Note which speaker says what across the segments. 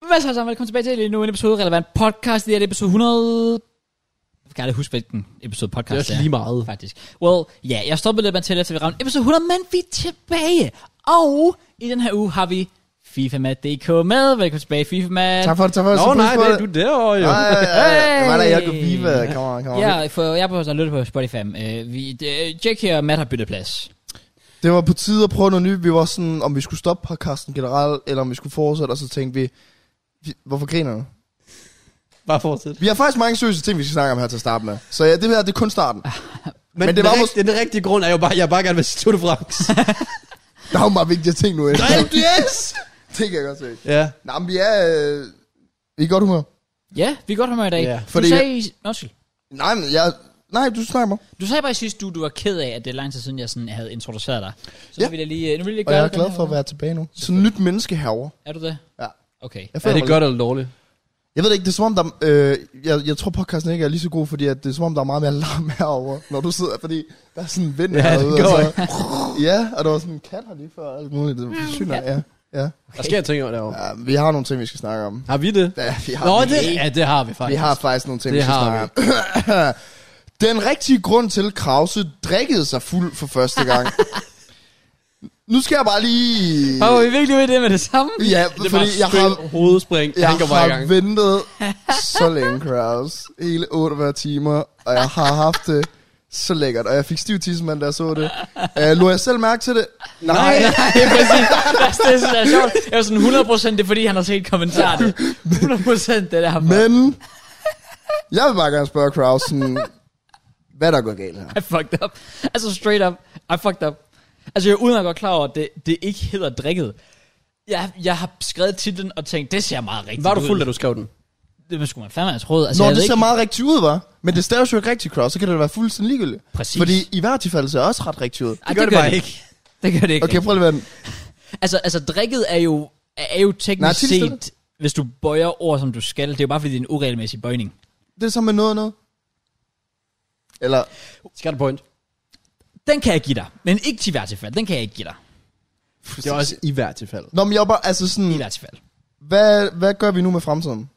Speaker 1: Hvad så, så velkommen tilbage til endnu en episode relevant podcast. Det er det episode 100... Jeg kan aldrig huske, hvilken episode podcast
Speaker 2: Det er også lige meget.
Speaker 1: Faktisk. Well, ja, yeah, jeg stoppede lidt med at tælle, efter vi ramte episode 100, men vi er tilbage. Og i den her uge har vi FIFA med DK med. Velkommen tilbage, FIFA med.
Speaker 3: Tak for det, tak for det.
Speaker 2: Nå,
Speaker 3: Så
Speaker 2: nej,
Speaker 3: pris
Speaker 2: det
Speaker 3: på
Speaker 2: er du derovre jo.
Speaker 3: Nej,
Speaker 2: Nej.
Speaker 3: det var da jeg kunne
Speaker 1: Hey.
Speaker 3: blive, kom on, kom on.
Speaker 1: Ja, for jeg er på at lytte på Spotify. Uh, vi, uh, Jack her og Matt har byttet plads.
Speaker 3: Det var på tide at prøve noget nyt. Vi var sådan, om vi skulle stoppe podcasten generelt, eller om vi skulle fortsætte, og så tænkte vi, vi hvorfor griner du?
Speaker 2: Bare fortsæt.
Speaker 3: Vi har faktisk mange seriøse ting, vi skal snakke om her til at starte med. Så ja, det her, det er kun starten.
Speaker 2: Ah. Men, men det var den, rigt, den rigtige grund er jo bare, jeg bare gerne vil se Tour de France.
Speaker 3: Der er jo meget vigtige ting nu. Efter.
Speaker 2: yes!
Speaker 3: det kan jeg godt se.
Speaker 2: ja.
Speaker 3: Nej, men vi er... Øh, vi er i godt humør.
Speaker 1: Ja, vi er godt humør i dag.
Speaker 2: Ja,
Speaker 1: du
Speaker 3: fordi-
Speaker 1: sagde... i- Nå, undskyld.
Speaker 3: Nej, men jeg... Nej, du snakker mig.
Speaker 1: Du sagde bare i sidste uge, du var ked af, at det er lang tid siden, jeg sådan havde introduceret dig. Så
Speaker 3: Ja.
Speaker 1: ja. vil jeg lige, nu vil jeg lige
Speaker 3: Og
Speaker 1: gøre
Speaker 3: jeg er
Speaker 1: det den
Speaker 3: glad
Speaker 1: her
Speaker 3: for at
Speaker 1: gang.
Speaker 3: være tilbage nu. Så nyt menneske herover.
Speaker 1: Er du det?
Speaker 3: Ja.
Speaker 1: Okay.
Speaker 3: Jeg
Speaker 2: Er
Speaker 3: føler
Speaker 2: det godt eller dårligt?
Speaker 3: Jeg ved det ikke, det er som om, der, øh, jeg, jeg tror podcasten ikke er lige så god, fordi at det er som om, der er meget mere larm herovre, når du sidder, fordi der er sådan en vind
Speaker 2: Ja, det
Speaker 3: herude,
Speaker 2: går
Speaker 3: og så, ja, og der var sådan en kat her lige før, og alt muligt, det er sygt, nok, ja. ja.
Speaker 2: Der sker ting over derovre.
Speaker 3: ja. vi har nogle ting, vi skal snakke om.
Speaker 2: Har vi det?
Speaker 3: Ja, vi har,
Speaker 2: Nå,
Speaker 3: vi,
Speaker 2: det, ja, det har vi
Speaker 3: vi
Speaker 2: faktisk.
Speaker 3: har faktisk nogle ting,
Speaker 2: Det
Speaker 3: vi skal
Speaker 2: har
Speaker 3: snakke om. Den rigtige grund til, at Krause drikkede sig fuld for første gang. nu skal jeg bare lige...
Speaker 1: Og var vi virkelig ved det med det samme?
Speaker 3: Ja,
Speaker 2: det
Speaker 3: fordi jeg har,
Speaker 2: hovedspring.
Speaker 3: Jeg
Speaker 2: han går bare i gang.
Speaker 3: har ventet så længe, Kraus. Hele 48 timer, og jeg har haft det så lækkert. Og jeg fik stiv tissemand, da jeg så det. Uh, lå jeg selv mærke til det?
Speaker 2: Nej,
Speaker 3: Nej.
Speaker 2: nej.
Speaker 1: det er præcis. Altså, Det er, det er sjovt. Jeg var sådan 100% det er, fordi han har set kommentaren. 100% det der. Men...
Speaker 3: Men jeg vil bare gerne spørge Kraus, sådan, hvad er der går galt her?
Speaker 1: I fucked up. Altså straight up. I fucked up. Altså jeg er uden at være godt klar over, at det, det ikke hedder drikket. Jeg, jeg har skrevet titlen og tænkt, det ser meget rigtigt
Speaker 2: Var du fuld, da
Speaker 1: ud.
Speaker 2: du skrev den?
Speaker 1: Det var sgu man fandme have troet. Altså,
Speaker 3: Nå,
Speaker 1: jeg
Speaker 3: det
Speaker 1: ved
Speaker 3: ser
Speaker 1: ikke
Speaker 3: meget rigtigt ud, var. Men det staves jo ikke rigtigt, Kraus. Så kan det være fuldstændig ligegyldigt.
Speaker 1: Præcis.
Speaker 3: Fordi i hvert tilfælde ser det også ret rigtigt ud.
Speaker 1: Ej, det, gør det, bare ikke. Det gør det ikke.
Speaker 3: Okay, prøv lige at vente.
Speaker 1: Altså, altså drikket er jo, er jo
Speaker 3: Nej,
Speaker 1: teknisk
Speaker 3: tilstå
Speaker 1: set, hvis du bøjer ord, som du skal, det er jo bare fordi, det er en uregelmæssig bøjning.
Speaker 3: Det er så med noget og noget. Eller,
Speaker 2: Skat point.
Speaker 1: Den kan jeg give dig, men ikke til hvert tilfælde. Den kan jeg ikke give dig,
Speaker 2: Det er også i hvert tilfælde.
Speaker 3: Nå, men jeg er bare, altså sådan...
Speaker 1: i hvert tilfælde.
Speaker 3: hvad, hvad gør vi nu med fremtiden?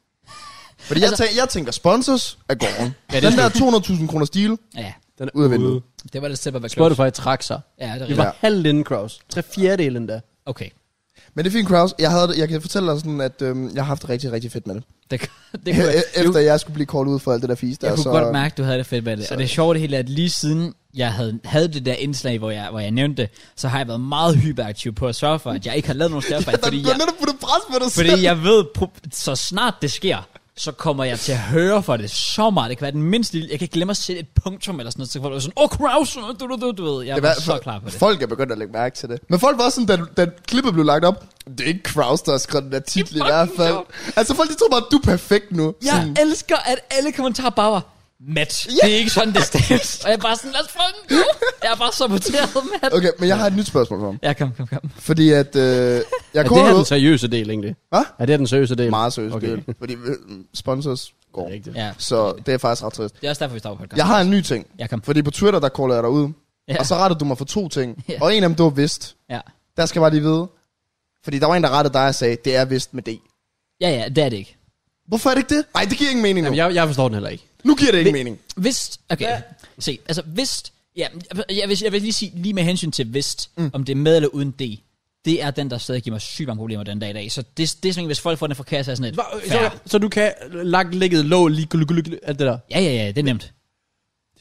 Speaker 3: Fordi altså, jeg, tænker, jeg tænker, sponsors er gården. ja, den der 200.000 kroner stil,
Speaker 1: Ja,
Speaker 2: Den er
Speaker 3: Ud af vinduet.
Speaker 1: det var lidt step at være close.
Speaker 2: Spotify trak sig.
Speaker 1: Ja, det er
Speaker 2: Vi
Speaker 1: rigtigt.
Speaker 2: var halvdelen, Kraus. Tre fjerdedelen da.
Speaker 1: Okay,
Speaker 3: men det er fint, Kraus. Jeg, havde, det- jeg kan fortælle dig sådan, at øhm, jeg har haft det rigtig, rigtig fedt med det.
Speaker 1: det, det kunne jeg.
Speaker 3: E- Efter jeg skulle blive kaldt ud for alt det der fis der.
Speaker 1: Jeg kunne
Speaker 3: så,
Speaker 1: godt mærke, at du havde det fedt med det. Og det sjove det hele er, at lige siden jeg havde, havde det der indslag, hvor jeg, hvor jeg nævnte det, så har jeg været meget hyperaktiv på at sørge for, at jeg ikke har lavet nogen stærfejl,
Speaker 3: Der,
Speaker 1: fordi
Speaker 3: du har
Speaker 1: jeg,
Speaker 3: netop puttet pres på dig selv.
Speaker 1: Fordi jeg ved, pro- så snart det sker, så kommer jeg til at høre for det så meget. Det kan være den mindste lille. Jeg kan glemme at sætte et punktum eller sådan noget. Så kan folk være sådan, åh, oh, Kraus, du, du, du, du ved. Jeg
Speaker 3: Det
Speaker 1: var
Speaker 3: var-
Speaker 1: så klar på det.
Speaker 3: Folk er begyndt at lægge mærke til det. Men folk var også sådan, da, da klippet blev lagt op, det er ikke Kraus, der har skrevet den der titel i
Speaker 1: fucking
Speaker 3: hvert fald. Altså folk, de tror bare, at du er perfekt nu.
Speaker 1: Jeg elsker, at alle kommentarer bare var, Matt,
Speaker 3: Ja.
Speaker 1: det er ikke sådan, det staves. Og jeg er bare sådan, lad os få den nu. Jeg er bare saboteret, Matt.
Speaker 3: Okay, men jeg har et nyt spørgsmål for ham.
Speaker 1: Ja, kom, kom, kom.
Speaker 3: Fordi at... Øh, jeg
Speaker 2: Er
Speaker 3: kommer
Speaker 2: det her
Speaker 3: ud-
Speaker 2: den seriøse del, egentlig?
Speaker 3: Hvad?
Speaker 2: Er det her den seriøse del?
Speaker 3: Meget seriøst.
Speaker 2: Okay.
Speaker 3: Okay. Fordi øh, sponsors
Speaker 2: Det
Speaker 3: går.
Speaker 2: er rigtigt.
Speaker 1: Ja,
Speaker 3: Så det er faktisk ret trist.
Speaker 1: det er også derfor, vi starter podcast.
Speaker 3: Jeg har en ny ting.
Speaker 1: Ja, kom.
Speaker 3: Fordi på Twitter, der caller jeg dig ud.
Speaker 1: Ja.
Speaker 3: Ja. Og så rettede du mig for to ting.
Speaker 1: Ja.
Speaker 3: Ja. Og en af dem, du var vist.
Speaker 1: Ja.
Speaker 3: Der skal jeg bare lige vide. Fordi der var en, der rettede dig og sagde, det er vist med D.
Speaker 1: ja, ja, det er det ikke.
Speaker 3: Hvorfor er det ikke det? Nej, det giver ingen mening nu.
Speaker 2: Jamen, jeg, jeg forstår den heller ikke.
Speaker 3: Nu giver det ingen mening.
Speaker 1: Vist, okay, ja. se, altså vist, ja, jeg vil, jeg vil lige sige, lige med hensyn til vist, mm. om det er med eller uden D, det er den, der stadig giver mig sygt mange problemer den dag i dag. Så det, det er sådan, en, hvis folk får den forkert, så er jeg sådan
Speaker 2: Hva,
Speaker 1: et,
Speaker 2: så,
Speaker 1: fair.
Speaker 2: så, du kan lagt ligget låg, lige glug, glug, glug, alt det der.
Speaker 1: Ja, ja, ja, det er nemt.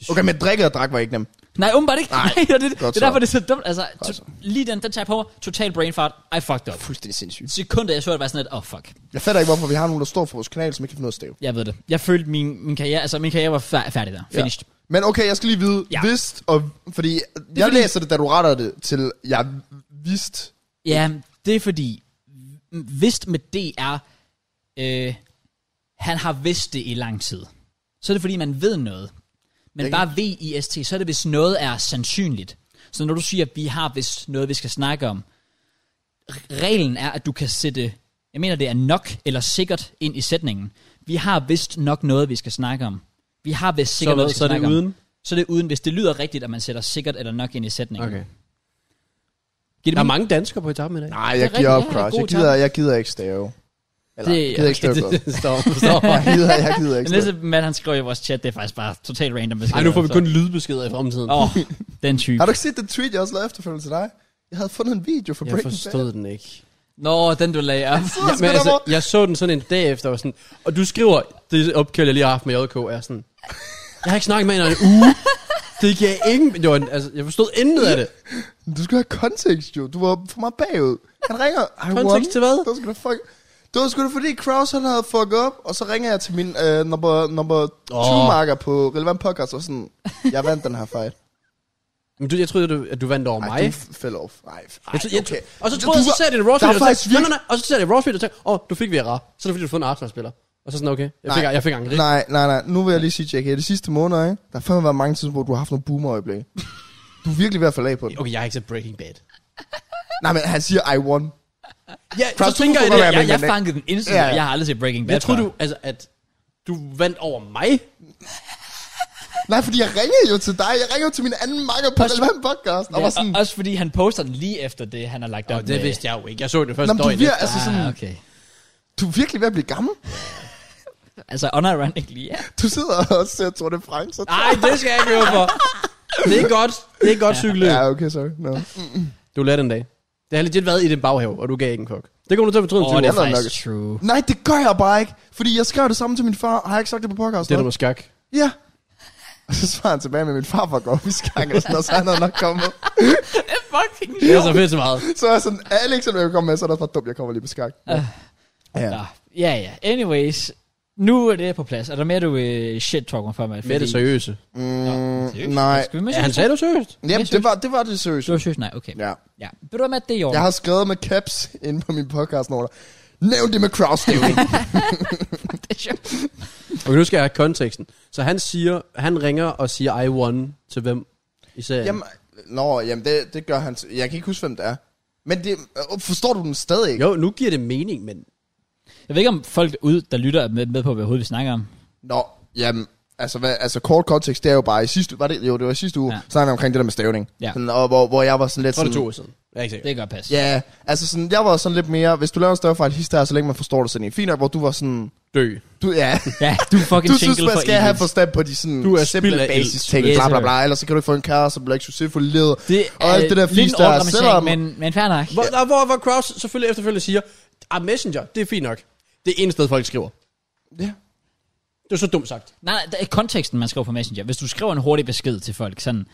Speaker 3: Okay, men drikke og drak var ikke nem.
Speaker 1: Nej, åbenbart ikke. Nej, det, det,
Speaker 3: godt
Speaker 1: det er derfor,
Speaker 3: så.
Speaker 1: det er så dumt. Altså,
Speaker 3: Godt så.
Speaker 1: to, lige den, den tager jeg på mig. Total brain fart. I fucked up.
Speaker 3: Fuldstændig sindssygt.
Speaker 1: Sekunder, jeg så det, var jeg sådan et, oh fuck.
Speaker 3: Jeg fatter ikke, hvorfor vi har nogen, der står for vores kanal, som ikke kan finde noget stave.
Speaker 1: Jeg ved det. Jeg følte min, min karriere, altså min karriere var fær- færdig der. Finished. Ja.
Speaker 3: Men okay, jeg skal lige vide,
Speaker 1: Ja.
Speaker 3: ja. vist, og, fordi jeg
Speaker 1: fordi-
Speaker 3: læser det, da du retter det til, jeg vidste.
Speaker 1: Ja, det er fordi, vist med det er, øh, han har vidst det i lang tid. Så er det fordi, man ved noget. Men
Speaker 3: Jeg kan-
Speaker 1: bare V-I-S-T, så er det, hvis noget er sandsynligt. Så når du siger, at vi har vist noget, vi skal snakke om, r- reglen er, at du kan sætte, jeg mener, det er nok eller sikkert ind i sætningen. Vi har vist nok noget, vi skal snakke om. Vi har vist
Speaker 2: Så,
Speaker 1: sikkert noget, vi
Speaker 2: hvad,
Speaker 1: skal
Speaker 2: så er det
Speaker 1: snakke
Speaker 2: uden?
Speaker 1: om. Så er det uden, hvis det lyder rigtigt, at man sætter sikkert eller nok ind i sætningen.
Speaker 3: Mm.
Speaker 2: Okay.
Speaker 1: Giver det
Speaker 2: Der
Speaker 1: mening?
Speaker 2: er mange danskere på etappen i dag.
Speaker 3: Nej, jeg
Speaker 1: rigtigt,
Speaker 3: giver op,
Speaker 1: ja, det er
Speaker 3: Cross.
Speaker 1: god
Speaker 3: Jeg gider, jeg gider ikke stave.
Speaker 1: Eller, det,
Speaker 3: gider ikke stå
Speaker 1: det-
Speaker 3: på.
Speaker 1: det står står
Speaker 3: Jeg gider, jeg gider
Speaker 1: Den
Speaker 3: ikke.
Speaker 1: næste mand, han skriver i vores chat, det er faktisk bare totalt random.
Speaker 4: Nej, nu får vi kun lydbeskeder i fremtiden.
Speaker 1: Åh, oh, den type.
Speaker 3: Har du ikke set den tweet, jeg også lavede efterfølgende til dig? Jeg havde fundet en video for
Speaker 4: Jeg
Speaker 3: Breaking Bad.
Speaker 4: forstod den ikke.
Speaker 1: Nå, den du lagde op.
Speaker 3: Så
Speaker 4: Men
Speaker 3: skal der
Speaker 4: altså,
Speaker 3: hvor-
Speaker 4: jeg så den sådan en dag efter, og, sådan, og du skriver, det opkald, jeg lige har haft med JK, er sådan, jeg har ikke snakket med hende i en uge. Det giver ingen... Det var en, altså, jeg forstod intet af det.
Speaker 3: Du skal have kontekst, jo. Du var for meget bagud. Han ringer. I
Speaker 4: Kontekst
Speaker 3: won.
Speaker 4: til hvad?
Speaker 3: Det var sgu da fuck. Det var sgu da fordi Kraus han havde fucket op, og så ringer jeg til min øh, number, number
Speaker 4: Åh.
Speaker 3: 2 marker på Relevant Podcast, og sådan, jeg vandt den her fight.
Speaker 4: Men du, jeg troede, at du, at du vandt over
Speaker 3: Ej,
Speaker 4: mig.
Speaker 3: du fell off. Ej, ej,
Speaker 4: Jeg, tror- jeg, okay.
Speaker 3: okay.
Speaker 4: Og så
Speaker 3: Du-
Speaker 4: troede jeg,
Speaker 3: du
Speaker 4: så
Speaker 3: var-
Speaker 4: sagde det i Raw
Speaker 3: der
Speaker 4: Feed,
Speaker 3: er
Speaker 4: og så,
Speaker 3: faktisk
Speaker 4: nej,
Speaker 3: virkelig-
Speaker 4: nej, nej, og så sagde det i Raw Feed, og så åh, du fik Vera. Så er det fordi, du har fået en Arsenal-spiller. Og så sådan, okay, jeg fik,
Speaker 3: Nej.
Speaker 4: jeg fik angre.
Speaker 3: Nej, nej, nej. Nu vil jeg lige sige, Jack, i de sidste måneder, ikke? der har fandme været mange tidspunkter, hvor du har haft nogle boomer-øjeblikke. Du er virkelig ved at falde af på den.
Speaker 4: Okay, jeg har ikke set Breaking Bad.
Speaker 3: Nej, men han siger, I won.
Speaker 4: Ja, så
Speaker 3: Kraus, du
Speaker 4: tænker
Speaker 3: må
Speaker 4: jeg
Speaker 3: få
Speaker 4: det.
Speaker 3: være
Speaker 1: Jeg,
Speaker 3: med
Speaker 1: jeg
Speaker 3: den, ikke?
Speaker 1: fangede den instant,
Speaker 3: Ja, ja.
Speaker 1: og jeg har aldrig set Breaking Bad
Speaker 4: Jeg troede,
Speaker 1: før.
Speaker 4: du, altså, at du vandt over mig.
Speaker 3: Nej, fordi jeg ringede jo til dig. Jeg ringede jo til min anden makker på
Speaker 1: Også-
Speaker 3: Relevant Podcast. Og
Speaker 1: Ja,
Speaker 3: var sådan,
Speaker 1: og, også fordi han poster den lige efter det, han har lagt op
Speaker 4: Og det vidste jeg jo ikke. Jeg så det
Speaker 3: Nå,
Speaker 4: første
Speaker 3: men du, er
Speaker 4: døgn.
Speaker 3: vir-
Speaker 4: efter.
Speaker 3: altså, sådan,
Speaker 1: Ah, okay.
Speaker 3: du er virkelig ved at blive gammel.
Speaker 1: Altså, unironically, ja.
Speaker 3: Du sidder og ser Tour de France. Og
Speaker 4: Nej, det skal jeg ikke høre for. Det er godt. Det er godt cykeløb.
Speaker 3: ja, okay, sorry. No.
Speaker 4: Du lærte den dag. Det har legit været i din baghave, og du gav ikke en kok. Det kommer du til at fortryde.
Speaker 1: Åh, oh,
Speaker 4: Oh,
Speaker 1: det
Speaker 4: det,
Speaker 1: er
Speaker 3: Eller
Speaker 1: faktisk true.
Speaker 3: Nej, det gør jeg bare ikke. Fordi jeg skrev det samme til min far. Har jeg ikke sagt det på podcast?
Speaker 4: det er der
Speaker 3: hva'?
Speaker 4: med skak.
Speaker 3: Ja. Og så svarer han tilbage med, at min far var godt i skang, og sådan, og så han havde nok kommet.
Speaker 1: Fucking
Speaker 4: Det er så fedt så meget.
Speaker 3: Så er jeg sådan, Alex, er du vil komme med, så er det også bare dumt, jeg kommer lige på skang. Ja. ja.
Speaker 1: Ah. Nå, ja, ja. Anyways, nu er det på plads. Er der mere, du øh, shit-talker for mig?
Speaker 4: Med det seriøse.
Speaker 3: Mm, nej.
Speaker 1: Skal vi med
Speaker 4: Ja, han
Speaker 1: seriøst?
Speaker 4: sagde det seriøst.
Speaker 3: Jamen, det var det, var det seriøst.
Speaker 1: Du er seriøst? Nej, okay.
Speaker 3: Ja.
Speaker 1: Ja. Ved du hvad, Matt, det er i orden.
Speaker 3: Jeg har skrevet med caps inde på min podcast noter. Nævn det med Kraus, det er jo ikke.
Speaker 1: Det er sjovt.
Speaker 4: Okay, nu skal jeg have konteksten. Så han siger, han ringer og siger, I won til hvem i serien?
Speaker 3: Jamen, nå, jamen det, det gør han. s- Jeg kan ikke huske, hvem det er. Men det, øh, forstår du den stadig ikke?
Speaker 4: Jo, nu giver det mening, men
Speaker 1: Jeg ved ikke, om folk ud, der lytter, er med, med på, hvad hovedet vi snakker om.
Speaker 3: Nå, jamen, altså, hvad, altså kort kontekst, det er jo bare i sidste var det, jo, det var i sidste uge,
Speaker 1: Ja.
Speaker 3: ja. snakkede vi omkring det der med stavning.
Speaker 1: Ja.
Speaker 3: Sådan, og hvor, hvor jeg var sådan lidt
Speaker 4: jeg tror, det er to
Speaker 3: sådan,
Speaker 4: år siden. Jeg er ikke sikker.
Speaker 1: Det kan godt passe.
Speaker 3: Ja, altså sådan, jeg var sådan lidt mere, hvis du laver en større fejl hister, her, så længe man forstår det sådan en. Fint nok, hvor du var sådan,
Speaker 4: Dø.
Speaker 3: du, ja,
Speaker 1: Ja, du er fucking single
Speaker 3: du synes, man
Speaker 1: for
Speaker 3: skal
Speaker 1: evigt.
Speaker 3: have forstand på de sådan
Speaker 4: Du er
Speaker 3: simple
Speaker 4: spild af ild.
Speaker 3: basis ting,
Speaker 1: Yes,
Speaker 3: bla bla
Speaker 1: sir.
Speaker 3: bla, ellers så kan du ikke få en kæreste, så bliver du ikke succesfuld i livet.
Speaker 1: Det
Speaker 3: og alt det der
Speaker 1: lidt
Speaker 3: fisk
Speaker 1: en
Speaker 3: der,
Speaker 1: overdramatisering,
Speaker 3: selvom-
Speaker 1: men, men fair nok.
Speaker 4: Hvor, ja. hvor, hvor Kraus selvfølgelig efterfølgende siger, ah, Messenger, det er fint nok. Det er eneste sted, folk skriver.
Speaker 3: Ja.
Speaker 4: Det er så dumt sagt.
Speaker 1: Nej, nej, der er konteksten, man skriver på Messenger. Hvis du skriver en hurtig besked til folk, sådan,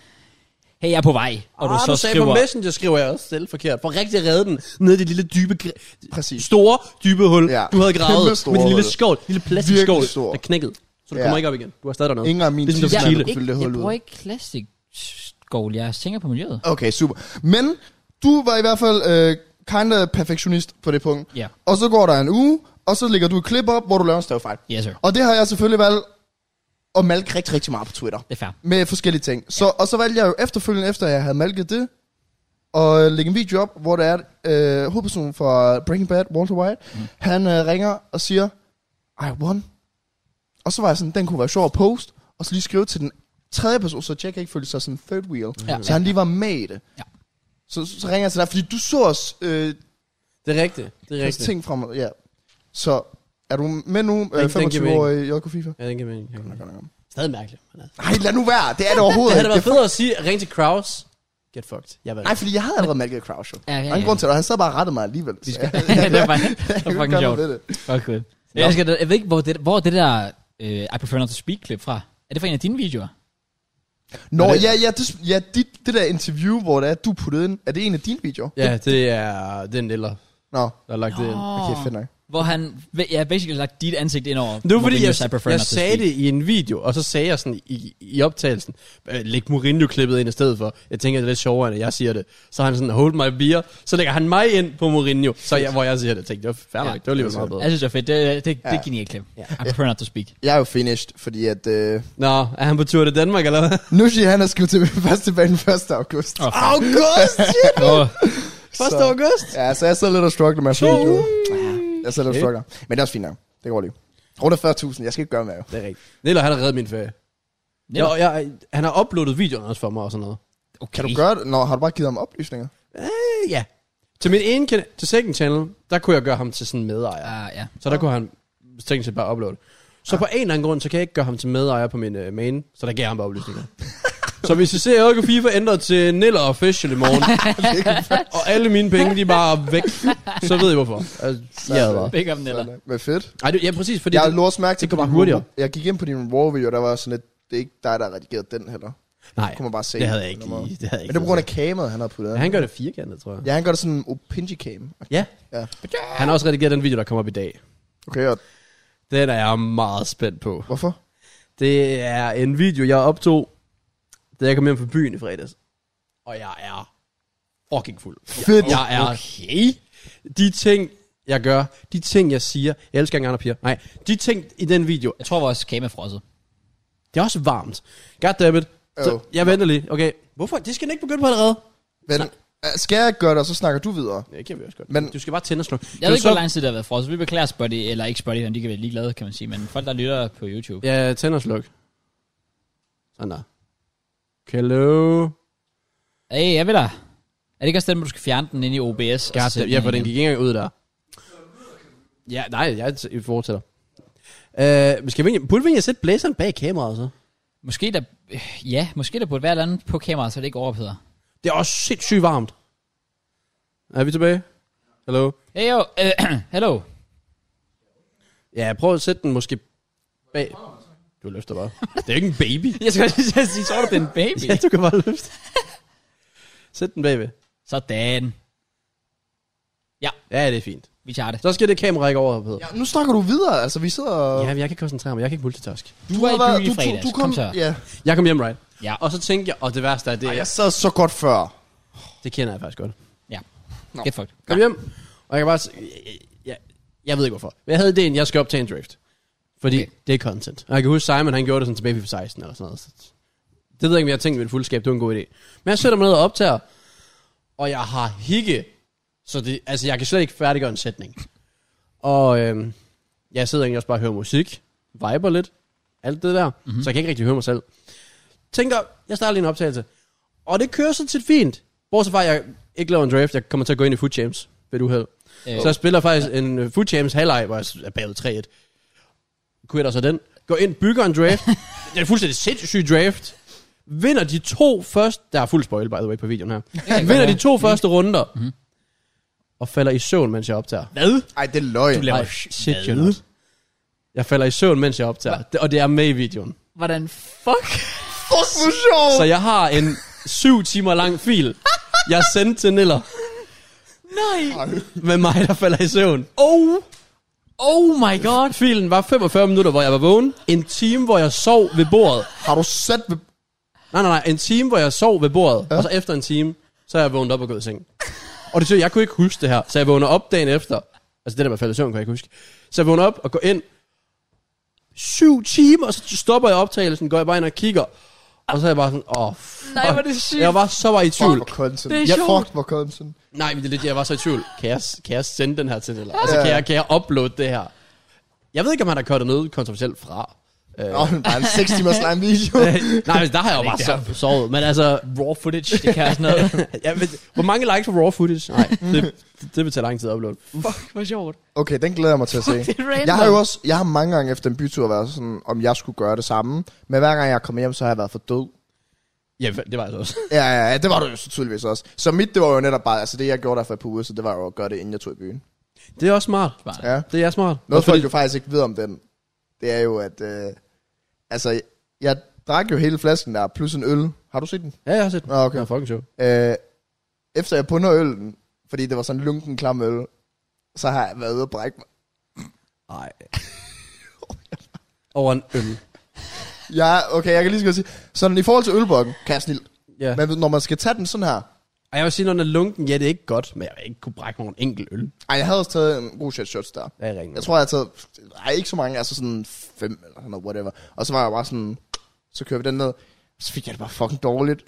Speaker 1: hey, jeg er på vej, og du
Speaker 4: ah,
Speaker 1: så
Speaker 4: du sagde
Speaker 1: skriver...
Speaker 4: på Messenger, skriver jeg også selv forkert. For rigtig at redde den ned i det lille dybe, gr-
Speaker 3: Præcis.
Speaker 4: store dybe hul,
Speaker 3: Ja.
Speaker 4: ja. du havde gravet
Speaker 3: Kæmpe store
Speaker 4: med din lille
Speaker 3: hul.
Speaker 4: skål, lille plastikskål,
Speaker 3: Virkelig stor.
Speaker 4: der knækkede. Så du
Speaker 3: Ja.
Speaker 4: kommer ikke op igen. Du har stadig dernede.
Speaker 3: Ingen af mine
Speaker 4: Ligesom det
Speaker 1: jeg,
Speaker 4: var Chile.
Speaker 3: tidsmænd
Speaker 1: jeg,
Speaker 3: kunne fylde det
Speaker 1: ikke, jeg
Speaker 3: hul
Speaker 1: bruger
Speaker 3: ud.
Speaker 1: ikke plastikskål, jeg tænker på miljøet.
Speaker 3: Okay, super. Men du var i hvert fald øh, kinda perfektionist på det punkt.
Speaker 1: Ja.
Speaker 3: Og så går der en uge, og så lægger du et klip op, hvor du laver en stavefejl.
Speaker 1: Yes, sir.
Speaker 3: Og det har jeg selvfølgelig valgt at malke rigtig, rigtig meget på Twitter.
Speaker 1: Det er fair.
Speaker 3: Med forskellige ting. Så, og så valgte jeg jo efterfølgende, efter jeg havde malket det, at øh, lægge en video op, hvor der er øh, hovedpersonen fra Breaking Bad, Walter White, mm. han øh, ringer og siger, I won. Og så var jeg sådan, den kunne være sjov at post, og så lige skrive til den tredje person, så Jack ikke følte sig sådan third wheel.
Speaker 1: Ja.
Speaker 3: Ja. Så han lige var med i det.
Speaker 1: Ja.
Speaker 3: Så, så ringer jeg til dig, fordi du så os øh,
Speaker 4: Det er rigtigt. Det er rigtigt.
Speaker 3: ting fra mig. Ja. Så er du med nu, øh,
Speaker 4: den giver
Speaker 3: 25 år i JK FIFA?
Speaker 4: Ja, den kan mening. Ja,
Speaker 3: Godt nok.
Speaker 4: Stadig mærkeligt. Men altså.
Speaker 3: Nej, lad nu være. Det er det
Speaker 4: Det
Speaker 3: overhovedet
Speaker 4: havde da
Speaker 3: ikke.
Speaker 4: været federe at sige, ring til Kraus. Get fucked. Jeg var
Speaker 3: Nej, fordi jeg havde allerede malket Crouch. Ja,
Speaker 1: ja,
Speaker 3: ja,
Speaker 1: ja.
Speaker 3: ja. Og en grund til det, og han sad bare og rettede mig alligevel. Så jeg, jeg,
Speaker 1: det er bare- det var
Speaker 3: kunne
Speaker 1: fucking
Speaker 3: ikke gøre
Speaker 1: sjovt.
Speaker 3: noget ved det.
Speaker 1: Okay. Jeg, elsker, det. jeg ved ikke, hvor det, hvor er det der øh, I prefer not to speak klip fra. Er det fra en af dine videoer?
Speaker 3: Nå,
Speaker 4: Er det-
Speaker 3: ja, ja, det, ja dit, det der interview, hvor det er, du puttede ind, er det en af dine videoer?
Speaker 4: Ja, det er den eller
Speaker 3: Nå,
Speaker 4: der har lagt det ind.
Speaker 3: okay, fedt nok.
Speaker 1: Hvor han, ja, basically lagt dit ansigt ind over.
Speaker 4: Det var fordi,
Speaker 1: Mourinho's I
Speaker 4: jeg,
Speaker 1: prefer
Speaker 4: jeg
Speaker 1: not to
Speaker 4: sagde
Speaker 1: speak.
Speaker 4: det i en video, og så sagde jeg sådan i, i optagelsen, øh, læg Mourinho-klippet ind i stedet for. Jeg tænker, det er lidt sjovere, end at jeg siger det. Så har han sådan, hold my beer. Så lægger han mig ind på Mourinho, så jeg, hvor jeg siger det. Jeg tænkte, det var færdigt.
Speaker 1: Ja.
Speaker 4: Ja. Det var lige meget bedre.
Speaker 1: Jeg synes, det var fedt. Det, det, det, det er
Speaker 3: Ja.
Speaker 1: et genialt klip. I prefer not to speak.
Speaker 3: Jeg er jo finished, fordi at... Øh,
Speaker 4: Nå, er han på tur til Danmark, eller hvad?
Speaker 3: Nushi, han har skrevet til min første band 1. august.
Speaker 1: Åh, fuck.
Speaker 4: August! shit!
Speaker 1: Åh,
Speaker 4: 1.
Speaker 3: Så-
Speaker 4: august!
Speaker 3: Ja, så jeg sidder lidt og struggler med at få video. Ja, jeg sidder lidt og struggler. Men det er også fint nok. Det går lige. Rundt af 40.000, jeg skal ikke gøre mere. jo.
Speaker 4: Det er rigtigt. Niller, han har reddet min ferie.
Speaker 1: Niller?
Speaker 4: Jeg, jeg, han har uploadet videoerne også for mig og sådan noget.
Speaker 1: okay.
Speaker 3: Kan du gøre det? Nå, har du bare givet ham oplysninger?
Speaker 4: Øh, ja. Til min ene kanal, til second channel, der kunne jeg gøre ham til sådan en medejer.
Speaker 1: Ah, ja.
Speaker 4: Så der kunne han teknisk set bare uploade. Så på en eller anden grund, så kan jeg ikke gøre ham til medejer på min uh, main, så der giver ham bare oplysninger. så hvis I ser Ørke FIFA ændret til Niller Official i morgen, og alle mine penge, de er bare væk, så ved I hvorfor. Altså, ja, bare.
Speaker 1: Big up, Neller.
Speaker 3: Men fedt.
Speaker 4: Ej, det- ja, præcis, fordi...
Speaker 3: Jeg har låst mærke til,
Speaker 4: det går bare
Speaker 3: din-
Speaker 4: hurtigere.
Speaker 3: Jeg gik ind på din raw video, og der var sådan lidt, det er ikke dig, der har redigeret den heller.
Speaker 4: nej,
Speaker 3: Kunne man bare se.
Speaker 4: det havde jeg ikke.
Speaker 3: på den måde.
Speaker 4: lige- Det havde jeg
Speaker 3: Men
Speaker 4: ikke
Speaker 3: det er på grund af kameraet, han har puttet.
Speaker 4: Ja, han gør det firkantet, tror jeg.
Speaker 3: Ja, han gør det sådan en opinji cam.
Speaker 4: Ja.
Speaker 3: Ja.
Speaker 4: Han har også redigeret den video, der kommer op i dag.
Speaker 3: Okay, og
Speaker 4: Den er jeg meget spændt på.
Speaker 3: hvorfor?
Speaker 4: Det er en video, jeg optog, da jeg kom hjem fra byen i fredags. Og jeg er fucking fuld.
Speaker 3: Fedt.
Speaker 4: Jeg er... Okay. De ting, jeg gør, de ting, jeg siger. Jeg elsker ikke andre piger. Nej, de ting i den video,
Speaker 1: Jeg tror vores kamera er frosset.
Speaker 4: det er også varmt. Goddammit. Så
Speaker 3: Jo.
Speaker 4: jeg venter lige. Okay, hvorfor? Det skal den ikke begynde på allerede.
Speaker 3: Men øh, skal jeg gøre det, og så snakker du videre?
Speaker 4: Ja, det kan vi også godt.
Speaker 3: Men-
Speaker 4: du skal bare tænde og slukke.
Speaker 1: Jeg ved ikke, hvor lang tid det har været frosset. Vi beklager Spotty, eller ikke Spotty, de kan være ligeglade, kan man sige. Men folk, der lytter på YouTube.
Speaker 4: Ja, tænd og sluk. Sådan der. Hello.
Speaker 1: Hey, jeg vil der. Er det ikke også den, hvor du skal fjerne den ind i OBS? og så sætte
Speaker 4: Goddamn, ja, for den
Speaker 1: igen?
Speaker 4: gik ikke engang ud der. Ja, nej, jeg t- fortsætter. Uh, skal vi, egentlig- burde vi egentlig sætte blæseren bag kameraet så?
Speaker 1: Måske der, øh, ja, måske der burde være et eller andet på kameraet, så det ikke overopheder.
Speaker 4: Det er også sindssygt varmt. Er vi tilbage? Hallo?
Speaker 1: Hey jo, øh, hello.
Speaker 4: Ja, prøv at sætte den måske bag. Du løfter bare. det er ikke en baby.
Speaker 1: Jeg skal lige sige, tror du, det er en baby?
Speaker 4: ja, du kan bare løfte. Sæt den bagved.
Speaker 1: Sådan.
Speaker 4: Ja, det er fint.
Speaker 1: Vi tager det.
Speaker 4: Så skal det kamera ikke over, Peter.
Speaker 3: Ja, nu snakker du videre, altså vi
Speaker 4: Ja,
Speaker 3: sidder...
Speaker 4: men jeg kan ikke koncentrere mig. Jeg kan ikke multitask.
Speaker 1: Du var i
Speaker 3: har været-
Speaker 1: byen i fredags.
Speaker 3: du,
Speaker 1: Kom,
Speaker 3: kom,
Speaker 1: så.
Speaker 3: Ja.
Speaker 4: Jeg kom hjem, right?
Speaker 1: Ja.
Speaker 4: Og så tænkte jeg, og det værste er, det,
Speaker 3: Ej,
Speaker 4: Ej,
Speaker 3: jeg sad så godt før.
Speaker 4: det kender jeg faktisk godt.
Speaker 1: Ja. Get fucked.
Speaker 4: Kom hjem. Og jeg kan bare... s- Jeg, jeg, jeg ved ikke hvorfor. Men jeg havde idéen, jeg skal optage en drift. Fordi okay. det er content. Og jeg kan huske, Simon han gjorde det sådan tilbage for 16 eller sådan noget. Så Det ved jeg ikke, om jeg har tænkt med et fuldskab. Det var en god idé. Men jeg sætter mig ned og optager. Og jeg har hikke. Så det, altså, jeg kan slet ikke færdiggøre en sætning. Og øhm, jeg sidder egentlig også bare og hører musik. Viber lidt. Alt det der. Mm-hmm. Så jeg kan ikke rigtig høre mig selv. Tænker, jeg starter lige en optagelse. Og det kører sådan set fint. Bortset fra, at jeg ikke laver en draft. Jeg kommer til at gå ind i Food Champs ved et uheld.
Speaker 1: Øh.
Speaker 4: Øh. Så jeg spiller faktisk en øh, Food Champs halvleg, hvor jeg er bagud 3-1. Quitter så den. Går ind, bygger en draft. det er fuldstændig sindssyg draft. Vinder de to første... Der er fuld spoil, by the way, på videoen her. Vinder de to første runder. Mm-hmm. Og falder i søvn, mens jeg optager.
Speaker 1: Hvad?
Speaker 3: Ej, det er løgn.
Speaker 1: laver
Speaker 4: Ej,
Speaker 1: sh-
Speaker 4: shit,
Speaker 1: mad.
Speaker 4: you not. Jeg falder i søvn, mens jeg optager. Det, og det er med i videoen.
Speaker 1: Hvordan fuck?
Speaker 3: Fuck, hvor sjovt!
Speaker 4: Så jeg har en syv timer lang fil, jeg sendte til Niller. Nej. Med mig, der falder i søvn.
Speaker 1: Oh. Oh my god.
Speaker 4: Filen var 45 minutter, hvor jeg var vågen. En time, hvor jeg sov ved bordet.
Speaker 3: Har du sat ved...
Speaker 4: Nej, nej, nej. En time, hvor jeg sov ved bordet. Ja. Og så efter en time, så er jeg vågnet op og gået i seng. Og det siger, jeg kunne ikke huske det her. Så jeg vågner op dagen efter. Altså det der med at falde i søvn, kan jeg ikke huske. Så jeg vågner op og går ind. Syv timer, og så stopper jeg optagelsen, går jeg bare ind og kigger. Og så er jeg bare sådan, åh, oh,
Speaker 1: Nej, hvor er det sygt.
Speaker 4: Jeg var så var i
Speaker 3: Fuck,
Speaker 4: tvivl.
Speaker 3: hvor content.
Speaker 1: Det er
Speaker 3: Ja,
Speaker 1: sjovt.
Speaker 3: Fuck, hvor content.
Speaker 4: Nej, men det er lidt, jeg var så i tvivl. Kan jeg, kan jeg sende den her til eller? Altså, kan jeg, kan jeg uploade det her? Jeg ved ikke, om han har kørt det noget kontroversielt fra.
Speaker 3: Nå, men bare en 6 timers lang video.
Speaker 4: Nej, men der har jeg jo bare så, sovet. Men altså,
Speaker 1: Raw footage, det kan sådan noget.
Speaker 4: ja, men, hvor mange likes på raw footage? Nej, det, det, vil tage lang tid at uploade.
Speaker 1: fuck, hvor sjovt.
Speaker 3: Okay, den glæder jeg mig til at se.
Speaker 1: Det er random.
Speaker 3: Jeg har jo også, jeg har mange gange efter en bytur været sådan, om jeg skulle gøre det samme. Men hver gang jeg kommer hjem, så har jeg været for død.
Speaker 4: Ja, det var jeg så også.
Speaker 3: Ja, ja, ja, det var du jo så tydeligvis også. Så mit, det var jo netop bare, altså det jeg gjorde der for et par uger, så det var jo at gøre det, inden jeg tog i byen.
Speaker 4: Det er også smart.
Speaker 3: Ja.
Speaker 4: Det er smart.
Speaker 3: Noget
Speaker 4: Fordi-
Speaker 3: folk jo faktisk ikke ved om den, det er jo, at, øh, altså, jeg drak jo hele flasken der, plus en øl. Har du set den?
Speaker 4: Ja, jeg har set den.
Speaker 3: Nå, okay.
Speaker 4: Den er fucking sjov.
Speaker 3: Øh, efter jeg punder øllen, fordi det var sådan en lunken klam øl, så har jeg været ude og brække mig.
Speaker 4: Nej. Over en øl.
Speaker 3: Ja, okay, jeg kan lige skal sige, sådan i forhold til ølbokken, kan jeg snil.
Speaker 4: Ja.
Speaker 3: Ja. Men når man skal tage den sådan her,
Speaker 4: Og jeg vil sige, når den er lunken, ja, det er ikke godt, men jeg vil ikke kunne brække mig over en enkelt øl.
Speaker 3: Ej, jeg havde også taget en god shot shots der.
Speaker 4: Ja, ringen.
Speaker 3: Jeg tror, jeg har taget... Ej, ikke så mange. Altså sådan fem eller sådan noget, whatever. Og så var jeg bare sådan... Så kører vi den ned. Så fik jeg det bare fucking dårligt.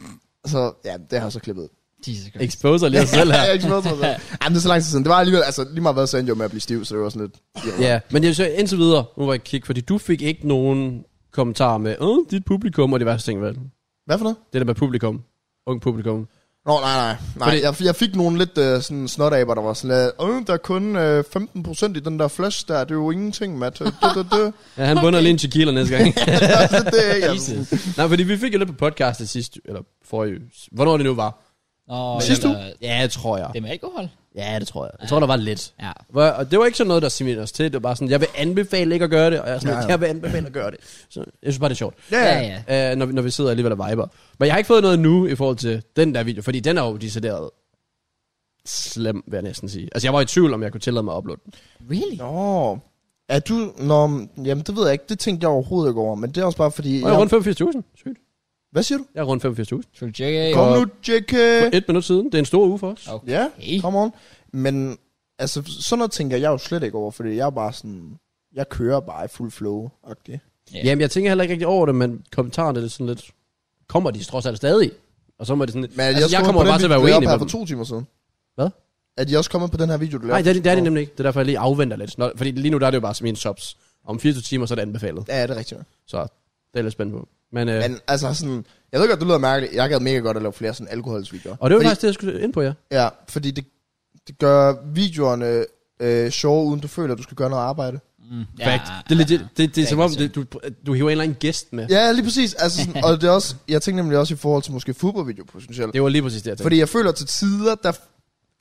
Speaker 3: Så ja, det har jeg så klippet. ud.
Speaker 1: Jesus Christ.
Speaker 4: Exposer lige os selv
Speaker 3: Ja.
Speaker 4: her.
Speaker 3: Jeg er ikke smadret mig selv. Ej, men det er så lang tid siden. Det var alligevel... Altså lige meget hvad, så endte jeg jo med at blive stiv, så det var sådan lidt...
Speaker 4: Ja, men jeg vil sige, indtil videre, nu var jeg kigge, fordi du fik ikke nogen kommentarer med, åh, dit publikum og det værste ting, vel?
Speaker 3: Hvad for noget?
Speaker 4: Det der med publikum, ung publikum.
Speaker 3: Nå, nej, nej.
Speaker 4: Fordi-
Speaker 3: nej. Fordi... Jeg, jeg fik nogle lidt øh, sådan snotaber, der var sådan lidt, øh, der er kun øh, 15% i den der flash der, det er jo ingenting, Matt. Det, det, det.
Speaker 4: Ja, han bunder lige en tequila næste gang.
Speaker 3: altså, det er ikke, altså.
Speaker 4: Nej, fordi vi fik jo lidt på podcastet sidst, eller forrige, hvornår det nu var.
Speaker 1: Og,
Speaker 3: Sidste
Speaker 1: eller,
Speaker 4: Ja, det tror jeg.
Speaker 1: Det er med alkohol.
Speaker 4: Ja, det tror jeg. Jeg tror, der var lidt.
Speaker 1: Ja.
Speaker 4: Hvor- Og det var ikke sådan noget, der similerede os til. Det var bare sådan, jeg vil anbefale ikke at gøre det, og jeg, er sådan,
Speaker 3: Ja,
Speaker 4: ja,
Speaker 3: ja.
Speaker 4: jeg vil anbefale at gøre det. Så jeg synes bare, det er sjovt,
Speaker 3: Ja,
Speaker 1: Ja,
Speaker 3: ja.
Speaker 1: ja.
Speaker 4: øh, når, vi- når vi sidder alligevel og viber. Men jeg har ikke fået noget nu i forhold til den der video, fordi den er jo decideret slem, vil jeg næsten sige. Altså, jeg var i tvivl, om jeg kunne tillade mig at uploade den.
Speaker 1: Really?
Speaker 3: Nå. Er du... Nå, men- jamen det ved jeg ikke. Det tænkte jeg overhovedet ikke over. Men det er også bare fordi...
Speaker 4: Og jeg er rundt 85.000. Sygt.
Speaker 3: Hvad siger du?
Speaker 4: Jeg er rundt 85.000.
Speaker 1: True JK.
Speaker 3: Kom
Speaker 4: Og-
Speaker 3: nu, JK.
Speaker 4: For et minut siden. Det er en stor uge for os.
Speaker 1: Okay.
Speaker 3: Ja,
Speaker 1: Hey.
Speaker 3: come on. Men altså, sådan noget tænker jeg jo slet ikke over, fordi jeg er bare sådan... Jeg kører bare i fuld flow. Okay.
Speaker 1: Ja.
Speaker 4: Jamen, jeg tænker heller ikke rigtig over det, men kommentarerne er lidt sådan lidt... Kommer de trods alt stadig? Og så var det sådan lidt...
Speaker 3: Men
Speaker 4: Altså, jeg kommer bare til at være uenig med
Speaker 3: med for
Speaker 4: dem.
Speaker 3: to timer siden.
Speaker 4: Hvad?
Speaker 3: Er de også kommet på den her video, du lavede?
Speaker 4: Nej, det er, det, det er det
Speaker 3: Nå.
Speaker 4: nemlig ikke. Det er derfor, jeg lige afventer lidt. Nå, fordi lige nu der er det jo bare som en subs. Om 24 timer, så er det anbefalet.
Speaker 3: Ja, det er rigtigt.
Speaker 4: Så det er lidt spændende på. Men, øh,
Speaker 3: Men altså sådan... Jeg ved godt, det lyder mærkeligt. Jeg gad mega godt at lave flere sådan alkoholsvideoer.
Speaker 4: og det var
Speaker 3: fordi,
Speaker 4: faktisk det, jeg skulle ind på, ja.
Speaker 3: Ja, fordi det, det gør videoerne øh, sjove, uden du føler, at du skal gøre noget arbejde.
Speaker 1: Mm.
Speaker 4: Fact. det er, legit, det, det er
Speaker 1: Ja,
Speaker 4: som om,
Speaker 1: ja.
Speaker 4: det, du, du hiver en eller anden gæst med.
Speaker 3: Ja, lige præcis. Altså, sådan, og det er også, jeg tænkte nemlig også i forhold til måske fodboldvideo potentielt.
Speaker 4: Det var lige præcis det, jeg tænkte.
Speaker 3: Fordi jeg føler til tider, der...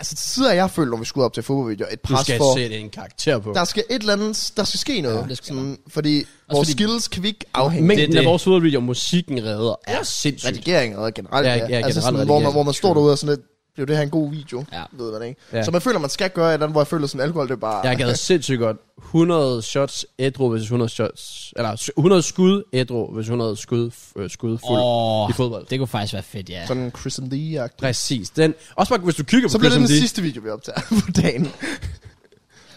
Speaker 3: Altså til tider, jeg føler, når vi skulle op til fodboldvideo, et
Speaker 4: du
Speaker 3: pres
Speaker 4: skal
Speaker 3: for...
Speaker 4: sætte en karakter på.
Speaker 3: Der skal et eller andet... Der skal ske noget.
Speaker 1: Ja,
Speaker 3: Ja,
Speaker 1: det skal
Speaker 3: fordi vores
Speaker 1: fordi-
Speaker 3: skills kan vi ikke afhænge af.
Speaker 4: Mængden
Speaker 1: det.
Speaker 4: af vores fodboldvideo, musikken redder, er sindssygt.
Speaker 3: Redigering og generelt,
Speaker 4: Ja, ja, generelt
Speaker 3: altså sådan, hvor man,
Speaker 4: redigering.
Speaker 3: hvor man står derude og sådan lidt, blev det her en god video?
Speaker 1: Ja.
Speaker 3: Ved man ikke?
Speaker 4: Ja.
Speaker 3: Så man føler, man skal gøre et eller andet, hvor jeg føler sådan, alkohol, det er bare...
Speaker 4: Jeg gad sindssygt godt 100 shots ædru, hvis 100 shots... Eller 100 skud ædru, hvis 100 skud, øh, skud fuld
Speaker 1: Åh.
Speaker 4: i fodbold.
Speaker 1: Det kunne faktisk være fedt, ja.
Speaker 3: Sådan Chris and Lee-agtigt.
Speaker 4: Præcis. Den, også bare, hvis du kigger på
Speaker 3: Så bliver
Speaker 4: Chris
Speaker 3: det den
Speaker 4: M.D.
Speaker 3: sidste video, vi optager på dagen.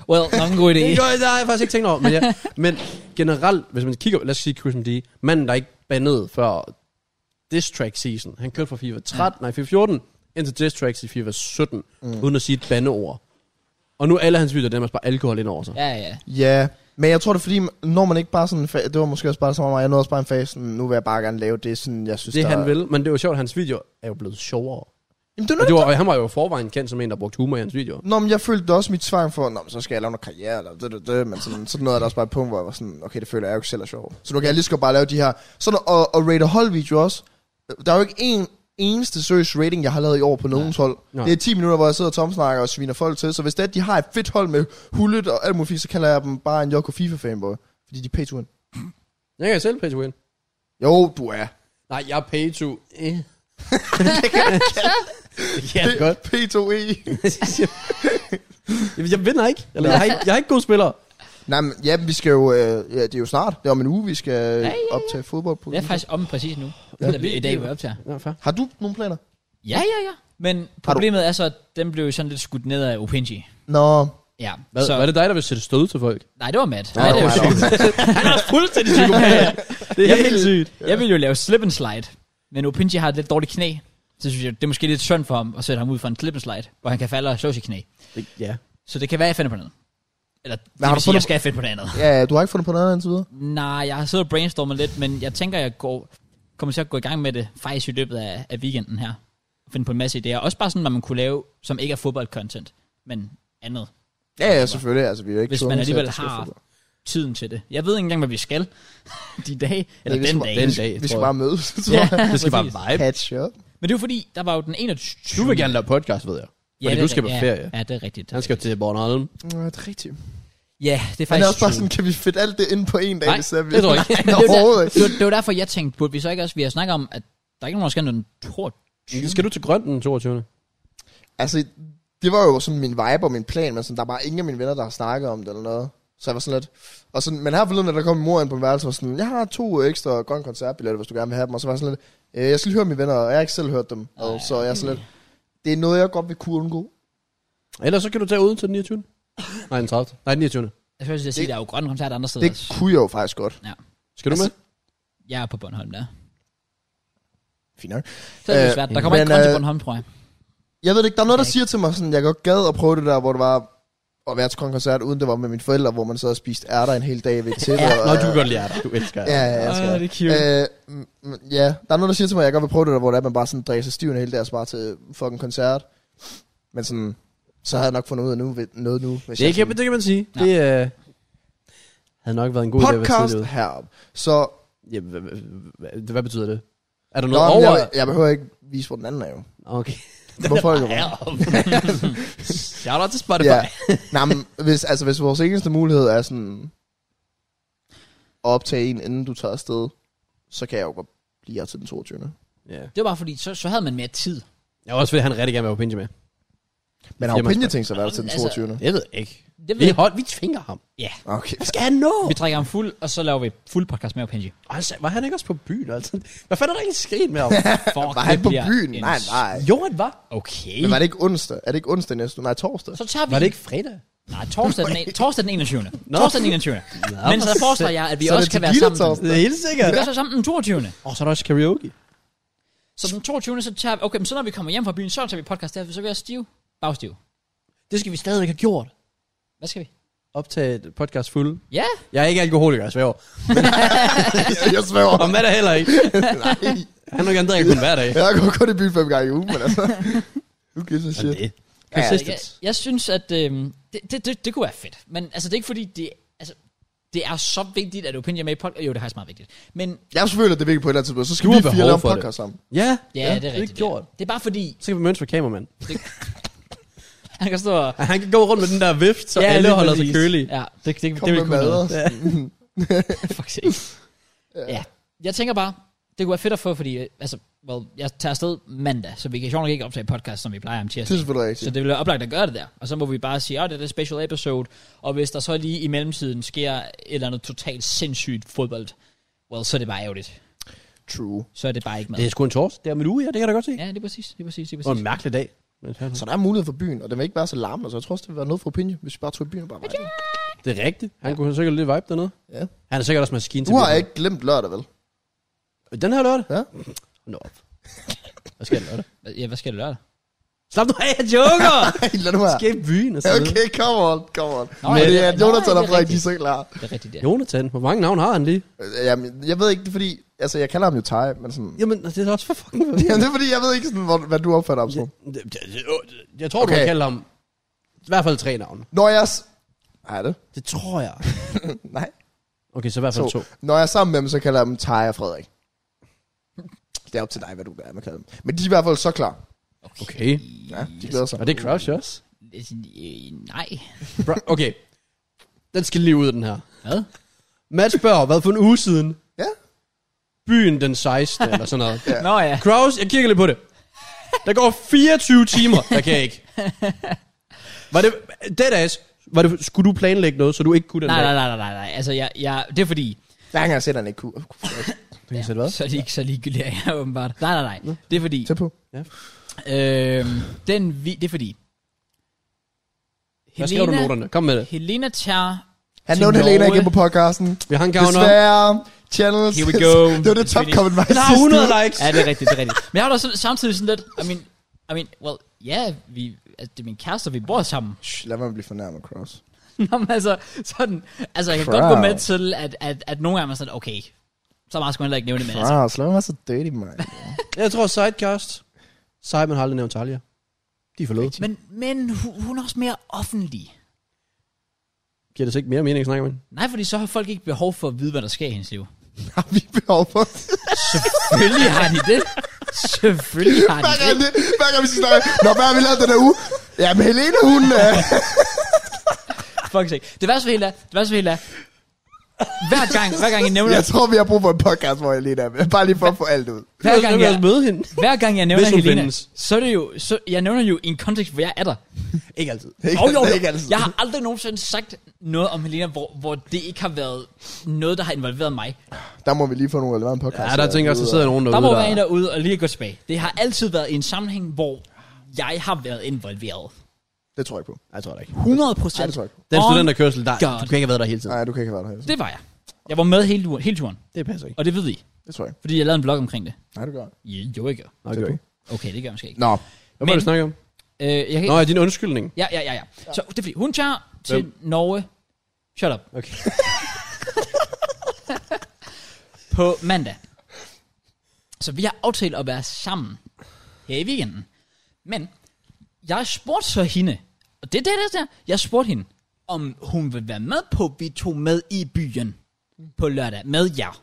Speaker 1: Well, nok en god idé.
Speaker 4: Det, jo, det har jeg faktisk ikke tænkt over. Men, ja. men generelt, hvis man kigger, lad os sige Christian D, manden, der ikke bandede før diss track season. Han kørte fra FIFA 13, nej, FIFA 14, indtil diss tracks i FIFA 17, mm. uden at sige et bandeord. Og nu er alle hans videoer, dem er bare alkohol ind over sig. Ja.
Speaker 1: Ja, ja.
Speaker 3: Ja, men jeg tror det er fordi, når man ikke bare sådan, fa- det var måske også bare som mig, jeg nåede også bare en fase, sådan, nu vil jeg bare gerne lave det, sådan jeg synes,
Speaker 4: Det
Speaker 3: der...
Speaker 4: han vil, men det er jo sjovt, at hans videoer er jo blevet sjovere.
Speaker 3: Jamen, det var,
Speaker 4: Og det var, og han var jo i forvejen kendt som en, der brugte humor i hans videoer.
Speaker 3: Nå, men jeg følte det også mit tvang for, nå, men så skal jeg lave noget karriere, eller det, det, det, men sådan, sådan noget er der også bare et punkt, hvor jeg var sådan, okay, det føler jeg jo ikke selv er sjov. Så nu kan jeg lige så godt bare lave de her, sådan, og, og rate hold video også. Der er jo ikke en eneste seriøs rating, jeg har lavet i år på nogens hold.
Speaker 4: Nej.
Speaker 3: Det er 10 minutter, hvor jeg sidder og tomsnakker og sviner folk til, så hvis det er, at de har et fedt hold med hullet og alt muligt, fis, så kalder jeg dem bare en Joko FIFA-fanboy, fordi de er pay to win.
Speaker 4: Jeg kan selv pay to win.
Speaker 3: Jo, du er.
Speaker 4: Nej, jeg er pay to... Eh.
Speaker 3: Ja, godt. P2E.
Speaker 4: Jamen, jeg vinder ikke. Eller, jeg, har ikke. jeg har ikke gode spillere.
Speaker 3: Nej, men ja, vi skal jo, øh, ja, det er jo snart, det er om en uge, vi skal ja,
Speaker 1: ja,
Speaker 3: ja, ja. optage fodbold på.
Speaker 1: Det er faktisk om præcis nu. Ja, vi, I dag vi optager.
Speaker 4: Ja, fair.
Speaker 3: Har du nogle planer?
Speaker 1: Ja, ja, ja. Men problemet er så, at den blev sådan lidt skudt ned af Opinji.
Speaker 3: Nå,
Speaker 1: Ja.
Speaker 4: Hvad,
Speaker 1: så,
Speaker 4: så... Var det dig, der vil sætte stød til folk?
Speaker 1: Nej, det var Matt.
Speaker 3: Nå,
Speaker 1: Matt
Speaker 3: det
Speaker 1: er jo
Speaker 3: var mig,
Speaker 1: syg. Han er også fuldstændig psykopat.
Speaker 4: Det
Speaker 1: Jeg vil-
Speaker 4: sygt.
Speaker 1: Jeg ville jo lave slip and slide, men Opinji har et lidt dårligt knæ. Så synes jeg, det er måske lidt synd for ham at sætte ham ud for en slip and slide, hvor han kan falde og slå sit knæ.
Speaker 4: Ja.
Speaker 1: Så det kan være, jeg finder på noget. Eller det
Speaker 3: har
Speaker 1: vil
Speaker 3: du
Speaker 1: sige, jeg
Speaker 3: fundet-
Speaker 1: skal finde på noget andet.
Speaker 3: ja, du har ikke fundet på noget andet indtil videre?
Speaker 1: Nej, jeg har siddet og brainstormet lidt, men jeg tænker, jeg går, kommer til at gå i gang med det faktisk i løbet af, af weekenden her. Finde på en masse idéer. Også bare sådan, hvad man kunne lave, som ikke er fodbold-content, men andet.
Speaker 3: Ja, ja, selvfølgelig, altså vi er jo ikke
Speaker 1: Hvis
Speaker 3: tvunget
Speaker 1: man
Speaker 3: til, at
Speaker 1: alligevel
Speaker 3: der skal
Speaker 1: har
Speaker 3: fodbold.
Speaker 1: Tiden til det. Jeg ved ikke engang, hvad vi skal de dage, eller
Speaker 3: Ja, vi
Speaker 1: den
Speaker 3: skal
Speaker 1: dag.
Speaker 3: bare-
Speaker 4: Den dag,
Speaker 3: Vi skal
Speaker 4: tror jeg.
Speaker 3: bare mødes, tror
Speaker 1: Ja,
Speaker 3: jeg.
Speaker 4: Det skal bare
Speaker 1: præcis.
Speaker 4: vibe.
Speaker 3: Catch up.
Speaker 1: Men det er jo fordi, der var jo den 21.
Speaker 4: Du vil gerne lave podcast, ved jeg. fordi
Speaker 1: det er
Speaker 4: du skal
Speaker 1: rigtigt.
Speaker 4: på ferie.
Speaker 1: Ja, ja, det er rigtigt.
Speaker 4: Han skal jo til Bornholm.
Speaker 3: Nå, det er rigtigt.
Speaker 1: Ja, det er
Speaker 3: Han
Speaker 1: faktisk...
Speaker 3: er også bare sådan, kan vi fedte alt det ind på en dag,
Speaker 1: Nej,
Speaker 3: hvis er vi...
Speaker 4: det tror jeg ikke.
Speaker 3: Nej,
Speaker 1: det, var
Speaker 3: overhovedet
Speaker 1: der,
Speaker 3: ikke.
Speaker 1: det, var, det var derfor, jeg tænkte, burde vi så ikke også... Vi har snakket om, at der er ikke nogen, der skal den 22.
Speaker 4: Skal du til Grøn den 22.
Speaker 3: Altså, det var jo sådan min vibe og min plan, men sådan, der er bare ingen af mine venner, der har snakket om det eller noget. Så jeg var sådan lidt... Og sådan, men her forleden, da der kom min mor ind på min værelse, var sådan, jeg har to ekstra grønne koncertbilletter, hvis du gerne vil have dem. Og så var jeg sådan lidt, øh, jeg skal lige høre mine venner, og jeg har ikke selv hørt dem. Og så er jeg sådan lidt, det er noget, jeg godt vil kunne undgå.
Speaker 4: Ellers så kan du tage uden til den 29. Nej, den 30. Nej, den 29.
Speaker 1: Altså, Jeg skulle også sige, der er jo grønne koncerter andre steder.
Speaker 3: Det kunne jeg jo faktisk godt.
Speaker 4: Skal du med?
Speaker 1: Jeg er på Bornholm der.
Speaker 3: Fint nok.
Speaker 1: Så er det
Speaker 3: Øh,
Speaker 1: jo svært. Der kommer
Speaker 3: men,
Speaker 1: ikke grøn til
Speaker 3: øh,
Speaker 1: Bornholm, tror jeg.
Speaker 3: Jeg ved det ikke, der er noget, der siger til mig sådan, jeg godt gad at prøve det der, hvor det var at være til koncert, uden det var med mine forældre, hvor man sad og spiste ærter en hel dag ved et tæppe. og-
Speaker 4: Nå, du kan godt lide ærter. Du elsker ærter.
Speaker 3: Ja, ja, jeg skal.
Speaker 1: Åh, det er cute.
Speaker 3: Øh, mm, mm, ja, der er nogen, der siger til mig, at jeg godt vil prøve det der, hvor det er, at man bare sådan drikker sig stiv en hel dag og sparer til fucking koncert. Men sådan, så havde jeg nok fundet ud af nu, ved- noget nu. Hvis
Speaker 4: Det
Speaker 3: jeg
Speaker 4: kan,
Speaker 3: sådan-
Speaker 4: det kan man sige. Ja. Det øh, havde nok været en god idé at være
Speaker 3: podcast
Speaker 4: tidligere.
Speaker 3: heroppe. Så
Speaker 4: Ja, hvad, hvad, hvad, hvad betyder det? Er der
Speaker 3: Nå,
Speaker 4: noget
Speaker 3: men
Speaker 4: over?
Speaker 3: jeg, jeg, behøver ikke vise, hvor den anden er jo.
Speaker 4: Okay.
Speaker 3: Hvorfor ikke? Ja.
Speaker 4: Shout out til Spotify.
Speaker 3: ja. Nej, men hvis, altså, hvis vores eneste mulighed er sådan at optage en, inden du tager afsted, så kan jeg jo godt blive her til den 22.
Speaker 4: ja.
Speaker 1: Det var bare fordi, så, så havde man mere tid.
Speaker 4: Jeg var også ved, at han rigtig gerne vil have Opinje med.
Speaker 3: Men har jo
Speaker 4: Jamen,
Speaker 3: Pinje tænkt sig at være der til den
Speaker 1: altså-
Speaker 3: 22.
Speaker 4: Jeg ved ikke.
Speaker 1: Det
Speaker 4: Vi,
Speaker 1: ved jeg.
Speaker 4: hold, vi tvinger ham.
Speaker 1: Ja.
Speaker 3: Okay.
Speaker 4: Hvad skal han nå?
Speaker 1: Vi trækker ham fuld, og så laver vi fuld podcast med Opinji.
Speaker 4: Og han sagde, var han ikke også på byen? Altså? Hvad fanden er der egentlig sket med ham?
Speaker 1: Fuck,
Speaker 3: Var han
Speaker 1: det
Speaker 3: på
Speaker 1: bliver
Speaker 3: byen?
Speaker 1: en-
Speaker 3: Nej, nej.
Speaker 4: jo, han var.
Speaker 1: Okay.
Speaker 3: Men var det ikke onsdag? Er det ikke onsdag næste uge? Nej, torsdag.
Speaker 1: Så tager vi...
Speaker 4: Var det ikke fredag?
Speaker 1: Nej, torsdag den, en- torsdag den 21.
Speaker 4: Nå.
Speaker 1: Torsdag den 21. Men så foreslår jeg, at vi
Speaker 3: Så er
Speaker 1: også
Speaker 3: det
Speaker 1: kan være
Speaker 3: tequila
Speaker 1: sammen. den-
Speaker 3: torsdag. Det
Speaker 4: er helt sikkert.
Speaker 1: Vi kan også være sammen den 22.
Speaker 4: Og så er der også karaoke.
Speaker 1: Så den 22. så tager vi... Okay, men så når vi kommer hjem fra byen, så tager vi podcast der, for så kan jeg stive. Bagstiv.
Speaker 4: Det skal vi stadigvæk have gjort.
Speaker 1: Hvad skal vi?
Speaker 4: Optage et podcast fuld.
Speaker 1: Ja,
Speaker 4: Jeg er ikke alkoholiker, jeg svæver.
Speaker 3: jeg, jeg svæver.
Speaker 4: Og Matt er heller ikke.
Speaker 3: Nej.
Speaker 4: Han er gerne drikker kun hver dag.
Speaker 3: Jeg går kun i byen fem gange i ugen, men altså. Who gives a shit?
Speaker 4: det.
Speaker 1: jeg,
Speaker 4: Consistent.
Speaker 1: jeg synes, at øhm, det, det, det, det kunne være fedt. Men altså, det er ikke fordi, det, altså, det er så vigtigt, at Opinion er med i podcast. Jo, det er faktisk meget vigtigt. Men
Speaker 3: Jeg føler, at det er vigtigt på et eller andet tidspunkt. Så skal
Speaker 4: Du har
Speaker 3: vi fire
Speaker 4: behov
Speaker 3: lave en
Speaker 4: for det.
Speaker 3: podcast sammen.
Speaker 4: Ja,
Speaker 1: ja, ja det er rigtigt.
Speaker 4: gjort.
Speaker 1: Det er bare fordi,
Speaker 4: Så kan vi mønstre kameramand.
Speaker 1: han kan stå og...
Speaker 4: Han kan gå rundt med den der vift, så alle
Speaker 1: lige
Speaker 4: holder sig
Speaker 1: præcis.
Speaker 4: kølige.
Speaker 1: Ja, det, det, det,
Speaker 3: Kom
Speaker 1: det vil
Speaker 3: med
Speaker 1: kunne
Speaker 3: mad.
Speaker 1: noget.
Speaker 3: og sådan.
Speaker 1: Fuck sake. ja. Jeg tænker bare, det kunne være fedt at få, fordi, øh, altså, well, jeg tager afsted mandag, så vi kan sjovt nok ikke optage podcast, som vi plejer om
Speaker 3: Det er
Speaker 1: tirsdag.
Speaker 3: selvfølgelig
Speaker 1: Så det
Speaker 3: rigtigt.
Speaker 1: ville være oplagt at gøre det der. Og så må vi bare sige, at oh, det er det special episode. Og hvis der så lige i mellemtiden sker et eller andet totalt sindssygt fodbold, well, så er det bare ærgerligt.
Speaker 3: True.
Speaker 1: Så er det bare ikke med.
Speaker 4: Det er sgu en tors. Det er om en uge, ja, det kan jeg da godt se.
Speaker 1: Ja, det er præcis. Det er præcis. Det er
Speaker 4: Og en
Speaker 1: præcis.
Speaker 4: mærkelig dag.
Speaker 3: Så der er mulighed for byen, og den vil ikke være så larmende, så jeg tror også, det vil være noget for opinion, hvis vi bare tog i byen og bare var der.
Speaker 4: Det er rigtigt. Han kunne sikkert lidt vibe dernede.
Speaker 3: Ja.
Speaker 4: Han er sikkert også maskine til
Speaker 3: Du har
Speaker 4: det.
Speaker 3: ikke glemt lørdag, vel?
Speaker 4: Den her lørdag?
Speaker 3: Ja?
Speaker 4: Nå. Hvad skal jeg lørdag?
Speaker 1: Ja, hvad skal det lørdag?
Speaker 4: Slap nu af, jeg joker!
Speaker 3: Ej, lad nu være.
Speaker 4: Skal i byen og sådan okay.
Speaker 3: Okay, come on, come on.
Speaker 1: Nå,
Speaker 3: Nå, men
Speaker 1: ja,
Speaker 3: det
Speaker 1: det
Speaker 3: er
Speaker 1: er-
Speaker 3: Jonathan
Speaker 1: nej, det er
Speaker 3: og Frederik, de er
Speaker 1: rigtigt.
Speaker 3: så klar.
Speaker 1: Det er rigtigt, det.
Speaker 4: Jonathan, hvor mange navne har han lige?
Speaker 3: Øh, Jamen, jeg ved ikke, det er fordi, altså jeg kalder ham jo Thaj, men sådan...
Speaker 4: Jamen, altså, det er også for fucking forvirrende.
Speaker 3: Jamen, det er fordi, jeg ved ikke sådan, hvor- hvad du opfatter ham som.
Speaker 4: Det- det- det- åh, det- Jeg tror, okay. du
Speaker 3: Okay.
Speaker 4: har kaldt ham i hvert fald tre navne.
Speaker 3: Når jeg... s- Er det?
Speaker 4: Det tror jeg.
Speaker 3: Nej.
Speaker 4: Okay, så i hvert fald to.
Speaker 3: to. Når jeg er sammen med dem, så kalder jeg dem Thaj og Frederik. Det er op til dig, hvad du gerne vil kalde dem. Men de er i hvert fald så klar.
Speaker 4: Okay.
Speaker 3: Ja, de glæder sig.
Speaker 4: Og det er crush også?
Speaker 1: Øh, Nej.
Speaker 4: Bra- Okay. Den skal lige ud af den her.
Speaker 1: Hvad?
Speaker 4: Matt spørger, hvad for en uge siden?
Speaker 3: Ja.
Speaker 4: Byen den 16. eller sådan noget.
Speaker 1: Nå ja.
Speaker 4: Kraus, jeg kigger lidt på det. Der går 24 timer. Jeg kan ikke. Var det, deadass, var det, skulle du planlægge noget, så du ikke kunne den
Speaker 1: Nej,
Speaker 4: dag?
Speaker 1: nej, nej, nej, nej, nej. Altså, jeg, jeg, det er fordi,
Speaker 3: Hver gang jeg ser, at han ikke kunne.
Speaker 4: Du kan sætte hvad?
Speaker 1: så er det ikke så ligegyldigt, er jeg åbenbart. Nej, nej, nej. Det er fordi,
Speaker 3: Tag på.
Speaker 1: øhm, den vi, det er fordi,
Speaker 4: Hvad skriver du i noterne? Kom med det.
Speaker 1: Helena tager
Speaker 3: Han
Speaker 1: til
Speaker 3: nævnte Helena
Speaker 1: Norge.
Speaker 3: igen på podcasten.
Speaker 4: Vi har en gavn op.
Speaker 3: Desværre. Channels.
Speaker 1: Here we go.
Speaker 3: det var det top comment, var
Speaker 4: Den har 100 likes.
Speaker 1: Ja, det er rigtigt, det er rigtigt. Men jeg har da sådan, samtidig sådan lidt, I mean, I mean, well, ja, yeah, vi, altså, det er min kæreste, og vi bor sammen.
Speaker 3: Lad mig blive fornærmet, Cross.
Speaker 1: Nå, men altså, sådan, altså, jeg kan
Speaker 3: Proud.
Speaker 1: godt gå med til, at, at, at nogle gange er man sådan, okay, så meget skulle man heller ikke nævne det, men altså,
Speaker 3: Cross, lad mig være så dirty, man.
Speaker 4: Jeg tror sidecast. Simon har aldrig nævnt Talia. De er forlået. Men
Speaker 1: men, men hu- hun er også mere offentlig.
Speaker 4: giver det så ikke mere mening at snakke om hende?
Speaker 1: Nej, fordi så har folk ikke behov for at vide, hvad der sker i hendes liv.
Speaker 3: Har vi behov for
Speaker 1: Selvfølgelig har de det. Selvfølgelig har
Speaker 3: Hver
Speaker 1: de
Speaker 3: gang,
Speaker 1: det.
Speaker 3: det, hver gang vi skal snakke, Nå, hvad har vi lavet den her uge? Jamen, Helena, hun... Øh,
Speaker 1: Fuck sake. Det værste for hele er, det værste for hele er, hver gang, hver gang I nævner,
Speaker 3: jeg tror, vi har brug for en podcast, hvor Helena er med. Bare lige for at få alt ud.
Speaker 1: hver gang
Speaker 4: jeg vil også
Speaker 1: jeg,
Speaker 4: møde hende.
Speaker 1: hver gang jeg nævner
Speaker 4: Hvis hun
Speaker 1: Helena,
Speaker 4: findes.
Speaker 1: så er det jo, så, jeg nævner jo i en kontekst, hvor jeg er der.
Speaker 4: Ikke altid.
Speaker 3: Ikke,
Speaker 1: Jo, jo, jo.
Speaker 3: ikke altid.
Speaker 1: Jeg har aldrig nogensinde sagt noget om Helena, hvor, hvor det ikke har været noget, der har involveret mig.
Speaker 3: Der må vi lige få nogle relevante podcasts.
Speaker 4: Ja, der tænker jeg også, der sidder nogen
Speaker 1: Der
Speaker 4: derude,
Speaker 1: må være en
Speaker 4: der...
Speaker 1: derude og lige gå tilbage. Det har altid været i en sammenhæng, hvor jeg har været involveret.
Speaker 3: Det tror jeg ikke på.
Speaker 4: Jeg tror det ikke.
Speaker 1: 100
Speaker 3: Nej,
Speaker 1: procent.
Speaker 3: det tror jeg ikke på.
Speaker 4: Den
Speaker 1: Oh
Speaker 4: studenterkørsel, der...
Speaker 1: God.
Speaker 4: Du kan ikke have været der hele tiden.
Speaker 3: Nej, du kan ikke være der. altså. Helena.
Speaker 1: Det var jeg. Jeg var med hele, turen- hele turen,
Speaker 4: Det passer ikke.
Speaker 1: og det ved I,
Speaker 3: Det tror jeg ikke.
Speaker 1: fordi jeg lavede en blog omkring det.
Speaker 3: Nej, du gør.
Speaker 1: Ja, Jo, ikke.
Speaker 4: Nej, det gør jeg ikke.
Speaker 1: Okay, det gør jeg måske ikke.
Speaker 3: Nå,
Speaker 4: Hvad må
Speaker 1: Men-
Speaker 4: du snakke om?
Speaker 1: Øh, jeg kan,
Speaker 4: Nå, er din undskyldning.
Speaker 1: Ja, ja, ja, ja. Så det er fordi, hun tager til
Speaker 4: Hvem?
Speaker 1: Norge. Shut up.
Speaker 4: Okay.
Speaker 1: På mandag. Så vi har aftalt at være sammen her i weekenden. Men jeg spurgte så hende, og det er det, der, der jeg spurgte hende, om hun vil være med på, at vi tog med i byen på lørdag med jer.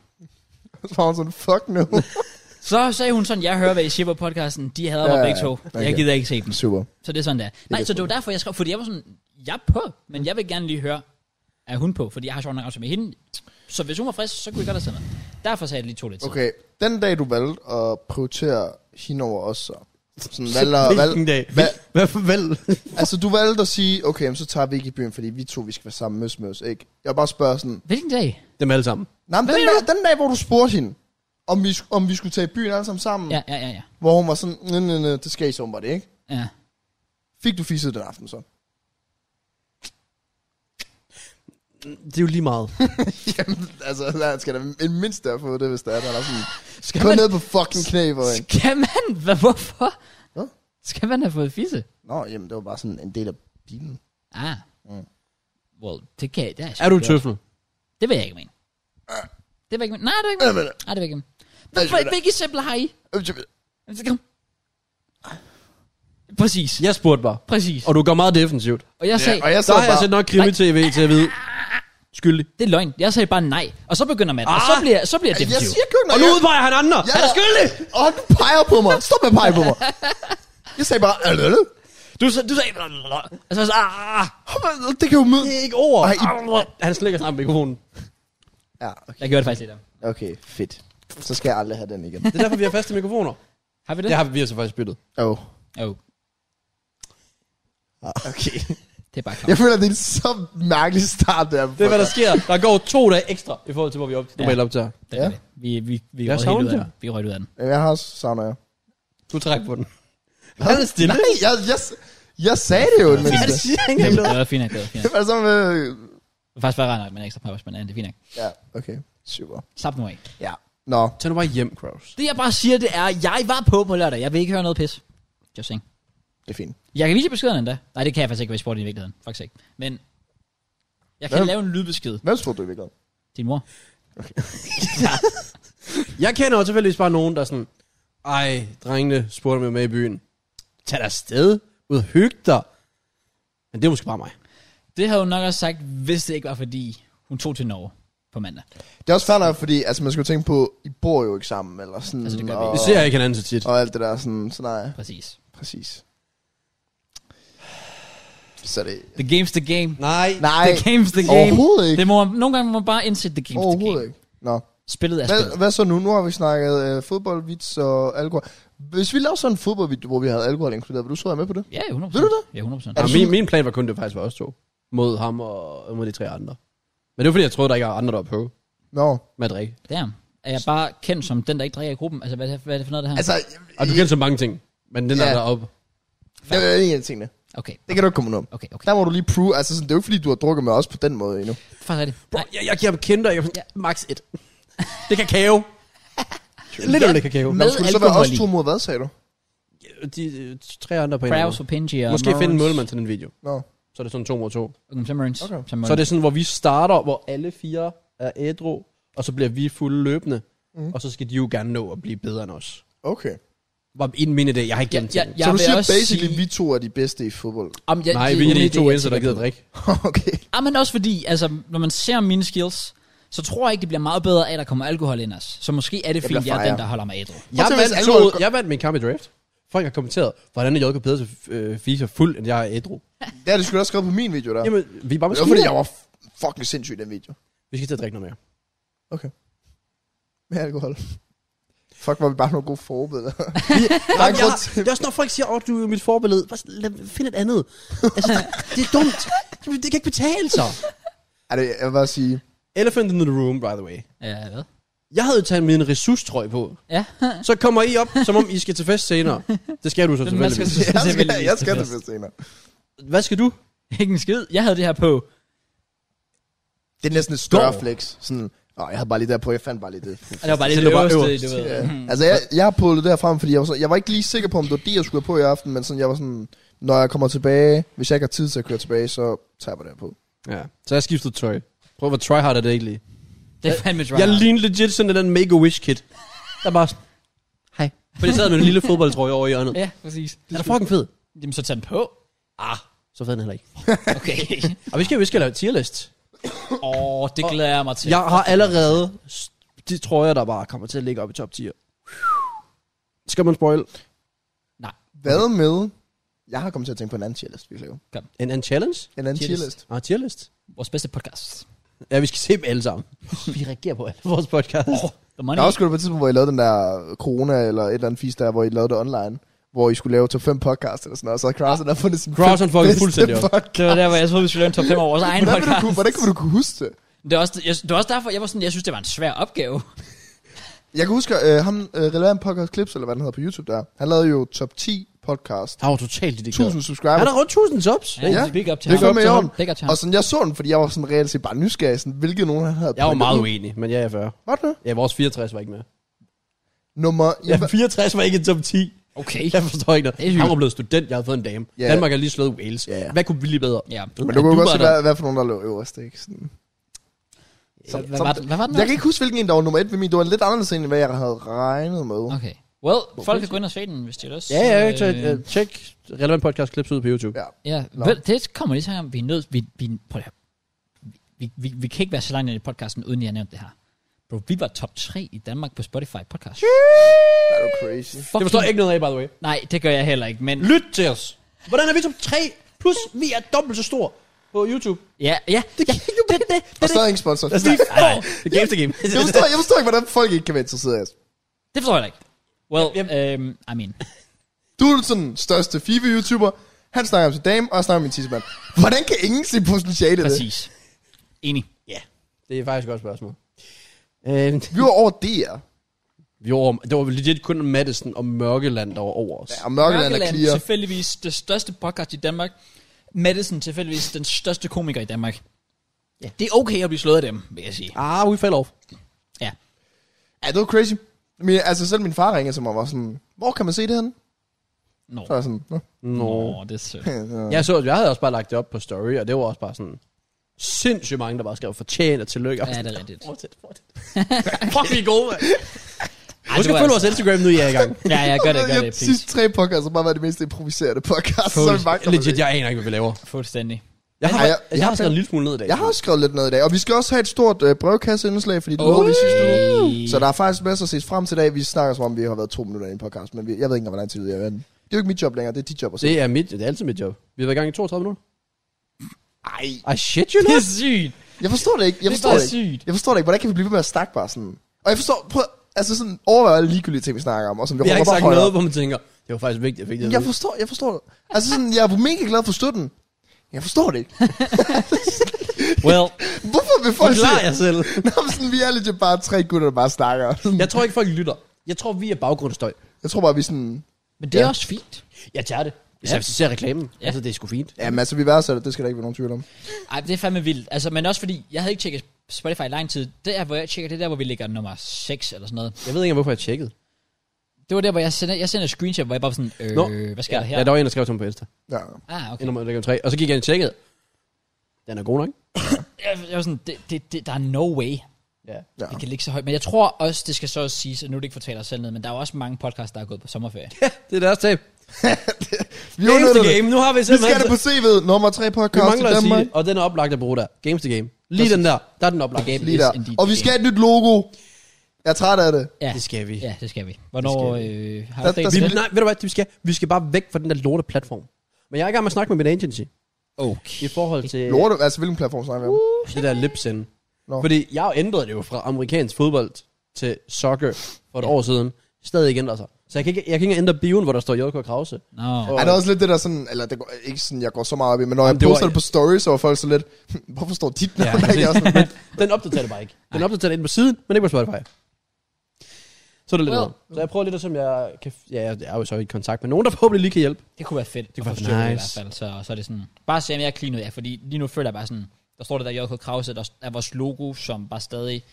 Speaker 3: Så var hun sådan, fuck no.
Speaker 1: Så sagde hun sådan, jeg hører, hvad I siger på podcasten, de hader mig
Speaker 3: Ja,
Speaker 1: begge to.
Speaker 3: okay.
Speaker 1: Jeg gider ikke se dem.
Speaker 3: Super.
Speaker 1: Så det er sådan der. Nej,
Speaker 3: kan
Speaker 1: så det var derfor, jeg skrev, fordi jeg var sådan, jeg er på, men jeg vil gerne lige høre, er hun på? Fordi jeg har sjovt nok aftalt med hende. Så hvis hun var frisk, så kunne vi godt have sendt noget. Derfor sagde jeg det lige to lidt tid.
Speaker 3: Okay, den dag du valgte at prioritere hende over os, så. Sådan, valg, valg,
Speaker 4: Hvilken dag?
Speaker 3: valg,
Speaker 4: Hvad for valg?
Speaker 3: altså, du valgte at sige, okay, men så tager vi ikke i byen, fordi vi to, vi skal være sammen, møs, møs, ikke? Jeg vil bare spørger sådan,
Speaker 1: Hvilken dag?
Speaker 4: Dem alle sammen.
Speaker 3: nej, men
Speaker 1: Hvad
Speaker 3: den
Speaker 1: mener
Speaker 3: dag, den dag, hvor du spurgte hende, om vi, sk- om vi skulle tage i byen alle sammen sammen,
Speaker 1: Ja, ja, ja, ja.
Speaker 3: hvor hun var sådan, nej, nej, nej, det skal I så åbenbart ikke.
Speaker 1: ja.
Speaker 3: Fik du fisset den aften så?
Speaker 4: Det er jo lige meget.
Speaker 3: Jamen, altså, der skal der en mindst der få det, hvis der er der. er sådan,
Speaker 1: Skal
Speaker 3: gå
Speaker 1: man,
Speaker 3: ned på fucking knæ for en.
Speaker 1: skal man, hvad, hvorfor?
Speaker 3: Hvad?
Speaker 1: Skal man have fået fisse?
Speaker 3: Nå, jamen, det var bare sådan en del af bilen.
Speaker 1: Ah.
Speaker 3: Mm.
Speaker 1: Well, det kan jeg, det er,
Speaker 4: Er du en
Speaker 1: sjovt.
Speaker 4: tøffel?
Speaker 1: Det vil jeg ikke mene. Det vil jeg ikke mene. Nej, det vil jeg ikke
Speaker 3: Hvad
Speaker 1: mene.
Speaker 3: med det?
Speaker 1: Nej, det vil jeg ikke mene.
Speaker 3: Hvad
Speaker 1: Hvorfor-
Speaker 3: vil det?
Speaker 1: Hvilke eksempler har I?
Speaker 3: Øh, jamen,
Speaker 1: Kom. Præcis.
Speaker 4: Jeg spurgte bare.
Speaker 1: Præcis.
Speaker 4: Og du går meget defensivt.
Speaker 1: Og jeg sagde,
Speaker 3: Og altså, jeg
Speaker 4: Så
Speaker 3: så
Speaker 4: har jeg
Speaker 3: bare,
Speaker 4: set nok krimi-tv til at vide. Skyldig.
Speaker 1: Det er løgn. Jeg sagde bare nej. Og så begynder man. Ah, og så
Speaker 4: Ah!
Speaker 1: bliver, så bliver jeg
Speaker 3: jeg
Speaker 1: defensiv.
Speaker 3: siger kun,
Speaker 4: Og
Speaker 3: og
Speaker 4: nu
Speaker 3: jeg,
Speaker 4: udpeger han andre.
Speaker 3: Ja.
Speaker 4: Han er skyldig.
Speaker 3: og du peger på mig. Stop med at pege på mig. Jeg sagde bare, "Øh, øh, øh."
Speaker 4: Du, sa- du sagde... Og
Speaker 1: Altså,
Speaker 4: så var jeg så, ah,
Speaker 3: det kan jo møde.
Speaker 4: det er ikke ord.
Speaker 3: Ej,
Speaker 4: Han slikker sammen mikrofonen.
Speaker 3: Ja, okay.
Speaker 1: Jeg gjorde det faktisk lidt af.
Speaker 3: okay, fedt. Så skal jeg aldrig have den igen.
Speaker 4: Det er derfor, vi har faste mikrofoner.
Speaker 1: Har vi det?
Speaker 4: Det har vi altså faktisk byttet.
Speaker 3: Åh, oh,
Speaker 1: Jo,
Speaker 3: Ah, okay.
Speaker 1: det er bare klart.
Speaker 3: Jeg føler, det er en så mærkelig start der.
Speaker 4: Det er, hvad der sker. Der går to dage ekstra i forhold til, hvor vi op, normalt optager.
Speaker 1: Det er
Speaker 3: Ja.
Speaker 1: det. Vi, vi, vi
Speaker 4: Jeg
Speaker 1: røg helt
Speaker 4: savner
Speaker 1: ud af
Speaker 4: det.
Speaker 1: den. Vi røg ud af den.
Speaker 3: Jeg har også savner jeg.
Speaker 4: Du træk på den. Han er stille.
Speaker 3: Nej, jeg, jeg, jeg sagde det jo. Men
Speaker 4: Han
Speaker 3: det
Speaker 4: siger ikke
Speaker 1: Det
Speaker 4: engang noget.
Speaker 1: var fint nok, det var fint nok.
Speaker 3: var som, øh,
Speaker 1: Det var faktisk bare rart nok, men ekstra pappers, men ja, det er fint nok.
Speaker 3: ja, okay. Super.
Speaker 1: Slap nu af.
Speaker 3: Ja. Nå,
Speaker 4: Tag nu bare hjem, Kraus.
Speaker 1: Det jeg bare siger, det er, jeg var på på lørdag. Jeg vil ikke høre noget pis. Just saying.
Speaker 3: det er fint.
Speaker 1: Jeg kan vise jer beskeden endda. Nej, det kan jeg faktisk ikke, hvis jeg spurgte i virkeligheden. Faktisk ikke. Men jeg kan
Speaker 3: Hvem?
Speaker 1: lave en lydbesked.
Speaker 3: Hvem spurgte du i virkeligheden?
Speaker 1: Din mor.
Speaker 4: Jeg kender jo tilfældigvis bare nogen, der er sådan, ej, drengene spurgte mig med i byen. Tag dig afsted, ud og hygge dig. Men det er måske bare mig.
Speaker 1: Det havde hun nok også sagt, hvis det ikke var fordi, hun tog til Norge på mandag.
Speaker 3: Det er også fair nok, fordi altså, man skal jo tænke på, I bor jo ikke sammen, eller sådan,
Speaker 1: Altså, det gør vi
Speaker 3: og,
Speaker 1: ikke.
Speaker 4: Vi ser ikke hinanden så tit.
Speaker 3: og alt det der, sådan, så nej,
Speaker 1: Præcis.
Speaker 3: præcis. Så det,
Speaker 1: The game's the game.
Speaker 4: Nej.
Speaker 3: nej,
Speaker 1: The game's the game.
Speaker 3: overhovedet ikke,
Speaker 1: Det må, nogle gange må man bare indsætte the game's the
Speaker 3: overhovedet
Speaker 1: game.
Speaker 3: ikke. Nå,
Speaker 1: Spillet er
Speaker 3: hvad,
Speaker 1: spillet.
Speaker 3: hvad så nu? Nu har vi snakket øh, fodboldvits og alkohol. Hvis vi lavede sådan en fodboldvideo, hvor vi havde alkohol inkluderet, vil du så være med på det?
Speaker 1: Ja, 100%.
Speaker 3: Ved du det?
Speaker 1: Ja, 100%.
Speaker 4: Nå,
Speaker 3: Er det
Speaker 4: min,
Speaker 3: sådan-
Speaker 4: min plan var kun, det faktisk var os to. Mod ham og og mod de tre andre. Men det var fordi, jeg troede, der ikke var andre, der var på
Speaker 3: Nå,
Speaker 4: med at drikke.
Speaker 1: Damn. Er jeg bare kendt som den, der ikke drikker i gruppen? Altså, hvad, er det- hvad er det for noget, det her?
Speaker 3: altså,
Speaker 4: Og du kender så mange ting. Men den der,
Speaker 3: Ja.
Speaker 4: der er op.
Speaker 3: det er en af tingene.
Speaker 4: Altså-
Speaker 1: Okay,
Speaker 3: Det kan du ikke komme udenom.
Speaker 1: okay, okay.
Speaker 3: Der må du lige prove, altså sådan, det er jo ikke fordi, du har drukket med os på den måde endnu.
Speaker 1: Faktisk rigtigt.
Speaker 4: Bro,
Speaker 1: Nej,
Speaker 4: jeg, jeg giver ham kinder, jeg ja. max et. Det er kakao. Lidt af det kakao.
Speaker 3: Nå,
Speaker 1: Med
Speaker 3: skulle det så være
Speaker 1: alkohol
Speaker 3: os
Speaker 1: i.
Speaker 3: to mod hvad, sagde du?
Speaker 4: De øh, tre andre på en
Speaker 1: Kraus
Speaker 4: eller
Speaker 1: og Pinji og
Speaker 4: anden måde. Måske finde en
Speaker 1: Morris.
Speaker 4: målmand til den video.
Speaker 3: Nå,
Speaker 4: Så er det sådan to mod to.
Speaker 1: Okay, så Morris.
Speaker 3: Okay.
Speaker 1: Så Morris.
Speaker 4: Så er det sådan, hvor vi starter, hvor alle fire er ædru, og så bliver vi fulde løbende.
Speaker 3: Mhm.
Speaker 4: Mm. Og så skal de jo gerne nå at blive bedre end os.
Speaker 3: okay.
Speaker 4: Var en min idé, jeg har ikke
Speaker 1: Ja,
Speaker 4: gennem
Speaker 1: ja,
Speaker 4: ja, ja,
Speaker 1: ja.
Speaker 3: så du
Speaker 1: vil
Speaker 3: siger
Speaker 1: også
Speaker 3: basically,
Speaker 1: sige-
Speaker 3: vi to er de bedste i fodbold.
Speaker 1: Jamen, jeg,
Speaker 4: Nej,
Speaker 1: det er
Speaker 4: vi er
Speaker 1: en
Speaker 4: de
Speaker 1: idé,
Speaker 4: to
Speaker 1: jeg
Speaker 4: eneste, der
Speaker 1: tænker
Speaker 4: gider
Speaker 1: på.
Speaker 4: drikke.
Speaker 3: okay.
Speaker 1: Ah, men også fordi, altså, når man ser mine skills, så tror jeg ikke, det bliver meget bedre af, at der kommer alkohol ind os. Så måske er det,
Speaker 3: Jeg
Speaker 1: fordi
Speaker 3: bliver
Speaker 1: jeg er den,
Speaker 3: fejre.
Speaker 1: der holder mig ædru.
Speaker 4: Jeg
Speaker 3: Prøv at
Speaker 4: vandt,
Speaker 3: tænke, hvis
Speaker 4: to,
Speaker 3: alkohol-
Speaker 4: jeg vandt min kamp i draft. Folk har kommenteret, hvordan er Jolko bedre til øh, fiser fuld, end jeg er ædru.
Speaker 3: Ja, det skulle du også skrive på min video der.
Speaker 4: Jamen, vi er bare
Speaker 3: det var fordi,
Speaker 4: maskiner.
Speaker 3: jeg var f- fucking sindssyg i den video.
Speaker 4: Vi skal til at drikke noget mere.
Speaker 3: Med alkohol. Fuck, var vi bare nogle gode forbilleder.
Speaker 4: Der
Speaker 3: er en grund til-
Speaker 4: det er også når folk siger, at du er mit forbillede. Bare sådan, lad- Find et andet. Altså, det er dumt. Det kan ikke betale sig.
Speaker 3: Ej, det, Altså, jeg vil bare sige,
Speaker 4: Elephant in the room, by the way.
Speaker 1: Ja, hvad?
Speaker 4: Jeg havde jo taget min resurstrøj på.
Speaker 1: Ja.
Speaker 4: Så kommer I op, som om I skal til fest senere. Det skal du så
Speaker 1: Den man skal
Speaker 4: selvfølgelig.
Speaker 3: jeg skal,
Speaker 1: selvfølgelig
Speaker 3: jeg skal
Speaker 1: til
Speaker 3: det
Speaker 1: fest.
Speaker 3: fest senere.
Speaker 4: Hvad skal du?
Speaker 1: Ikke en skid. Jeg havde det her på.
Speaker 3: Det er næsten et større
Speaker 1: Går.
Speaker 3: flex. Sådan, åh, jeg havde bare lige der på, jeg fandt bare lige det. Mm.
Speaker 1: Og det var bare lidt
Speaker 4: Så det var
Speaker 1: øverste,
Speaker 4: øverst.
Speaker 1: du ved.
Speaker 3: Ja. Altså, jeg, jeg har pullet det her frem, fordi jeg var, så, jeg var ikke lige sikker på, om det var det, jeg skulle have på i aften, men sådan, jeg var sådan, når jeg kommer tilbage, hvis jeg ikke har tid til at køre tilbage, så tager jeg det på.
Speaker 4: Ja. Så jeg skiftede tøj. Prøv at være tryhard er det egentlig.
Speaker 1: Det er fandme dry.
Speaker 4: Jeg lignede legit sådan den Make-A-Wish kid. Der bare sådan, hej. For det sad med en lille fodboldtrøje over i hjørnet.
Speaker 1: Ja, præcis.
Speaker 4: Den er fucking fed.
Speaker 1: Jamen, så tag den på.
Speaker 4: Ah, så fed er den heller ikke.
Speaker 1: Okay.
Speaker 4: Og vi skal, vi skal lave tier list.
Speaker 1: Åh, oh, det glæder jeg mig til.
Speaker 4: Jeg har allerede s- de trøjer, der bare kommer til at ligge op i top 10. Skal man spoil
Speaker 3: Hvad med... Jeg har kommet til at tænke på en anden tierlist, vi kan lave.
Speaker 4: en, en challenge?
Speaker 3: En anden
Speaker 1: Tierlist.
Speaker 3: tierlist.
Speaker 4: Ah, tier list.
Speaker 1: Vores bedste podcast.
Speaker 4: Ja, vi skal se dem alle sammen. vi reagerer på alle vores podcast. Oh,
Speaker 1: The money.
Speaker 3: Der var også sgu da på et tidspunkt, hvor I lavede den der øh, corona, eller et eller andet fisk der, hvor I lavede det online, hvor I skulle lave top 5 podcast eller sådan noget, og så havde Krausen der fundet sin
Speaker 4: Krausen
Speaker 3: fem
Speaker 4: Ah. fucking
Speaker 3: bedste
Speaker 4: fuldstændig op.
Speaker 3: podcast.
Speaker 1: Det var der, hvor jeg troede, vi skulle lave en top 5 over vores egen
Speaker 3: Hvordan, vil du,
Speaker 1: podcast.
Speaker 3: kunne- hvordan kunne du kunne huske det?
Speaker 1: Det er, også, jeg, det er også derfor, jeg var sådan, jeg synes, det var en svær opgave.
Speaker 3: Jeg kan huske, øh, ham, øh, Relevant Podcast Clips, eller hvad den hedder på YouTube der, han lavede jo top 10 podcast,
Speaker 4: der var totalt det
Speaker 3: 1000
Speaker 4: Han
Speaker 3: subscribers,
Speaker 4: har rundt 1000 subs.
Speaker 1: Ja,
Speaker 3: Ja,
Speaker 1: Oh, big up til
Speaker 3: det
Speaker 1: ham.
Speaker 3: gør man i orden.
Speaker 1: Big up til ham.
Speaker 3: og sådan, jeg så den, fordi jeg var sådan reelt set bare nysgerrig, sådan, hvilket nogen han havde.
Speaker 4: Jeg var
Speaker 3: plukket
Speaker 4: meget
Speaker 3: ud.
Speaker 4: uenig, men jeg er 40.
Speaker 3: Var det?
Speaker 4: Ja, vores 64 var ikke med.
Speaker 3: Nummer...
Speaker 4: Ja, 64 var ikke en top 10.
Speaker 1: Okay.
Speaker 4: Jeg forstår ikke
Speaker 1: Det er
Speaker 4: noget.
Speaker 1: sygt.
Speaker 4: Han var blevet student, jeg havde fået en dame.
Speaker 3: Ja.
Speaker 4: Yeah. Danmark har lige slået Wales.
Speaker 3: Ja.
Speaker 4: Yeah. Hvad kunne vi lige bedre?
Speaker 1: Ja.
Speaker 3: Men du kunne
Speaker 4: Du
Speaker 3: godt
Speaker 4: var
Speaker 3: se,
Speaker 4: der.
Speaker 3: hvad, hvad for nogen, der lå øverst, ikke? Sådan.
Speaker 1: Så,
Speaker 3: Som-
Speaker 1: hvad,
Speaker 3: som-
Speaker 1: var, den- hvad var den? altså?
Speaker 3: Jeg kan ikke huske, hvilken en, der var nummer et ved min. Det var lidt anderledes end, hvad jeg havde regnet med.
Speaker 1: Okay. Well, folk kan gå ind og se den, hvis de har lyst.
Speaker 4: Ja, ja, tjek,
Speaker 1: Øh,
Speaker 4: øh, tjek relevant podcast clips ud på YouTube.
Speaker 3: Ja.
Speaker 4: Ja.
Speaker 1: Ja,
Speaker 3: Nå.
Speaker 1: vel, det kommer lige til om, vi er nødt, vi, vi, prøv lige at høre. vi, vi, vi kan ikke være så langt ind i podcasten, uden jeg har nævnt det her. Bro, vi var top 3 i Danmark på Spotify podcast.
Speaker 3: Er du crazy?
Speaker 4: Det forstår jeg ikke noget af, by the way.
Speaker 1: Nej, det gør jeg heller ikke, men...
Speaker 4: Lyt til os. Hvordan er vi top 3? Plus, vi er dobbelt så stor på YouTube.
Speaker 1: Ja, ja, det, ja, det, det,
Speaker 3: Og
Speaker 1: det, det,
Speaker 3: stadig ingen sponsor.
Speaker 4: Altså, vi får... Det games the game.
Speaker 3: Jeg forstår, jeg forstår ikke, hvordan folk ikke kan være interesseret af os.
Speaker 1: det forstår jeg ikke. Well,
Speaker 4: Jamen-
Speaker 1: øhm, I mean,
Speaker 3: Du er sådan den største FIFA-YouTuber. Han snakker om sin dame, og jeg snakker om min tissemand. Hvordan kan ingen se potentiale i det?
Speaker 1: præcis. Enig.
Speaker 4: Ja, det er faktisk et godt spørgsmål. Øh,
Speaker 3: Vi var over DR.
Speaker 4: vi var, over- det var legit kun Madison og Mørkeland, der var over os.
Speaker 3: Ja, og Mørkeland er clear.
Speaker 1: tilfældigvis det største podcast i Danmark. Madison tilfældigvis den største komiker i Danmark. Ja. Det er okay at blive slået af dem, vil jeg sige.
Speaker 4: Ah, we fell off.
Speaker 1: Ja.
Speaker 3: Ja, det var crazy. Men, altså, selv min far ringede til mig og var sådan, hvor kan man se det henne?
Speaker 1: Nå,
Speaker 3: Så var jeg sådan, Nå.
Speaker 4: Nå.
Speaker 1: Nå det er sødt.
Speaker 4: Jeg så, jeg havde også bare lagt det op på story, og det var også bare sådan sindssygt mange, der bare skrev fortjent og tillykke.
Speaker 1: Ja, det er rigtigt.
Speaker 4: Fortsæt, fortsæt. Fuck, vi er gode, mand. Du
Speaker 1: det
Speaker 4: skal
Speaker 1: var
Speaker 4: følge
Speaker 1: altså-
Speaker 4: vores Instagram nu, I er i gang.
Speaker 1: Ja, ja, gør det, gør
Speaker 3: Jeg-
Speaker 1: det, please.
Speaker 3: sidste tre podcasts har bare været det mest improviserede podcast, så vi magter det
Speaker 4: Legit,
Speaker 3: ikke.
Speaker 4: jeg aner ikke, hvad vi laver.
Speaker 1: Fuldstændig.
Speaker 4: Jeg har,
Speaker 3: Ej,
Speaker 4: jeg,
Speaker 3: jeg-
Speaker 4: jeg,
Speaker 3: jeg
Speaker 4: har
Speaker 3: har-
Speaker 4: skrevet en lille smule ned i dag.
Speaker 3: Jeg har også skrevet lidt noget i dag, og vi skal også have et stort øh, brevkasseindslag, fordi det oh. lovede vi sidste uge. Så der er faktisk masser at se frem til i dag. Vi snakker som om, vi har været to minutter inde i podcast, men vi, jeg ved ikke engang, hvordan tid vi er. Det er jo ikke mit job længere, det er dit job at se.
Speaker 4: Det er, mit, det er altid mit job. Vi har været i gang i 32 minutter.
Speaker 3: Ej,
Speaker 4: Ej, shit, you
Speaker 1: Det
Speaker 4: know.
Speaker 1: er sygt.
Speaker 3: jeg forstår det ikke. Jeg
Speaker 1: Det
Speaker 3: forstår
Speaker 1: er
Speaker 3: det, ikke.
Speaker 1: sygt.
Speaker 3: Jeg forstår det ikke. Hvordan kan vi blive ved med at snakke bare sådan? Og jeg forstår, prøv, altså sådan overvej alle ligegyldige ting, vi snakker om, og som vi
Speaker 4: Jeg har
Speaker 3: råber
Speaker 4: ikke sagt
Speaker 3: højere.
Speaker 4: noget, hvor man tænker, det var faktisk vigtigt, jeg fik det. at
Speaker 3: Jeg
Speaker 4: vide.
Speaker 3: forstår, jeg forstår det. Altså sådan, jeg er mega glad for støtten. Jeg forstår det ikke.
Speaker 1: Well,
Speaker 3: Hvorfor vil folk
Speaker 4: Forklar
Speaker 3: se?
Speaker 4: jer selv.
Speaker 3: Nå, men sådan, vi er lidt bare tre gutter, der bare snakker.
Speaker 4: Jeg tror ikke, folk lytter. Jeg tror, vi er baggrundsstøj.
Speaker 3: Jeg tror bare, vi sådan...
Speaker 1: men det er
Speaker 3: Ja.
Speaker 1: også fint.
Speaker 4: Jeg tager det. Især hvis de ser reklamen.
Speaker 1: Ja.
Speaker 4: Altså, det er sgu fint.
Speaker 3: Jamen altså, vi værdsætter, det skal der ikke være nogen tvivl om.
Speaker 1: Ej, det er fandme vildt. Altså, men også fordi, jeg havde ikke tjekket Spotify i lang tid. Det er, hvor jeg tjekker, det er der, hvor vi ligger nummer 6 eller sådan noget.
Speaker 4: Jeg ved ikke, hvorfor jeg tjekkede.
Speaker 1: Det var der, hvor jeg sender, jeg sender et screenshot, hvor jeg bare sådan, øh, Nå, hvad sker
Speaker 4: ja,
Speaker 1: der her?
Speaker 4: Ja, der var en, der skrev til mig på Insta.
Speaker 3: Ja.
Speaker 1: Ah, okay.
Speaker 4: Inden man lægger tre. Og så gik jeg ind og tjekkede. Den er god nok.
Speaker 1: Jeg, jeg var sådan, det, det, det, der er no way,
Speaker 4: Ja.
Speaker 1: ja. det kan ligge så højt. Men jeg tror også, det skal så også siges, og nu er det ikke fortalt os selv ned, men der er jo også mange podcasts, der er gået på sommerferie.
Speaker 4: Det er deres tab.
Speaker 3: Vi
Speaker 4: Games the
Speaker 3: udnytter det.
Speaker 4: game. Nu har vi
Speaker 3: Vi skal
Speaker 4: simpelthen...
Speaker 3: det på CV'et. Nummer 3
Speaker 4: vi
Speaker 3: podcast i
Speaker 4: mangler at sige
Speaker 3: Danmark.
Speaker 4: det. Og den er oplagt at bruge der. Games the game. Lige
Speaker 1: Præcis.
Speaker 4: den der. Der er den oplagt.
Speaker 1: Game.
Speaker 3: Lige
Speaker 1: Yes,
Speaker 3: der.
Speaker 1: indeed.
Speaker 3: Og vi skal have et nyt logo. Jeg er træt af det.
Speaker 1: Ja,
Speaker 4: Det skal vi.
Speaker 1: ja det skal vi. Hvornår
Speaker 4: Det
Speaker 1: øh, har
Speaker 3: Der-
Speaker 1: du dagen til
Speaker 4: Vi,
Speaker 3: der skal-
Speaker 1: det?
Speaker 4: nej, ved du hvad, vi skal, vi skal bare væk fra den der lorte platform. Men jeg er i gang med at snakke med min agency
Speaker 1: Okay.
Speaker 4: i forhold til
Speaker 3: Lorte, altså hvilken platform snakker vi om?
Speaker 4: det der lipsend.
Speaker 3: Nå.
Speaker 4: Fordi jeg ændrede det jo fra amerikansk fodbold til soccer for et år siden. Stadig ikke ændrer sig. Så jeg kan ikke, jeg kan ikke engang ændre bioen, hvor der står J.K. Krause.
Speaker 1: Nå,
Speaker 3: Er det også lidt det der sådan, eller det går, ikke sådan, jeg går så meget op i, men når jeg
Speaker 4: Jamen, det var-
Speaker 3: poster det på stories, så var folk så lidt, "Hm, hvorfor står dit navn ja, ikke? Jeg er sådan,
Speaker 4: Den opdaterer det bare ikke. Den opdaterer det inde på siden, men ikke på Spotify. Så er det lidt
Speaker 1: Well.
Speaker 4: well. Så jeg prøver lidt at se, om jeg kan... Ja, jeg er jo så i kontakt med nogen, der forhåbentlig lige kan hjælpe.
Speaker 1: det kunne være fedt. Det
Speaker 4: kunne
Speaker 1: kunne
Speaker 4: være
Speaker 1: være nice.
Speaker 4: nice.
Speaker 1: I hvert fald, så, så er det sådan, bare se om jeg er clean ud af, fordi lige nu føler jeg bare sådan, der står det der J.K. Krause, der er vores logo, som bare stadig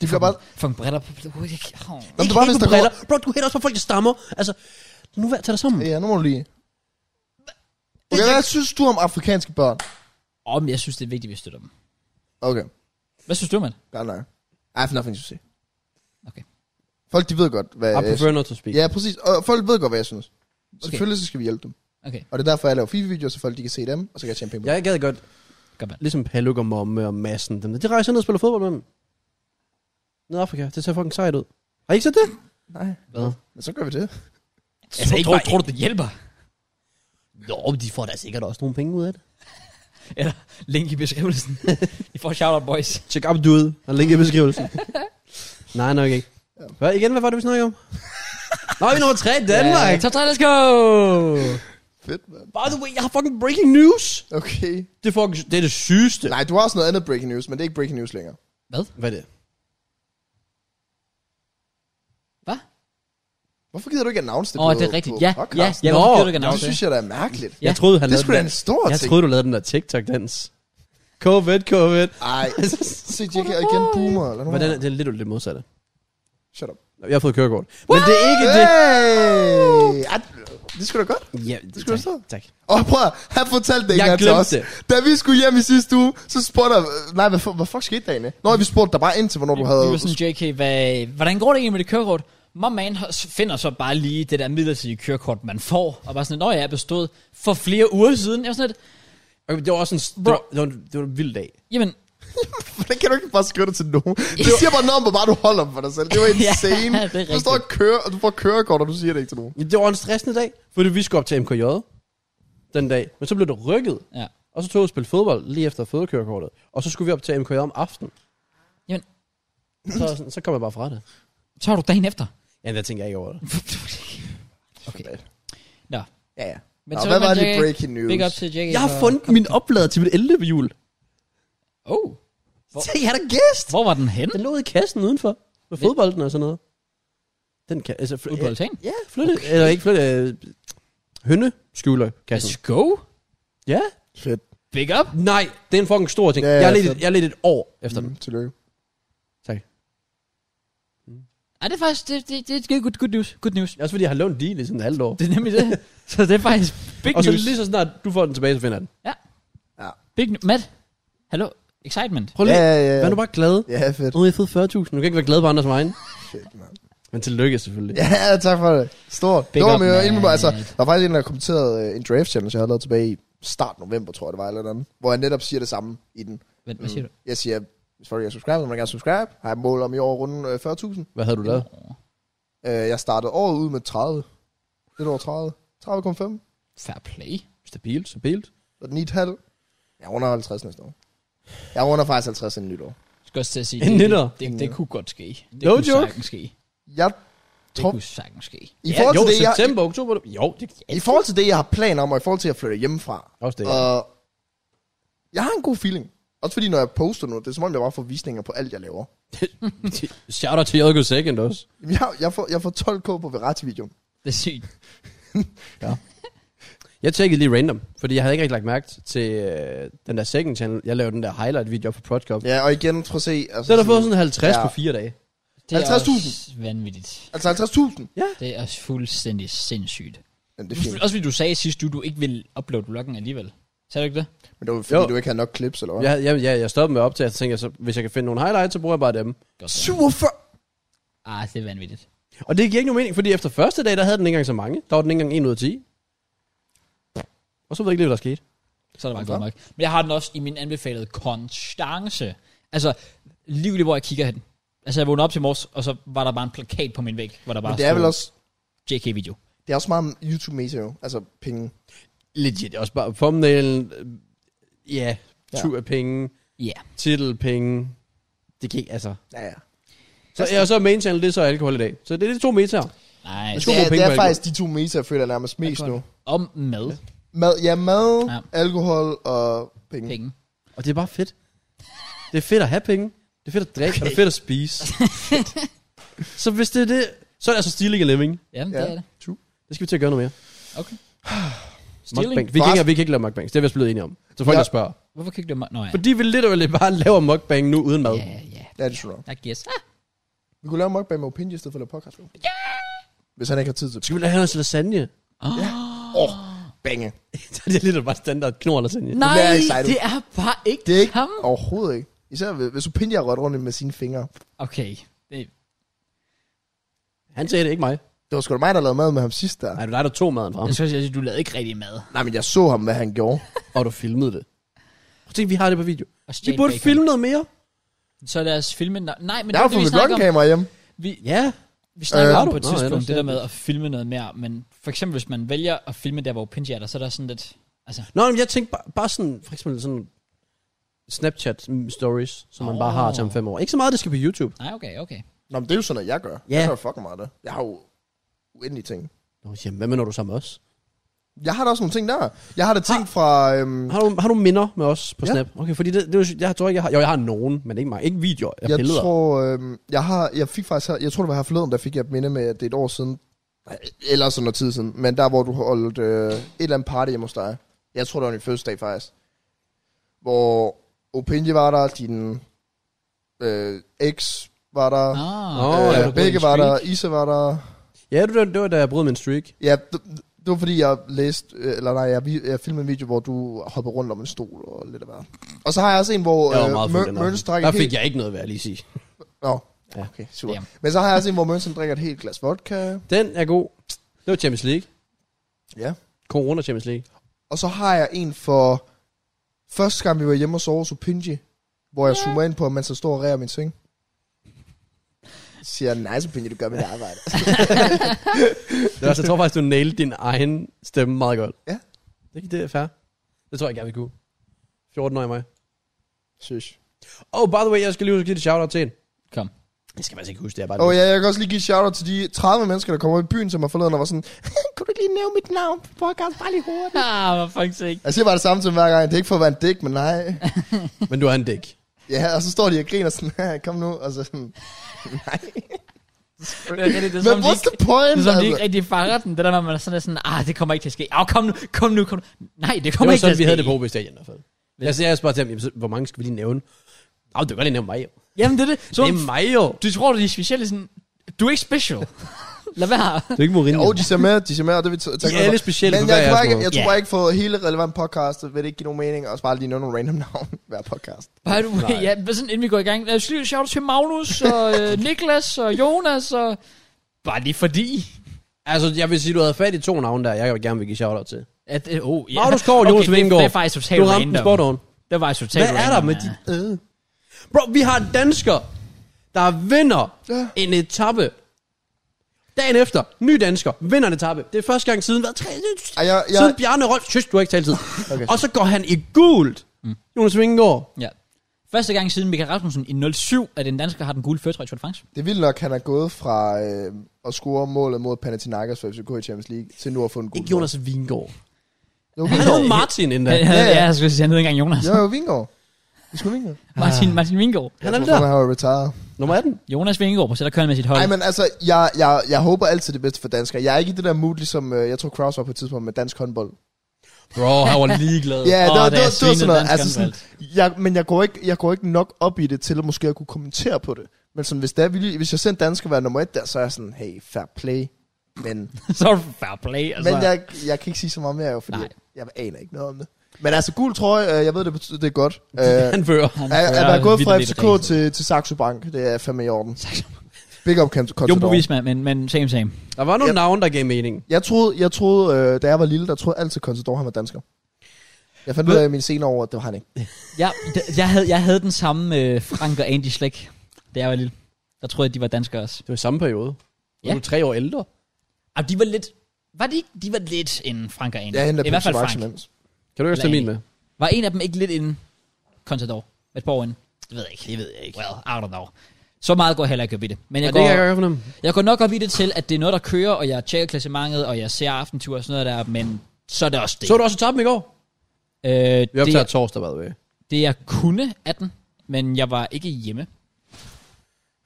Speaker 3: de bliver bare...
Speaker 1: Fucking bretter på... Uh, jeg kan- åh.
Speaker 3: Nå, men det var, hvis der går...
Speaker 4: Bro, du hater også på folk, der stammer. Altså, nu vær, tag dig sammen.
Speaker 3: Ja, nu må du lige... Okay, hvad synes du om afrikanske børn?
Speaker 1: Om jeg synes, det er vigtigt, at vi støtter dem.
Speaker 3: Okay,
Speaker 1: Hvad synes du, mand?
Speaker 3: godt nok. I have nothing to say.
Speaker 1: Okay.
Speaker 3: Folk, de ved godt, hvad...
Speaker 4: I prefer not to speak.
Speaker 3: Ja, præcis. Og folk ved godt, hvad jeg synes.
Speaker 1: Okay.
Speaker 3: Selvfølgelig så skal vi hjælpe dem.
Speaker 1: Okay,
Speaker 3: Og det er derfor, jeg laver FIFA-videoer, så folk de kan se dem, og så kan jeg tjene penge på dem.
Speaker 4: Jeg gad godt,
Speaker 1: godt mand.
Speaker 4: ligesom Paluk og Momme og Massen, dem der. de rejser ned og spiller fodbold med dem. Ned i Afrika, det ser fucking sejt ud. Har I ikke set det?
Speaker 3: Nej.
Speaker 4: Hvad?
Speaker 3: Men så gør vi det.
Speaker 1: Altså, ikke
Speaker 4: tror-
Speaker 1: tror, tror du, det hjælper?
Speaker 4: Jo, de får da sikkert også nogle penge ud af det.
Speaker 1: Eller link i beskrivelsen. I får shout-out, boys.
Speaker 4: Check up dude, og link i beskrivelsen. Nej, nok ikke. Hvad, igen, hvad var det, vi snakkede om? Nå, vi er nummer 3 i Danmark.
Speaker 1: Ja, top 3, let's go!
Speaker 3: Fedt, mand.
Speaker 4: By the way, jeg har fucking breaking news.
Speaker 3: Okay.
Speaker 4: Det er, fucking, det, er det sygeste.
Speaker 3: Nej, du har også noget andet breaking news, men det er ikke breaking news længere.
Speaker 1: Hvad?
Speaker 4: Hvad er det?
Speaker 1: Hvad?
Speaker 3: Hvorfor gider du ikke announce det
Speaker 1: Åh,
Speaker 3: på,
Speaker 1: det er rigtigt.
Speaker 3: på
Speaker 1: Ja, ja,
Speaker 3: podcasten?
Speaker 1: ja,
Speaker 4: Nå,
Speaker 1: hvorfor gør du ikke
Speaker 3: Det
Speaker 1: announce det?
Speaker 3: synes jeg, der er mærkeligt.
Speaker 1: Ja.
Speaker 4: Jeg troede, han
Speaker 3: Det
Speaker 4: lavede
Speaker 3: skulle da
Speaker 4: den-
Speaker 3: en stor
Speaker 4: Jeg
Speaker 3: ting.
Speaker 4: troede, du lavede den der TikTok-dans. Covid, covid.
Speaker 3: Ej, se, jeg kan igen boomer. Eller
Speaker 4: Hvordan er det er lidt det modsatte?
Speaker 3: Shut up.
Speaker 4: Jeg har fået kørekort. Men det er ikke det.
Speaker 3: Hey! Ej, det skulle da godt.
Speaker 4: Ja,
Speaker 3: Det skulle
Speaker 4: tak,
Speaker 3: du så.
Speaker 4: tak.
Speaker 3: Og prøv at han fortalte det ikke
Speaker 4: Jeg
Speaker 3: engang til
Speaker 4: glemte
Speaker 3: os.
Speaker 4: det.
Speaker 3: Da vi skulle hjem i sidste uge, så spurgte jeg... "Øh, Nej, hvad, fu- hvad fuck skete der egentlig? Nå, vi spurgte dig bare ind til, hvornår du havde...
Speaker 1: Vi var sådan, JK, hvad, hvordan går det egentlig med det kørekort? My man har- finder så bare lige det der midlertidige kørekort, man får, og bare sådan, når jeg er bestået for flere uger siden. Jeg var sådan lidt,
Speaker 4: Okay, det var også en, det
Speaker 1: Bro.
Speaker 4: var, det var, en- det var en vild dag.
Speaker 1: jamen,
Speaker 3: Hvordan kan du ikke bare skrive det til nogen? Det siger bare noget om, hvor meget du holder dem for dig selv. Det var insane.
Speaker 1: Ja, det er
Speaker 3: du står og
Speaker 1: rigtigt.
Speaker 3: kører, og du får kørekort, og du siger det ikke til nogen.
Speaker 4: Ja, Det var en stressende dag, fordi vi skulle op til MKJ den dag. Men så blev det rykket,
Speaker 1: ja.
Speaker 4: og så tog vi og spille fodbold lige efter fodkørekortet. Og så skulle vi op til MKJ om aftenen.
Speaker 1: Jamen.
Speaker 4: Så, sådan- så kom jeg bare fra det.
Speaker 1: så har du dagen efter.
Speaker 4: Ja, der tænker jeg ikke over det.
Speaker 1: okay.
Speaker 3: Ja, ja.
Speaker 1: Men
Speaker 3: Nå,
Speaker 1: så
Speaker 3: hvad
Speaker 1: vil
Speaker 3: var
Speaker 1: man
Speaker 3: det
Speaker 1: JK?
Speaker 3: breaking news?
Speaker 1: Big up til JK.
Speaker 4: Jeg har
Speaker 1: for-
Speaker 4: fundet min oplader til mit 11. hjul.
Speaker 1: Oh, Hvor-
Speaker 4: Se, jeg er da gæst!
Speaker 1: hvor var den henne?
Speaker 4: Den lå i kassen udenfor, med fodbolden og sådan noget. Den kan, altså, fl-
Speaker 1: Fodboldting.
Speaker 4: Ja, flytte, okay. eller ikke flytte, øh, hønne skjuler kassen.
Speaker 1: Let's go.
Speaker 4: Ja.
Speaker 3: Fedt.
Speaker 1: Big up.
Speaker 4: Nej, det er en fucking stor ting.
Speaker 3: Ja,
Speaker 4: Ja, jeg,
Speaker 3: ja,
Speaker 4: er lidt,
Speaker 3: fedt.
Speaker 4: jeg er lidt et år efter den.
Speaker 3: Mm, tillykke.
Speaker 1: Ej, det er faktisk, det, det, det er good, good news. Good news.
Speaker 4: Det er Også fordi jeg har lånt din i sådan et halvt år.
Speaker 1: Det er nemlig det. så det er faktisk big
Speaker 4: Og så ligesom-
Speaker 1: news.
Speaker 4: lige så snart du får den tilbage, så finder jeg den.
Speaker 1: Big news. Matt, hallo. Excitement.
Speaker 4: Prøv
Speaker 3: Ja,
Speaker 4: lige.
Speaker 3: ja, ja.
Speaker 4: Vær nu bare glad.
Speaker 3: Ja, fedt.
Speaker 4: Nu har jeg fået 40.000. Du kan ikke være glad på andres vejen.
Speaker 3: Fedt, mand.
Speaker 4: Men tillykke selvfølgelig. Ja.
Speaker 3: Ja, tak for det. Stort.
Speaker 1: Big
Speaker 3: det var
Speaker 1: up,
Speaker 3: med,
Speaker 1: man.
Speaker 3: inden, altså, der var faktisk en, der kommenterede øh, en draft challenge, jeg havde lavet tilbage i start november, tror jeg det var, eller andet, hvor jeg netop siger det samme i den.
Speaker 1: Vent, hvad siger du?
Speaker 3: Mm. Jeg siger, sorry, jeg er subscribe, når man gerne subscribe. Har jeg mål om i år rundt øh, 40.000.
Speaker 4: Hvad havde du lavet?
Speaker 3: Øh, jeg startede året ud med 30. Lidt over 30. 30,5.
Speaker 1: Fair play.
Speaker 4: Stabilt, stabilt.
Speaker 3: Og den 9,5. Jeg runder 50 næste år. Jeg runder faktisk 50 inden nytår.
Speaker 1: Jeg skal også til at sige,
Speaker 4: En
Speaker 1: det,
Speaker 4: nytter.
Speaker 1: det, det, det, kunne godt ske. Det
Speaker 4: No
Speaker 1: kunne
Speaker 4: joke.
Speaker 1: sagtens ske. Det
Speaker 3: Jeg tror,
Speaker 1: kunne sagtens ske.
Speaker 3: i forhold,
Speaker 4: ja, jo,
Speaker 3: til det, jeg,
Speaker 4: september, oktober. Jo, det
Speaker 3: i forhold til det, jeg har planer om, og i forhold til, at flytte hjemmefra,
Speaker 4: Også det, ja.
Speaker 3: og jeg har en god feeling. Også fordi, når jeg poster nu, det er som om, jeg bare får visninger på alt, jeg laver.
Speaker 4: Shout out til JK Second også.
Speaker 3: Jamen, Jeg, jeg, får, jeg får 12k på Verratti-videoen.
Speaker 1: Det er sygt.
Speaker 4: Jeg tjekkede lige random, fordi jeg havde ikke rigtig lagt mærke til øh, den der second channel. Jeg lavede den der highlight-video op på Prodcom. Ja,
Speaker 3: Ja, og igen, prøv at se. Altså,
Speaker 4: så har der fået sådan 50
Speaker 3: Ja.
Speaker 4: på fire dage.
Speaker 1: Det er
Speaker 3: 50.000.
Speaker 1: også vanvittigt.
Speaker 3: Altså 50.000.
Speaker 1: Det er også fuldstændig sindssygt.
Speaker 3: Men det er fint.
Speaker 1: Også fordi du sagde sidst, du, du ikke ville uploade vloggen alligevel. Sagde du ikke det?
Speaker 3: Men det var fordi,
Speaker 4: Jo.
Speaker 3: du ikke havde nok clips, eller hvad?
Speaker 4: Jeg, jeg, jeg, jeg stoppede med at optage, og så tænkte jeg, så, hvis jeg kan finde nogle highlights, så bruger jeg bare dem.
Speaker 1: Godt.
Speaker 3: 47!
Speaker 1: Ah, det er vanvittigt.
Speaker 4: Og det giver ikke nogen mening, fordi efter første dag, der havde den ikke engang så mange. Der var den ikke engang 1 ud af 10. Og så ved jeg ikke lige, hvad der skete.
Speaker 1: Så er det bare godt nok. Men jeg har den også i min anbefalede konstance. Altså, lige hvor jeg kigger hen. Altså, jeg vågnede op til i morges, og så var der bare en plakat på min væg, hvor der bare
Speaker 3: Men det er vel
Speaker 1: stod
Speaker 3: også,
Speaker 1: JK-video.
Speaker 3: det er også meget om YouTube-mæssigt jo. Altså penge.
Speaker 4: Legit, også bare thumbnailen, øh, ja,
Speaker 3: Ja.
Speaker 4: tur af penge,
Speaker 1: Ja. Yeah.
Speaker 4: titel penge. Det gik, altså.
Speaker 3: Ja, ja.
Speaker 4: Så, ja, og så er main channel, det er så alkohol i dag. Så det er de to metaer.
Speaker 1: Nej,
Speaker 4: Det
Speaker 1: nice.
Speaker 4: skulle-
Speaker 3: Det
Speaker 4: bruge
Speaker 3: er,
Speaker 4: penge
Speaker 3: det
Speaker 4: på
Speaker 3: er
Speaker 4: alkohol.
Speaker 3: faktisk de to meta, jeg føler nærmest mest
Speaker 1: Alkohol.
Speaker 3: nu.
Speaker 1: om mad,
Speaker 3: Mad, ja, mad,
Speaker 1: Ja.
Speaker 3: ja. alkohol og penge. penge.
Speaker 1: penge.
Speaker 4: Og det er bare fedt. Det er fedt at have penge. Det er fedt at drikke, okay. og det er fedt at spise. så hvis det er det, så er det altså stealing og living.
Speaker 1: Jamen,
Speaker 3: Ja.
Speaker 1: ja. det er det.
Speaker 4: Det skal vi til at gøre noget mere.
Speaker 1: Okay.
Speaker 4: Mukbang.
Speaker 1: Stealing.
Speaker 4: Vi kan, ikke, vi kan ikke lave mukbangs. Det er vi også blevet enige om. Så folk
Speaker 3: Ja.
Speaker 4: ja. spørger.
Speaker 1: Hvorfor kan ikke du... Nå, ja.
Speaker 4: Fordi vi literally bare laver mukbang nu uden mad.
Speaker 1: Ja, ja.
Speaker 3: Ja, det tror jeg.
Speaker 1: I guess. Ah,
Speaker 3: Vi kunne lave mukbang med Opinji i stedet for at lave podcast. Ja! Hvis han ikke har tid til det.
Speaker 4: Skal vi lave noget lasagne?
Speaker 3: Åh, bange.
Speaker 4: det er lidt bare standard knor eller sådan.
Speaker 1: Nej,
Speaker 3: bliver excited.
Speaker 1: det er bare ikke
Speaker 3: Det er ikke
Speaker 1: ham.
Speaker 3: overhovedet ikke. Især hvis- hvis Opinja har rørt rundt med sine fingre.
Speaker 1: Okay. Det,
Speaker 4: Han sagde det, ikke mig.
Speaker 3: Det var sgu da mig, der lavede mad med ham sidst der.
Speaker 4: Nej, du dig, der tog maden fra ham,
Speaker 1: jeg skal også sige, at du lavede ikke rigtig mad.
Speaker 3: Nej, men jeg så ham, hvad han gjorde.
Speaker 4: og du filmede det. Prøv at tænke, vi har det på video.
Speaker 1: Og
Speaker 4: Vi
Speaker 1: stjal
Speaker 4: burde
Speaker 1: bacon.
Speaker 4: filme noget mere.
Speaker 1: Så lad os filme... No- Nej, men
Speaker 3: jeg
Speaker 1: det
Speaker 3: har
Speaker 1: er det,
Speaker 3: fået
Speaker 1: vi
Speaker 3: mit
Speaker 1: snakker om.
Speaker 3: vlogkamera hjem.
Speaker 1: Vi,
Speaker 4: Ja.
Speaker 1: vi snakker
Speaker 3: Øh,
Speaker 1: om
Speaker 4: har
Speaker 1: på et
Speaker 4: du? Nå, ja,
Speaker 1: tidspunkt
Speaker 4: ellers
Speaker 1: det
Speaker 4: er
Speaker 1: der
Speaker 4: det-
Speaker 1: med at filme noget mere, men for eksempel hvis man vælger at filme der, hvor Pinji er der, så er der sådan lidt... Altså,
Speaker 4: Nå, men jeg tænkte bare, bare sådan, for eksempel sådan Snapchat-stories, som man
Speaker 1: Åh.
Speaker 4: bare har til om fem år. Ikke så meget, det skal på YouTube.
Speaker 1: nej, okay, okay.
Speaker 3: Nå, men det er jo sådan, at jeg gør.
Speaker 4: Ja.
Speaker 3: Jeg gør fucking meget af det. Jeg har jo uendelige ting.
Speaker 4: Nå, jamen, hvad mener du så med os?
Speaker 3: Jeg har da også nogle ting der. Jeg har da ting fra... Øhm,
Speaker 4: Mm. Har du, har du minder med os på
Speaker 3: Ja.
Speaker 4: Snap? Okay, fordi det, det var, jeg tror ikke, jeg har... Jo, jeg har nogen, men ikke mange. Ikke videoer, jeg,
Speaker 3: jeg
Speaker 4: billeder.
Speaker 3: tror, øhm, jeg har, jeg fik faktisk, her- jeg tror det var her forleden, der fik jeg et minde med, at det er et år siden, Nej, eller sådan noget tid siden, men der hvor du holdt øh, et eller andet party hjemme hos dig. Jeg tror det var din første dag faktisk, hvor Opinje var der, din øh, ex var der,
Speaker 1: Nå,
Speaker 4: Nå.
Speaker 3: øh,
Speaker 4: ja, du brød
Speaker 3: Begge
Speaker 4: din
Speaker 3: var der,
Speaker 4: streak.
Speaker 3: Isa var der.
Speaker 4: Ja, det var, det var da jeg brød min streak.
Speaker 3: Ja, det, det var fordi, jeg læste, øh, eller nej, jeg, vi- jeg filmede en video, hvor du hoppede rundt om en stol og lidt af hvert. Og så har jeg også en, hvor
Speaker 4: Jeg var meget
Speaker 3: øh,
Speaker 4: fuld
Speaker 3: Mør-
Speaker 4: den
Speaker 3: Mørns
Speaker 4: aften.
Speaker 3: drikker
Speaker 4: Der
Speaker 3: et helt-
Speaker 4: fik jeg ikke noget, vil jeg lige sige.
Speaker 3: Nå,
Speaker 4: Ja.
Speaker 3: okay, super.
Speaker 1: Damn.
Speaker 3: Men så har jeg også en, hvor Mørns han drikker et helt glas vodka.
Speaker 4: Den er god. Det var Champions League.
Speaker 3: Ja.
Speaker 4: Corona Champions League.
Speaker 3: Og så har jeg en for første gang, vi var hjemme og sove hos Opinji, hvor jeg zoomer ind på, mens jeg står og rærer min seng. Så Siger jeg, nice Opinji, du gør mit arbejde.
Speaker 4: Det var, altså, jeg tror faktisk, du nailed din egen stemme meget godt.
Speaker 3: Ja.
Speaker 4: Det, det er fair. Det tror jeg gerne, vi kunne. 14 år i mig.
Speaker 3: Søs.
Speaker 4: Oh, by the way, jeg skal lige huske at give et shout-out til en.
Speaker 1: Kom.
Speaker 4: Jeg skal faktisk ikke huske det, jeg bare...
Speaker 3: Og Oh, ja, jeg kan også lige give et shout-out til de 30 mennesker, der kommer i byen, som har forladet og var sådan, kunne du ikke lige nævne mit navn på podcast bare lige hurtigt?
Speaker 1: Ah, hvor fucking ikke.
Speaker 3: Jeg siger bare det samme til dem hver gang. Det er ikke for at være en dæk, men nej.
Speaker 4: Men du er en dæk.
Speaker 3: Ja, og så står de og griner sådan, "Ja, kom nu. Og så sådan,
Speaker 1: Det er, det, det er,
Speaker 3: men
Speaker 1: som, de
Speaker 3: what's
Speaker 1: ikke,
Speaker 3: the point?
Speaker 1: det er, som de
Speaker 3: altså?
Speaker 1: ikke rigtig fanger den. Det der, når man er sådan, lidt sådan, ah, det kommer ikke til at ske. Ah, kom nu, kom nu, kom nu. Nej, det
Speaker 4: Det
Speaker 1: kommer
Speaker 4: var
Speaker 1: ikke til at
Speaker 4: sådan, vi
Speaker 1: ske.
Speaker 4: havde det på OB Stadion i hvert fald. Jeg sagde også bare til ham, jamen, så hvor mange skal vi lige nævne? Åh, oh, du kan godt lige nævne mig jo.
Speaker 1: Jamen, det er det. Så
Speaker 4: Det er mig jo.
Speaker 1: du tror, de er specielle sådan, du er ikke special. Lad være.
Speaker 4: Det er ikke Mourinho.
Speaker 3: Jo, de ser med, de ser med, og det vil t-
Speaker 4: De er alle specielle
Speaker 3: Men
Speaker 4: på hver
Speaker 3: jeg, tror
Speaker 4: jeres
Speaker 3: ikke,
Speaker 4: måde.
Speaker 3: jeg tror
Speaker 1: altså. Ja.
Speaker 3: bare ikke for hele relevant podcast, vil det ikke give nogen mening, og bare lige nævne nogle random navn hver podcast.
Speaker 1: By the way, ja, men sådan, inden vi går i gang. Lad os lige shout til Magnus, og øh, Niklas, og Jonas, og... Bare lige fordi.
Speaker 4: Altså, jeg vil sige, du havde fat i to navne der, jeg gerne vil give shout-out til.
Speaker 1: At, øh, oh, ja.
Speaker 4: Magnus Kåre og Jonas
Speaker 1: det,
Speaker 4: Vingegaard.
Speaker 1: det er faktisk totalt
Speaker 4: Du ramte
Speaker 1: random.
Speaker 4: den spot on.
Speaker 1: Det var faktisk totalt
Speaker 4: Hvad er der
Speaker 1: random,
Speaker 4: med
Speaker 1: ja.
Speaker 4: dit æde? Bro, vi har en dansker, der vinder
Speaker 3: Ja.
Speaker 4: en etape. Dagen efter, ny dansker, vinder en etape. Det er første gang siden, hvad? Tre,
Speaker 3: Ej, jeg, jeg,
Speaker 4: siden Bjarne Rolf. Tyst, du har ikke talt tid.
Speaker 3: Okay.
Speaker 4: Og så går han i gult.
Speaker 1: Mm.
Speaker 4: Jonas Vingegaard.
Speaker 1: Ja. Første gang siden Michael Rasmussen i 07, at en dansker har den gule førtrøje i Tour de France.
Speaker 3: det er vildt nok, han er gået fra øh, at score målet mod Panathinaikos for FCK i Champions League, til nu at få en god
Speaker 4: Ikke Jonas Vingegaard.
Speaker 3: Jo,
Speaker 4: Han hed
Speaker 3: Vingård.
Speaker 4: Martin endda.
Speaker 1: Ja, ja,
Speaker 3: ja.
Speaker 1: ja. jeg skulle sige, han hed ikke engang Jonas.
Speaker 3: Jo, jo, Vingård. Det skulle Vingård.
Speaker 1: Martin, Martin Vingård.
Speaker 4: Han er
Speaker 3: Jeg
Speaker 4: det
Speaker 3: tror,
Speaker 4: der.
Speaker 3: Han har jo retired.
Speaker 4: Nummer 18.
Speaker 1: Jonas Vingård, på sætter køren med sit hold.
Speaker 3: Ej, men altså, jeg, jeg, jeg håber altid det bedste for danskere. Jeg er ikke i det der mood, ligesom øh, jeg tror Kraus var på et tidspunkt med dansk håndbold.
Speaker 4: Bro, han var ligeglad.
Speaker 3: Ja,
Speaker 1: Åh,
Speaker 3: det, var-
Speaker 1: da jeg
Speaker 3: det, var- det, var sådan
Speaker 1: svinede
Speaker 3: noget.
Speaker 1: dansk
Speaker 3: Altså sådan,
Speaker 1: håndbold.
Speaker 3: jeg, men jeg går, ikke, jeg går ikke nok op i det til at måske at kunne kommentere på det. Men sådan, hvis, det er, vildt- hvis jeg selv dansker være nummer et der, så er jeg sådan, hey, fair play. Men,
Speaker 1: så er det fair play, altså.
Speaker 3: men jeg, jeg kan ikke sige så meget mere, jo, fordi
Speaker 1: Nej.
Speaker 3: Nej. jeg aner ikke noget om det. Men altså, gul trøje, øh, jeg ved, det betyder, det er godt. Øh, at,
Speaker 4: Han fører.
Speaker 1: Han
Speaker 3: at
Speaker 1: fører
Speaker 3: være gået fra
Speaker 1: vildt lidt
Speaker 3: FCK til, til Saxo Bank, det er fandme i orden.
Speaker 1: Saxo
Speaker 3: Big up, Kent
Speaker 1: race. Jumbo Visma, men, men same same.
Speaker 4: Der var nogle
Speaker 3: Ja.
Speaker 4: navne, der gav mening.
Speaker 3: Jeg troede, jeg troede øh, da jeg var lille, der troede jeg altid, Contador han var dansker. Jeg fandt ud af i mine senere år, at det var han ikke.
Speaker 1: Ja, d- jeg, havde, jeg havde den samme øh, Frank og Andy Slæk, da jeg var lille. Der troede jeg, de var danskere også.
Speaker 4: Det var i samme periode. Ja.
Speaker 1: Ja.
Speaker 4: Du er tre år ældre.
Speaker 1: Og Ah, de var lidt... Var de, ikke- de var lidt en Frank og Andy?
Speaker 3: Jeg henter
Speaker 1: I hvert
Speaker 3: Pepsi
Speaker 1: fald
Speaker 3: Max
Speaker 1: Frank.
Speaker 3: imens.
Speaker 4: Kan du ikke også tage min med?
Speaker 1: Var en af dem ikke lidt en Contador? Et par år inden? Det ved jeg ikke. Det ved jeg ikke. Well, I don't know. Så meget går jeg heller ikke op i det. Men
Speaker 4: Ja,
Speaker 1: jeg,
Speaker 4: det
Speaker 1: går,
Speaker 4: kan jeg godt fornemme.
Speaker 1: jeg går nok op i det til, at det er noget, der kører, og jeg tjekker klassementet, og jeg ser aftentur og sådan noget der, men så er det også det.
Speaker 4: Så du også etappen i går?
Speaker 1: øh,
Speaker 4: Vi optager
Speaker 1: det,
Speaker 4: torsdag, by the way.
Speaker 1: det, jeg kunne af den, men jeg var ikke hjemme.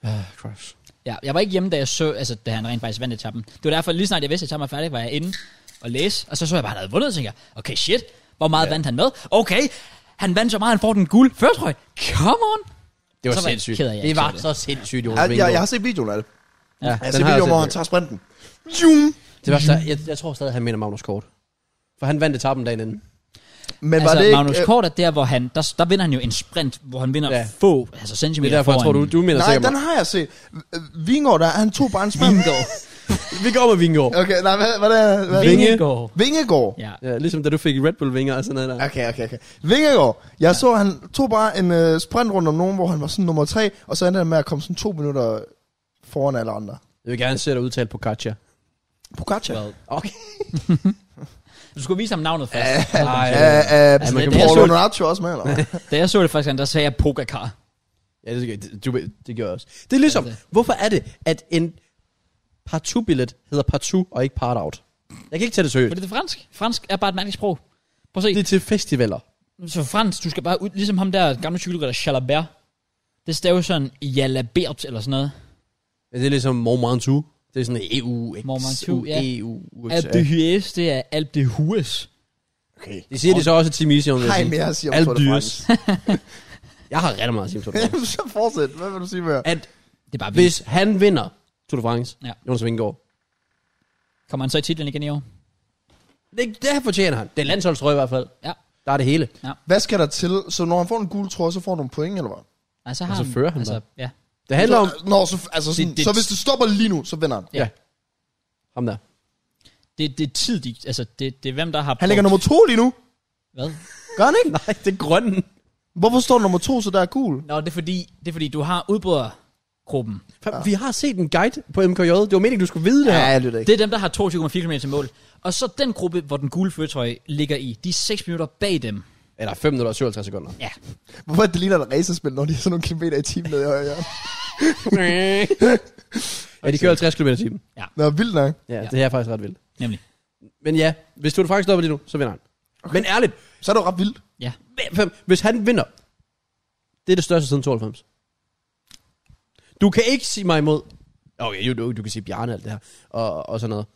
Speaker 1: Ah,
Speaker 4: Uh, crush.
Speaker 1: Ja, jeg var ikke hjemme, da jeg så, altså da han rent faktisk vandt etappen. Det var derfor, lige snart jeg vidste, at etappen var færdig, var jeg inde og læse. Og så så jeg bare, at han havde vundet, og tænkte jeg, okay shit, hvor meget ja. vandt han med? Okay, han vandt så meget, han får den guld førtrøj. Come on!
Speaker 4: Det var
Speaker 1: Så var jeg
Speaker 4: sindssygt.
Speaker 1: ked af, at jeg
Speaker 4: det
Speaker 1: ikke
Speaker 4: var
Speaker 1: så det.
Speaker 4: så sindssygt, Jonas
Speaker 3: Jeg, jeg, jeg
Speaker 4: Vingegaard. Altså,
Speaker 3: har set videoen af det.
Speaker 1: Ja,
Speaker 3: Jeg har
Speaker 4: den
Speaker 3: set
Speaker 4: har jeg
Speaker 3: videoen,
Speaker 4: set
Speaker 3: hvor han
Speaker 4: med.
Speaker 3: tager sprinten. Jum!
Speaker 4: Det var, jeg, jeg tror stadig, han minder Magnus Kort. For han vandt etappen dagen inden.
Speaker 3: Men
Speaker 1: Men
Speaker 3: var
Speaker 1: altså,
Speaker 3: det ikke...
Speaker 1: Magnus
Speaker 3: øh,
Speaker 1: Kort er der, hvor han, der, der vinder han jo en sprint, hvor han vinder ja.
Speaker 4: Ja.
Speaker 1: få altså
Speaker 4: Det
Speaker 1: centimeter
Speaker 4: er derfor, jeg
Speaker 1: foran.
Speaker 4: tror, du, du mener
Speaker 3: nej,
Speaker 4: sikkert
Speaker 3: den
Speaker 4: mig.
Speaker 3: har jeg set. Øh, Vingård, der, han tog bare en smag. Vingård.
Speaker 4: Vi går med Vingård.
Speaker 3: Okay, nej, hvad, hvad er hvad?
Speaker 4: Vinge.
Speaker 1: Vingegaard.
Speaker 3: Vingegård.
Speaker 1: Ja.
Speaker 4: Ja, ligesom da du fik Red Bull-vinger og sådan noget der.
Speaker 3: Okay, okay, okay. Vingegaard. Jeg ja. så, han tog bare en øh, sprint rundt om nogen, hvor han var sådan nummer tre, og så endte han med at komme sådan to minutter foran alle andre.
Speaker 4: Jeg vil gerne se dig udtale Pocaccia.
Speaker 3: Pogacar.
Speaker 1: Well.
Speaker 4: Okay.
Speaker 1: Du skulle vise ham navnet først.
Speaker 4: Ej.
Speaker 3: Øh, øh,
Speaker 1: man kan-
Speaker 3: Paul
Speaker 1: jeg så-
Speaker 3: Leonardo også med, eller hvad?
Speaker 1: Da jeg så det første gang, der sagde jeg Pogacar.
Speaker 4: Ja, det, det, du, det gjorde jeg også. Det er ligesom,
Speaker 1: Ja, det.
Speaker 4: hvorfor er det, at en partout-billet hedder partout og ikke part-out? Jeg kan ikke tage det seriøst.
Speaker 1: Fordi det er fransk. Fransk er bare et mærkeligt sprog. Prøv at se.
Speaker 4: Det er til festivaler.
Speaker 1: Så fransk, du skal bare ud, ligesom ham der gamle cykelrytter, Jalabert. Det staves sådan Jalabert eller sådan noget.
Speaker 4: Ja, det er ligesom Mormantou. Det er sådan EU, X,
Speaker 1: Mont Ventoux,
Speaker 4: U,
Speaker 1: ja.
Speaker 4: EU, USA.
Speaker 1: Alpe de Hues, det er Alpe de Hues.
Speaker 3: Okay.
Speaker 4: Det siger de så også til Misi, om
Speaker 3: Hej, men jeg siger om Tour de France.
Speaker 4: Jeg har rigtig meget at sige om Tour de France.
Speaker 3: Jamen, så fortsæt. Hvad vil du sige mere?
Speaker 4: At
Speaker 1: Det er bare vildt.
Speaker 4: hvis han vinder Tour de France,
Speaker 1: Ja.
Speaker 4: ja. Jonas Vingegaard,
Speaker 1: Kommer han så i titlen igen i år?
Speaker 4: det, det fortjener han. Det er landsholdstrøje i hvert fald.
Speaker 1: Ja.
Speaker 4: Der er det hele.
Speaker 3: Hvad skal der til? Så når han får en gul trøje, så får du nogle point, eller hvad?
Speaker 1: Nej, så har
Speaker 4: Og så fører han
Speaker 1: altså,
Speaker 4: bare.
Speaker 1: ja.
Speaker 4: Det handler om...
Speaker 3: Så, når, så, altså sådan,
Speaker 1: Det- det-
Speaker 3: så hvis det stopper lige nu, så vinder han.
Speaker 1: Ja.
Speaker 4: Ja. Ham der.
Speaker 1: Det, det er tid, de, altså det, det er hvem, der har...
Speaker 3: Han ligger
Speaker 1: brugt-
Speaker 3: nummer to lige nu.
Speaker 1: Hvad?
Speaker 3: Gør han ikke?
Speaker 4: Nej, det er grønne.
Speaker 3: Hvorfor står nummer to, så der er gul?
Speaker 1: Nå, det er fordi, det er fordi du har udbrydergruppen.
Speaker 4: Ja. Vi har set en guide på MKJ. Det var meningen, du skulle vide det her.
Speaker 3: Ja, jeg lytter ikke.
Speaker 1: Det er dem, der har 22,4 km til mål. Og så den gruppe, hvor den gule førtrøje ligger i, de er 6 minutter bag dem.
Speaker 4: Eller 5 minutter og 57 sekunder.
Speaker 1: Ja.
Speaker 3: Hvorfor er det ligner et racerspil, når de er sådan nogle kilometer i timen nede i højre hjørne?
Speaker 4: ja, de kører 50 km i timen.
Speaker 3: Nå, vildt nok.
Speaker 4: Ja,
Speaker 1: Ja.
Speaker 4: det her er faktisk ret vildt.
Speaker 1: Nemlig.
Speaker 4: Men ja, hvis du faktisk stopper lige nu, så vinder han. Okay. Men ærligt,
Speaker 3: Så er det jo ret vildt.
Speaker 1: Ja.
Speaker 4: hvis han vinder, det er det største siden 92. Du kan ikke sige mig imod. Okay, jo, du, du kan sige Bjarne og alt det her, og, og sådan noget.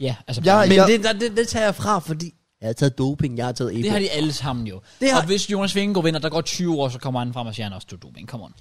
Speaker 1: Ja, altså...
Speaker 3: Jeg,
Speaker 4: Men
Speaker 3: jeg,
Speaker 4: det, der- det, det, tager jeg fra, fordi jeg har taget doping, jeg har taget EPO.
Speaker 1: Det har de alle sammen jo. Det
Speaker 4: Det
Speaker 1: har...
Speaker 4: har-
Speaker 1: Og hvis Jonas Vingegaard vinder, der går 20 år, så kommer han frem og siger, han er også tog doping. Come on.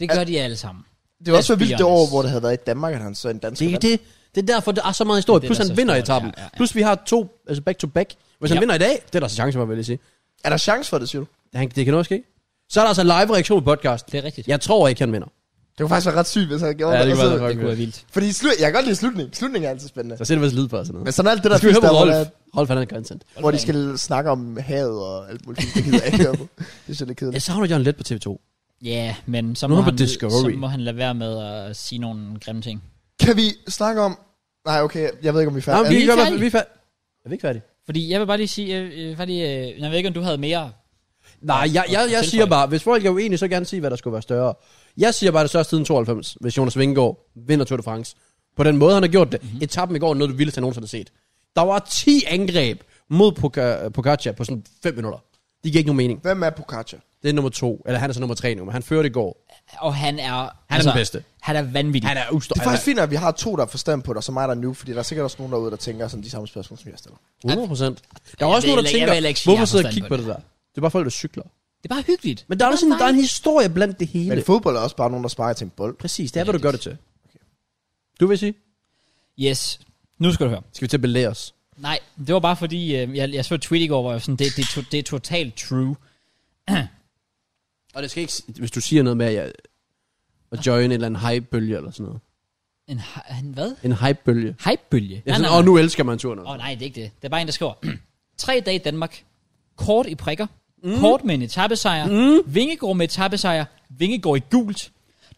Speaker 1: Det gør de alle sammen.
Speaker 3: det var også
Speaker 1: Let's be
Speaker 3: vildt det
Speaker 1: honest.
Speaker 3: år, hvor det havde været i Danmark, at han så en dansk
Speaker 4: Det er det. Det er derfor, der er så meget historie.
Speaker 1: Det er
Speaker 4: Plus
Speaker 1: der så
Speaker 4: han vinder i
Speaker 1: stort, ja,
Speaker 4: etappen.
Speaker 1: ja, ja.
Speaker 4: Plus vi har to, altså back to back. Hvis
Speaker 1: Ja.
Speaker 4: han vinder i dag, det er der så chance for, vil jeg sige.
Speaker 3: Er der chance for det, siger du?
Speaker 4: Han, det kan også ske. Så er der altså live reaktion på podcast.
Speaker 1: Det er rigtigt.
Speaker 4: Jeg tror ikke, han vinder.
Speaker 3: Det kunne faktisk være ret sygt, hvis han gjorde
Speaker 4: Ja,
Speaker 3: det.
Speaker 4: det kunne
Speaker 3: Altså,
Speaker 4: være
Speaker 1: Det kunne være vildt.
Speaker 3: fordi slu- jeg kan godt lide slutningen. Slutningen er altid spændende.
Speaker 4: Så ser det vist lyd på og sådan noget.
Speaker 3: Men sådan alt det
Speaker 4: Så
Speaker 3: der
Speaker 4: skal vi
Speaker 3: fisk,
Speaker 4: høre
Speaker 3: der,
Speaker 4: på
Speaker 3: hvor,
Speaker 4: Rolf.
Speaker 3: der-
Speaker 4: Rolf, han er content.
Speaker 3: hvor de skal snakke om havet og alt muligt. Det gider jeg ikke høre på. Det synes jeg er lidt
Speaker 4: Jeg
Speaker 3: kedeligt.
Speaker 4: savner Jørgen Let på TV2.
Speaker 1: Ja, yeah, men så
Speaker 4: Nu
Speaker 1: må,
Speaker 4: er han på
Speaker 1: han,
Speaker 4: Discovery.
Speaker 1: så må han lade være med at sige nogle grimme ting.
Speaker 3: Kan vi snakke om... Nej, okay, jeg ved ikke, om vi
Speaker 4: Nå,
Speaker 3: er færdige.
Speaker 4: men vi,
Speaker 1: ikke
Speaker 4: vi, vi,
Speaker 1: færdige?
Speaker 4: vi er færdige. Er vi ikke færdige?
Speaker 1: Fordi jeg vil bare lige sige, øh, øh, bare lige, øh, jeg ved ikke, om du havde mere.
Speaker 4: Nej, jeg, jeg, jeg
Speaker 1: Tilføj.
Speaker 4: siger bare, hvis folk er uenige, så gerne sige, hvad der skulle være større. Jeg siger bare, det er størst siden 92, hvis Jonas Vingegaard vinder Tour de France. På den måde, han har gjort det.
Speaker 1: Mhm.
Speaker 4: Mm-hmm. Etappen i går er noget, du vildeste, jeg nogensinde har set. Der var 10 angreb mod Poga- Pogacar på sådan 5 minutter. Det giver ikke nogen mening.
Speaker 3: Hvem er Pogacar?
Speaker 4: Det er nummer to. Eller han er så nummer tre nu, men han førte i går.
Speaker 1: Og han er... Han
Speaker 4: den bedste.
Speaker 1: Han er vanvittig.
Speaker 4: Han er ustå.
Speaker 3: Det er faktisk fint, at vi har to, der har forstand på det, og så mig, der er nu, fordi der er sikkert også nogen derude, der tænker sådan de samme spørgsmål, som jeg stiller.
Speaker 4: 100 procent. Der
Speaker 1: Jeg
Speaker 4: er også
Speaker 1: vil
Speaker 4: nogen, der
Speaker 1: ikke- jeg vil
Speaker 4: tænker,
Speaker 1: ikke sige, jeg
Speaker 4: hvorfor
Speaker 1: har
Speaker 4: sidder jeg og
Speaker 1: forstand
Speaker 4: kigger
Speaker 1: på
Speaker 4: på det der? Det er bare folk, der cykler.
Speaker 1: Det er bare hyggeligt.
Speaker 4: Men der er,
Speaker 1: Det
Speaker 4: også en, der er en
Speaker 1: dejligt.
Speaker 4: historie blandt det hele.
Speaker 3: Men fodbold er også bare nogen, der sparer til en bold.
Speaker 4: Præcis, det er, hvad du gør det til. Du vil sige?
Speaker 1: Yes. Nu skal du høre.
Speaker 4: Skal vi til at belære os?
Speaker 1: Nej, det var bare fordi, øh, jeg, jeg så et tweet i går, hvor jeg var sådan, det, det, er to, det er totalt true.
Speaker 4: Og det skal ikke... s- Hvis du siger noget med, at, jeg, at join en eller anden hypebølge eller sådan noget.
Speaker 1: En, hy- han hvad?
Speaker 4: En hypebølge.
Speaker 1: Hypebølge?
Speaker 4: Ja, sådan, og nu elsker man turen.
Speaker 1: Åh oh, nej, det er ikke det. Det er bare en, der skriver. Tre dage i Danmark. Kort i prikker. Mm. Kort med en etappesejr. Mm. Vingegård med etappesejr. Vingegård i gult.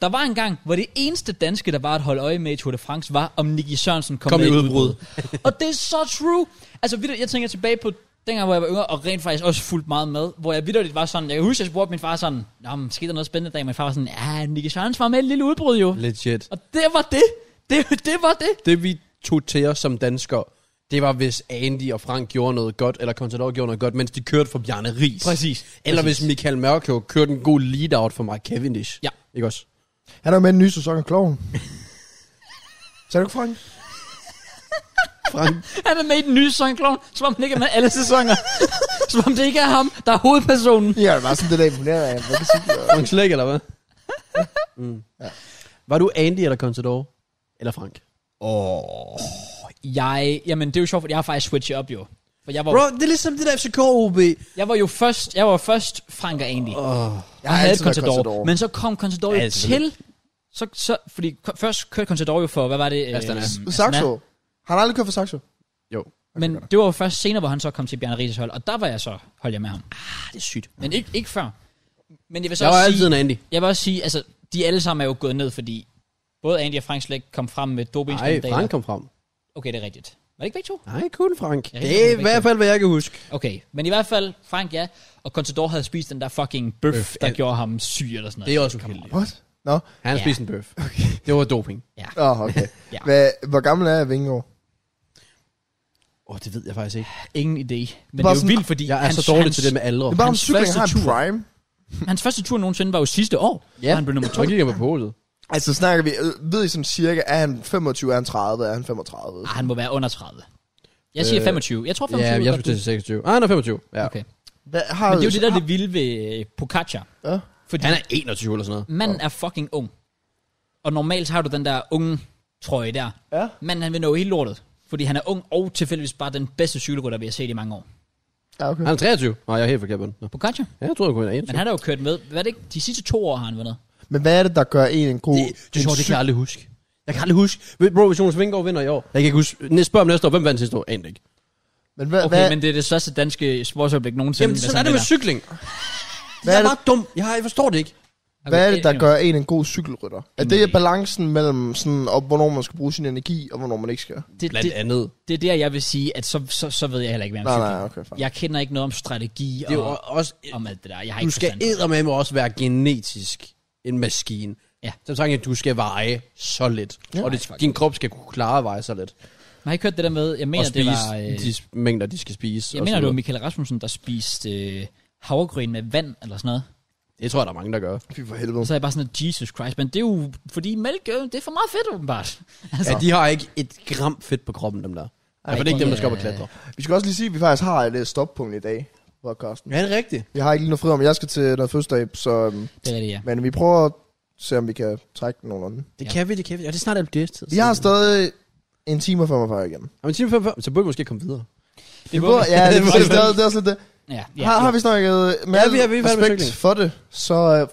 Speaker 1: Der var en gang, hvor det eneste danske, der var at holde øje med i Tour de France, var, om Nicky Sørensen kom,
Speaker 4: Kom
Speaker 1: med
Speaker 4: i
Speaker 1: i
Speaker 4: udbrud.
Speaker 1: udbrud. og det er så true. Altså, ved du, jeg tænker tilbage på dengang, hvor jeg var yngre, og rent faktisk også fulgt meget med, hvor jeg vidderligt var sådan, jeg kan huske, jeg spurgte min far sådan, Nå, men skete der noget spændende i dag? Min far var sådan, ja, Nicky Sørensen var med i et lille udbrud jo.
Speaker 4: Legit.
Speaker 1: Og det var det. Det, det var det.
Speaker 4: Det vi tog til os som danskere, det var hvis Andy og Frank gjorde noget godt, eller Contador gjorde noget godt, mens de kørte for Bjarne Ries.
Speaker 1: Præcis.
Speaker 4: Eller
Speaker 1: Præcis.
Speaker 4: hvis Michael Mørkøv kørte en god lead-out for Mark Cavendish.
Speaker 1: Ja.
Speaker 4: Ikke også?
Speaker 3: Han er jo med i en ny sæson af Kloven. Så er du Frank?
Speaker 4: Frank,
Speaker 1: Han er med i den nye sæson, Kloven, som om han ikke er med alle sæsoner. som om det ikke er ham, der er hovedpersonen.
Speaker 3: Ja, det er bare sådan det der imponerende af. Hvad kan sige, det?
Speaker 4: Frank Slæk, eller hvad? Mm. Var du Andy eller Contador? Eller Frank?
Speaker 1: Åh, oh, Jeg, jamen det er jo sjovt, for jeg har faktisk switchet op jo. For jeg var,
Speaker 4: Bro, det er ligesom det der FCK-OB.
Speaker 1: jeg var jo først, jeg var først Franker egentlig.
Speaker 4: Oh.
Speaker 1: Jeg havde
Speaker 3: altid været
Speaker 1: Contador,
Speaker 3: Contador.
Speaker 1: men så kom Contador
Speaker 4: Ja,
Speaker 1: jo til,
Speaker 4: selvfølgelig.
Speaker 1: så, så, fordi ko- først kørte Contador jo for, hvad var det? øh,
Speaker 4: Astana.
Speaker 3: Saxo. Har han aldrig kørt for Saxo?
Speaker 4: Jo.
Speaker 1: Men det var jo først senere, hvor han så kom til Bjarne Rises hold, og der var jeg så, holdt jeg med ham. Ah, det er sygt. Men ikke, ikke før. Men jeg vil så
Speaker 4: Jeg var
Speaker 1: også sige,
Speaker 4: altid en Andy.
Speaker 1: jeg vil også sige, altså, de alle sammen er jo gået ned, fordi både Andy og Frank slet ikke kom frem med
Speaker 4: Nej,
Speaker 1: dopingskandaler.
Speaker 4: Frank kom frem.
Speaker 1: Okay, det er rigtigt. Var det ikke begge to?
Speaker 4: Nej, kun Frank.
Speaker 1: Ja,
Speaker 4: Det er i
Speaker 1: rigtig.
Speaker 4: hvert fald, hvad jeg kan huske.
Speaker 1: Okay, men i hvert fald, Frank ja, og Contador havde spist den der fucking bøf,
Speaker 4: Bøf,
Speaker 1: der
Speaker 4: ja.
Speaker 1: gjorde ham syg eller sådan noget.
Speaker 4: Det er også uheldigt.
Speaker 3: What? Nå,
Speaker 4: Han
Speaker 1: Ja.
Speaker 4: spiste en bøf. Det var doping.
Speaker 3: no. oh, okay.
Speaker 1: Ja.
Speaker 3: Hvad, hvor gammel er Vingegaard?
Speaker 4: Åh, oh, det ved jeg faktisk ikke.
Speaker 1: Ingen idé. Men det
Speaker 3: Bare
Speaker 1: er jo
Speaker 3: sådan-
Speaker 1: vildt, fordi
Speaker 4: Jeg er
Speaker 1: hans,
Speaker 4: så dårlig
Speaker 1: hans,
Speaker 4: til det med aldre.
Speaker 3: Det er bare om
Speaker 1: hans
Speaker 3: cykling
Speaker 1: første
Speaker 3: har en
Speaker 1: tur.
Speaker 3: prime.
Speaker 1: Hans første tur nogensinde var jo sidste år,
Speaker 4: Ja.
Speaker 1: ja. han blev nummer
Speaker 4: Så
Speaker 1: to.
Speaker 4: gik jeg på polet.
Speaker 3: Altså snakker vi, øh, ved I sådan cirka, er han 25, er han 30, er han 35?
Speaker 1: Ah, han må være under 30. Jeg siger
Speaker 4: Øh,
Speaker 1: 25. Jeg tror 25
Speaker 4: Ja,
Speaker 1: er
Speaker 4: jeg
Speaker 1: godt
Speaker 4: skulle til 26. Ah, han er 25. Ja.
Speaker 1: Okay.
Speaker 3: Hvad, har,
Speaker 1: Men det er jo det, der er det vilde ved øh, Pocaccia.
Speaker 3: Ja.
Speaker 1: Fordi
Speaker 4: Han er 21 eller sådan noget.
Speaker 1: manden er fucking ung. Og normalt har du den der unge trøje der.
Speaker 3: Ja.
Speaker 1: Manden han vil nå hele lortet. Fordi han er ung og tilfældigvis bare den bedste cykelrytter, vi har set i mange år.
Speaker 3: Ja, okay.
Speaker 4: Han er 23. Nej, jeg er helt forkert på den. Nå.
Speaker 1: Pocaccia.
Speaker 4: Ja, jeg tror, han kunne være 21.
Speaker 1: Men han har jo kørt med. Hvad er det ikke? De sidste to år har han vundet.
Speaker 3: Men hvad er det, der gør en en god...
Speaker 4: Det, det, det, det kan jeg aldrig huske. Jeg kan aldrig huske. Ved- Bro, hvis Jonas Vingegaard vinder i år. Jeg kan ikke huske. Næ- Spørg om næste år, hvem vandt sidste år? Andet ikke.
Speaker 3: Men hvad,
Speaker 1: Okay,
Speaker 3: hvad,
Speaker 1: men det er det største danske sportsøjeblik nogensinde.
Speaker 4: Jamen,
Speaker 1: hvis
Speaker 4: sådan
Speaker 1: han
Speaker 4: er det med
Speaker 1: vinder.
Speaker 4: cykling.
Speaker 3: Hvad
Speaker 4: Jeg
Speaker 3: er
Speaker 4: er
Speaker 3: det-
Speaker 4: bare dum. Jeg, har- jeg forstår det ikke.
Speaker 3: hvad er det, der
Speaker 1: Okay,
Speaker 3: gør en en god cykelrytter? Er det balancen mellem sådan, og hvornår man skal bruge sin energi, og hvornår man ikke skal?
Speaker 1: Det,
Speaker 4: Blandt
Speaker 1: det,
Speaker 4: andet.
Speaker 1: det er der, jeg vil sige, at så, så, så ved jeg heller ikke mere om
Speaker 3: Nej,
Speaker 1: cykling.
Speaker 3: nej, okay, fair.
Speaker 1: Jeg kender ikke noget om strategi
Speaker 4: Det er jo
Speaker 1: og,
Speaker 4: også...
Speaker 1: om alt det der. Jeg har
Speaker 4: Du
Speaker 1: ikke
Speaker 4: skal
Speaker 1: forstand på det.
Speaker 4: eddermame også være genetisk en maskine.
Speaker 1: Ja.
Speaker 4: Som sagt, at du skal veje så lidt. Ja, og det, din krop skal kunne klare at veje så lidt.
Speaker 1: Man har ikke hørt det der med, jeg mener,
Speaker 4: og spise
Speaker 1: det var... Øh,
Speaker 4: de s- mængder, de skal spise.
Speaker 1: jeg
Speaker 4: og
Speaker 1: mener, det
Speaker 4: så
Speaker 1: var
Speaker 4: videre.
Speaker 1: Michael Rasmussen, der spiste øh, havregryn med vand eller sådan noget.
Speaker 4: Det tror jeg, der er mange, der gør.
Speaker 3: Fy for helvede.
Speaker 1: Og så er jeg bare sådan, at Jesus Christ, men det er jo, fordi mælk, øh, det er for meget fedt åbenbart.
Speaker 4: Ja, de har ikke et gram fedt på kroppen, dem der. Ej, for det er ikke dem, der skal op og klatre.
Speaker 3: Vi skal også lige sige, at vi faktisk har et øh, stoppunkt i dag, podcasten.
Speaker 4: Ja, det er rigtigt.
Speaker 3: Jeg har ikke lige noget frirum, jeg skal til noget fødselsdag, så... øhm,
Speaker 1: Det er det, ja.
Speaker 3: Men vi prøver at se, om vi kan trække den nogenlunde.
Speaker 4: Det
Speaker 1: Ja.
Speaker 4: kan vi, det kan vi. Og det er snart albedæstid.
Speaker 3: Vi har stadig en time og 45 igen.
Speaker 4: Om en time før, før, så burde vi måske komme videre.
Speaker 3: Det burde, ja, det,
Speaker 4: Det
Speaker 3: er
Speaker 4: burde
Speaker 3: præcis,
Speaker 4: vi.
Speaker 3: det, er- det er også lidt det.
Speaker 1: ja, ja
Speaker 3: Ja, har, har vi snakket med
Speaker 4: Ja,
Speaker 3: ja,
Speaker 4: vi er- vi
Speaker 3: vi
Speaker 4: er færdige med
Speaker 3: respekt
Speaker 4: cykling.
Speaker 3: for det, så øh,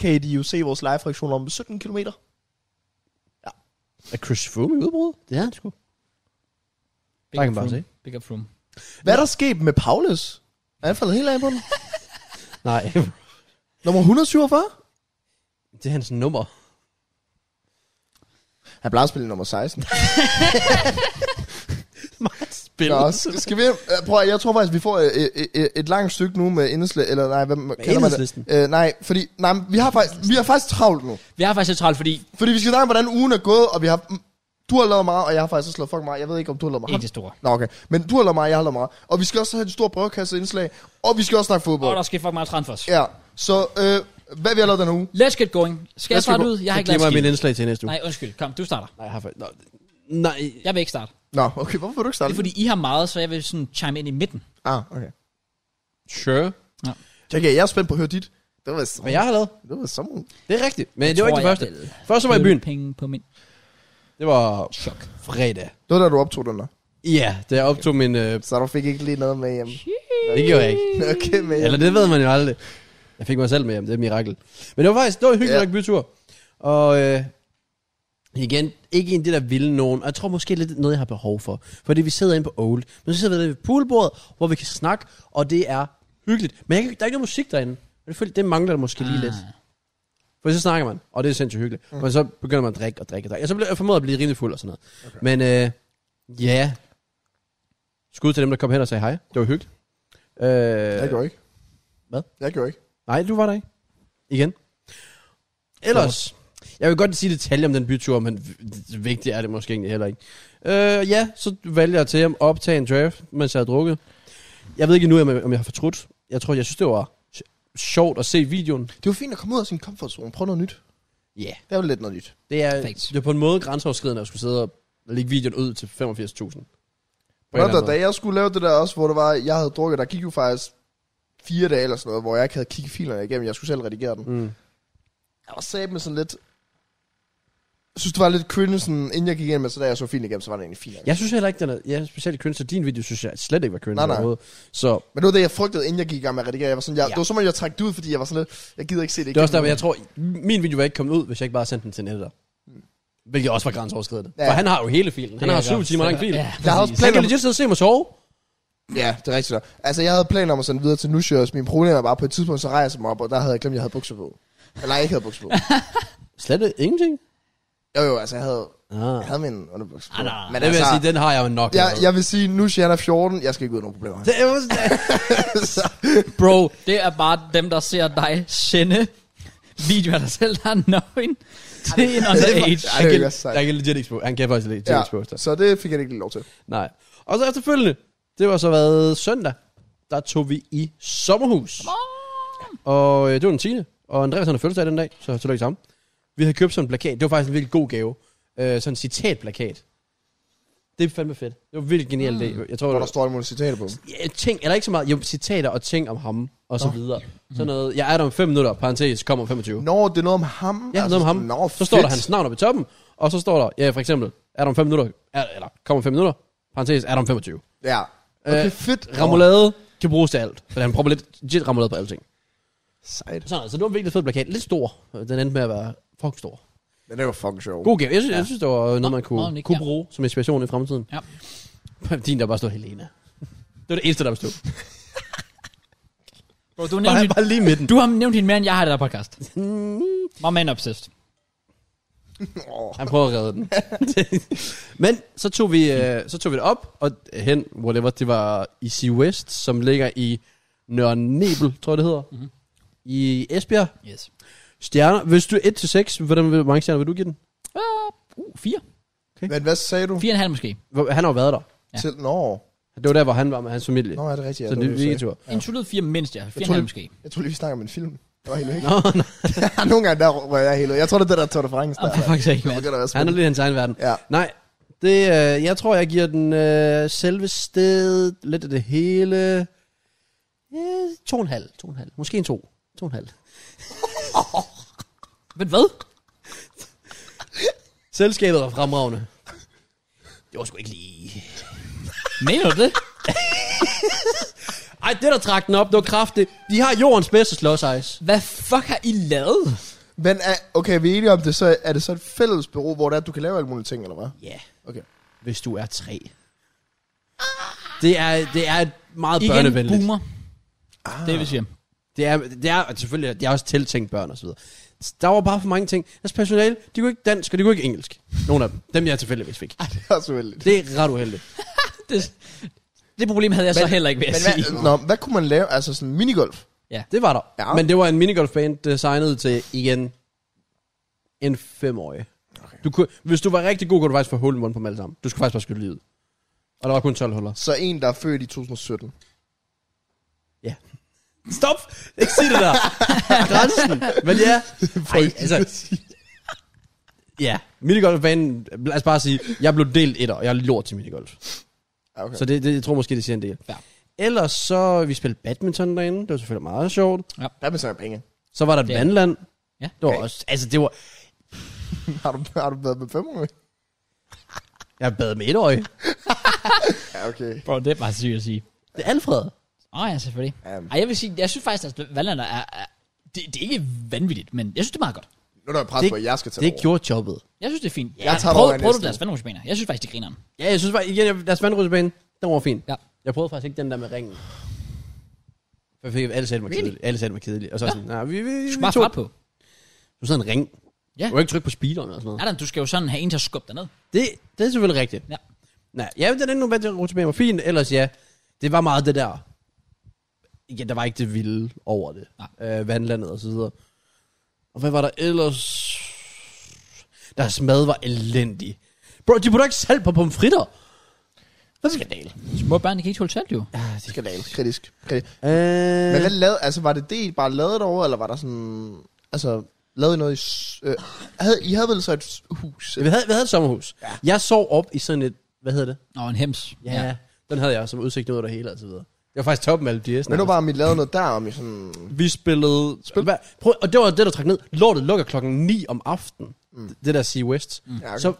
Speaker 3: kan I jo se vores live-reaktion om 17 km.
Speaker 4: Er Chris Froome i udbrud? Det er han sgu.
Speaker 1: Big
Speaker 4: Der
Speaker 1: up
Speaker 4: kan man bare
Speaker 1: Froome. Big up Froome.
Speaker 3: Hvad er der sket med Paulus? Er han faldet helt af på den?
Speaker 4: Nej,
Speaker 3: Nummer 147?
Speaker 4: det er hans nummer.
Speaker 3: Han plejer at spille nummer 16.
Speaker 4: Meget
Speaker 3: Nå,
Speaker 4: spillet.
Speaker 3: s- skal vi, øh, prøv at- jeg tror faktisk, vi får øh, øh, øh, et langt stykke nu med indslag, eller nej, hvad kalder man det?
Speaker 4: Enhedslisten.
Speaker 3: Øh, nej, fordi, nej, men vi har, faktisk, vi har faktisk travlt nu.
Speaker 1: Vi har faktisk lidt travlt, fordi
Speaker 3: Fordi vi skal snakke om, hvordan ugen er gået, og vi har... mm, Du har lavet meget, og jeg har faktisk også lavet fucking meget. Jeg ved ikke, om du har lavet
Speaker 1: ikke
Speaker 3: meget.
Speaker 1: det store.
Speaker 3: Nå, okay. Men du har lavet meget, jeg har lavet meget. Og vi skal også have et stort brødkasseindslag, og vi skal også snakke
Speaker 1: Og
Speaker 3: fodbold.
Speaker 1: der sker fucking meget træn for os.
Speaker 3: Ja, så øh, hvad vi har lavet den her uge?
Speaker 1: Let's get going. Skal jeg
Speaker 3: Let's get
Speaker 1: starte
Speaker 3: go-
Speaker 1: ud? Jeg har
Speaker 4: Jeg
Speaker 1: ikke
Speaker 4: glemmer
Speaker 1: lavet
Speaker 4: mit
Speaker 1: skidt.
Speaker 4: indslag til næste uge.
Speaker 1: Nej, undskyld. Kom, du starter.
Speaker 4: Nej, jeg har faktisk... Nå, Nej,
Speaker 1: Jeg vil ikke starte.
Speaker 3: Nå, okay, hvorfor vil du ikke
Speaker 1: Det
Speaker 3: starte?
Speaker 1: er fordi, I har meget, så jeg vil sådan chime ind i midten.
Speaker 3: Ah, okay.
Speaker 4: sure.
Speaker 3: Okay, jeg er spændt på at høre dit. Det var,
Speaker 4: Hvad jeg har lavet?
Speaker 3: det var som
Speaker 4: Det er rigtigt. Men det var ikke det første. Først så var jeg i byen.
Speaker 1: Penge på min
Speaker 4: Det var
Speaker 1: chok.
Speaker 4: fredag.
Speaker 3: Det var da du optog den der.
Speaker 4: Ja, da jeg optog min... Øh,
Speaker 3: Så du fik ikke lige noget med hjem.
Speaker 4: det gjorde jeg ikke.
Speaker 3: Okay, med
Speaker 4: Eller
Speaker 3: hjem.
Speaker 4: det ved man jo aldrig. Jeg fik mig selv med hjem, det er et mirakel. Men det var faktisk, det var en hyggelig
Speaker 3: Ja.
Speaker 4: yeah. nok bytur. Og øh, igen, ikke en det der ville nogen. Og jeg tror måske lidt noget, jeg har behov for. Fordi vi sidder inde på Old. Men så sidder vi der ved poolbordet, hvor vi kan snakke, og det er hyggeligt. Men jeg kan, der er ikke noget musik derinde. Og det, føler- det mangler der måske lige
Speaker 1: Ah.
Speaker 4: lidt. For så snakker man, og det er sindssygt hyggeligt. Mm. Men så begynder man at drikke og drikke og drikke. Og så bliver jeg formodet at blive rimelig fuld og sådan noget. Okay. Men øh, ja, skud til dem, der kom hen og sagde hej. Det var hyggeligt. Øh,
Speaker 3: Jeg gjorde ikke.
Speaker 4: Hvad?
Speaker 3: Jeg gjorde ikke.
Speaker 4: Nej, du var der ikke. Igen. Ellers, jeg vil godt sige detaljer om den bytur, men v- vigtigt er det måske egentlig heller ikke. Øh, ja, så valgte jeg til at optage en draft, mens jeg havde drukket. Jeg ved ikke nu, om jeg- om jeg har fortrudt. Jeg tror, jeg synes, det var sj- sjovt at se videoen.
Speaker 3: Det var fint at komme ud af sin comfort zone. Prøv noget nyt.
Speaker 4: Ja, yeah.
Speaker 3: Det er jo lidt noget nyt.
Speaker 4: det, er,
Speaker 1: Perfekt.
Speaker 4: det er på en måde grænseoverskridende at skulle sidde og lægge videoen ud til 85.000. På en eller anden
Speaker 3: Brother,
Speaker 4: måde.
Speaker 3: da jeg skulle lave det der også, hvor det var, jeg havde drukket, der gik jo faktisk fire dage eller sådan noget, hvor jeg ikke havde kigget filerne igennem, jeg skulle selv redigere den.
Speaker 4: Mm.
Speaker 3: Jeg var sat med sådan lidt synes, det var lidt cringe, sådan, inden jeg gik igennem, men så da jeg så fint igennem, så var det egentlig fint.
Speaker 4: Jeg synes heller ikke, den er ja, specielt cringe, så din video synes jeg slet ikke var cringe
Speaker 3: Nej, nej.
Speaker 4: overhovedet. Så
Speaker 3: Men det var det, jeg frygtede, inden jeg gik i gang med at redigere. Jeg var sådan, jeg,
Speaker 4: Ja.
Speaker 3: ja. Det var som om, jeg trak det ud, fordi jeg var sådan lidt, jeg gider ikke se det.
Speaker 4: det er også
Speaker 3: igennem.
Speaker 4: derfor, jeg tror, min video var ikke kommet ud, hvis jeg ikke bare sendte den til Nettet. Hvilket også var grænseoverskridende. Ja.
Speaker 3: Ja.
Speaker 4: For han har jo hele filen. Han
Speaker 1: Det
Speaker 4: har
Speaker 1: er
Speaker 4: syv
Speaker 1: godt.
Speaker 4: timer lang fil.
Speaker 1: Ja,
Speaker 3: Jeg har også
Speaker 1: præcis.
Speaker 4: Han
Speaker 3: planer
Speaker 4: kan
Speaker 3: om,
Speaker 4: legit sidde og se mig sove.
Speaker 3: ja, det er rigtigt. nok. Altså, jeg havde planer om at sende videre til Lucius. Min problem er bare, på et tidspunkt, så rejser jeg mig op, og der havde jeg glemt, at jeg havde bukser på. Eller nej, jeg ikke havde bukser på.
Speaker 4: Slet ikke- ingenting.
Speaker 3: Jo, jo, altså, jeg havde,
Speaker 4: Ah.
Speaker 3: jeg havde min underbukser på.
Speaker 1: Ah, nej.
Speaker 3: Men
Speaker 4: Det vil
Speaker 3: altså,
Speaker 4: jeg sige, den har jeg jo nok.
Speaker 3: jeg,
Speaker 4: allerede.
Speaker 3: jeg vil sige, nu siger han er 14, jeg skal ikke ud af nogen problemer.
Speaker 4: Det er jo
Speaker 1: Bro, det er bare dem, der ser dig sende videoer af dig selv, der er nøgen til en underage.
Speaker 3: Ej,
Speaker 4: Han
Speaker 3: det er
Speaker 4: kan,
Speaker 3: ikke sejt.
Speaker 4: han kan legit expo- Han kan faktisk legit ja.
Speaker 3: Ja,
Speaker 4: expose dig.
Speaker 3: så det fik jeg ikke lige lov til.
Speaker 4: Nej. Og så efterfølgende, det var så været søndag, der tog vi i sommerhus. Og øh, det var den 10. Og Andreas han har fødselsdag den dag, så tillykke til ham. Vi havde købt sådan en plakat. Det var faktisk en virkelig god gave. Øh, sådan en citatplakat. Det er fandme fedt. Det var virkelig genialt det. Jeg tror,
Speaker 3: Hvor
Speaker 4: det
Speaker 3: Mm. der
Speaker 4: var,
Speaker 3: står nogle citater på dem.
Speaker 4: ja, ting, eller ikke så meget, jo, citater og ting om ham, og så videre. Sådan noget, jeg er der om 5 minutter, parentes, kommer om 25.
Speaker 3: Mm. Nå, det er noget om ham.
Speaker 4: Ja, altså, noget om ham.
Speaker 3: Nå,
Speaker 4: så står der
Speaker 3: fedt.
Speaker 4: hans navn oppe i toppen, og så står der, ja, for eksempel, er der om 5 minutter, er, eller kommer om 5 minutter, parentes, er der om 25.
Speaker 3: Ja. Okay,
Speaker 4: Øh,
Speaker 3: fedt.
Speaker 4: Ramulade kan bruges til alt, for han prøver lidt legit ramulade på alting.
Speaker 3: Sejt.
Speaker 4: Sådan, så det var en virkelig fed plakat. Lidt stor. Den endte med at være fucking stor.
Speaker 3: Men det var fucking sjovt.
Speaker 4: God gave. Jeg synes, ja. jeg synes det var noget, man
Speaker 1: meget
Speaker 4: kunne,
Speaker 1: unik,
Speaker 4: kunne
Speaker 1: ja.
Speaker 4: bruge som inspiration i fremtiden.
Speaker 1: Ja.
Speaker 4: Din, der bare stod Helena. Det var det eneste, der bestod.
Speaker 1: Bro, du, har
Speaker 4: Bare,
Speaker 1: nævnt,
Speaker 4: bare lige midten. Mm.
Speaker 1: du har nævnt hende mere, end jeg har i det der podcast. My man obsessed.
Speaker 3: Åh,
Speaker 4: Han prøver at redde den. Men så tog, vi, øh, så tog vi det op og hen, whatever, det var i Sea West, som ligger i Nørre Nebel, tror jeg det hedder. Mm-hmm. I Esbjerg.
Speaker 1: Yes.
Speaker 4: Stjerner. Hvis du er 1-6, hvordan, hvor mange stjerner vil du give den?
Speaker 1: Uh, fire.
Speaker 3: Men hvad sagde du?
Speaker 1: Fire og en halv måske.
Speaker 4: Hvor- Han har jo været der.
Speaker 1: Ja.
Speaker 3: Til, nå,
Speaker 4: Det var der, hvor han var med hans familie.
Speaker 3: nå er det rigtigt? Ja,
Speaker 4: så
Speaker 3: var
Speaker 4: det er
Speaker 3: du sagde.
Speaker 4: weekendtur.
Speaker 1: Ja. En tullet fire mindst, ja. Fire og en
Speaker 3: tror,
Speaker 1: halv
Speaker 3: det-
Speaker 1: måske.
Speaker 3: Jeg tror lige, vi snakker om en film. Det var helt ikke.
Speaker 4: Nå, nej.
Speaker 3: Nogle gange der rører jeg helt ud. Jeg tror, det er det, der tog det fra engelsk.
Speaker 1: Ah, for fuck's sake,
Speaker 3: Det
Speaker 1: man.
Speaker 3: begynder at være
Speaker 4: Han er
Speaker 3: spændende.
Speaker 4: lidt i hans egen verden.
Speaker 3: Ja.
Speaker 4: Nej, det, øh, jeg tror, jeg giver den øh, selve sted, lidt af det hele, øh, to og en halv, to og en halv. Måske en to, to og en halv.
Speaker 1: Men hvad?
Speaker 4: Selskabet var fremragende. Det var sgu ikke lige...
Speaker 1: Mener du det?
Speaker 4: Ej, det der trak den op, det var kraftigt. De har jordens bedste slåsejs.
Speaker 1: Hvad fuck har I lavet?
Speaker 3: Men er- okay, er vi enige om det, så er det så et fælles bureau, hvor det er, at du kan lave alle mulige ting, eller hvad?
Speaker 4: Ja, yeah,
Speaker 3: Okay.
Speaker 4: hvis du er tre. Det er, det er meget
Speaker 1: Igen
Speaker 4: børnevenligt.
Speaker 1: boomer. Det vil sige.
Speaker 4: Det er, det er og selvfølgelig, det er også tiltænkt børn og så videre. Der var bare for mange ting. Deres personale, de kunne ikke dansk, og de kunne ikke engelsk. Nogle af dem. Dem, jeg tilfældigvis fik.
Speaker 3: Ej, det er også uheldigt.
Speaker 4: Det er ret uheldigt.
Speaker 1: Det, det problem havde jeg så
Speaker 3: Men-
Speaker 1: heller ikke, ved
Speaker 3: Men
Speaker 1: at
Speaker 3: hvad,
Speaker 1: sige.
Speaker 3: nå, hvad kunne man lave? Altså sådan minigolf?
Speaker 4: Det var der.
Speaker 3: Ja.
Speaker 4: Men det var en minigolfbane designet til, igen, en femårig. Okay. Du kunne, hvis du var rigtig god, kunne du faktisk få hul i munden på dem alle sammen. Du skulle faktisk bare skyde livet. Og der var kun 12 huller.
Speaker 3: Så en, der er født i 2017.
Speaker 4: Ja. Stop! Ikke sig det der! Grænsen! Men ja. Ej, altså, ja, minigolfbanen, lad os bare sige, jeg blev delt etter, og jeg er lort til minigolf.
Speaker 3: Ja, Okay.
Speaker 4: Så det, det, jeg tror måske, det siger en del.
Speaker 1: Ja.
Speaker 4: Ellers så, vi spillede badminton derinde, det var selvfølgelig meget sjovt.
Speaker 3: Hvad med sådan penge?
Speaker 4: Så var der et
Speaker 1: Det-
Speaker 4: vandland.
Speaker 1: Ja.
Speaker 4: Det var
Speaker 3: Okay.
Speaker 4: også, altså det var,
Speaker 3: Har du, har du været med fem år?
Speaker 4: jeg bad med et øje.
Speaker 3: Ja, okay.
Speaker 1: Bro, det er bare sygt at sige.
Speaker 4: Det er Alfred.
Speaker 1: Åh oh, ja, selvfølgelig.
Speaker 3: Um,
Speaker 1: Ej, jeg vil sige, jeg synes faktisk, at Valanda er, er det, det, er ikke vanvittigt, men jeg synes, det er meget godt.
Speaker 3: nu er der pres på, at Altså, jeg skal tage
Speaker 4: Det gjorde jobbet.
Speaker 1: Jeg synes, det er fint.
Speaker 3: Jeg tager det over
Speaker 1: prøv,
Speaker 3: i
Speaker 1: prøv du
Speaker 3: næste
Speaker 1: deres
Speaker 3: uge.
Speaker 1: vandrumsbaner. Jeg synes faktisk, det griner.
Speaker 4: Ja, jeg synes bare, igen, jeg, deres vandrutsbane, den var fin.
Speaker 1: Ja.
Speaker 4: Jeg prøvede faktisk ikke den der med ringen. Jeg fik, alle sagde, det var
Speaker 1: Really?
Speaker 4: kedeligt. Alle sagde, det var kedeligt. Og så
Speaker 1: Nå.
Speaker 4: sådan, nej, vi, vi, vi,
Speaker 1: Du skal
Speaker 4: vi
Speaker 1: bare
Speaker 4: tog,
Speaker 1: fart på.
Speaker 4: du sad en ring.
Speaker 1: Ja.
Speaker 4: Du kan ikke trykke på speederen eller sådan noget.
Speaker 1: Adam, du skal jo sådan have en til at skubbe dig ned.
Speaker 4: Det, det er selvfølgelig rigtigt.
Speaker 1: Ja.
Speaker 4: Nej, ja, den endnu bedre rutsjebane var fin, ellers ja, det var meget det der. Ja, der var ikke det vilde over det. Øh, vandlandet og så videre. Og hvad var der ellers? Deres mad var elendig. Bro, de putter ikke salt på pomfritter. Hvad skal det?
Speaker 1: Små børn, de kan ikke holde salt, jo.
Speaker 4: Ja,
Speaker 3: Det skal lave. Kritisk. Kritisk.
Speaker 4: Øh,
Speaker 3: Men hvad lavede, altså var det det, I bare lavede derovre, eller var der sådan, altså, lavede I noget i, s- øh, havde, I havde vel så et s- hus?
Speaker 4: vi, havde, vi havde et sommerhus. Ja. Jeg sov op i sådan et, hvad hedder det?
Speaker 1: Nå, en hems.
Speaker 4: ja. Den havde jeg som udsigt ud over det hele og så videre. Det var faktisk toppen af alle de
Speaker 3: Men nu var om I lavede noget der, om I sådan,
Speaker 4: Vi spillede... Spil. Hvad? Prøv, og det var det, der trak ned. Lortet lukker klokken 9 om aftenen. Mm. Det der Sea West. Mm.
Speaker 3: Ja, okay.
Speaker 4: Så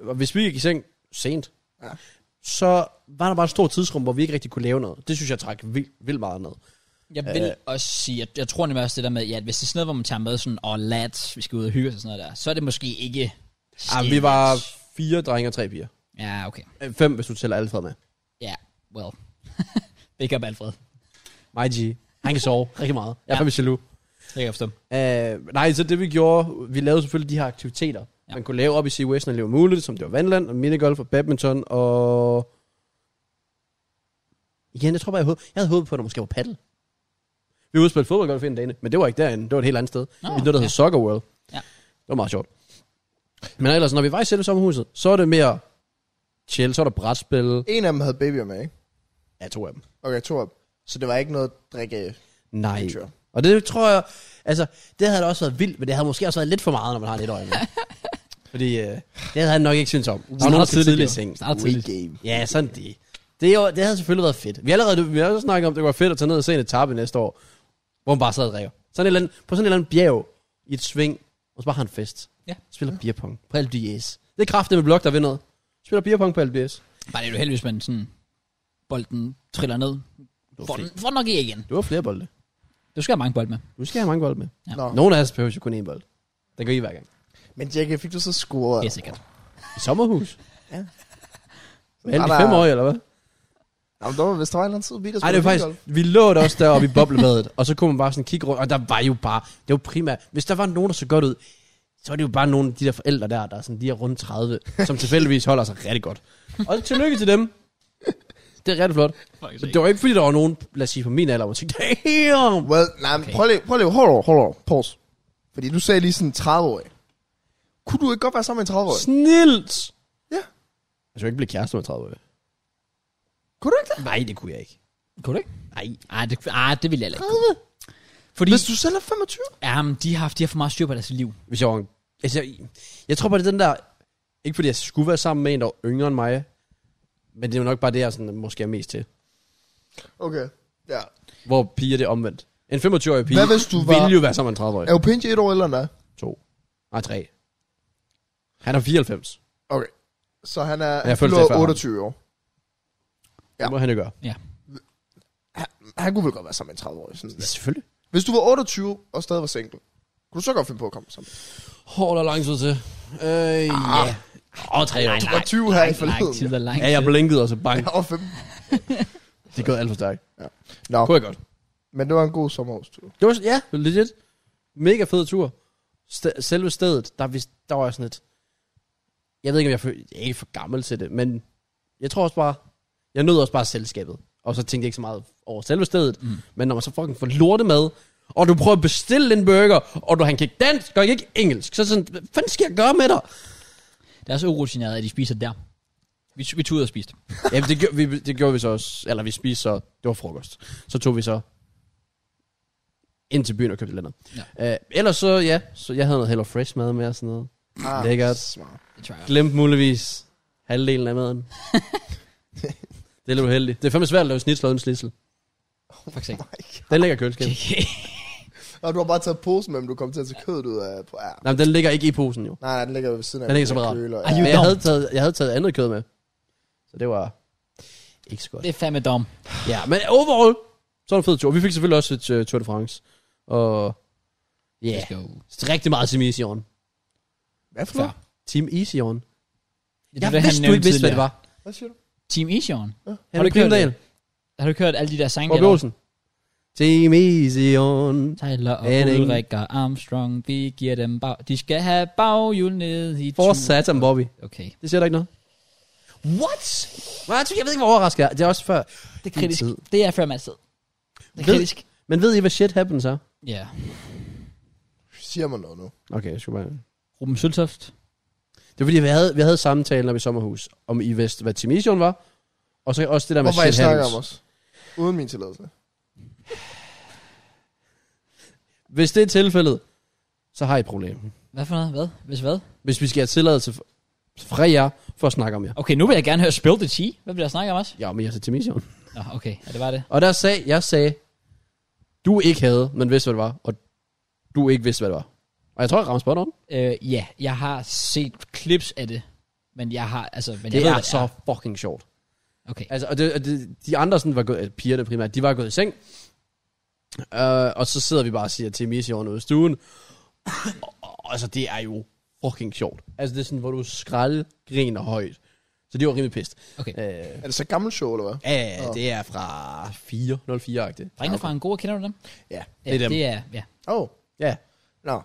Speaker 4: og hvis vi gik i seng sent,
Speaker 3: Ja.
Speaker 4: ja. så var der bare et stort tidsrum, hvor vi ikke rigtig kunne lave noget. Det synes jeg træk vildt, vildt meget ned.
Speaker 1: Jeg vil øh. også sige, at jeg tror nemlig også det der med, ja, at hvis det er sådan noget, hvor man tager med sådan, og oh, lads, vi skal ud og hygge os og sådan noget der, så er det måske ikke...
Speaker 4: Ah,
Speaker 1: skægt.
Speaker 4: vi var fire drenge og tre piger.
Speaker 1: Ja, okay.
Speaker 4: Øh, Fem, hvis du tæller Alfred med.
Speaker 1: Ja, well. Big up, Alfred.
Speaker 4: My G. Han kan sove rigtig meget. Jeg er
Speaker 1: Ja.
Speaker 4: fandme jaloux.
Speaker 1: Det kan jeg forstå.
Speaker 4: Uh, nej, så det vi gjorde, vi lavede selvfølgelig de her aktiviteter,
Speaker 1: Ja.
Speaker 4: ja. man kunne lave op i Sea West, når det var muligt, som det var vandland, og minigolf, og badminton, og... Igen, jeg tror bare, jeg, håb... jeg havde håbet på, at der måske var paddle. Vi var ude og spille fodboldgolf en dag, men det var ikke derinde, det var et helt andet sted.
Speaker 1: Nå,
Speaker 4: Nå, I noget, der hed
Speaker 1: ja.
Speaker 4: Soccer World.
Speaker 1: Ja.
Speaker 4: Det var meget sjovt. Men ellers, når vi var i selve sommerhuset, så er det mere chill, så er der brætspil.
Speaker 3: En af dem havde babyer med, ikke?
Speaker 4: Ja, to af dem.
Speaker 3: Okay, to af dem. Så det var ikke noget drikke.
Speaker 4: Nej.
Speaker 3: Sure.
Speaker 4: Og det tror jeg, altså, det havde da også været vildt, men det havde måske også været lidt for meget, når man har lidt øjne. Fordi øh, det havde han nok ikke syntes om. Der var nogen, der skal tidligt i seng.
Speaker 1: Snart
Speaker 3: Wii
Speaker 1: tidligt.
Speaker 3: game.
Speaker 4: Ja, sådan det. Det, er jo, det havde selvfølgelig været fedt. Vi har allerede vi har også snakket om, at det var fedt at tage ned og se en etape næste år, hvor man bare sad og drikker. Sådan et eller andet, på sådan et eller andet bjerg i et sving, og så bare har en fest.
Speaker 1: Ja.
Speaker 4: Spiller beerpong på LBS. Det er kraften med blok, der vinder. Spiller beerpong på LBS.
Speaker 1: Bare det er jo heldigvis, man sådan, bolden triller ned. Får den, får den nok i igen.
Speaker 4: Du har flere bolde.
Speaker 1: Du skal have mange bold med.
Speaker 4: Du skal have mange bolde med.
Speaker 1: Ja.
Speaker 3: Nå.
Speaker 4: Nogle af os behøver jo kun én bold. Den går i hver gang.
Speaker 3: Men Jackie, fik du så scoret?
Speaker 1: Det er sikkert.
Speaker 4: I sommerhus?
Speaker 3: Ja.
Speaker 4: Vel,
Speaker 3: Var
Speaker 4: i
Speaker 3: der-
Speaker 4: fem år, eller hvad?
Speaker 3: Jamen, der var vist, der var en eller anden tid, vi der
Speaker 4: Nej, det var
Speaker 3: spillede
Speaker 4: faktisk, vi lå der også deroppe i boblebadet, og så kunne man bare sådan kigge rundt, og der var jo bare, det var primært, hvis der var nogen, der så godt ud, så var det jo bare nogle af de der forældre der, der er sådan, de er rundt 30, som tilfældigvis holder sig rigtig godt. Og tillykke til dem. Det er rigtig flot. Men det var ikke, fordi der var nogen, lad os sige, på min alder, hvor jeg tænkte, damn!
Speaker 3: Well, nej, men prøv lige, prøv lige, hold over, hold over, pause. Fordi du sagde lige sådan 30-årig. Kunne du ikke godt være sammen med en 30-årig?
Speaker 4: Snilt! Altså,
Speaker 3: Ja.
Speaker 4: Jeg skulle ikke blive kæreste med 30 år.
Speaker 3: Kunne du ikke det?
Speaker 4: Nej, det kunne jeg ikke.
Speaker 1: Kunne du ikke?
Speaker 4: Nej.
Speaker 1: Ej, det, ej, det ville jeg heller ikke. kunne. Fordi
Speaker 3: Hvis du selv er 25?
Speaker 1: jamen, de, har, haft- de har for meget styr på deres liv.
Speaker 4: Hvis jeg var en, altså, jeg, jeg tror bare, det er den der... Ikke fordi jeg skulle være sammen med en, der var yngre end mig. Men det er jo nok bare det, jeg sådan, måske er mest til.
Speaker 3: Okay, ja.
Speaker 4: Hvor piger det er omvendt. En 25-årig pige
Speaker 3: Hvad hvis du var-
Speaker 4: ville jo være sammen med en 30-årig.
Speaker 3: Er Opinji et år ældre end dig?
Speaker 4: To. Nej, tre. Han er 94.
Speaker 3: Okay. Så han er
Speaker 4: jeg
Speaker 3: han
Speaker 4: følte
Speaker 3: fylder
Speaker 4: det før ham.
Speaker 3: 28 år. Ja.
Speaker 4: Ja. Det må han jo gøre.
Speaker 3: Han kunne vel godt være sammen med en 30-årig. Sådan.
Speaker 4: Ja. Selvfølgelig.
Speaker 3: Hvis du var 28 og stadig var single, kunne du så godt finde på at komme sammen?
Speaker 4: Hår, der er lang tid til. Øh, ja.
Speaker 3: Ah.
Speaker 4: Åh, tre år.
Speaker 3: var 20 her i
Speaker 1: lang
Speaker 3: forleden.
Speaker 1: tid og lang
Speaker 4: Ja, jeg
Speaker 1: tid.
Speaker 4: blinkede, og så bang.
Speaker 3: Jeg var 15.
Speaker 4: Det er gået alt for stærkt.
Speaker 3: Nå,
Speaker 4: Kunne jeg godt.
Speaker 3: men det var en god sommerhustur.
Speaker 4: Det var, ja, legit. Mega fed tur. St- selve stedet, der, vis- der var jeg sådan lidt... Jeg ved ikke, om jeg, føl- jeg er ikke for gammel til det, men jeg tror også bare... Jeg nød også bare selskabet. Og så tænkte jeg ikke så meget over selve stedet. Mm. Men når man så fucking får lortemad, og du prøver at bestille en burger, og du han kan ikke dansk, og ikke engelsk. Så sådan, hvad fanden skal jeg gøre med dig?
Speaker 1: Det er så urutineret, at de spiser der. Vi, vi tog ud og spiste.
Speaker 4: Jamen, det, gjorde, vi, det gjorde vi så også. Eller vi spiste så... Det var frokost. Så tog vi så ind til byen og købte lidt andet. Ja. Øh, ellers så, ja. Så jeg havde noget Hello Fresh mad med og sådan noget.
Speaker 3: Ah,
Speaker 4: Lækkert.
Speaker 3: Smart.
Speaker 1: Det tror jeg.
Speaker 4: Glemte muligvis halvdelen af maden. det er lidt uheldigt. Det er fandme svært at lave snitsel uden slissel.
Speaker 1: Faktisk ikke.
Speaker 4: Den ligger i køleskabet.
Speaker 1: Okay.
Speaker 3: Og du har bare taget posen med, men du kom til at tage kødet ud af på ær.
Speaker 4: Nej, men den ligger ikke i posen jo.
Speaker 3: Nej, nej, den ligger ved siden af.
Speaker 4: Den ligger så
Speaker 3: med
Speaker 4: meget.
Speaker 3: køler.
Speaker 1: Are
Speaker 3: Ja.
Speaker 1: you-
Speaker 4: Men jeg
Speaker 1: dumt.
Speaker 4: havde, taget, jeg havde taget andet kød med. Så det var ikke så godt.
Speaker 1: Det er fandme dom.
Speaker 4: Ja, men overall, så var det en fed tur. Vi fik selvfølgelig også et uh, Tour de France. Og ja,
Speaker 1: Let's
Speaker 4: yeah.
Speaker 1: go.
Speaker 4: rigtig meget Team Easy On.
Speaker 3: Hvad for
Speaker 1: Fair.
Speaker 3: noget?
Speaker 4: Team Easy On.
Speaker 1: Det
Speaker 4: Jeg
Speaker 1: er det, han
Speaker 4: vidste, du
Speaker 1: nævnte
Speaker 4: ikke vidste, hvad
Speaker 1: tidligere.
Speaker 4: det var.
Speaker 3: Hvad siger du?
Speaker 1: Team Isjorden.
Speaker 4: Henrik
Speaker 1: kørt det?
Speaker 4: Rimdal,
Speaker 1: Har du ikke hørt alle de der sange?
Speaker 4: Bob
Speaker 1: der-
Speaker 4: Olsen. Team Easy On.
Speaker 1: Tyler og
Speaker 4: Henning.
Speaker 1: Ulrik og Armstrong, vi giver dem bag... De skal have baghjul ned i
Speaker 4: For
Speaker 1: turen.
Speaker 4: satan, Bobby.
Speaker 1: Okay.
Speaker 4: Det siger der ikke noget. What? Nej, jeg, tror- jeg ved ikke, hvor overrasket jeg er. Det er også før.
Speaker 1: Det er kritisk.
Speaker 4: Tid.
Speaker 1: Det er før man tid. Det er
Speaker 4: Ved-
Speaker 1: kritisk.
Speaker 4: Men ved I, hvad shit happens er?
Speaker 1: Ja.
Speaker 3: Siger man noget nu?
Speaker 4: Okay, jeg skulle bare...
Speaker 1: Ruben Søltoft.
Speaker 4: Det er fordi, vi havde, vi havde samtalen om i sommerhus, om I vidste, hvad Timission var, og så også det der med
Speaker 3: Hvorfor jeg
Speaker 4: shit
Speaker 3: snakker om
Speaker 4: happens.
Speaker 3: os? Uden min tilladelse.
Speaker 4: Hvis det er tilfældet, så har I et problem.
Speaker 1: Hvad for noget? Hvad? Hvis hvad?
Speaker 4: Hvis vi skal have tilladelse f- fra jer, for at snakke om jer.
Speaker 1: Okay, nu vil jeg gerne høre Spill the Tea. Hvad bliver der snakket om også?
Speaker 4: Ja, men jeg til Timission.
Speaker 1: Nå, okay. Ja, det var det.
Speaker 4: Og der sagde, jeg sagde, du ikke havde, men vidste, hvad det var, og du ikke vidste, hvad det var. Og Og jeg tror, jeg rammer spot on.
Speaker 1: Øh, ja, jeg har set clips af det, men jeg har, altså, men
Speaker 4: Det
Speaker 1: jeg ved,
Speaker 4: er
Speaker 1: hvad
Speaker 4: så fucking sjovt.
Speaker 1: Okay.
Speaker 4: Altså, og, det, og det, de andre sådan var gået, altså, pigerne primært, de var gået i seng. Uh, og så sidder vi bare og siger til Missy over noget i stuen. Og- og, altså, det er jo fucking sjovt. Altså, det er sådan, hvor du skraldgriner højt. Så det var rimelig pist.
Speaker 1: Okay.
Speaker 4: Uh, ja,
Speaker 3: Er det så gammelt show, eller hvad?
Speaker 4: ja, ja, det er fra 4.04-agtigt.
Speaker 1: Drengene fra Angora, kender du dem?
Speaker 4: Ja,
Speaker 1: Ja,
Speaker 4: det er dem.
Speaker 1: Det er, ja.
Speaker 3: Åh, oh,
Speaker 4: Ja.
Speaker 3: nå.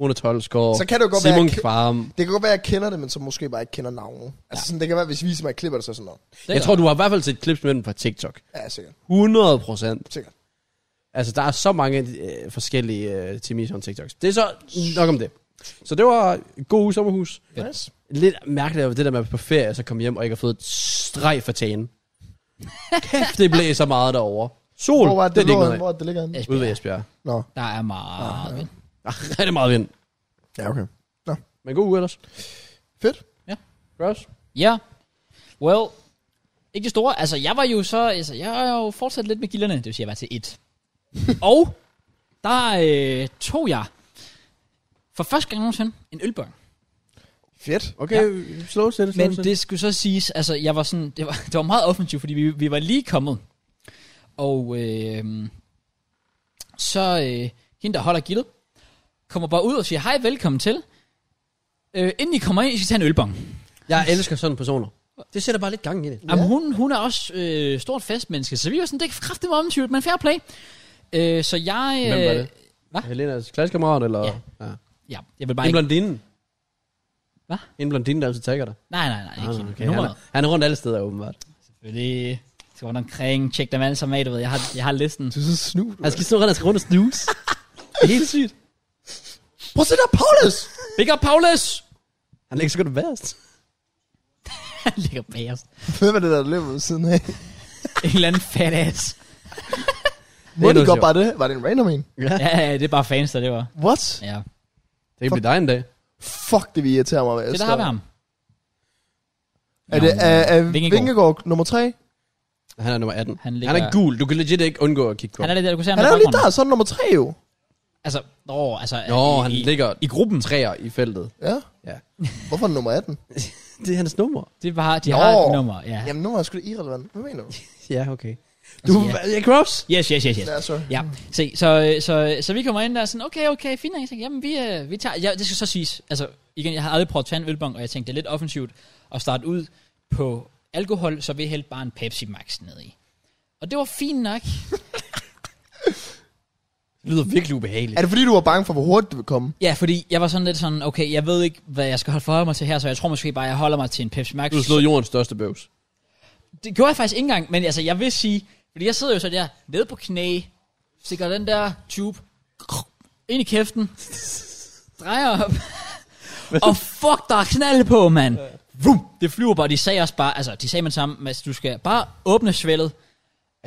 Speaker 4: Rune Tolsgaard.
Speaker 3: Så kan det jo godt
Speaker 4: Simon
Speaker 3: være, at-
Speaker 4: Kvam.
Speaker 3: Det kan godt være, at jeg kender det, men så måske bare ikke kender navnet. Altså sådan, det kan være, hvis vi viser mig et klip, er det så sådan noget.
Speaker 1: Det
Speaker 4: Jeg
Speaker 1: er
Speaker 4: tror, du har i hvert fald set klips med dem fra TikTok.
Speaker 3: Ja, sikkert.
Speaker 4: 100 procent.
Speaker 3: Sikkert.
Speaker 4: Altså, der er så mange øh, forskellige øh, Timmy on TikToks. Det er så nok om det. Så det var et god uge sommerhus.
Speaker 3: Nice.
Speaker 4: Lidt mærkeligt at det der med at være på ferie, og så komme hjem og ikke har fået et streg for tagen. Kæft, det blæser meget derovre. Sol,
Speaker 3: Hvor var
Speaker 4: det,
Speaker 3: det,
Speaker 4: det er det ikke
Speaker 3: det lå,
Speaker 4: noget
Speaker 3: henne?
Speaker 4: af.
Speaker 3: hvor er det, det ligger henne?
Speaker 1: Esbjerg.
Speaker 4: Ude ved Esbjerg.
Speaker 3: Nå,
Speaker 1: Der er meget vind.
Speaker 4: Ah, rigtig meget vind.
Speaker 3: ja, okay.
Speaker 4: Men god uge ellers.
Speaker 3: Fedt.
Speaker 4: Gross.
Speaker 1: Ja. Well, ikke det store. Altså, jeg var jo så... Altså, jeg har jo fortsat lidt med gilderne. Det vil sige, jeg var til et. og der øh, tog jeg for første gang nogensinde en ølbørn.
Speaker 3: Fedt.
Speaker 4: Okay, ja. slow stille, slow
Speaker 1: Men det skulle så siges, altså jeg var sådan, det var, det var meget offensivt, fordi vi, vi var lige kommet. Og øh, så øh, hende, der holder gildet, kommer bare ud og siger, hej, velkommen til. Øh, inden I kommer ind, I skal tage en ølbong.
Speaker 4: Jeg elsker sådan personer. Det sætter bare lidt gang i det.
Speaker 1: Ja. Jamen, hun, hun er også øh, stort festmenneske, så vi var sådan, det er kraftigt meget omtyvet, men fair play. Øh, så jeg... Øh,
Speaker 4: Hvem var det?
Speaker 1: Hvad?
Speaker 4: Helenas klassekammerat, eller?
Speaker 1: Ja.
Speaker 4: ja.
Speaker 1: Ja, jeg vil bare
Speaker 4: En
Speaker 1: ikke...
Speaker 4: blondine.
Speaker 1: Hvad?
Speaker 4: En blondine, der altid tager dig.
Speaker 1: Nej, nej, nej.
Speaker 4: Ah,
Speaker 1: Ikke.
Speaker 4: okay.
Speaker 1: Okay,
Speaker 4: han,
Speaker 1: Nummeret.
Speaker 4: er, han er rundt alle steder, åbenbart.
Speaker 1: Selvfølgelig. Skal rundt omkring, tjek dem alle sammen af, du ved. Jeg har, jeg har listen.
Speaker 3: Du er så snu.
Speaker 4: Han skal sådan rundt, han skal rundt og snuse. Helt sygt.
Speaker 3: Prøv at se der, Paulus!
Speaker 1: Big up, Paulus!
Speaker 4: Han er ikke så godt værst.
Speaker 1: Han ligger bagerst.
Speaker 3: Hvem er det, der løber ved siden af?
Speaker 1: En eller anden fat ass.
Speaker 3: Må de
Speaker 4: noget
Speaker 3: godt
Speaker 4: sjovt.
Speaker 3: bare det? Var det en random en?
Speaker 1: ja, ja, det er bare fans, der det var.
Speaker 3: What?
Speaker 1: Ja.
Speaker 4: Det kan blive dig en dag.
Speaker 3: Fuck, det vi irriterer mig.
Speaker 1: Det der har vi ham.
Speaker 3: Er det er, er
Speaker 1: Vingegaard.
Speaker 3: Vingegaard nummer 3?
Speaker 4: Han er nummer 18.
Speaker 1: Han
Speaker 4: Han,
Speaker 1: ligger-
Speaker 4: han er gul. Du kan legit ikke undgå at kigge på
Speaker 1: Han
Speaker 4: ham.
Speaker 1: er det der, du kunne se ham i
Speaker 3: Han er jo lige der,
Speaker 1: baggrunden.
Speaker 3: så er han nummer 3 jo.
Speaker 1: Altså, åh, altså...
Speaker 4: Nå,
Speaker 1: i,
Speaker 4: han
Speaker 1: i,
Speaker 4: ligger
Speaker 1: I gruppen.
Speaker 4: træer i feltet.
Speaker 3: Ja.
Speaker 4: Ja.
Speaker 3: Hvorfor er han nummer 18?
Speaker 4: Det er hans nummer.
Speaker 1: Det var, de
Speaker 3: Nå.
Speaker 1: har et nummer, ja.
Speaker 3: Jamen, nu er jeg sgu da irrelevant. Hvad mener du?
Speaker 4: Ja, okay.
Speaker 1: Altså,
Speaker 4: Du, ja. Yeah, gross.
Speaker 1: Yes, yes, yes, yes.
Speaker 3: Ja, sorry.
Speaker 1: Ja, se, så, øh, så, så vi kommer ind der og sådan, okay, okay, fint, og jeg tænker, jamen vi, øh, vi tager, ja, det skal så siges, altså igen, jeg har aldrig prøvet at tage en ølbong, og jeg tænkte, det er lidt offensivt at starte ud på alkohol, så vi hældte bare en Pepsi Max ned i. Og det var fint nok.
Speaker 4: Det lyder virkelig ubehageligt.
Speaker 3: Er det fordi, du var bange for, hvor hurtigt det ville komme?
Speaker 1: Ja, fordi jeg var sådan lidt sådan, okay, jeg ved ikke, hvad jeg skal holde for mig til her, så jeg tror måske bare, jeg holder mig til en Pepsi Max.
Speaker 4: Du har slået jordens største bøvs.
Speaker 1: Det gjorde jeg faktisk ikke engang, men altså, jeg vil sige, fordi jeg sidder jo sådan der, nede på knæ, stikker den der tube ind i kæften, drejer op, og fuck, der er knald på, mand. Vum, det flyver bare, de sagde også bare, altså, de sagde med det samme, Mads, du skal bare åbne svældet,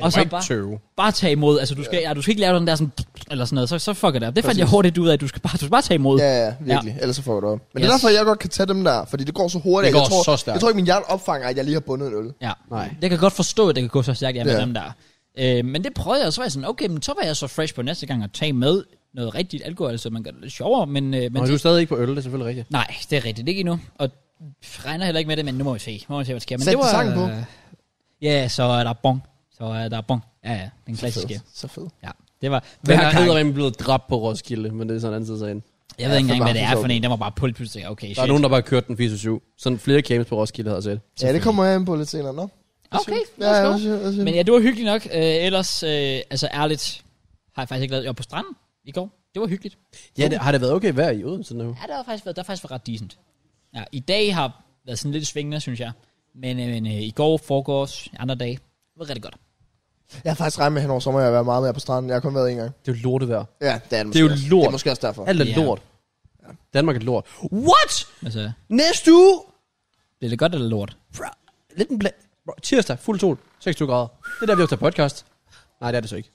Speaker 1: og så bare,
Speaker 4: tøve.
Speaker 1: bare tage imod, altså, du skal, ja, du skal ikke lave den der sådan, eller sådan noget, så, så fuck det op. Det fandt jeg hurtigt ud af, at du skal bare, du skal bare tage imod.
Speaker 3: Ja, ja, virkelig. Ja. Ellers så får du det op. Men yes. det
Speaker 1: Yes.
Speaker 3: er derfor, jeg godt kan tage dem der, fordi det går så hurtigt.
Speaker 4: Det
Speaker 3: at
Speaker 4: går
Speaker 3: jeg
Speaker 4: så
Speaker 3: tror,
Speaker 4: stærkt.
Speaker 3: Jeg tror ikke, min hjerne opfanger, at jeg lige har bundet en øl.
Speaker 1: Ja,
Speaker 4: Nej.
Speaker 1: Jeg kan godt forstå, at det kan gå så stærkt, ja, med
Speaker 3: Ja.
Speaker 1: dem der. Øh, men det prøvede jeg, og så var jeg sådan, okay, men så var jeg så fresh på næste gang at tage med noget rigtigt alkohol, så man gør det lidt sjovere, men... Øh, men
Speaker 4: Men du er stadig ikke på øl, det er selvfølgelig rigtigt.
Speaker 1: Nej, det er rigtigt, ikke endnu. Og regner heller ikke med det, men nu må vi se, nu må vi se hvad der sker. Men
Speaker 3: Sæt
Speaker 1: det var,
Speaker 3: sangen på.
Speaker 1: øh, Ja, så er der bong. Så er der bong. Ja, ja, den klassiske.
Speaker 3: Så fed.
Speaker 1: Ja, det var... Hver
Speaker 4: Men han
Speaker 1: gang,
Speaker 4: er rent blevet dræbt på Roskilde, men det er sådan en anden side af sagen.
Speaker 1: jeg ved ikke engang, hvad det er
Speaker 3: forvarmt,
Speaker 1: for en, der var bare pulpet, så jeg, okay, shit.
Speaker 4: Der er nogen, der bare kørte den 87. Sådan flere games på Roskilde havde jeg set.
Speaker 3: Ja, det kommer jeg ind på lidt senere, nå?
Speaker 1: Okay,
Speaker 3: Ja, ja,
Speaker 1: let's go.
Speaker 3: ja, ja,
Speaker 1: Men
Speaker 3: ja.
Speaker 1: ja, det var hyggeligt nok. Øh, ellers, øh, altså ærligt, har jeg faktisk ikke lavet... Jeg var på stranden i går. Det var hyggeligt.
Speaker 4: Ja, det, har det været okay vejr i Odense nu?
Speaker 1: Ja, der har faktisk været, der har faktisk været ret decent. Ja, i dag har været sådan lidt svingende, synes jeg. Men, øh, men øh, i går, foregårs, andre dage, det var rigtig godt.
Speaker 3: Jeg har faktisk regnet med hen over sommer, at jeg har været meget mere på stranden. Jeg har kun været en gang.
Speaker 4: Det er jo lortevejr.
Speaker 3: Ja, det er det,
Speaker 4: Det er jo
Speaker 3: måske også.
Speaker 4: lort.
Speaker 3: Det er måske også derfor.
Speaker 4: Alt er
Speaker 1: Ja.
Speaker 4: lort. Danmark er lort. What?
Speaker 1: Altså,
Speaker 4: Næste uge?
Speaker 1: bliver det godt eller lort?
Speaker 4: Bro, lidt en bla- Bro, tirsdag, fuld sol, 26 grader. Det er der, vi optager podcast. Nej, det er det så ikke.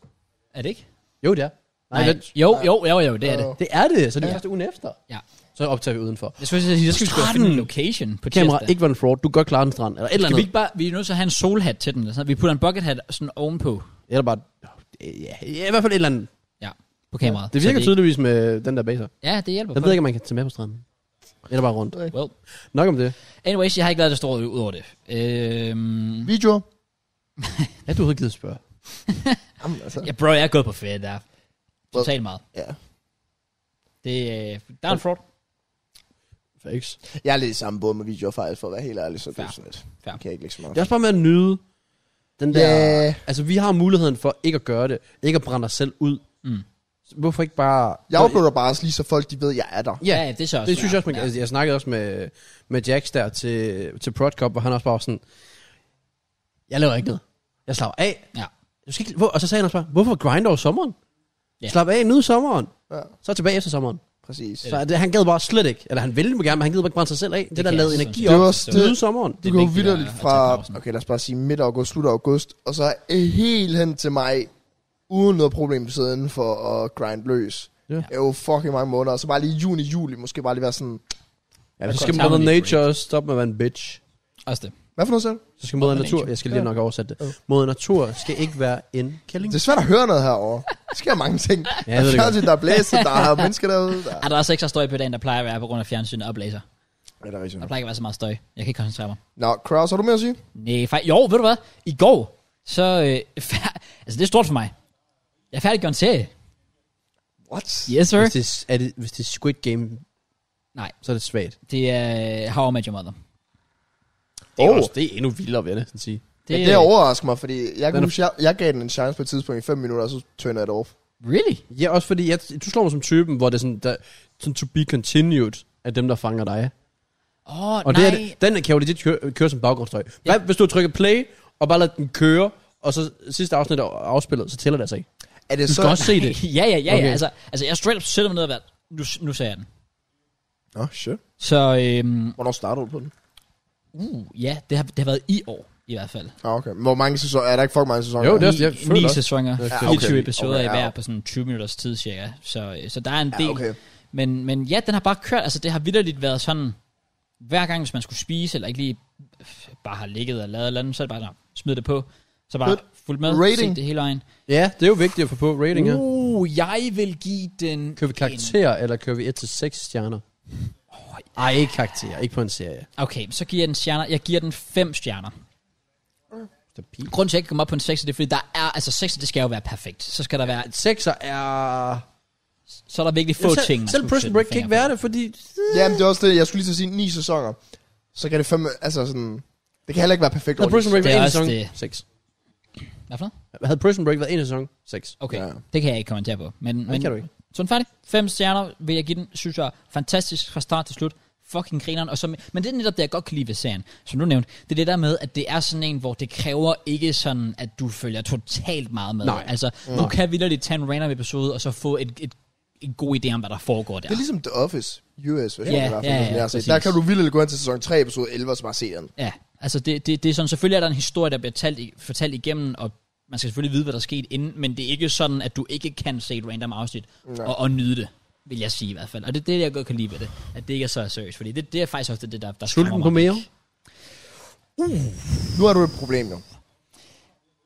Speaker 1: Er det ikke?
Speaker 4: Jo, det er. Nej,
Speaker 1: Nej,
Speaker 4: Nej. Øh. Det,
Speaker 1: jo, jo, jo, jo, det er det.
Speaker 4: det er det. Så det er første ugen efter.
Speaker 1: Ja.
Speaker 4: Så optager vi udenfor.
Speaker 1: Jeg skulle til at sige, så skal vi sgu
Speaker 4: Stranden!
Speaker 1: finde en location på tirsdag.
Speaker 4: Kamera, ikke var en fraud. Du kan godt klare en strand. Eller et eller
Speaker 1: Skal vi
Speaker 4: andet.
Speaker 1: ikke bare, vi er nødt til at have en solhat til den, eller sådan noget. vi putter en bucket hat sådan ovenpå.
Speaker 4: Eller bare... Ja, ja, i hvert fald et eller andet.
Speaker 1: Ja. på kameraet.
Speaker 4: Det
Speaker 1: så
Speaker 4: virker
Speaker 1: ikke-
Speaker 4: tydeligvis med den der baser.
Speaker 1: Ja, det hjælper.
Speaker 4: Jeg
Speaker 1: på
Speaker 4: ved
Speaker 1: det.
Speaker 4: ikke, om man kan tage med på stranden. Eller bare rundt.
Speaker 1: Well.
Speaker 4: Nok om det.
Speaker 1: Anyways, jeg har ikke lavet det store ud over det. Øhm,
Speaker 3: Videoer?
Speaker 4: Ja, du havde givet at spørge.
Speaker 3: Jamen, altså.
Speaker 1: ja, bro, jeg er gået på ferie der.
Speaker 3: Well.
Speaker 1: Totalt meget.
Speaker 3: Ja.
Speaker 1: Det, øh, der er en fraud.
Speaker 4: Facts.
Speaker 3: Jeg er lidt i samme båd med videoer faktisk, for at være helt ærlig, så det
Speaker 1: Fair.
Speaker 3: er sådan lidt.
Speaker 1: Fair.
Speaker 3: Kan jeg ikke lægge så meget.
Speaker 4: Det er også bare med at nyde den der...
Speaker 3: Ja.
Speaker 4: Altså, vi har muligheden for ikke at gøre det. Ikke at brænde os selv ud.
Speaker 1: Mm.
Speaker 4: Så Hvorfor ikke bare...
Speaker 3: Jeg uploader bare også lige, så folk de ved, jeg er der.
Speaker 1: Ja, ja, det er så også.
Speaker 4: Det synes jeg også, man,
Speaker 1: ja.
Speaker 4: ja. altså, jeg snakkede også med, med Jax der til, til Prodcop, hvor han også bare var sådan, jeg laver ikke noget. Jeg slapper af.
Speaker 1: Ja.
Speaker 4: Du skal ikke, hvor, og så sagde han også bare, hvorfor grind over sommeren?
Speaker 1: Ja.
Speaker 4: Ja. Slap af, nyd sommeren.
Speaker 3: Ja,
Speaker 4: Så tilbage efter sommeren.
Speaker 3: præcis.
Speaker 4: Så det, han gad bare slet ikke, eller han ville gerne, men han gad bare ikke brænde sig selv af. Det,
Speaker 1: Det
Speaker 4: det der
Speaker 1: kan
Speaker 4: lavede
Speaker 1: jeg
Speaker 4: energi
Speaker 1: sådan
Speaker 3: set
Speaker 4: op.
Speaker 3: også- det-
Speaker 4: Nyde sommeren.
Speaker 3: Du
Speaker 1: er
Speaker 3: kan jo
Speaker 1: vigtigt
Speaker 3: videre
Speaker 1: at-
Speaker 3: lidt
Speaker 1: at tage
Speaker 3: fra,
Speaker 1: pausen.
Speaker 3: okay lad os bare sige midt august, slut august, og så øh, helt hen til maj, uden noget problem siden for at grind løs.
Speaker 4: Ja.
Speaker 3: Ja. Det er jo fucking mange måneder, og så bare lige juni, juli, måske bare lige være sådan,
Speaker 4: Ja, men så
Speaker 1: godt.
Speaker 4: skal
Speaker 1: Tager man
Speaker 4: Mother
Speaker 1: lige et
Speaker 4: Nature også stoppe med at være en bitch.
Speaker 1: Også det.
Speaker 3: hvad for noget selv?
Speaker 4: Så skal Moder
Speaker 1: Mother
Speaker 4: Natur,
Speaker 1: Nature.
Speaker 4: jeg skal lige nok oversætte
Speaker 3: Ja.
Speaker 4: det. Moder Natur skal ikke være en kælling.
Speaker 3: Det er svært at høre noget herovre. Der sker mange ting.
Speaker 4: Ja,
Speaker 3: Ja,
Speaker 4: jeg ved
Speaker 3: der er
Speaker 4: det godt.
Speaker 3: fjernsyn, der er blæser, der er mennesker derude. Der.
Speaker 1: Er der også ekstra støj på dagen, der plejer at være på grund af fjernsyn og oplæser?
Speaker 3: Ja, det er rigtigt.
Speaker 1: Der plejer ikke at være så meget støj. Jeg kan ikke koncentrere mig.
Speaker 3: Nå, Kraus, har du mere at sige?
Speaker 1: Nej, fej- jo, ved du hvad? I går, så... Øh, fær- altså, det er stort for mig. Jeg er færdig gjort en serie.
Speaker 3: What?
Speaker 1: Yes, sir.
Speaker 4: Hvis det, er- er det, hvis det er Squid Game,
Speaker 1: Nej.
Speaker 4: så er det svagt.
Speaker 1: Det er øh, How I Met Your Mother.
Speaker 4: Det er,
Speaker 3: Oh.
Speaker 4: også, det er endnu vildere, vil jeg næsten sige.
Speaker 1: Det,
Speaker 3: Det, det overrasker mig, fordi jeg,
Speaker 4: Den
Speaker 3: kan
Speaker 4: er-
Speaker 3: huske, jeg, jeg gav den en chance på et tidspunkt i 5 minutter, og så turnede jeg det off.
Speaker 1: Really?
Speaker 4: Ja, også fordi, jeg, du slår mig som typen, hvor det er sådan, der, sådan to be continued af dem, der fanger dig.
Speaker 1: Åh, oh,
Speaker 4: Og
Speaker 1: nej.
Speaker 4: det er, den kan jo legit køre, køre som baggrundsstøj. Hvad, hvis du trykker play, og bare lader den køre, og så sidste afsnit er afspillet, så tæller det altså ikke.
Speaker 3: Er det
Speaker 4: Du
Speaker 3: så...
Speaker 4: skal også se det.
Speaker 1: ja, ja, ja, okay. ja.
Speaker 4: Okay.
Speaker 1: Altså, altså, jeg straight up sætter mig ned og været, nu, nu ser jeg den.
Speaker 3: Nå, shit.
Speaker 1: Så, øhm,
Speaker 3: Hvornår startede du på den?
Speaker 1: uh, ja, det har, det har været i år, i hvert fald.
Speaker 3: Ah, okay. Hvor mange sæsoner? Er der ikke fucking mange sæsoner?
Speaker 4: Jo, det er-
Speaker 1: Ni-
Speaker 4: jeg føler
Speaker 1: Ni
Speaker 4: også-
Speaker 1: sæsoner,
Speaker 4: Ja,
Speaker 3: okay.
Speaker 1: 24
Speaker 3: Okay,
Speaker 1: episoder i
Speaker 3: ja.
Speaker 1: hver på sådan 20 minutters tid cirka. Så, øh, så der er en del.
Speaker 3: Ja, okay.
Speaker 1: Men, men ja, den har bare kørt, altså det har vidderligt været sådan, hver gang hvis man skulle spise, eller ikke lige øh, bare har ligget og lavet et eller andet, så er det bare sådan, smid det på, så bare
Speaker 3: Fedt.
Speaker 1: fuldt med,
Speaker 3: Rating.
Speaker 1: set det hele vejen.
Speaker 4: Ja, det er jo vigtigt at få på rating her.
Speaker 1: Uh, jeg vil give den...
Speaker 4: Kører vi karakterer, eller kører vi 1-6 stjerner? Ej, ikke karakterer, ikke på en serie.
Speaker 1: en- Okay, så giver jeg den stjerner, jeg giver den 5 stjerner.
Speaker 4: Stabil.
Speaker 1: Grunden til, at jeg ikke kommer op på en 6, det er, fordi der er, altså 6, det skal jo være perfekt. Så skal der være,
Speaker 4: Sekser er...
Speaker 1: så er der virkelig få
Speaker 4: Jamen, selv,
Speaker 1: ting. man
Speaker 4: Selv
Speaker 1: skulle
Speaker 4: Prison
Speaker 1: sætte
Speaker 4: Break
Speaker 1: en
Speaker 4: kan ikke
Speaker 1: finger
Speaker 4: være
Speaker 1: på.
Speaker 4: det, fordi...
Speaker 3: Jamen, det er også det. Jeg skulle lige til at sige ni sæsoner. Så kan det fem... Altså sådan... Det kan heller ikke være perfekt
Speaker 4: Havde
Speaker 3: over
Speaker 4: Prison Break
Speaker 1: Det er
Speaker 4: været en
Speaker 1: også
Speaker 4: sæson?
Speaker 1: det.
Speaker 4: Seks.
Speaker 1: Hvad for noget?
Speaker 4: Havde Prison Break været en sæson? Seks.
Speaker 1: Okay, ja.
Speaker 3: Ja.
Speaker 1: det kan jeg ikke kommentere på. Men, men
Speaker 4: det kan du ikke.
Speaker 1: Sådan færdig. Fem stjerner vil jeg give den, synes jeg, er fantastisk fra start til slut. Fucking grineren. Og så, men det er netop det, jeg godt kan lide ved serien, som du nævnte. Det er det der med, at det er sådan en, hvor det kræver ikke sådan, at du følger totalt meget med.
Speaker 4: Nej.
Speaker 1: Altså, du kan vildt tage en random episode, og så få et, et, en god idé om, hvad der foregår der.
Speaker 3: Det er ligesom The Office. US version
Speaker 1: Ja,
Speaker 3: i hvert fald,
Speaker 1: ja,
Speaker 3: som
Speaker 1: ja,
Speaker 3: jeg har set.
Speaker 1: præcis.
Speaker 3: Der kan du vildt gå ind til sæson 3, episode 11, og så bare se den.
Speaker 1: Ja, altså det, det, det er sådan, selvfølgelig er der en historie, der bliver talt, i- fortalt igennem, og man skal selvfølgelig vide, hvad der er sket inden, men det er ikke sådan, at du ikke kan se et random afsnit og, og nyde det, vil jeg sige i hvert fald. Og det er det, jeg godt kan lide ved det, at det ikke er så seriøst, fordi det, det er faktisk ofte det, der, der skræmmer
Speaker 4: Sulten på
Speaker 1: mig.
Speaker 4: mere?
Speaker 3: Nu har du et problem, jo.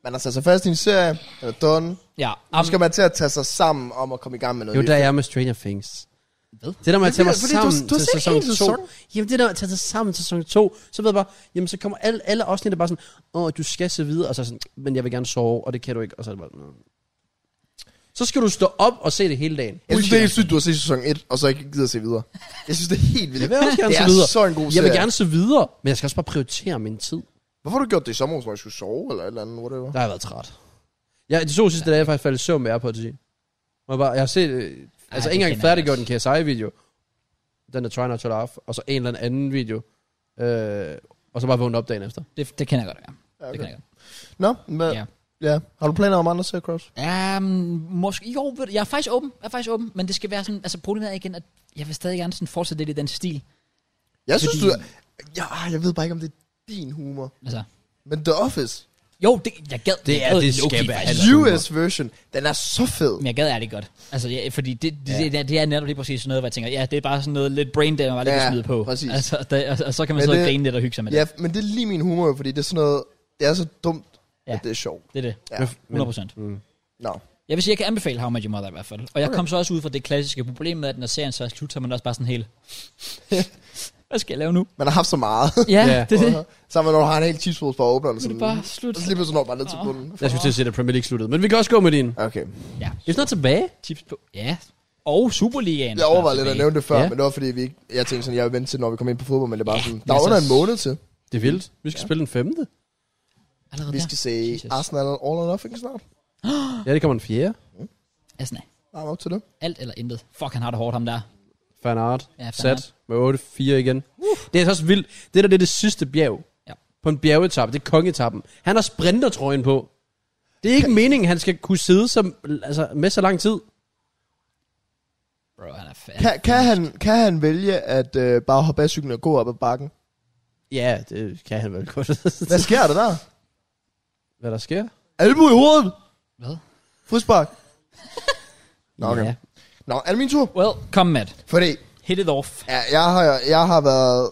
Speaker 3: Man har sat sig fast i en serie, den er done.
Speaker 1: Ja,
Speaker 3: Nu
Speaker 1: um,
Speaker 3: skal man til at tage sig sammen om at komme i gang med noget.
Speaker 4: Det var der,
Speaker 3: nyt.
Speaker 4: jeg er med Stranger Things.
Speaker 1: Hvad?
Speaker 4: Det der med at
Speaker 3: Det
Speaker 4: tage mig
Speaker 3: bliver- fordi du-
Speaker 4: sammen
Speaker 3: du har
Speaker 4: til
Speaker 3: set
Speaker 4: sæson
Speaker 3: hele
Speaker 4: 2.
Speaker 3: sæsonen.
Speaker 4: Jamen det der med at tage sig sammen til sæson 2, så ved jeg bare, jamen så kommer alle, alle afsnit, der bare sådan, åh, du skal se videre, og så er sådan, men jeg vil gerne sove, og det kan du ikke, og så er det bare, "Nå." Så skal du stå op og se det hele dagen.
Speaker 3: Jeg synes, det er helt sygt, du har set sæson 1, og så ikke gider at se videre. Jeg synes, det er helt vildt.
Speaker 4: Jeg vil også gerne
Speaker 3: det
Speaker 4: se
Speaker 3: er
Speaker 4: videre.
Speaker 3: så en god
Speaker 4: Jeg
Speaker 3: serie.
Speaker 4: vil gerne se videre, men jeg skal også bare prioritere min tid.
Speaker 3: Hvorfor har du gjort det i sommer, hvor jeg skulle sove, eller et eller andet, whatever?
Speaker 4: Der har jeg været træt. Ja, de to sidste dage, jeg faktisk faldt i søvn med AirPods i. Og Jeg, bare, jeg har set, øh, altså
Speaker 1: det
Speaker 4: ikke engang
Speaker 1: kender jeg
Speaker 4: færdiggjort en KSI-video. Den der Try Not To Laugh, og så en eller anden video. Øh, og så bare vågnet op dagen efter.
Speaker 1: det, det kan jeg godt være. Okay. Det kan jeg godt.
Speaker 3: Nå, men,
Speaker 1: Ja.
Speaker 3: ja. ja. Har du planer om andre serier, Cross?
Speaker 1: Um, måske, jo, ved du, jeg er faktisk åben, jeg er faktisk åben, men det skal være sådan, altså problemet er igen, at jeg vil stadig gerne sådan fortsætte lidt i den stil.
Speaker 3: Jeg synes,
Speaker 1: Fordi-
Speaker 3: du er... Ja, ah, jeg ved bare ikke, om det er din humor.
Speaker 1: Altså,
Speaker 3: Men The Office,
Speaker 1: jo, det, jeg gad,
Speaker 4: Det
Speaker 1: jeg
Speaker 4: er-
Speaker 1: gad
Speaker 4: det
Speaker 1: low-key
Speaker 4: skal være
Speaker 1: faktisk.
Speaker 4: Altså,
Speaker 3: US version, den er så fed.
Speaker 1: Men jeg gad ærligt godt. Altså, ja, fordi det, det, ja. det, det er netop lige præcis sådan noget, hvor jeg tænker, ja, det er bare sådan noget lidt brain damage, bare lige
Speaker 3: Ja,
Speaker 1: ja, smide på.
Speaker 3: præcis.
Speaker 1: Altså, der, og, og, så kan man
Speaker 3: Men
Speaker 1: sidde og
Speaker 3: det-
Speaker 1: grine lidt og hygge sig med
Speaker 3: Ja,
Speaker 1: det.
Speaker 3: men det er lige min humor, fordi det er sådan noget... Det er så dumt,
Speaker 1: Ja.
Speaker 3: ja. at det er sjovt.
Speaker 1: Det er det.
Speaker 3: Ja.
Speaker 1: 100 procent.
Speaker 3: Nå.
Speaker 1: Jeg vil sige, jeg kan anbefale How I Met Your Mother i hvert fald. Og jeg okay. kom så også ud fra det klassiske problem med, at når serien så er slut, så er man også bare sådan helt... Hvad skal jeg lave nu?
Speaker 3: Man har haft så meget.
Speaker 1: Ja,
Speaker 4: Ja.
Speaker 1: yeah. det er det.
Speaker 3: Sammen med, når du har en hel chipspose for at åbne, eller
Speaker 1: Så er
Speaker 3: sådan.
Speaker 1: det bare slut.
Speaker 3: Så lige pludselig når du bare ned til bunden.
Speaker 4: Jeg skulle til at sige, at Premier League sluttede. Men vi kan også gå med din.
Speaker 3: Okay.
Speaker 1: Ja.
Speaker 4: Vi snart tilbage.
Speaker 1: Tips på. Ja. Og Superligaen.
Speaker 3: Jeg overvejede lidt at
Speaker 1: tilbage.
Speaker 3: nævne det før,
Speaker 4: Ja.
Speaker 3: men det var fordi, vi ikke, jeg tænkte sådan, jeg vil vente til, når vi kommer ind på fodbold, men det er bare
Speaker 1: Ja,
Speaker 3: sådan,
Speaker 1: men
Speaker 3: der er
Speaker 1: altså-
Speaker 3: under en måned til.
Speaker 4: Det er vildt. Vi skal spille den femte.
Speaker 1: Allerede
Speaker 3: Vi
Speaker 1: der.
Speaker 3: skal se
Speaker 1: Jesus.
Speaker 3: Arsenal All or Nothing snart.
Speaker 4: Ja, det kommer den fjerde.
Speaker 1: Altså, nej.
Speaker 3: Nej, op til det.
Speaker 1: Alt eller intet. Fuck, han har det hårdt, ham der.
Speaker 4: Fanart.
Speaker 1: Ja,
Speaker 4: Ja,
Speaker 1: Fanart.
Speaker 4: sat med 8-4 igen. Det er altså også vildt. Det der, det er det sidste bjerg.
Speaker 1: Ja.
Speaker 4: På en bjergetappe. Det er kongetappen. Han har sprintertrøjen på. Det er ikke meningen, han skal kunne sidde som, altså, med så lang tid.
Speaker 1: Bro, han er fat.
Speaker 3: Kan, kan, han, kan han vælge at øh, bare hoppe af cyklen og gå op ad bakken?
Speaker 4: Ja, det kan han vel godt.
Speaker 3: Hvad sker der der?
Speaker 4: Hvad der sker?
Speaker 3: Albu i hovedet!
Speaker 1: Hvad?
Speaker 3: Frispark! Nå, okay.
Speaker 4: Ja.
Speaker 3: Nå, er det min tur?
Speaker 1: Well, kom Matt.
Speaker 3: Fordi
Speaker 1: Hit it off.
Speaker 3: Ja, jeg har, jeg har været...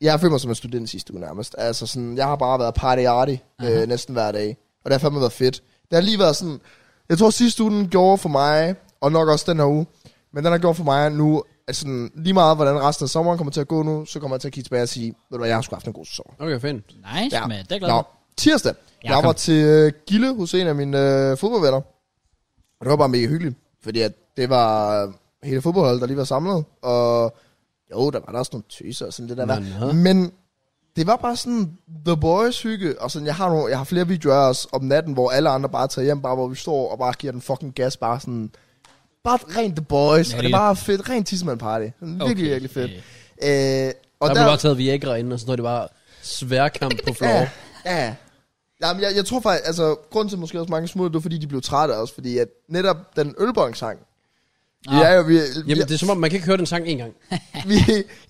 Speaker 3: Jeg har følt mig som en student sidste uge nærmest. Altså sådan, jeg har bare været party øh, næsten hver dag. Og det har fandme været fedt. Det har lige været sådan... Jeg tror sidste uge den gjorde for mig, og nok også den her uge, men den har gjort for mig nu, at sådan, lige meget hvordan resten af sommeren kommer til at gå nu, så kommer jeg til at kigge tilbage og sige, ved du hvad, jeg har sgu haft en god sæson.
Speaker 4: Okay, fint.
Speaker 1: Nice, ja. Matt. Det er glad.
Speaker 3: Nå, tirsdag.
Speaker 1: Ja,
Speaker 3: Ja, jeg
Speaker 1: kom.
Speaker 3: var til øh, Gille hos en af mine øh, fodboldvenner. Og det var bare mega hyggeligt, fordi at det var øh, hele fodboldholdet, der lige var samlet. Og jo, der var der også nogle tøser og sådan det der.
Speaker 4: Nå,
Speaker 3: var.
Speaker 4: nå.
Speaker 3: Men det var bare sådan The Boys hygge. Og sådan, jeg har, nogle, jeg har flere videoer af os om natten, hvor alle andre bare tager hjem, bare hvor vi står og bare giver den fucking gas. Bare sådan, bare rent The Boys.
Speaker 1: Ja,
Speaker 3: og
Speaker 1: det
Speaker 3: det
Speaker 1: er-
Speaker 3: var fedt. Rent tissemand party. Sådan, virkelig,
Speaker 1: Okay.
Speaker 3: virkelig fedt.
Speaker 1: Øh,
Speaker 3: Øh,
Speaker 4: Og
Speaker 3: og
Speaker 4: der, der blev bare taget Viagra ind, og så var det bare sværkamp på floor.
Speaker 3: Ja, ja. Jamen, jeg, jeg tror faktisk, altså, grunden til måske også mange smutter, det var fordi, de blev trætte også, fordi at netop den ølbong-sang,
Speaker 1: Ah.
Speaker 3: ah. ja, jo, vi,
Speaker 4: Jamen,
Speaker 3: Jamen,
Speaker 4: det er som om, man kan ikke høre den sang en gang.
Speaker 3: vi,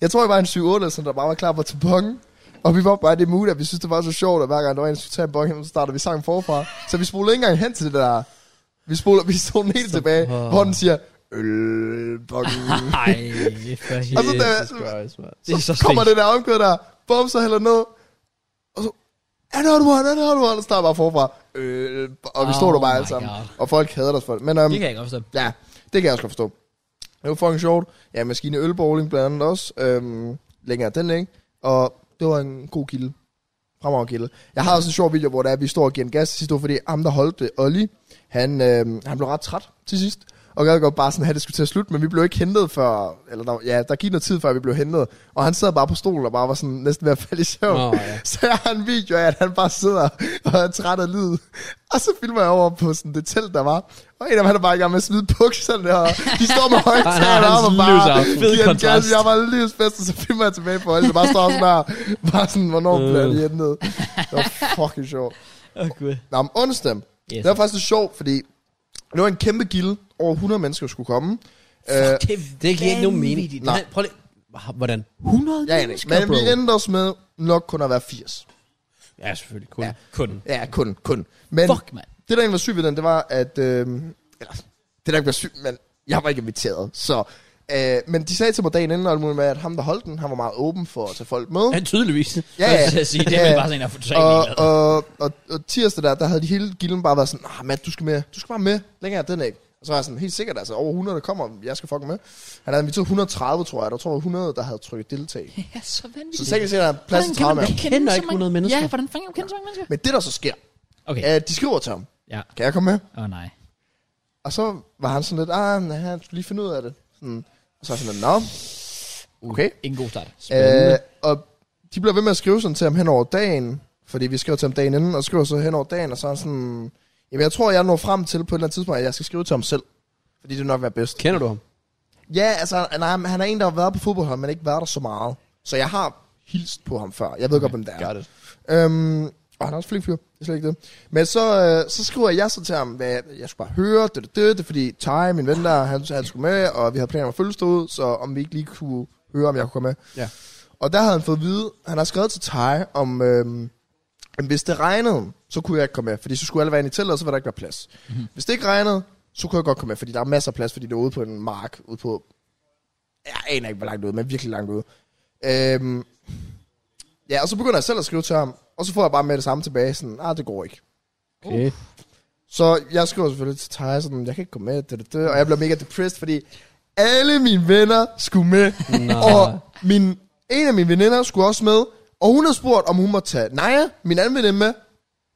Speaker 3: jeg tror, jeg var en 7 8 der bare var klar på til bongen, og vi var bare i det mood, at vi synes, det var så sjovt, at hver gang der var en, der skulle tage en bong, så startede vi sangen forfra, så vi spolede ikke engang hen til det der, vi spoler, vi stod den helt tilbage, hvor
Speaker 4: Ah.
Speaker 3: den siger, ølbong.
Speaker 1: Ej, for
Speaker 3: Og så
Speaker 1: helvede.
Speaker 3: da-
Speaker 4: Jesus Christ, man.
Speaker 1: Det er så
Speaker 3: så kommer
Speaker 1: slemt.
Speaker 3: det der omkød der, bum, så hælder ned, og så, another one, another one, og starter bare forfra, øh, og vi stod
Speaker 1: Oh
Speaker 3: der bare
Speaker 1: my
Speaker 3: alle sammen,
Speaker 1: God.
Speaker 3: og folk hader os for det, men øhm,
Speaker 1: Det kan jeg ikke forstå.
Speaker 3: ja, det kan jeg også godt forstå. Det var fucking sjovt, ja, maskine ølbowling blandt andet også, øhm, længere den længe, og det var en god kilde, fremover kilde. Jeg har også en sjov video, hvor der er, at vi står og giver en gas til sidst, det var fordi ham, der holdt det, Olli, han, øhm, han blev ret træt til sidst, og gad godt bare sådan, at det skulle til at slutte, men vi blev ikke hentet før, eller der, ja, der gik noget tid, før vi blev hentet, og han sad bare på stolen og bare var sådan næsten ved at falde i søvn.
Speaker 4: Nå, ja.
Speaker 3: Så jeg har en video af, at han bare sidder og er træt af livet. Og så filmer jeg over på sådan det telt, der var. Og en af dem, han er bare i gang med at smide bukserne, og de står med højtaler
Speaker 4: hans
Speaker 3: op og bare
Speaker 4: livsaften. Fed
Speaker 3: giver en
Speaker 4: kontrast.
Speaker 3: gas. Jeg var livsbedst, og så filmer jeg tilbage på holdet. Der bare står sådan der, bare sådan, hvornår bliver
Speaker 1: Øh.
Speaker 3: de hentet. Det var fucking sjovt.
Speaker 1: Åh, gud.
Speaker 3: Nå, om onsdag.
Speaker 1: Yes.
Speaker 3: Det var faktisk lidt sjovt, fordi det var en kæmpe gilde. Over 100 mennesker skulle komme. Øh,
Speaker 4: Det giver ikke nogen mening.
Speaker 3: Nej.
Speaker 4: Nej, prøv lige. Hva- Hvordan?
Speaker 1: 100
Speaker 3: ja, Janik,
Speaker 1: mennesker,
Speaker 3: men
Speaker 1: bro.
Speaker 3: vi endte os med nok kun at være 80.
Speaker 4: Ja, selvfølgelig. Kun.
Speaker 3: Ja.
Speaker 4: Ja. Kun.
Speaker 3: Ja, kun, kun. Men
Speaker 1: Fuck, mand.
Speaker 3: Det, der egentlig var sygt ved den, det var, at... Øh, eller, det, der ikke var sygt, men jeg var ikke inviteret, så... Øh, men de sagde til mig dagen inden, og alt muligt med, at ham, der holdt den, han var meget åben for at tage folk med.
Speaker 4: Ja, tydeligvis.
Speaker 1: Ja, ja. Jeg sige, det er
Speaker 3: Ja,
Speaker 1: vel
Speaker 3: ja.
Speaker 1: bare sådan en, der får
Speaker 3: Og,
Speaker 1: træning.
Speaker 3: og, og, og tirsdag der, der havde de hele gilden bare været sådan, ah, Matt, du skal med, du skal bare med, længere er den ikke. Og så var jeg sådan, helt sikkert, altså over 100, der kommer, jeg skal fucking med. Han havde inviteret 130, tror jeg, der tror jeg 100, der havde trykket deltag.
Speaker 1: Ja, så vanvittigt.
Speaker 3: Så sikkert set, der er plads til 30 mand.
Speaker 1: kende
Speaker 4: Kender
Speaker 1: så
Speaker 4: ikke
Speaker 1: mange-
Speaker 4: 100 mennesker.
Speaker 1: Ja, hvordan fanden kan du kende så mange mennesker?
Speaker 3: Men det, der så sker,
Speaker 1: Okay,
Speaker 3: er, at de skriver til ham,
Speaker 1: ja.
Speaker 3: kan jeg komme med?
Speaker 1: Åh, nej.
Speaker 3: Og så var han sådan lidt, ah, nej, han skulle lige finde ud af det. Sådan. Og så var jeg sådan lidt, nå, okay.
Speaker 1: Ingen god start.
Speaker 3: Øh, og de bliver ved med at skrive sådan til ham hen over dagen, fordi vi skrev til ham dagen inden, og skriver så hen over dagen, og så er han sådan, jamen jeg tror, jeg når frem til på et eller andet tidspunkt, at jeg skal skrive til ham selv, fordi det vil nok være bedst.
Speaker 4: Kender du ham?
Speaker 3: Ja, altså, nej, men han er en, der har været på fodboldhold, men ikke været der så meget. Så jeg har hilst på ham før. Jeg ved godt, hvem det er.
Speaker 4: Got it.
Speaker 3: Øhm, og han er også flink fyr, det er slet ikke det. Men så, øh, så skriver jeg så til ham, hvad jeg skulle bare høre, det, det, det, det fordi Ty, min ven der, han, han skulle med, og vi havde planer om at følge ud, så om vi ikke lige kunne høre, om jeg kunne komme med.
Speaker 4: Ja.
Speaker 3: Og der havde han fået at vide, han har skrevet til Ty om, øhm, at hvis det regnede, så kunne jeg ikke komme med, fordi så skulle alle være inde i teltet, og så var der ikke være plads. Mm-hmm. Hvis det ikke regnede, så kunne jeg godt komme med, fordi der er masser af plads, fordi det er ude på en mark, ude på, jeg aner ikke, hvor langt ude, men virkelig langt ude. Øhm, ja, og så begynder jeg selv at skrive til ham, og så får jeg bare med det samme tilbage, sådan, ah, det går ikke.
Speaker 4: Okay.
Speaker 3: Så jeg skriver selvfølgelig til Thaj, sådan, jeg kan ikke gå med, det, det, det. og jeg bliver mega depressed, fordi alle mine venner skulle med,
Speaker 4: Nå.
Speaker 3: og min, en af mine veninder skulle også med, og hun har spurgt, om hun må tage Naja, min anden veninde med,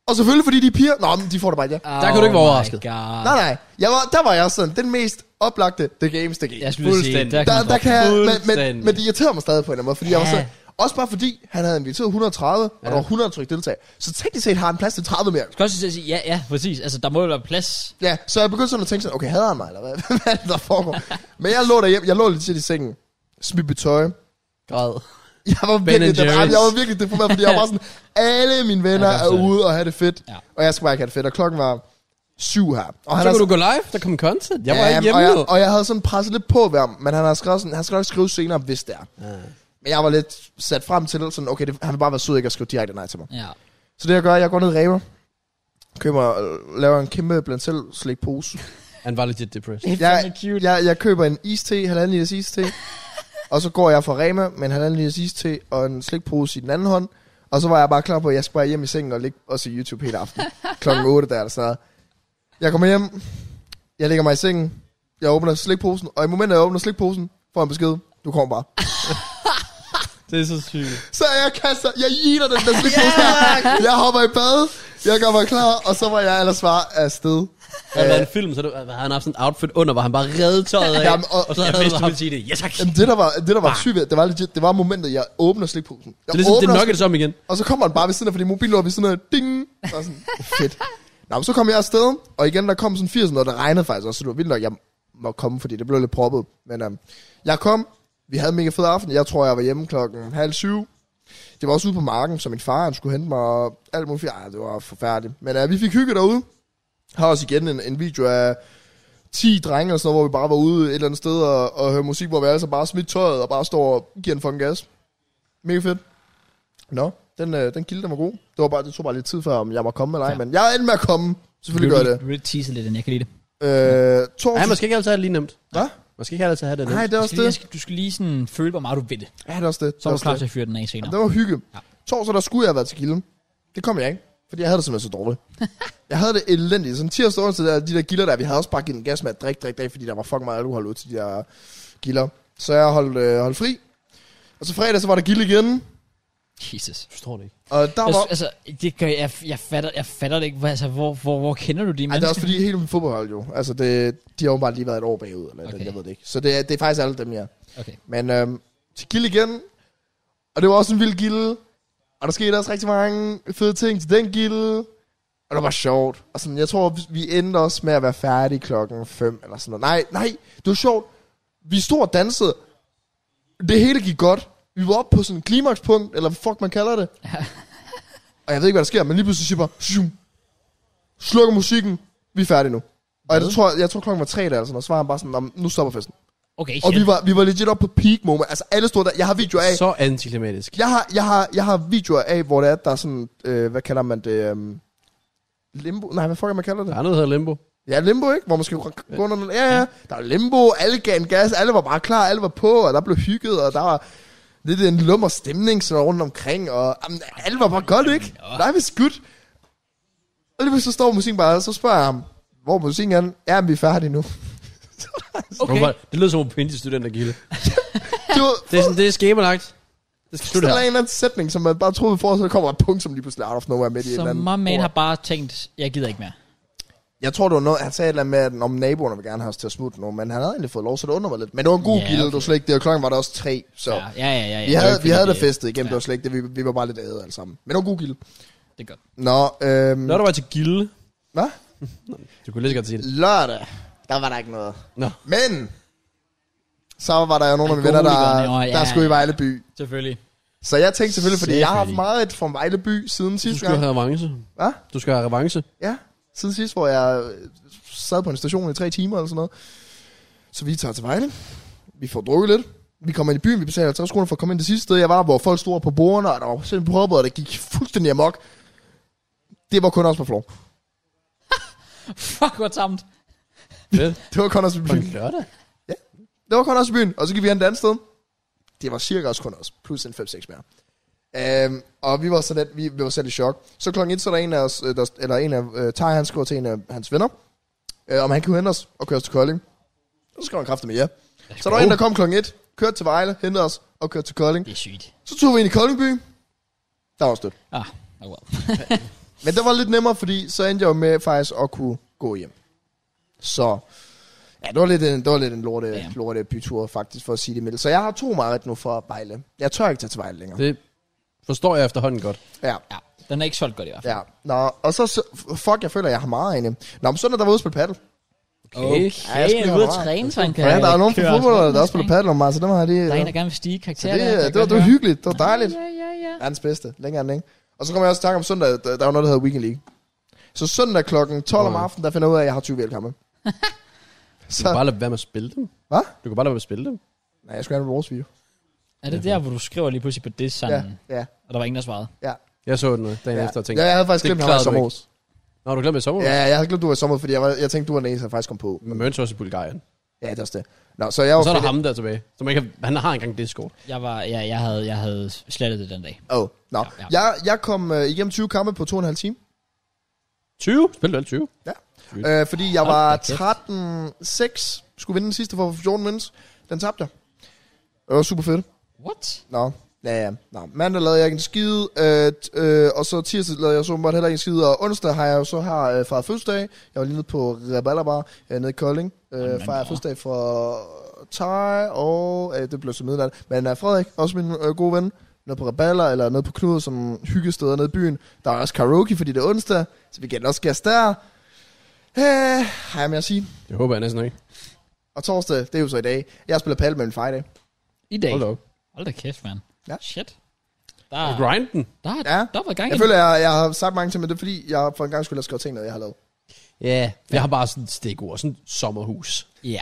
Speaker 3: og selvfølgelig fordi de er piger, nå, men de får det bare ikke. Ja.
Speaker 4: Der kan du ikke
Speaker 1: Oh
Speaker 4: være overrasket.
Speaker 3: Ah. Nej, nej, jeg var, der var jeg sådan, den mest oplagte The Games, det gik.
Speaker 1: Jeg skulle lige sige,
Speaker 4: Fuldstændig.
Speaker 1: der, kan
Speaker 3: der,
Speaker 1: man
Speaker 3: der kan jeg, men, men,
Speaker 4: Fuldstændig.
Speaker 3: men det irriterer mig stadig på en eller anden måde, fordi ja. jeg var
Speaker 1: Ja.
Speaker 3: så, også bare fordi, han havde inviteret 130, ja. og der var 100 tryk deltagere. Så teknisk set har han plads til 30 mere.
Speaker 1: skal også til at sige, ja, ja, præcis. Altså, der må jo være plads.
Speaker 3: Ja, så jeg begyndte sådan at tænke sådan, okay, hader han mig, eller hvad, hvad er det, der foregår? Men jeg lå derhjemme, jeg lå lidt til i sengen, smidt mit tøj.
Speaker 4: Græd.
Speaker 3: Jeg var virkelig,
Speaker 4: Ben
Speaker 3: dep-
Speaker 4: Jerry's.
Speaker 3: jeg var virkelig deprimeret, fordi jeg var bare sådan, alle mine venner
Speaker 1: Jeg kan
Speaker 3: er
Speaker 1: forstå
Speaker 3: ude og have det fedt,
Speaker 1: Ja.
Speaker 3: ja. og jeg skulle bare ikke have det fedt, og klokken var syv her. Og
Speaker 4: Så
Speaker 3: har-
Speaker 4: kunne du gå live, der kom content. Jeg var ikke hjemme
Speaker 3: og
Speaker 4: nu.
Speaker 3: jeg, og jeg havde sådan presset lidt på ved ham, men han har skrevet sådan, han skal nok skrive senere, hvis det er. Men jeg var lidt sat frem til, sådan, okay, det, han vil bare være sød ikke at skrive direkte nej til mig.
Speaker 1: Ja.
Speaker 3: Så det jeg gør, jeg går ned i Rema, køber, øh, laver en kæmpe blandt selv slikpose.
Speaker 4: Han var legit depressed.
Speaker 3: jeg, jeg, jeg køber en iste, halvanden liters iste, og så går jeg fra Rema med en halvanden liters iste og en slikpose i den anden hånd, og så var jeg bare klar på, at jeg skulle bare hjem i sengen og ligge og se YouTube hele aften. Klokken 8 der eller sådan noget. Jeg kommer hjem, jeg ligger mig i sengen, jeg åbner slikposen, og i momentet, jeg åbner slikposen, får jeg en besked. Du kommer bare.
Speaker 4: Det er så sygt.
Speaker 3: Så jeg kaster, jeg jeter den der slikpose. yeah! Jeg hopper i bad, jeg gør mig klar, og så var jeg ellers bare afsted.
Speaker 4: Han var en film, så du, havde han haft sådan en outfit under, hvor han bare redde tøjet af.
Speaker 3: Øh. Jamen, og-
Speaker 4: og, så
Speaker 3: Jeg
Speaker 4: havde
Speaker 1: Hvis du
Speaker 4: han
Speaker 1: vil sige det, ja tak.
Speaker 3: Jamen, det der var, det der var sygt, ved- det var legit, det var momentet, jeg åbner slikposen. Jeg
Speaker 4: Det er ligesom, det
Speaker 3: åbner
Speaker 4: nuggets om igen.
Speaker 3: Og så kommer han bare ved siden af, fordi mobilen var ved siden af, ding, og sådan, fedt. Nå, men så kom jeg afsted, og igen, der kom sådan 80 noget, der regnede faktisk også, så det var vildt nok, jeg må komme, fordi det blev lidt proppet. Men øhm, jeg kom, vi havde en mega fed aften, jeg tror, jeg var hjemme klokken halv syv. Det var også ude på marken, så min far, han skulle hente mig, og alt muligt. Ej, det var forfærdeligt. Men øh, vi fik hygget derude. Har også igen en, en video af 10 drenge eller sådan noget, hvor vi bare var ude et eller andet sted og, og hørte musik, hvor vi altså bare smidt tøjet og bare står og giver en fucking gas. Mega fedt. Nå, den, øh, den kilde, den var god. Det, var bare, det tog bare lidt tid før, om jeg var kommet eller ej,
Speaker 1: Ja.
Speaker 3: men jeg er endt med at komme. Selvfølgelig gør jeg det.
Speaker 1: Du vil tease lidt, den jeg kan lide det.
Speaker 3: Øh, torsdag.
Speaker 4: Nej, man skal ikke altid have det lige nemt.
Speaker 3: Hvad?
Speaker 4: Man skal ikke altid have det nemt.
Speaker 3: Nej, det er
Speaker 1: Du
Speaker 3: også
Speaker 1: skal, lige,
Speaker 3: det.
Speaker 1: skal, du skal lige sådan føle, hvor meget du ved det.
Speaker 3: Ja, det er også
Speaker 1: Så er
Speaker 3: det. det
Speaker 1: du
Speaker 3: også
Speaker 1: klar
Speaker 3: det.
Speaker 1: til at fyre den af senere.
Speaker 3: Det var hygge.
Speaker 1: Ja.
Speaker 3: Ja. Torsdag, der skulle jeg have været til gilden. Det kom jeg ikke, fordi jeg havde det simpelthen så dårligt. jeg havde det elendigt. Sådan tirsdag og onsdag, der, de der gilder der, vi havde også bare givet en gas med at drikke, drikke, drikke, fordi der var fucking meget alkohol ud til de der gilder. Så jeg holdt, øh, holdt fri. Og så fredag, så var der gild igen.
Speaker 1: Jesus.
Speaker 4: Jeg forstår det ikke.
Speaker 3: Og der
Speaker 1: Jeg,
Speaker 3: var...
Speaker 1: altså, det gør, jeg, jeg, fatter, jeg fatter det ikke. Hvor- Altså, hvor, hvor, hvor kender du de
Speaker 3: Ej, det er også
Speaker 1: mennesker?
Speaker 3: fordi hele mit fodboldhold jo, altså det, de har åbenbart lige været et år bagud, eller okay.
Speaker 1: Okay.
Speaker 3: jeg ved det ikke. Så det, er- det er faktisk alle dem, ja.
Speaker 1: Okay.
Speaker 3: Men øhm, til gilde igen, og det var også en vild gilde, og der skete også rigtig mange fede ting til den gilde, og det var sjovt. Og sådan, jeg tror, vi- vi endte også med at være færdige klokken 5 eller sådan noget. Nej, nej, det var sjovt. Vi stod og dansede. Det hele gik godt. Vi var oppe på sådan en klimakspunkt, eller hvad fuck man kalder det. og jeg ved ikke, hvad der sker, men lige pludselig siger jeg bare, "Shum." slukker musikken, vi er færdige nu. Og jeg tror, jeg, jeg tror klokken var tre der, eller sådan, og så var han bare sådan, "Nå, men nu stopper festen.
Speaker 1: Okay,
Speaker 3: Og
Speaker 1: shit.
Speaker 3: vi var, vi var legit oppe på peak moment. Altså alle stod der. Jeg har videoer af.
Speaker 4: Så antiklimatisk.
Speaker 3: Jeg har, jeg har, jeg har videoer af, hvor det er, der er sådan, øh, hvad kalder man det? Øh, limbo? Nej, hvad fuck er man kalder
Speaker 4: Der
Speaker 3: det?
Speaker 4: er noget, der hedder limbo.
Speaker 3: Ja, limbo, ikke? Hvor man skal gå under den. Ja, ja. Der er limbo, alle gav en gas, alle var bare klar, alle var på, og der blev hygget, og der var lidt en lummer stemning sådan rundt omkring, og jamen, alle var bare godt, ikke? Nej, hvis godt. Og lige pludselig så står musikken bare, og så spørger jeg ham, hvor er musikken er? den? Ja, men vi er færdige nu.
Speaker 1: Okay.
Speaker 4: Hvorfor- Det lyder som en pindig student, der gilde.
Speaker 3: Det var
Speaker 4: Det er sådan, det er skemalagt. Det skal
Speaker 3: Det
Speaker 4: slutte
Speaker 3: er
Speaker 4: her.
Speaker 3: en eller anden sætning, som man bare troede for, så kommer der et punkt, som lige pludselig out of nowhere midt i et
Speaker 1: Så
Speaker 3: eller andet.
Speaker 1: my man
Speaker 3: ord.
Speaker 1: har bare tænkt, jeg gider ikke mere.
Speaker 3: Jeg tror, det var noget, han sagde et eller andet med, at om naboerne vil gerne have os til at smutte nu, men han havde egentlig fået lov, så det undrer mig lidt. Men det var en god
Speaker 1: Ja,
Speaker 3: yeah, gilde,
Speaker 1: okay.
Speaker 3: det var slet ikke det, og klokken var der også tre, så...
Speaker 1: Ja,
Speaker 3: Ja.
Speaker 1: ja, ja. ja, ja.
Speaker 3: Vi havde, vi havde da
Speaker 1: fest.
Speaker 3: festet igen, ja. det var slet ikke det, vi, vi var bare lidt æde alle sammen. Men det var en god gilde.
Speaker 1: Det er godt.
Speaker 3: Nå, øhm,
Speaker 4: Når du var til gilde.
Speaker 3: Hvad?
Speaker 4: Du kunne lige så godt sige det.
Speaker 3: lørdag, der var der ikke noget.
Speaker 4: Nå.
Speaker 3: Men, så var der jo nogle af mine venner, der,
Speaker 1: Alkoholikerne, åh, ja,
Speaker 3: der skulle i
Speaker 1: ja.
Speaker 3: Vejle by.
Speaker 1: Selvfølgelig.
Speaker 3: Så jeg tænkte selvfølgelig, fordi jeg har haft
Speaker 4: Selvfølgelig.
Speaker 3: meget fra Vejle by siden
Speaker 4: Du
Speaker 3: sidste
Speaker 4: skal
Speaker 3: gang.
Speaker 4: have revanche.
Speaker 3: Hvad?
Speaker 4: Du skal have revanche.
Speaker 3: Ja, siden sidst, hvor jeg øh, sad på en station i tre timer eller sådan noget. Så vi tager til Vejle. Vi får drukket lidt. Vi kommer ind i byen, vi betaler 50 kroner for at komme ind det sidste sted, jeg var, hvor folk stod på bordene, og der var simpelthen proppet, og det gik fuldstændig amok. Det var kun også på floor.
Speaker 1: Fuck, hvor tamt.
Speaker 4: Fedt.
Speaker 3: Det var kun også i
Speaker 4: På en
Speaker 3: byen.
Speaker 4: lørdag.
Speaker 3: Det var kun også i byen, og så gik vi hen et andet sted. Det var cirka også kun os, plus en 5-6 mere. Øhm, og vi var så lidt, vi, vi var selv i chok. Så klokken et, så er der en af os, øh, der, eller en af øh, Tej, han skriver til en af hans venner, øh, om han kunne hente os og køre os til Kolding. Så skriver han kraftigt med ja. Så er der en, der kom klokken et, kørte til Vejle, hentede os og kørte til Kolding.
Speaker 1: Det er sygt.
Speaker 3: Så tog vi ind i Koldingby. Der var også dødt.
Speaker 1: Ah, oh well.
Speaker 3: Men det var lidt nemmere, fordi så endte jeg jo med faktisk at kunne gå hjem. Så ja, det var lidt en, det var lidt en lorte,
Speaker 1: Ja.
Speaker 3: lorte bytur faktisk, for at sige det mildt. Så jeg har to meget nu fra Vejle. Jeg tør ikke tage til Vejle længere.
Speaker 4: Det forstår jeg efterhånden godt.
Speaker 3: Ja.
Speaker 1: Ja, den er ikke solgt godt i hvert fald.
Speaker 3: Ja, Nå, og så, så- fuck, jeg føler, jeg har meget inde. Nå, men søndag, der var ude og spille paddle.
Speaker 1: Okay,
Speaker 3: Ja, jeg
Speaker 1: okay
Speaker 3: skulle
Speaker 1: jeg er
Speaker 3: have
Speaker 1: ude at
Speaker 3: ret.
Speaker 1: træne, så han kan
Speaker 3: Ja, der er nogen
Speaker 1: køre
Speaker 3: fra fodbold, der også
Speaker 1: rundt,
Speaker 3: spiller
Speaker 1: ikke?
Speaker 3: paddle om mig, så dem har de...
Speaker 1: Der er en,
Speaker 3: Det,
Speaker 1: der gerne vil stige i
Speaker 3: så
Speaker 1: karakter.
Speaker 3: det,
Speaker 1: der,
Speaker 3: det, var, det var hyggeligt, det var dejligt.
Speaker 1: Ja, ja, ja.
Speaker 3: Verdens bedste, længere end ikke. Og så kommer jeg også i tanke om søndag, der, der var noget, der hedder Weekend League. Så søndag klokken 12 om
Speaker 4: Wow.
Speaker 3: aftenen, der finder jeg ud af, at jeg har 20 velkommen.
Speaker 4: Du
Speaker 3: så,
Speaker 4: kan bare lade være med at spille dem.
Speaker 3: Hvad?
Speaker 4: Du kan bare lade være med at spille dem.
Speaker 3: nej, jeg skulle have en vores video.
Speaker 1: Er det der, hvor du skriver lige pludselig på det
Speaker 3: Ja,
Speaker 1: sammen,
Speaker 3: ja,
Speaker 1: og der var ingen, der svarede?
Speaker 4: Jeg så den øh, dagen
Speaker 3: ja.
Speaker 4: efter og
Speaker 3: ja,
Speaker 4: tænkte,
Speaker 3: jeg havde faktisk
Speaker 4: det
Speaker 3: glemt, at han var i
Speaker 4: klarede du
Speaker 3: sommerhus.
Speaker 4: Nå, har du glemt det i sommer?
Speaker 3: Ja, jeg havde glemt, du var i sommerhus, fordi jeg, var, jeg tænkte, du var den eneste, der faktisk kom på.
Speaker 4: Men Mørens også i Bulgarien.
Speaker 3: Ja, det er også det. Nå, så jeg var
Speaker 4: Og så er der
Speaker 3: fedt-
Speaker 4: ham der tilbage. Som ikke har, han har engang Discord.
Speaker 1: Jeg, var, ja, jeg, havde, jeg havde slettet det den dag.
Speaker 3: Åh, oh, nå.
Speaker 1: Ja, ja.
Speaker 3: Jeg, jeg kom øh, igennem 20 kampe på 2,5 time.
Speaker 4: 20? Spillede du alle 20?
Speaker 3: Øh, fordi jeg
Speaker 1: Hold
Speaker 3: var
Speaker 1: da kæft.
Speaker 3: 13-6. Skulle vinde den sidste for 14 minutes. Den tabte jeg. Det var super fedt.
Speaker 1: What?
Speaker 3: Nå. Ja, ja. Nå. Mandag lavede jeg ikke en skide, øh, t- øh, og så tirsdag lavede jeg så åbenbart heller ikke en skide, og onsdag har jeg jo så her øh, fejret fødselsdag. Jeg var lige nede på Rabalabar øh, nede i Kolding.
Speaker 1: Jamen,
Speaker 3: Øh, fejret
Speaker 1: nå.
Speaker 3: fødselsdag for Thaj og... Øh, det blev så midnat. Men øh, Frederik, også min øh, gode ven, nede på Raballer eller nede på Knud, som hyggesteder nede i byen. Der er også karaoke, fordi det er onsdag, så vi kan også gæste der. Øh, har jeg med at sige.
Speaker 4: Det håber jeg næsten ikke.
Speaker 3: Og torsdag, det er jo så i dag. Jeg spiller paddle med en Friday.
Speaker 1: I dag?
Speaker 4: Hold da op.
Speaker 1: Hold da kæft, mand.
Speaker 3: Ja.
Speaker 1: Shit. Der,
Speaker 4: Og grinden.
Speaker 1: der er
Speaker 3: Ja.
Speaker 1: dobbelt gang i
Speaker 3: Jeg
Speaker 1: den.
Speaker 3: føler, jeg, jeg har sagt mange ting, men det er fordi, jeg for en gang skulle have skrevet ting ned, jeg har lavet.
Speaker 4: Ja. Jeg har bare sådan et stikord. Sådan et sommerhus.
Speaker 1: Ja.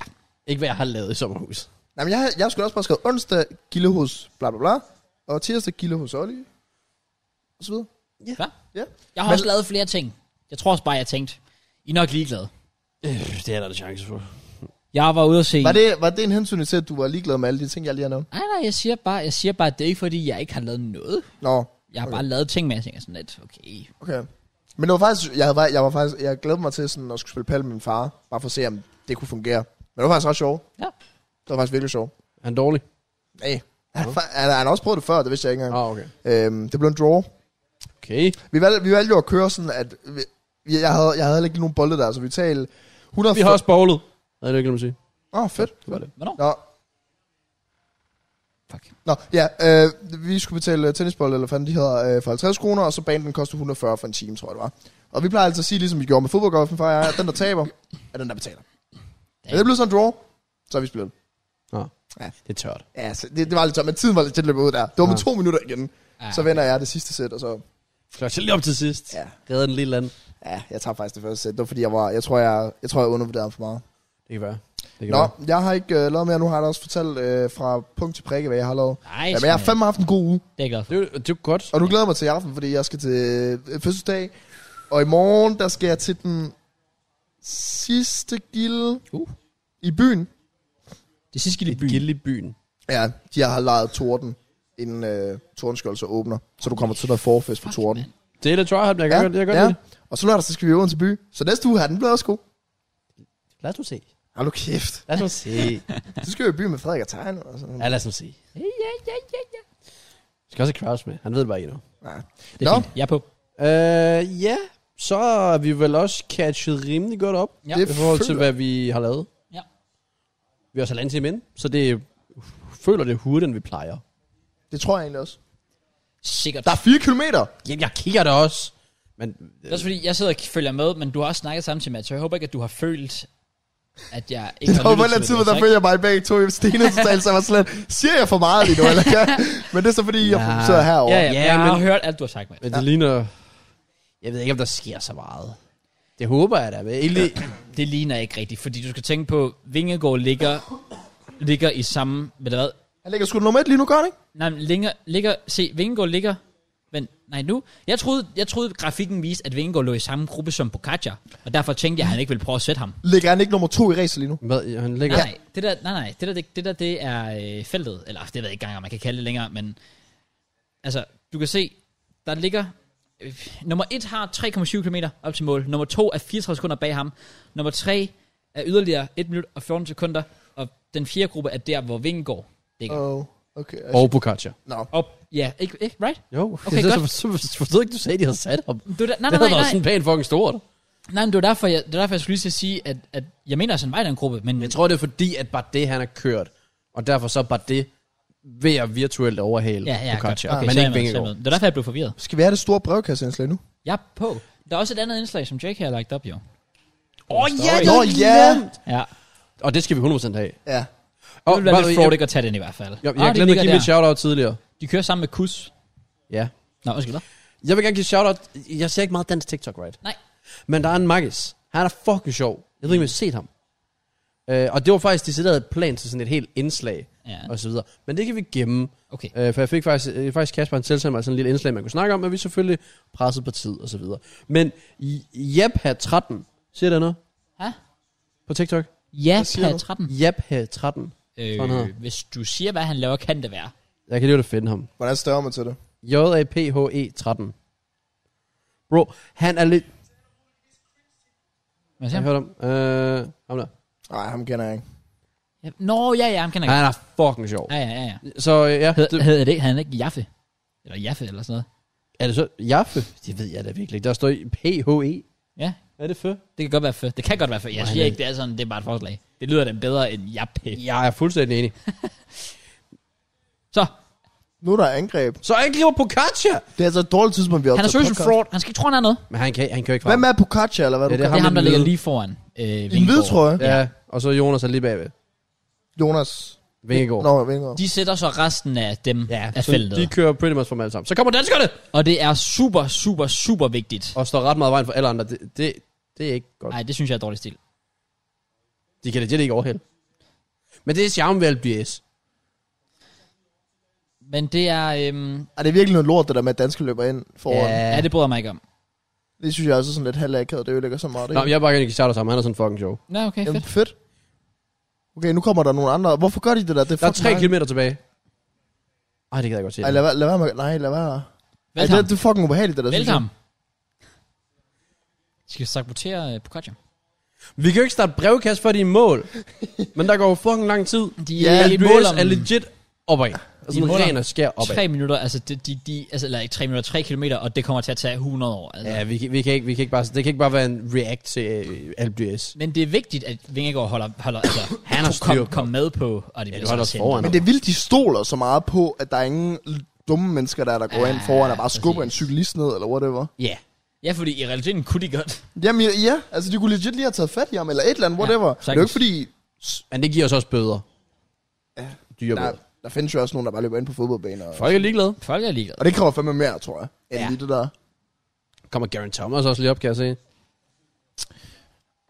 Speaker 4: Ikke hvad jeg har lavet i sommerhus.
Speaker 3: Nej, men jeg, havde- jeg skulle også bare skrive onsdag, gilde hos bla bla bla, og tirsdag, gilde hos Olli, og så videre.
Speaker 1: Hvad?
Speaker 3: Ja.
Speaker 1: Jeg har
Speaker 3: Men-
Speaker 1: også lavet flere ting. Jeg tror også bare, jeg tænkte, I er nok ligeglade.
Speaker 4: Øh, det er der en chance for.
Speaker 1: Jeg var ude at se...
Speaker 3: Var det, var det en hensyn til, at du var ligeglad med alle de ting, jeg lige har nævnt?
Speaker 1: Nej, nej, jeg siger bare, jeg siger bare at det er ikke fordi, jeg ikke har lavet noget.
Speaker 3: Nå,
Speaker 1: Jeg har okay. bare lavet ting, men jeg tænker sådan lidt, okay.
Speaker 3: okay. Men det var faktisk, jeg, havde, var- jeg var faktisk, jeg glædede mig til sådan at skulle spille pal med min far, bare for at se, om det kunne fungere. Men det var faktisk ret sjovt.
Speaker 1: Ja.
Speaker 3: Det var faktisk virkelig sjovt.
Speaker 4: Er han dårlig?
Speaker 3: Nej. Han, han, han, har også prøvet det før, det vidste jeg ikke engang.
Speaker 4: Ah, okay.
Speaker 3: Øhm, det blev en draw.
Speaker 4: Okay.
Speaker 3: Vi valgte, vi valgte jo at køre sådan, at vi, jeg, havde, jeg havde heller ikke nogen bolde der, så vi talte 100...
Speaker 4: Vi har også bowlet. Nej, det er ikke, at sige.
Speaker 3: Åh, oh, fedt.
Speaker 4: Det var det.
Speaker 1: Hvornår?
Speaker 3: Nå,
Speaker 1: Fuck.
Speaker 3: Nå, ja, øh, vi skulle betale øh, tennisbold, eller hvad fanden de hedder, øh, for 50 kroner, og så banen den kostede 140 for en time, tror jeg det var. Og vi plejer altid at sige, ligesom vi gjorde med fodboldgolfen, for jeg, at den der taber, er den der betaler. Ja, det blev sådan en draw, så er vi spillet.
Speaker 4: Nå.
Speaker 3: Ja.
Speaker 4: Det er tørt.
Speaker 3: Ja, så det, det var lidt tørt, men tiden var lidt tæt løbet ud der. Det var med
Speaker 4: Ja.
Speaker 3: to minutter igen.
Speaker 1: Ja.
Speaker 3: Så vender jeg det sidste sæt, og så...
Speaker 4: Klart lige op til sidst.
Speaker 3: Ah, Ja.
Speaker 4: Redder den lille land.
Speaker 3: Ja, jeg tager faktisk det første sæt. Det var fordi, jeg, var, jeg tror, jeg, jeg, tror, jeg undervurderede ham for meget.
Speaker 4: Det kan være. Det kan
Speaker 3: Nå,
Speaker 4: være.
Speaker 3: jeg har ikke øh, lavet mere. Nu har jeg da også fortalt øh, fra punkt til prikke, hvad jeg har lavet.
Speaker 1: Nej,
Speaker 3: Ja, men jeg har fandme haft en god uge.
Speaker 1: Det er jeg glad for.
Speaker 4: Det er, jo- det er jo godt.
Speaker 3: Og du glæder mig til i aften, fordi jeg skal til øh, fødselsdag. Og i morgen, der skal jeg til den sidste gilde
Speaker 1: Uh.
Speaker 3: i byen.
Speaker 1: Det sidste gilde i byen.
Speaker 4: Gilde i byen.
Speaker 3: Ja, de har lejet torden, inden øh, tordenskjold så åbner. Så du kommer til noget forfest for torden.
Speaker 1: mand.
Speaker 4: Det er da tryhard, men jeg kan godt, jeg kan godt
Speaker 3: ja.
Speaker 4: lide det.
Speaker 3: Og så lørdag, så skal vi over til by. Så næste uge har den blevet også god.
Speaker 4: Lad os nu se.
Speaker 3: Hold nu kæft.
Speaker 4: Lad os nu se.
Speaker 3: Så skal vi i by med Frederik og Tegn. Og sådan.
Speaker 4: ja, lad os nu se.
Speaker 1: Ja, ja, ja, ja, ja.
Speaker 4: Vi skal også have Kraus med. Han ved det bare ikke endnu.
Speaker 3: Ja.
Speaker 1: Det er
Speaker 3: Nå.
Speaker 1: fint. Jeg er på.
Speaker 4: Øh, ja. Så er vi vel også catchet rimelig godt op.
Speaker 1: Ja.
Speaker 3: Det
Speaker 4: I forhold til,
Speaker 3: føler-
Speaker 4: hvad vi har lavet.
Speaker 1: Ja.
Speaker 4: Vi har også halvandet time ind, så det føler det er hurtigere, end vi plejer.
Speaker 3: Det tror jeg egentlig også.
Speaker 1: Sikkert.
Speaker 3: Der er 4 kilometer.
Speaker 4: Jamen, jeg kigger det også. Men
Speaker 1: Det er også fordi, jeg sidder og følger med, men du har også snakket samtidig med, så jeg håber ikke, at du har følt, at jeg ikke
Speaker 3: Det var på
Speaker 1: lyttet
Speaker 3: den
Speaker 1: til
Speaker 3: tid,
Speaker 1: hvad
Speaker 3: der
Speaker 1: du har
Speaker 3: følger jeg mig begge to i stenet totalt, så jeg var slet, siger jeg for meget lige nu, eller kan? Men det er så fordi, jeg
Speaker 4: Ja.
Speaker 3: sidder
Speaker 1: sagt.
Speaker 3: herovre.
Speaker 1: Ja, ja,
Speaker 4: Ja,
Speaker 1: men jeg har
Speaker 4: men-
Speaker 1: hørt alt, du har sagt, med.
Speaker 4: Men det ligner... Jeg ved ikke, om der sker så meget. Det håber jeg da. Men egentlig...
Speaker 1: Det ligner ikke rigtigt, fordi du skal tænke på, Vingegård ligger, ligger i samme, ved du hvad,
Speaker 3: Han ligger sgu nummer et lige nu, gør han ikke?
Speaker 1: Nej, men ligger, ligger, se, Vingegaard ligger, men nej nu. Jeg troede, jeg troede grafikken viste, at Vingegaard lå i samme gruppe som Pogacar, og derfor tænkte jeg, at han ikke ville prøve at sætte ham.
Speaker 3: Ligger han ikke nummer to i racer lige nu?
Speaker 4: Hvad, han ligger...
Speaker 1: Nej,
Speaker 4: Ja.
Speaker 1: nej, det der, nej, nej, det der, det, det, der, det er øh, feltet, eller det ved jeg ikke engang, om man kan kalde det længere, men altså, Du kan se, der ligger... øh, Nummer 1 har 3,7 km op til mål. Nummer 2 er 34 sekunder bag ham. Nummer 3 er yderligere 1 minut og 14 sekunder. Og den fjerde gruppe er der, hvor Vingegaard ligger. Uh.
Speaker 3: Oh, okay.
Speaker 4: Og Bukaccia.
Speaker 3: Nå.
Speaker 1: Og, ja, ikke, ikke, right?
Speaker 4: Jo,
Speaker 1: Okay,
Speaker 4: så,
Speaker 1: godt.
Speaker 4: så, så forstod jeg ikke, du sagde, de havde sat ham.
Speaker 1: Det var da, nej,
Speaker 4: Det
Speaker 1: nej,
Speaker 4: havde
Speaker 1: nej,
Speaker 4: været
Speaker 1: nej.
Speaker 4: sådan pænt fucking stort.
Speaker 1: nej men det var derfor, jeg, det var derfor, jeg skulle lige til at sige, at, at jeg mener, at Sandvej er en gruppe, men
Speaker 4: Jeg tror, det er fordi, at bare det, han har kørt, og derfor så bare det ved at virtuelt overhale
Speaker 1: Ja, ja, godt.
Speaker 4: Pogacar,
Speaker 1: Okay,
Speaker 4: men
Speaker 1: så er jeg
Speaker 4: ikke
Speaker 1: med, så er jeg med.
Speaker 4: Vingegaard.
Speaker 1: Det er derfor, jeg blev forvirret.
Speaker 3: Skal vi have det store brevkasseindslag nu?
Speaker 1: Jeg er på. Der er også et andet indslag, som Jake har lagt op, jo.
Speaker 4: Åh, oh, ja,
Speaker 3: Nå, ja.
Speaker 1: Ja.
Speaker 4: Og det skal vi 100% have.
Speaker 3: Ja.
Speaker 1: Det
Speaker 4: Og
Speaker 1: ville være lidt fraught ikke at tage den i hvert fald.
Speaker 4: Jeg,
Speaker 1: Ah,
Speaker 4: jeg
Speaker 1: de
Speaker 4: glemte
Speaker 1: ligger
Speaker 4: at give
Speaker 1: der.
Speaker 4: mit shout-out tidligere.
Speaker 1: De kører sammen med Kus.
Speaker 4: Ja.
Speaker 1: Nå, undskyld dig.
Speaker 4: Jeg vil gerne give shout-out. Jeg ser ikke meget dansk TikTok, right?
Speaker 1: Nej.
Speaker 4: Men der er en Marcus. Han er fucking sjov. Jeg ved ikke, om jeg har set ham. Øh, og det var faktisk decideret et plan til sådan et helt indslag,
Speaker 1: Ja.
Speaker 4: og så videre. Men det kan vi gemme.
Speaker 1: Okay.
Speaker 4: Øh, for jeg fik faktisk, øh, faktisk Kasper en tilsendte mig sådan en lille indslag, man kunne snakke om, men vi er selvfølgelig presset på tid og så videre. Men I- Jepha 13, siger der noget
Speaker 1: Hæ?
Speaker 4: på TikTok?
Speaker 1: Ja,
Speaker 3: siger
Speaker 1: per
Speaker 3: du?
Speaker 1: 13.
Speaker 4: Jepha 13. Sådan her.
Speaker 1: Øh, hvis du siger, hvad han laver, kan det være.
Speaker 4: Jeg kan lige at finde ham.
Speaker 3: Hvordan størrer man til det?
Speaker 4: J-A-P-H-E 13. E Bro, han er lidt...
Speaker 1: Hvad
Speaker 4: Jeg
Speaker 1: siger
Speaker 4: har
Speaker 1: han?
Speaker 4: hørt om. Øh, ham der.
Speaker 3: Nej, ham kender jeg ikke.
Speaker 1: Ja. Nå, ja, ja, ham kender jeg
Speaker 4: Han er fucking sjov.
Speaker 1: godt. Ja, ja, ja, ja.
Speaker 4: Så øh, ja,
Speaker 1: Hed,
Speaker 4: det,
Speaker 1: hedder det, han ikke Jaffe? Eller Jaffe, eller sådan noget.
Speaker 4: er det så Jaffe? Det ved jeg da virkelig ikke. Der står i E. PHE.
Speaker 1: Ja,
Speaker 4: Hvad er det for?
Speaker 1: det kan godt være fedt. Det kan godt være fedt. Jeg
Speaker 4: Nej,
Speaker 1: siger
Speaker 4: nej.
Speaker 1: ikke, det er sådan, det er bare et forslag. Det lyder den bedre end Jaffe.
Speaker 4: Jeg er fuldstændig enig.
Speaker 1: Så,
Speaker 3: Nu er der angreb.
Speaker 4: Så er ikke lige Pocaccia!
Speaker 3: Det er altså et dårligt tidspunkt, vi har
Speaker 1: han er
Speaker 3: optaget
Speaker 1: social
Speaker 3: podcast.
Speaker 1: fraud. Han skal ikke tro, han er noget.
Speaker 4: Men han kan, han kan jo ikke
Speaker 3: Hvem er Pocaccia, eller hvad
Speaker 4: Ja,
Speaker 3: du
Speaker 4: det er
Speaker 1: Det
Speaker 3: kalder
Speaker 1: er ham, der
Speaker 4: med
Speaker 1: ligger
Speaker 4: hvide-
Speaker 1: lige foran øh,
Speaker 3: En hvid
Speaker 1: Vingegaard.
Speaker 3: trøje.
Speaker 4: Ja, og så Jonas er lige bagved.
Speaker 3: Jonas.
Speaker 4: Vingegaard.
Speaker 3: Nå, Vingegaard.
Speaker 1: De sætter så resten af dem ja, af
Speaker 4: så
Speaker 1: feltet.
Speaker 4: de kører pretty much for dem alle sammen. Så kommer danskerne!
Speaker 1: Og det er super, super, super vigtigt.
Speaker 4: Og står ret meget i vejen for alle andre. Det, det, det er ikke godt.
Speaker 1: Nej, det synes jeg er dårlig stil.
Speaker 4: De kan det ikke overhælde. Men det er charmen ved LBS.
Speaker 1: Men det er... Øhm,
Speaker 3: Er det er virkelig noget lort, det der med, at danske løber ind foran?
Speaker 1: ja. ja, det bryder jeg mig ikke om.
Speaker 3: Det synes jeg også er sådan lidt halvakavet, det ødelægger så meget.
Speaker 4: Nå, men jeg vil bare gerne give shout-out til ham. Han er sådan fucking sjov.
Speaker 1: Nå, okay,
Speaker 3: Jamen,
Speaker 1: fedt.
Speaker 3: fedt. Okay, nu kommer der nogle andre. Hvorfor gør de det der? Det
Speaker 4: Der er
Speaker 3: fucking
Speaker 4: 3
Speaker 3: mange.
Speaker 4: km tilbage. Ej, det kan jeg godt se.
Speaker 3: Ej, lad, være- lad være med. Nej, lad være. Ej,
Speaker 1: Velkommen.
Speaker 3: det, det er fucking ubehageligt, det der. synes jeg.
Speaker 1: Velkommen. Skal vi sabotere uh, Pocaccia?
Speaker 4: Vi kan jo ikke starte brevkast, før de er i mål. Men der går jo fucking lang tid.
Speaker 1: De
Speaker 3: Ja,
Speaker 1: er i mål
Speaker 4: LBS
Speaker 1: om
Speaker 4: er legit opad.
Speaker 1: I
Speaker 4: Og sådan
Speaker 1: måler.
Speaker 4: altså, ren og skær opad.
Speaker 1: tre minutter, altså, de, de, de, altså eller ikke tre minutter, tre kilometer, og det kommer til at tage 100 år. Altså.
Speaker 4: Ja, vi, kan- vi, kan ikke, vi kan ikke bare, det kan ikke bare være en react til øh, LBS.
Speaker 1: Men det er vigtigt, at Vingegaard holder, holder altså, han
Speaker 4: har styr
Speaker 1: kom,
Speaker 4: på-
Speaker 1: kom med på, og det
Speaker 4: Ja,
Speaker 1: bliver
Speaker 4: du
Speaker 1: så
Speaker 4: holder os
Speaker 1: sendt.
Speaker 4: foran.
Speaker 3: Men det er vildt, de stoler så meget på, at der er ingen l- dumme mennesker, der, er, der går
Speaker 1: Ja,
Speaker 3: ind foran og bare
Speaker 1: præcis.
Speaker 3: skubber en cyklist ned, eller whatever.
Speaker 1: Ja. Ja, fordi i realiteten kunne de godt.
Speaker 3: Jamen ja, ja, altså de kunne legit lige have taget fat i ham, eller et eller andet, whatever. Ja, det er jo
Speaker 1: sagtens.
Speaker 3: ikke fordi,
Speaker 4: Men det giver os også bøder. Ja. Dyre
Speaker 3: der,
Speaker 4: bøder.
Speaker 3: der findes jo også nogen, der bare løber ind på fodboldbaner. Og,
Speaker 4: Folk er ligeglade.
Speaker 1: Folk er ligeglade.
Speaker 3: og det kommer fandme mere, tror jeg, end
Speaker 4: Ja.
Speaker 3: ja. lige det der.
Speaker 4: Kommer Garen Thomas også lige op, kan jeg se.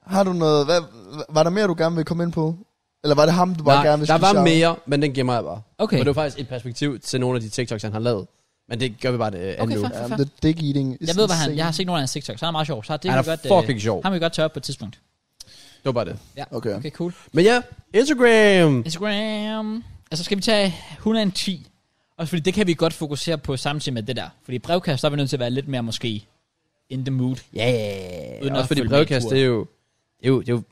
Speaker 3: Har du noget, hvad, var der mere, du gerne vil komme ind på? Eller var det ham, du bare
Speaker 4: Nej,
Speaker 3: gerne vil
Speaker 4: der
Speaker 3: skulle
Speaker 4: var
Speaker 3: shout?
Speaker 4: mere, men den gemmer jeg bare.
Speaker 1: Okay.
Speaker 4: Og det var faktisk et perspektiv til nogle af de TikToks, han har lavet. Men det gør vi bare det øh, anden
Speaker 1: Okay,
Speaker 4: uge.
Speaker 1: fair.
Speaker 3: Ja, men det er dick eating. is
Speaker 1: Jeg ved, hvad han,
Speaker 3: insane.
Speaker 1: jeg har set nogle af hans TikToks, han er meget sjov, så det
Speaker 4: Han
Speaker 1: kan vi
Speaker 4: er
Speaker 1: godt, øh,
Speaker 4: fucking sjov.
Speaker 1: ham kan vi godt tørre på et tidspunkt.
Speaker 4: Det var bare det.
Speaker 1: Ja,
Speaker 3: Okay.
Speaker 1: okay cool.
Speaker 4: Men ja, Instagram.
Speaker 1: Instagram. Altså skal vi tage 110? Også fordi det kan vi godt fokusere på samtidig med det der. Fordi i brevkast, der er vi nødt til at være lidt mere måske in the mood.
Speaker 4: Ja, yeah.
Speaker 1: Uden
Speaker 4: Uden
Speaker 1: at
Speaker 4: også fordi
Speaker 1: følge
Speaker 4: brevkast,
Speaker 1: med i
Speaker 4: det er jo, det er jo, det er jo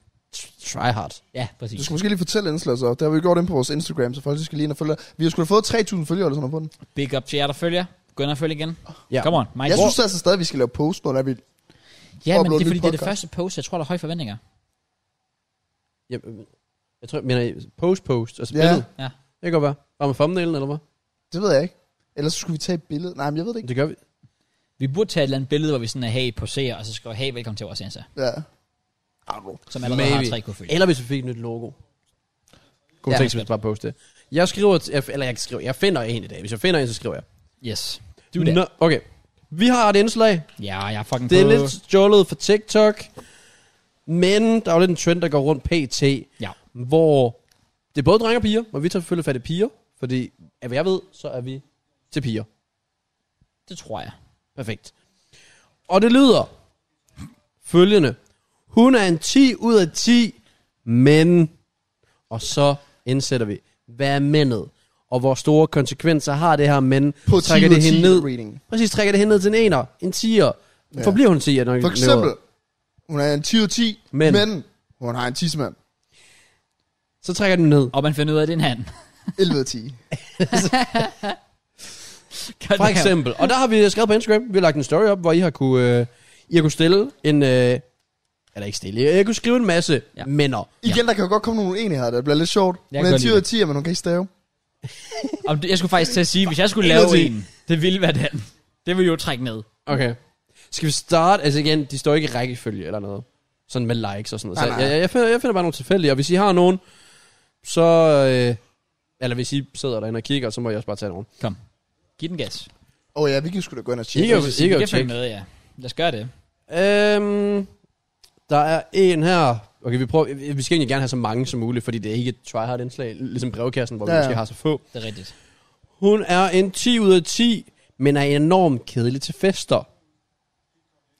Speaker 4: try hard.
Speaker 1: Ja,
Speaker 3: Du
Speaker 1: præcis.
Speaker 3: skal måske lige fortælle Ensler så. Det har vi gjort ind på vores Instagram, så folk skal lige ind og følge. Vi har sgu da fået 3.000 følgere eller sådan noget på den.
Speaker 1: Big up til jer, der følger. Gå ind og følg igen.
Speaker 4: Ja.
Speaker 1: Come on, Mike.
Speaker 3: Jeg synes altså stadig, vi skal lave post, når der er vi...
Speaker 1: ja, men
Speaker 3: upload
Speaker 1: det er
Speaker 3: nyt
Speaker 1: fordi, det er det
Speaker 3: podcast.
Speaker 1: første post, jeg tror, der er høje forventninger.
Speaker 4: Jeg, jeg tror, jeg mener post-post, altså
Speaker 3: Ja.
Speaker 4: billedet.
Speaker 1: Ja.
Speaker 4: Det kan godt være. Bare med thumbnailen, eller hvad?
Speaker 3: Det ved jeg ikke. Ellers så skulle vi tage et billede. Nej, men jeg ved det ikke.
Speaker 4: Det gør vi.
Speaker 1: Vi burde tage et eller andet billede, hvor vi sådan er, hey, poserer, og så skriver, hey, velkommen til vores Insta,
Speaker 3: Ja. Arro.
Speaker 1: som allerede
Speaker 4: Maybe.
Speaker 1: har 3 følge.
Speaker 4: Eller hvis vi fik et nyt logo.
Speaker 1: Ja.
Speaker 4: Kunne ja. tænke, hvis vi bare poste det. Jeg skriver, t- jeg, eller jeg ikke skriver, jeg finder en i dag. Hvis jeg finder en, så skriver jeg.
Speaker 1: Yes. Do that.
Speaker 4: Nå, okay. Vi har et indslag.
Speaker 1: Ja, jeg er fucking
Speaker 4: Det er
Speaker 1: på.
Speaker 4: lidt stjålet fra TikTok. Men der er jo lidt en trend, der går rundt pt.
Speaker 1: Ja.
Speaker 4: Hvor det er både drenge og piger, og vi tager selvfølgelig fat i piger. Fordi, af hvad jeg ved, så er vi til piger.
Speaker 1: Det tror jeg.
Speaker 4: Perfekt. Og det lyder følgende. Hun er en 10 ud af 10, men... Og så indsætter vi, hvad er mændet? og hvor store konsekvenser har det her, men
Speaker 3: På
Speaker 4: trækker
Speaker 3: 10
Speaker 4: det
Speaker 3: ud af
Speaker 4: hende
Speaker 3: 10
Speaker 4: ned.
Speaker 3: rating.
Speaker 4: Præcis, trækker det hende ned til en ener, en tiger.
Speaker 3: Ja.
Speaker 4: Ja. Forbliver hun en tiger, når
Speaker 3: For
Speaker 4: hun lever.
Speaker 3: eksempel, hun er en 10 ud af 10, men,
Speaker 4: Men-
Speaker 3: men hun har en tidsmand.
Speaker 4: Så trækker den ned.
Speaker 1: Og man finder ud af, at det er en hand.
Speaker 3: 11 ud af 10.
Speaker 4: For eksempel. Og der har vi skrevet på Instagram, vi har lagt en story op, hvor I har kunne, øh, I har kunne stille en... Øh, eller ikke stille, jeg kunne skrive en masse
Speaker 1: Ja.
Speaker 4: ja. mænder.
Speaker 3: Igen, ja. der kan jo godt komme nogle enigheder, der bliver lidt sjovt.
Speaker 1: Jeg
Speaker 3: Hun
Speaker 1: kan
Speaker 3: er
Speaker 1: godt
Speaker 3: en 10 ud
Speaker 1: lide
Speaker 3: af 10, men hun kan ikke stave.
Speaker 1: Om det, jeg skulle faktisk til at sige, hvis jeg skulle
Speaker 4: en ud
Speaker 1: lave
Speaker 4: af ti.
Speaker 1: en, det ville være den. Det ville jo trække ned.
Speaker 4: Okay. Skal vi starte? Altså igen, de står ikke i rækkefølge eller noget. Sådan med likes og sådan noget.
Speaker 3: Nej,
Speaker 4: Så
Speaker 3: nej.
Speaker 4: jeg, jeg, jeg, finder, jeg finder bare nogle tilfældige, og hvis I har nogen, så... Øh, eller hvis I sidder derinde og kigger, så må jeg også bare tage nogen.
Speaker 1: Kom. Giv den gas.
Speaker 3: Åh oh, ja, vi kan sgu da gå ind og
Speaker 4: I
Speaker 3: tjekke.
Speaker 4: kan,
Speaker 1: Så
Speaker 4: I
Speaker 1: vi
Speaker 4: kan jo
Speaker 1: kan følge
Speaker 4: tjekke.
Speaker 1: med, ja. Lad os gøre det.
Speaker 4: Øhm, der er en her. Okay, vi, prøver, vi skal egentlig gerne have så mange som muligt, fordi det er ikke et tryhard indslag, ligesom brevkassen, hvor ja.
Speaker 3: Ja,
Speaker 4: vi
Speaker 3: ja.
Speaker 4: måske har så få.
Speaker 1: Det er rigtigt.
Speaker 4: Hun er en 10 ud af 10, men er enormt kedelig til fester.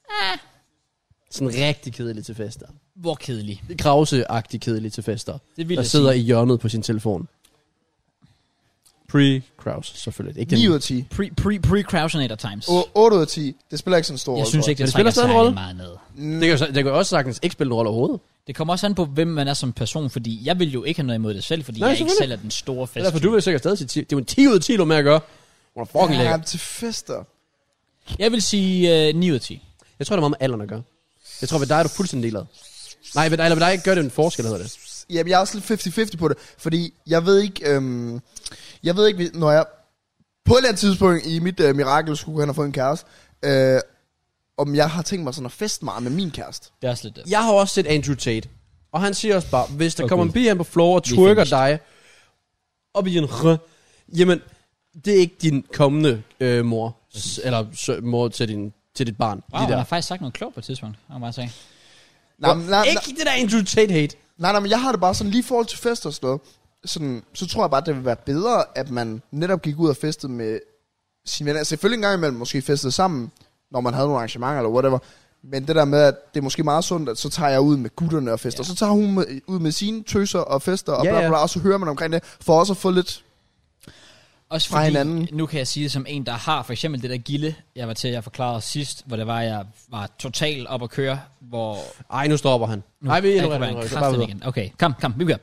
Speaker 4: Ah.
Speaker 1: Ah.
Speaker 4: Sådan rigtig kedelig til fester.
Speaker 1: Hvor kedelig.
Speaker 4: Krause-agtig kedelig til fester.
Speaker 1: Det vil
Speaker 4: der
Speaker 1: jeg
Speaker 4: sidder
Speaker 1: sige.
Speaker 4: i hjørnet på sin telefon. Pre-Kraus, selvfølgelig. Ikke
Speaker 3: 9 ud
Speaker 4: den.
Speaker 3: af 10.
Speaker 1: Pre, pre, pre Crowsonator Times.
Speaker 3: Og 8 ud af 10. Det spiller ikke sådan en stor
Speaker 1: jeg
Speaker 3: rolle
Speaker 1: synes
Speaker 3: for
Speaker 1: ikke,
Speaker 4: Men
Speaker 1: det,
Speaker 4: det
Speaker 1: det trækker
Speaker 4: spiller stadig en
Speaker 1: særlig
Speaker 4: rolle.
Speaker 1: meget ned.
Speaker 4: Det kan, jo så- det kan jo også sagtens ikke spille nogen rolle overhovedet.
Speaker 1: Det kommer også an på, hvem man er som person, fordi jeg vil jo ikke have noget imod det selv, fordi
Speaker 4: Nej,
Speaker 1: Nej, jeg ikke
Speaker 4: selvfølgelig.
Speaker 1: selv er den store
Speaker 4: Det er
Speaker 1: fest.
Speaker 4: derfor, du vil sikkert stadig sige 10. Det er jo en 10 ud af 10, du har med at gøre. Hun er fucking
Speaker 3: mig.
Speaker 4: lækker.
Speaker 3: Ja, til fester.
Speaker 1: Jeg vil sige øh, 9 ud af 10.
Speaker 4: Jeg tror, det er meget med alderen at gøre. Jeg tror, ved dig er du fuldstændig ligeglad. Nej, ved dig, eller ved dig ikke gør det en forskel, hedder det.
Speaker 3: Jamen, jeg er også lidt 50-50 på det, fordi jeg ved ikke, øhm, jeg ved ikke, når jeg på et eller andet tidspunkt i mit øh, mirakel skulle han have fået en kæreste, øh, om jeg har tænkt mig sådan at feste meget med min kæreste.
Speaker 1: Det er også lidt øh, det.
Speaker 4: Jeg har også set Andrew Tate, og han siger også bare, hvis der
Speaker 1: Åh,
Speaker 4: oh, kommer
Speaker 1: Gud.
Speaker 4: en pige hen på floor og
Speaker 1: Vi er
Speaker 4: twerker
Speaker 1: finished.
Speaker 4: dig op i en rø, jamen, det er ikke din kommende øh, mor, s- eller sø, mor til, din, til dit barn.
Speaker 1: Wow,
Speaker 4: de
Speaker 1: han
Speaker 4: der.
Speaker 1: har faktisk sagt noget klogt på et tidspunkt. Jeg må bare sige.
Speaker 3: Nej, men- nej, nej,
Speaker 4: ikke det der Andrew Tate hate.
Speaker 3: nej, nej, men jeg har det bare sådan lige i forhold til fester og sådan noget, sådan, så tror jeg bare, det vil være bedre, at man netop gik ud og festede med sine venner. Selvfølgelig en gang imellem måske festede sammen, når man havde nogle arrangementer eller whatever. Men det der med, at det er måske meget sundt, at så tager jeg ud med gutterne og fester. Ja. Så tager hun med, ud med sine tøser og fester og
Speaker 4: Ja,
Speaker 3: ja, bla, bla,
Speaker 4: ja.
Speaker 3: bla, og så hører man omkring det, for også at få lidt
Speaker 1: Også
Speaker 3: Fra
Speaker 1: fordi,
Speaker 3: hinanden.
Speaker 1: nu kan jeg sige det som en, der har for eksempel det der gilde, jeg var til, jeg forklarede sidst, hvor det var, jeg var totalt op at køre, hvor...
Speaker 4: Ej, nu stopper han. Nej, vi er
Speaker 1: Jeg
Speaker 4: endnu
Speaker 1: kan være en kraften
Speaker 4: rigtig.
Speaker 1: igen. Okay, kom, kom, vi gør.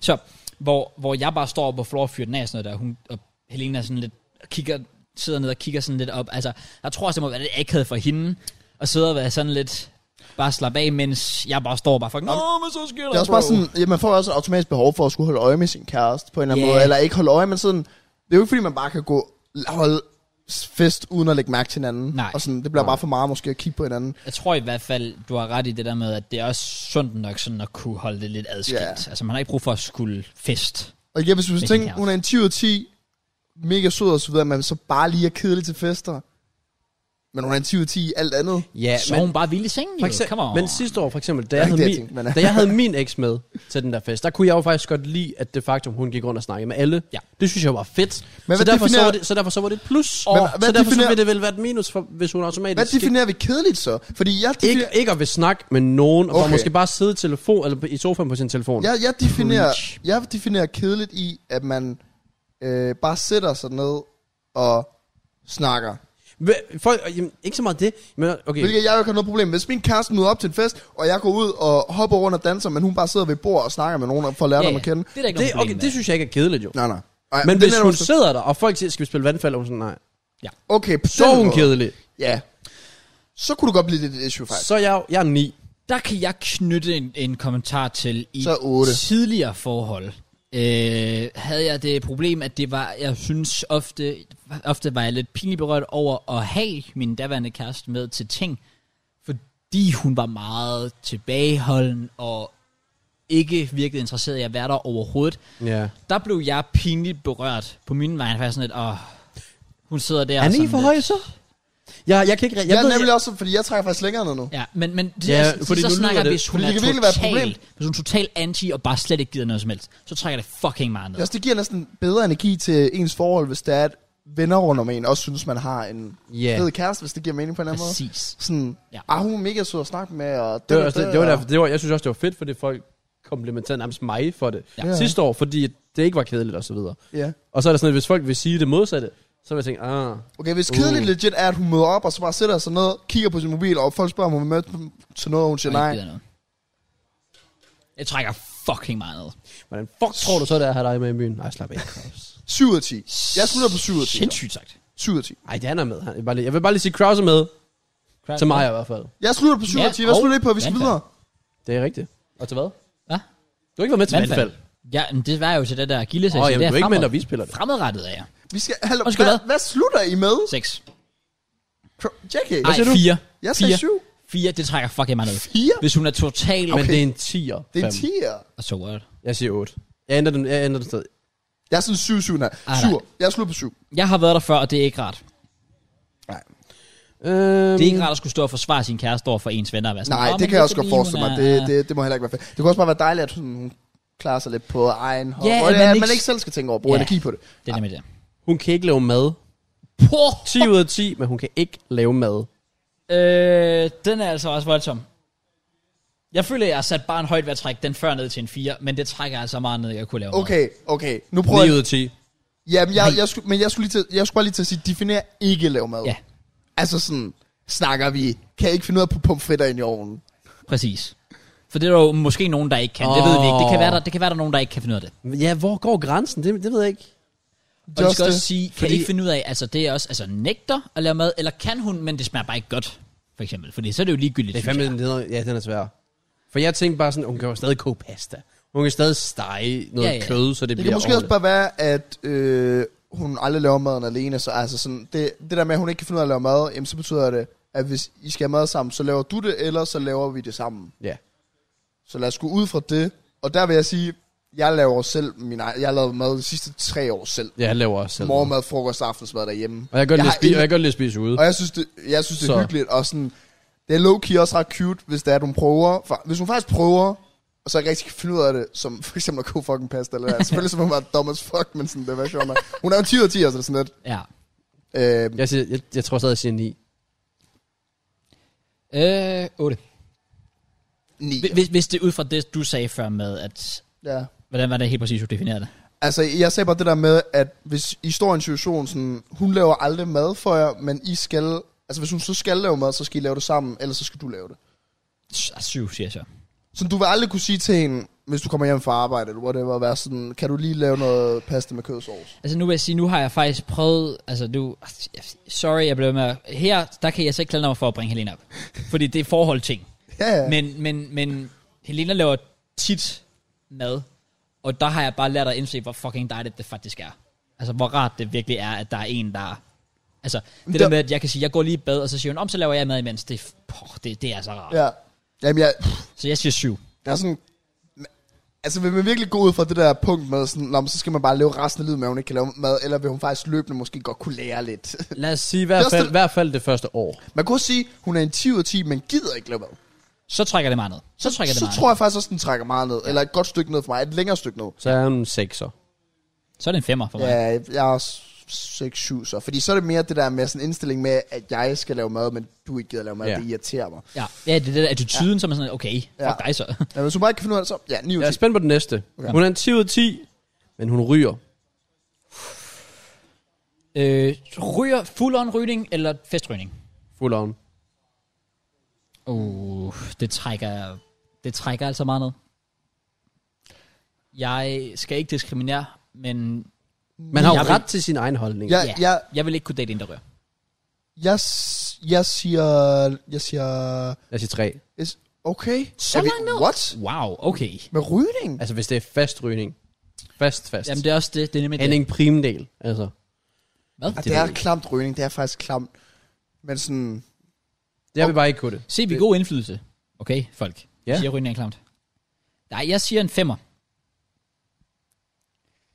Speaker 1: Så, hvor, hvor jeg bare står på floor og fyrer den af, sådan noget der, hun, og Helena er sådan lidt kigger, sidder ned og kigger sådan lidt op. Altså, jeg tror også, det må være lidt akavet for hende, at sidde og være sådan lidt bare slappe af, mens jeg bare står og bare fucking, Nå, men så sker der,
Speaker 3: Det er også bare sådan, ja, man får også et automatisk behov for at skulle holde øje med sin kæreste på en eller anden
Speaker 1: Ja.
Speaker 3: måde, eller ikke holde øje, men sådan, det er jo ikke fordi, man bare kan gå holde fest uden at lægge mærke til hinanden.
Speaker 1: Nej.
Speaker 3: Og sådan, det bliver bare for meget måske at kigge på hinanden.
Speaker 1: Jeg tror i hvert fald, du har ret i det der med, at det er også sundt nok sådan at kunne holde det lidt adskilt.
Speaker 3: Ja.
Speaker 1: Yeah. Altså man har ikke brug for at skulle fest.
Speaker 3: Og igen, hvis du
Speaker 1: sin
Speaker 3: tænker,
Speaker 1: kæreste.
Speaker 3: hun er en 10 ud af 10, mega sød og så videre, men så bare lige er kedelig til fester. Men hun er en 10 ud af 10 i alt andet.
Speaker 4: Ja,
Speaker 1: Ja, så
Speaker 4: men,
Speaker 1: men, hun bare vildt i sengen
Speaker 4: For
Speaker 1: jo. Come
Speaker 4: eksempel,
Speaker 1: on.
Speaker 4: men sidste år for eksempel, da
Speaker 3: er
Speaker 4: jeg,
Speaker 3: ikke
Speaker 4: havde
Speaker 3: det, jeg
Speaker 4: min,
Speaker 3: tænkte, men-
Speaker 4: da jeg havde min eks med til den der fest, der kunne jeg jo faktisk godt lide, at det faktum, hun gik rundt og snakkede med alle,
Speaker 1: Ja.
Speaker 4: det synes jeg var fedt.
Speaker 3: Men
Speaker 4: så,
Speaker 3: hvad
Speaker 4: derfor, så,
Speaker 3: definerer-
Speaker 4: var det, så derfor så var det et plus.
Speaker 3: Men
Speaker 4: og
Speaker 3: hvad
Speaker 4: så derfor så
Speaker 3: definerer-
Speaker 4: ville det vel være et minus, for, hvis hun automatisk...
Speaker 3: Hvad
Speaker 4: ikke-
Speaker 3: definerer vi kedeligt så? Fordi jeg
Speaker 4: ikke,
Speaker 3: definerer,
Speaker 4: ikke at vil snakke med nogen, og okay.
Speaker 3: Okay.
Speaker 4: måske bare sidde i, telefon, eller i sofaen på sin telefon.
Speaker 3: jeg, jeg, definerer,
Speaker 1: Preach.
Speaker 3: jeg definerer kedeligt i, at man øh, bare sætter sig ned og snakker.
Speaker 4: Hva- Folk, jamen, ikke så meget det, men okay.
Speaker 3: Hvilket jeg jo ikke har noget problem med. Hvis min kæreste møder op til en fest, og jeg går ud og hopper rundt og danser, men hun bare sidder ved et bord og snakker med nogen og får lært
Speaker 1: ja,
Speaker 3: dem at
Speaker 1: ja.
Speaker 3: kende.
Speaker 1: Det er der ikke
Speaker 4: det,
Speaker 1: noget problem
Speaker 4: okay, det synes jeg ikke er kedeligt jo.
Speaker 3: Nej, nej. Ej,
Speaker 4: men
Speaker 3: det
Speaker 4: hvis
Speaker 3: er
Speaker 4: hun
Speaker 3: noget-
Speaker 4: sidder der, og folk siger, skal vi spille vandfald, og hun sådan, nej.
Speaker 3: Okay, på
Speaker 4: Så
Speaker 3: den
Speaker 4: er hun
Speaker 3: måde.
Speaker 4: kedelig.
Speaker 3: Ja. Så kunne du godt blive lidt et issue, faktisk.
Speaker 4: Så er jeg, jeg er ni.
Speaker 1: Der kan jeg knytte en, en kommentar til i
Speaker 3: Så otte.
Speaker 1: tidligere forhold. Øh, havde jeg det problem, at det var, jeg synes ofte, ofte var jeg lidt pinligt berørt over at have min daværende kæreste med til ting, fordi hun var meget tilbageholden og ikke virkelig interesseret i at være der overhovedet.
Speaker 4: Ja.
Speaker 1: Der blev jeg pinligt berørt på min vej, faktisk sådan lidt, åh, hun sidder der
Speaker 4: Er
Speaker 1: sådan
Speaker 4: ni for
Speaker 1: lidt-
Speaker 4: høje så? Jeg, jeg kan ikke... re- Jeg,
Speaker 3: Jeg, jeg
Speaker 4: ved,
Speaker 3: er nemlig også, fordi jeg trækker faktisk længere ned nu.
Speaker 1: Ja, men, men det,
Speaker 4: Ja,
Speaker 1: ja, så,
Speaker 4: fordi
Speaker 1: så
Speaker 4: nu
Speaker 1: snakker
Speaker 4: lyder
Speaker 1: jeg,
Speaker 4: det-
Speaker 1: hvis hun
Speaker 3: fordi
Speaker 1: er
Speaker 3: det kan virkelig være et
Speaker 1: total,
Speaker 3: problem.
Speaker 1: hvis hun er total anti og bare slet ikke gider noget som helst, så trækker det fucking meget ned.
Speaker 3: Ja. Altså, Det giver næsten bedre energi til ens forhold, hvis det er, at venner rundt om en også synes, man har en
Speaker 4: Ja.
Speaker 3: fed kæreste, hvis det giver mening på en eller anden måde.
Speaker 1: Præcis.
Speaker 3: Sådan,
Speaker 1: Ja.
Speaker 3: ja. ah, hun er mega sød at snakke med, og
Speaker 4: Det var, også, det, det var
Speaker 3: og-
Speaker 4: derfor, det var, jeg synes også, det var fedt, fordi folk komplementerede nærmest mig for det
Speaker 1: Ja.
Speaker 4: ja. sidste år, fordi det ikke var kedeligt og så videre.
Speaker 3: Ja.
Speaker 4: Og så er der sådan, at hvis folk vil sige det modsatte, så vil jeg tænke, ah,
Speaker 3: Okay, hvis kedeligt uh. legit er, at hun møder op, og så bare sætter sig ned, kigger på sin mobil, og folk spørger, om hun vil med til noget, og hun siger
Speaker 1: Jeg
Speaker 3: nej.
Speaker 1: gider noget. Jeg trækker fucking meget ned.
Speaker 4: hvordan fuck tror du så, det er at have dig med i byen? Nej, slap af.
Speaker 3: 7 ud af 10. Jeg slutter på 7 ud af 10.
Speaker 1: Sindssygt sagt.
Speaker 3: 7 ud af 10.
Speaker 4: Ej, det er med. Han- Jeg vil bare lige- jeg vil bare lige sige, Kraus er med. Til mig i hvert fald.
Speaker 3: Jeg slutter på 7 ud
Speaker 1: Ja,
Speaker 3: af 10. Hvad
Speaker 1: og
Speaker 3: slutter I på, at vi skal
Speaker 1: vandfald.
Speaker 3: videre?
Speaker 4: Det er rigtigt. Og til hvad?
Speaker 1: Hvad?
Speaker 4: Du har ikke været med til
Speaker 1: Vandfald.
Speaker 4: vandfald.
Speaker 1: Ja, men det var jo til det der gildes.
Speaker 4: Åh, jamen, du er ikke med, når vi spiller det.
Speaker 1: Fremadrettet er jeg.
Speaker 3: Vi skal... Hallo,
Speaker 1: Undskyld,
Speaker 3: hvad,
Speaker 1: hvad?
Speaker 3: hvad slutter I med?
Speaker 1: Seks.
Speaker 3: Kro- JK?
Speaker 1: Nej, fire.
Speaker 3: Jeg sagde
Speaker 1: Fire.
Speaker 3: 7.
Speaker 1: Fire, det trækker fucking meget ned.
Speaker 3: 4?
Speaker 1: Hvis hun er total...
Speaker 4: Men
Speaker 1: Men,
Speaker 4: det er en 10'er.
Speaker 3: Det
Speaker 4: fem.
Speaker 3: er 10.
Speaker 1: so what?
Speaker 4: Jeg siger 8. Jeg ændrer den, jeg ændrer den stadig.
Speaker 3: Jeg er sådan 7, 7, nej.
Speaker 1: nej.
Speaker 3: 7. Jeg slutter på 7.
Speaker 1: Jeg har været der før, og det er ikke rart.
Speaker 4: Øhm,
Speaker 1: Det er ikke rart at skulle stå og forsvare sin kæreste over for ens venner. Og være sådan,
Speaker 3: Nej,
Speaker 1: "Åh, men
Speaker 3: det kan jeg
Speaker 1: er
Speaker 3: også godt
Speaker 1: fordi, hun
Speaker 3: forestille mig.
Speaker 1: er-
Speaker 3: Det, det, det må heller ikke være fedt. Det kunne også bare være dejligt, at hun hun klarer sig lidt på egen hånd.
Speaker 1: Ja,
Speaker 3: Ja,
Speaker 1: at
Speaker 3: man,
Speaker 1: man
Speaker 3: at
Speaker 1: ikke-
Speaker 3: man ikke selv skal tænke over at bruge
Speaker 1: Ja.
Speaker 3: energi på det.
Speaker 1: Det er nemlig det.
Speaker 4: Hun kan ikke lave mad.
Speaker 1: Puh,
Speaker 4: 10 ud af 10, men hun kan ikke lave mad.
Speaker 1: øh, den er altså også voldsom. Jeg føler, jeg har sat bare en højt ved at trække den før ned til en 4, men det trækker altså meget ned, jeg kunne lave meget.
Speaker 3: Okay, okay. Nu prøver
Speaker 4: 9
Speaker 3: jeg...
Speaker 4: ud af 10.
Speaker 3: Jamen, jeg, jeg, skulle, men jeg skulle, lige til, jeg skulle bare lige til at sige, definere ikke lave mad.
Speaker 1: Ja,
Speaker 3: Altså sådan, snakker vi, kan ikke finde ud af på pomfritter ind i ovnen.
Speaker 1: præcis. For det er der jo måske nogen, der ikke kan. Oh. Det ved vi ikke. Det kan,
Speaker 4: Åh.
Speaker 1: være, der, det kan være, der er nogen, der ikke kan finde ud af det.
Speaker 4: Ja, hvor går grænsen? Det, det ved jeg ikke.
Speaker 1: Og Just
Speaker 3: Just
Speaker 1: vi skal også
Speaker 3: det.
Speaker 1: sige, kan
Speaker 4: Fordi-
Speaker 1: de ikke finde ud af, altså det er også, altså nægter at lave mad, eller kan hun, men det smager bare ikke godt, for eksempel. Fordi så er det jo ligegyldigt,
Speaker 4: Det er
Speaker 1: synes
Speaker 4: fandme,
Speaker 1: jeg.
Speaker 4: den er, ja, den er svær. For jeg tænkte bare sådan, hun kan jo stadig koge pasta. Hun kan stadig stege noget
Speaker 1: Ja,
Speaker 4: ja,
Speaker 1: ja.
Speaker 4: ja. kød, så det,
Speaker 3: Det kan
Speaker 4: bliver
Speaker 3: måske også
Speaker 4: ordentligt.
Speaker 3: bare være, at øh, hun aldrig laver maden alene, så altså sådan, det, det der med, at hun ikke kan finde ud af at lave mad, jamen så betyder det, at hvis I skal have mad sammen, så laver du det, eller så laver vi det sammen.
Speaker 4: Ja.
Speaker 3: Så lad os gå ud fra det, og der vil jeg sige, jeg laver selv min egen, jeg har lavet mad de sidste tre år selv.
Speaker 4: ja, jeg laver også selv. mad.
Speaker 3: Morgenmad, frokost, aftensmad derhjemme.
Speaker 4: Og jeg kan godt
Speaker 3: Jeg
Speaker 4: lide
Speaker 3: har
Speaker 4: at spise,
Speaker 3: ingen-
Speaker 4: og jeg kan godt lide at spise ude.
Speaker 3: Og jeg synes, det, jeg synes, det er
Speaker 4: Så.
Speaker 3: så. hyggeligt, og sådan, det er low-key også ret cute, hvis det er, at hun prøver, for, hvis hun faktisk prøver, og så ikke rigtig kan finde ud af det, som for eksempel at koge fucking pasta, eller hvad. selvfølgelig som hun var dumb as fuck, men sådan, det var sjovt. nok. Hun er jo 10 ud af 10, altså det er sådan lidt.
Speaker 1: Ja.
Speaker 3: Øh,
Speaker 4: Jeg, siger, jeg, jeg tror stadig, jeg siger 9.
Speaker 1: Øh, 8.
Speaker 3: 9.
Speaker 1: Hvis, hvis det er ud fra det, du sagde før med, at...
Speaker 3: Ja.
Speaker 1: Hvordan var det helt præcis, du definerede det?
Speaker 3: Altså, jeg sagde bare det der med, at hvis I står i en situation sådan, hun laver aldrig mad for jer, men I skal, altså hvis hun så skal lave mad, så skal I lave det sammen, ellers så skal du lave det.
Speaker 1: S- ah, Syv, siger jeg så.
Speaker 3: Så du vil aldrig kunne sige til hende, hvis du kommer hjem fra arbejde, eller whatever, at være sådan, kan du lige lave noget pasta med kødsovs?
Speaker 1: Altså nu vil jeg sige, nu har jeg faktisk prøvet... Altså du... Sorry, jeg blev med... at- Her, der kan jeg så ikke klare mig for at bringe Helena op. Fordi det er forholdting.
Speaker 3: Ja, ja.
Speaker 1: Men, men, men Helena laver tit mad, og der har jeg bare lært at indse, hvor fucking dejligt det faktisk er. Altså, hvor rart det virkelig er, at der er en, der... Altså, det der,
Speaker 3: der-
Speaker 1: med, at jeg kan sige, jeg går lige i bad, og så siger hun, om så laver jeg mad imens. Det, er f- poh, det, det er så rart. Ja.
Speaker 3: Ja. Jamen, jeg,
Speaker 1: Så jeg siger syv.
Speaker 3: jeg er sådan... Altså, vil man virkelig gå ud fra det der punkt med sådan, Nå, men så skal man bare leve resten af livet med, at hun ikke kan lave mad, eller vil hun faktisk løbende måske godt kunne lære lidt?
Speaker 4: Lad os sige i hvert
Speaker 3: Det er også
Speaker 4: fald, i hvert fald det første år.
Speaker 3: man kunne også sige, hun er en 10 ud af 10, men gider ikke lave mad.
Speaker 1: Så trækker det meget ned. Så trækker det
Speaker 3: så
Speaker 1: meget
Speaker 3: tror jeg faktisk også, den trækker meget ned. Ja. Eller et godt stykke ned for mig. Et længere stykke ned.
Speaker 4: Så er hun 6'er.
Speaker 1: ned. Så er det en femmer for mig.
Speaker 3: Ja, jeg er 6-7 så. Fordi så er det mere det der med sådan en indstilling med, at jeg skal lave mad, men du ikke gider lave mad.
Speaker 4: Ja.
Speaker 3: Ja. Det irriterer mig.
Speaker 1: Ja, ja det er det der attituden, ja. som er sådan, okay, fuck
Speaker 3: Ja.
Speaker 1: dig så.
Speaker 3: Ja, hvis hun bare ikke kan finde ud af det, så ja, 9 ud
Speaker 4: Jeg
Speaker 3: af
Speaker 4: er
Speaker 3: 10.
Speaker 4: spændt på den næste. Okay. Hun er en 10 ud af 10, men hun ryger.
Speaker 1: øh, ryger full-on rygning eller festrygning?
Speaker 4: Full on.
Speaker 1: Uh, det trækker, det trækker altså meget ned. Jeg skal ikke diskriminere, men
Speaker 4: Man har jo
Speaker 1: Jeg vil-
Speaker 4: ret til sin egen holdning.
Speaker 3: Jeg,
Speaker 1: ja,
Speaker 3: jeg,
Speaker 1: jeg vil ikke kunne date en, der rører.
Speaker 3: jeg, s- jeg siger... Jeg siger...
Speaker 4: Jeg siger 3.
Speaker 3: Jeg, s- okay.
Speaker 1: Så
Speaker 3: Er vi-
Speaker 1: langt ned?
Speaker 3: What?
Speaker 1: Wow, okay.
Speaker 3: Med rygning?
Speaker 4: Altså, hvis det er fast rygning. Fast, fast.
Speaker 1: Jamen det er også det, det er nemlig det.
Speaker 4: Henning Primdel, altså.
Speaker 1: Hvad?
Speaker 3: Ja, det er klamt rygning, det er faktisk klamt. Men sådan,
Speaker 4: Jeg vil bare ikke kunne det.
Speaker 1: Se, vi er god indflydelse. Okay, folk. Ja.
Speaker 4: Ja.
Speaker 1: Siger rygning er klamt. Nej, jeg siger en femmer.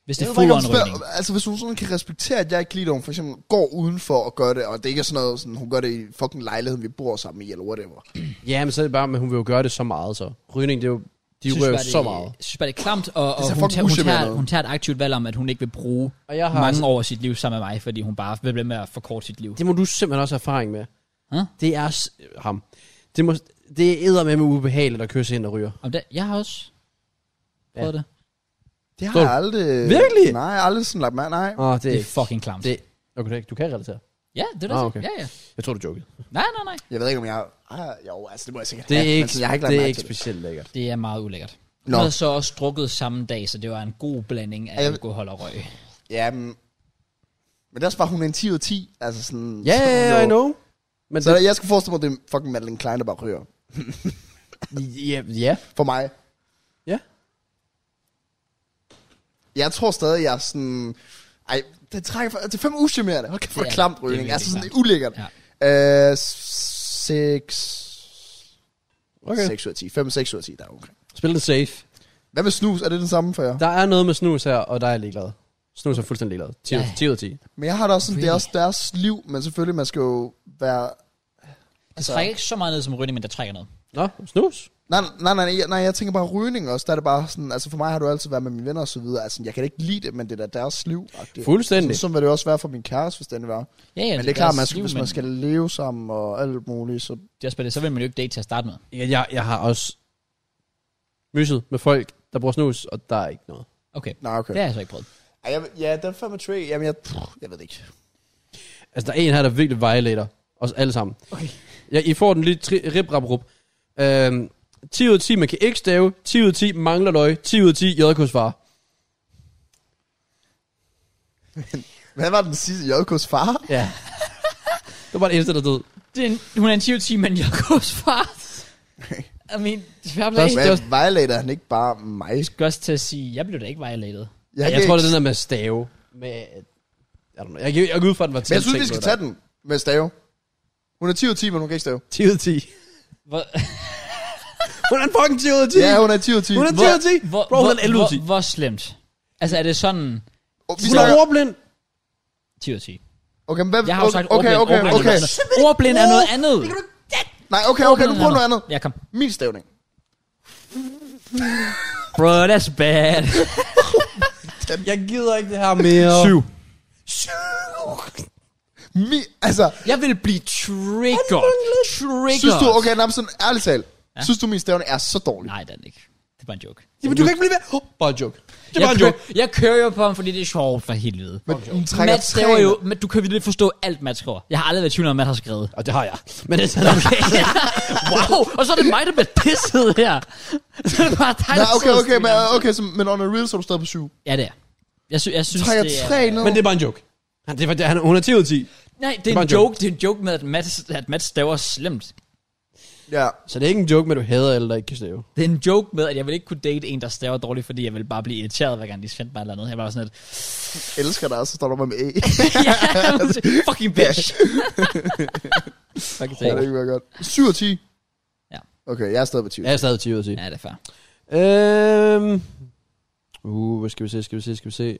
Speaker 1: Hvis det
Speaker 3: jeg
Speaker 1: er
Speaker 3: ved bare ikke, om
Speaker 1: full-on
Speaker 3: hun
Speaker 1: rygning.
Speaker 3: spørger, altså hvis hun sådan kan respektere, at jeg ikke lider, hun for eksempel går udenfor og gør det, og det ikke er sådan noget, sådan, hun gør det i fucking lejligheden, vi bor sammen i, eller whatever.
Speaker 4: Ja, men så er det bare, men hun vil jo gøre det så meget, så. Rygning, det er jo, de
Speaker 1: Synes
Speaker 4: rører
Speaker 1: bare,
Speaker 4: jo så meget.
Speaker 1: Jeg synes bare, det er klamt, og,
Speaker 3: Det
Speaker 1: og hun,
Speaker 3: ser fucking
Speaker 1: tager, hun,
Speaker 3: usædvanligt
Speaker 1: tager,
Speaker 3: ud.
Speaker 1: hun tager et aktivt valg om, at hun ikke vil bruge
Speaker 4: Og jeg har
Speaker 1: mange
Speaker 4: altså-
Speaker 1: år af sit liv sammen med mig, fordi hun bare vil blive med at forkorte sit liv.
Speaker 4: Det må du simpelthen også have erfaring med.
Speaker 1: Huh?
Speaker 4: Det er s- ham. Det, må, det er eddermame ubehageligt at kysse hende og ryger.
Speaker 1: Om det, jeg har også... Prøv ja. det.
Speaker 3: Det har
Speaker 4: Tror du?
Speaker 3: jeg aldrig...
Speaker 4: Virkelig?
Speaker 3: Nej, jeg har aldrig sådan lagt mærke. Nej.
Speaker 4: Åh, oh,
Speaker 1: Det er fucking klamt. Det.
Speaker 4: det- okay, det- du kan relatere.
Speaker 1: Ja, det er det.
Speaker 4: Ah,
Speaker 1: Ah, okay.
Speaker 4: okay.
Speaker 1: Ja, ja.
Speaker 4: Jeg tror, du jokede.
Speaker 1: Nej, nej, nej.
Speaker 3: Jeg ved ikke, om jeg har... Ah, jo, altså, det må jeg sikkert
Speaker 4: Det er
Speaker 3: have, men
Speaker 4: ikke,
Speaker 3: sådan, jeg har ikke lagt
Speaker 4: det er
Speaker 3: mærke
Speaker 4: ikke
Speaker 3: til det.
Speaker 4: specielt lækkert.
Speaker 1: Det er meget ulækkert. Hun
Speaker 3: Nå.
Speaker 1: havde så også drukket samme dag, så det var en god blanding af
Speaker 3: Jeg-
Speaker 1: alkohol og røg.
Speaker 3: Ja, men, men det er også bare, hun er en 10 ud af 10. Altså sådan...
Speaker 4: Ja,
Speaker 3: så,
Speaker 4: ja, ja, I know. Men
Speaker 3: Så jeg skulle forestille mig, at det er fucking Madeleine Klein, der bare ryger.
Speaker 4: ja, ja.
Speaker 3: For mig.
Speaker 4: Ja.
Speaker 3: Jeg tror stadig, jeg er sådan... Ej, det trækker for, det er fem ugenerende. Hold kæft, hvor
Speaker 1: Det er-
Speaker 3: klamt
Speaker 1: det er
Speaker 3: rygning.
Speaker 1: virkelig
Speaker 3: Altså sådan, det er
Speaker 1: klamt.
Speaker 3: ulækkert.
Speaker 1: Ja.
Speaker 3: Øh, s- seks...
Speaker 4: Okay.
Speaker 3: Okay. 6 ud af 10. 5, 6 ud af 10, der er okay.
Speaker 4: Spil den safe.
Speaker 3: Hvad med snus? Er det den samme for jer?
Speaker 4: Der er noget med snus her, og der er jeg ligeglad. Snus er fuldstændig ligeglad. 10 ud
Speaker 1: Ja.
Speaker 4: 10 ud af 10.
Speaker 3: Men jeg har da også sådan, det er
Speaker 1: Really?
Speaker 3: også deres liv, men selvfølgelig, man skal jo være...
Speaker 1: Det trækker ikke så meget ned som rygning, men der trækker noget.
Speaker 4: Nå, snus.
Speaker 3: Nej, nej, nej, nej, nej, jeg tænker bare rygning også. Der er det bare sådan, altså for mig har du altid været med mine venner og så videre. Altså, jeg kan ikke lide det, men det er da deres liv.
Speaker 4: Fuldstændig.
Speaker 3: Sådan, sådan vil det også være for min kæreste, hvis den var.
Speaker 1: Ja, ja,
Speaker 3: Men det er klart,
Speaker 1: deres
Speaker 3: man skal,
Speaker 1: liv,
Speaker 3: hvis man skal leve sammen og alt muligt, så...
Speaker 1: Det er også bare det, så vil man jo ikke date til at starte med.
Speaker 4: Ja, Jeg, jeg har også myset med folk, der bruger snus, og der er ikke noget.
Speaker 1: Okay.
Speaker 3: Nej, okay.
Speaker 1: Det har jeg så ikke prøvet.
Speaker 3: Ej, jeg, ja, den er fandme tricky. Jamen, jeg, pff, jeg ved det ikke.
Speaker 4: Altså, der er en her, der virkelig violater os alle sammen.
Speaker 1: Okay.
Speaker 4: Ja, I får den lige tri- rip rap rup. Øhm, 10 ud af 10, man kan ikke stave. 10 ud af 10, mangler løg. 10 ud af 10, JK's far.
Speaker 3: Hvad var den sidste JK's far?
Speaker 4: Ja. det var det eneste, der døde.
Speaker 1: Det er en, hun er en 20 10 men Jakobs far. I mean, fair play.
Speaker 4: Hvad?
Speaker 3: Hvad violater han ikke bare mig?
Speaker 1: Jeg skal også til at sige, jeg blev da ikke violated.
Speaker 4: Ja, jeg
Speaker 3: kan
Speaker 4: tror,
Speaker 3: ikke-
Speaker 4: det er den der med stave. Med, jeg, don't know. jeg, jeg, jeg går ud fra, at den var
Speaker 3: Men jeg synes, vi
Speaker 4: tiltænkt noget
Speaker 3: skal tage den med stave. Hun er 10 ud af 10, men hun kan ikke stave.
Speaker 4: der. 10 ud af 10.
Speaker 1: Hvor,
Speaker 4: Hun er en fucking 10 ud af 10.
Speaker 3: Ja, hun er 10 ud af 10.
Speaker 4: Hun er 10 ud af 10.
Speaker 1: hvor,
Speaker 4: Bro,
Speaker 1: hvor,
Speaker 4: hun er 11 ud af 10.
Speaker 1: hvor, hvor slemt? Altså, er det sådan
Speaker 3: Og vi
Speaker 4: Hun er
Speaker 3: snakker-
Speaker 4: ordblind.
Speaker 1: 10 ud af 10?
Speaker 3: Okay, men hvad...
Speaker 1: Jeg har jo sagt ordblind.
Speaker 3: okay, okay,
Speaker 1: ordblind,
Speaker 3: okay.
Speaker 1: Er noget andet. ordblind er noget andet.
Speaker 3: Nej, okay, okay, du prøver noget andet.
Speaker 1: Ja, kom.
Speaker 3: Min stavning.
Speaker 1: Bro, that's bad.
Speaker 4: Jeg gider ikke det her mere. 7.
Speaker 3: Mi, altså,
Speaker 1: Jeg vil blive triggered. Triggered.
Speaker 3: synes du, okay, nej, men sådan ærligt talt, synes du, min stavning er så dårlig?
Speaker 1: Nej, det er den ikke. Det var en joke.
Speaker 4: Jamen, du kan ikke blive ved. Oh, bare en joke. Det er
Speaker 1: Jeg
Speaker 4: bare en
Speaker 1: kører,
Speaker 4: joke.
Speaker 1: jeg kører jo på ham, fordi det er sjovt for helvede.
Speaker 3: Men den trækker
Speaker 1: Mads skriver
Speaker 3: træerne.
Speaker 1: jo, men du kan virkelig forstå alt, Mads skriver. Jeg har aldrig været i tvivl om, at Mads har skrevet.
Speaker 4: Og det har jeg. Men altså, det er sådan, okay.
Speaker 1: wow, og så er det mig, der bliver pisset her. Så er det bare dig,
Speaker 3: Nej,
Speaker 1: der
Speaker 3: okay,
Speaker 1: sidder
Speaker 3: okay,
Speaker 1: og
Speaker 3: men,
Speaker 1: skriver.
Speaker 3: okay, så, men on a real, så er du stadig på 7.
Speaker 1: Ja, det er. Jeg, sy- jeg synes,
Speaker 3: Trækker
Speaker 1: det er...
Speaker 3: 3 ned.
Speaker 4: Men det er bare en joke. Han, det var, han, hun er 10 ud af 10.
Speaker 1: Nej, det er,
Speaker 4: Det er bare
Speaker 1: en
Speaker 4: en
Speaker 1: joke. Det er en joke med, at Mads, at Mads staver slemt.
Speaker 3: Ja.
Speaker 4: Så det er ikke en joke med, at du hader eller ikke kan stave.
Speaker 1: Det er en joke med, at jeg vil ikke kunne date en, der staver dårligt, fordi jeg vil bare blive irriteret, hver gang de sendte mig et eller andet. Jeg var sådan et,
Speaker 3: Elsker dig, og så står der bare med A.
Speaker 1: ja, fucking bitch. fucking
Speaker 3: Ja, det kan være godt. 7 og 10?
Speaker 1: Ja.
Speaker 3: Okay, jeg er stadig på 10.
Speaker 4: Jeg er stadig 10 ud af 10.
Speaker 1: Ja, det er fair.
Speaker 4: Øhm. Uh, hvad skal vi se, skal vi se, skal vi se.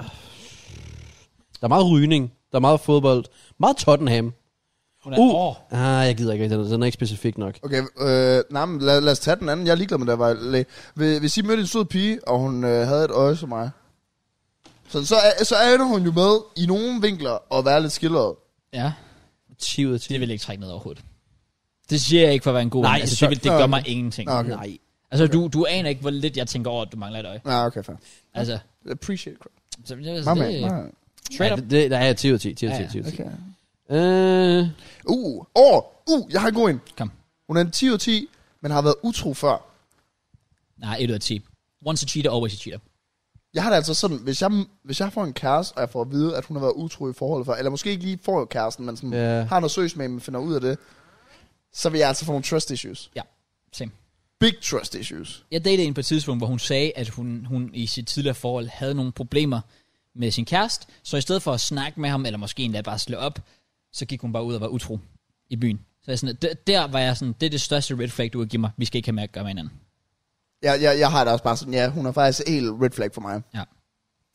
Speaker 4: Der er meget rygning. Der er meget fodbold. Meget Tottenham.
Speaker 1: Hun
Speaker 4: Uh.
Speaker 1: åh,
Speaker 4: Ah, jeg gider ikke rigtig, den den er ikke specifik nok.
Speaker 3: Okay, øh, nej, men lad, lad os tage den anden. Jeg er ligeglad med det, var læge. Hvis hvis I mødte en sød pige, og hun øh, havde et øje som mig, så, så, er, så er hun jo med i nogle vinkler at være lidt skildret.
Speaker 1: Ja,
Speaker 4: 10 ud af 10.
Speaker 1: det vil jeg ikke trække ned overhovedet. Det siger jeg ikke for at være en god
Speaker 4: Nej,
Speaker 1: ven. altså,
Speaker 4: så-
Speaker 1: det, vil, det gør
Speaker 3: Nå,
Speaker 1: mig ingenting.
Speaker 3: Nå, okay.
Speaker 4: Nej.
Speaker 1: Altså, du, du aner ikke, hvor lidt jeg tænker over, at du mangler et øje.
Speaker 3: Ja, okay, fair.
Speaker 1: Altså,
Speaker 3: Appreciate crap.
Speaker 1: så, så,
Speaker 3: Nej,
Speaker 1: så
Speaker 3: man,
Speaker 1: det,
Speaker 3: nej.
Speaker 1: straight
Speaker 4: Ja,
Speaker 1: up.
Speaker 4: det, det, der er 10 ud af 10. 10 ud af
Speaker 1: Ja,
Speaker 4: 10.
Speaker 1: ja,
Speaker 4: 10 ud af 10.
Speaker 3: Okay.
Speaker 4: Øh,
Speaker 3: Uh, åh, uh, jeg har en god en.
Speaker 1: Kom.
Speaker 3: Hun er en 10 ud af 10, men har været utro før.
Speaker 1: Nej, 1 ud af 10. Once a cheater, always a cheater.
Speaker 3: Jeg har det altså sådan, hvis jeg, hvis jeg får en kæreste, og jeg får at vide, at hun har været utro i forholdet før, eller måske ikke lige får kæresten, men sådan,
Speaker 4: Ja.
Speaker 3: yeah. har noget søs med, men finder ud af det, så vil jeg altså få nogle trust issues.
Speaker 1: Ja, same.
Speaker 3: Big trust issues.
Speaker 1: Jeg datede en på et tidspunkt, hvor hun sagde, at hun, hun i sit tidligere forhold havde nogle problemer med sin kæreste, så i stedet for at snakke med ham, eller måske endda bare slå op, så gik hun bare ud og var utro i byen. Så jeg sådan, der, der var jeg sådan, det er det største red flag, du kan give mig. Vi skal ikke have med at gøre med hinanden.
Speaker 3: Jeg, jeg, jeg har det også bare sådan, ja, hun er faktisk helt red flag for mig.
Speaker 1: Ja.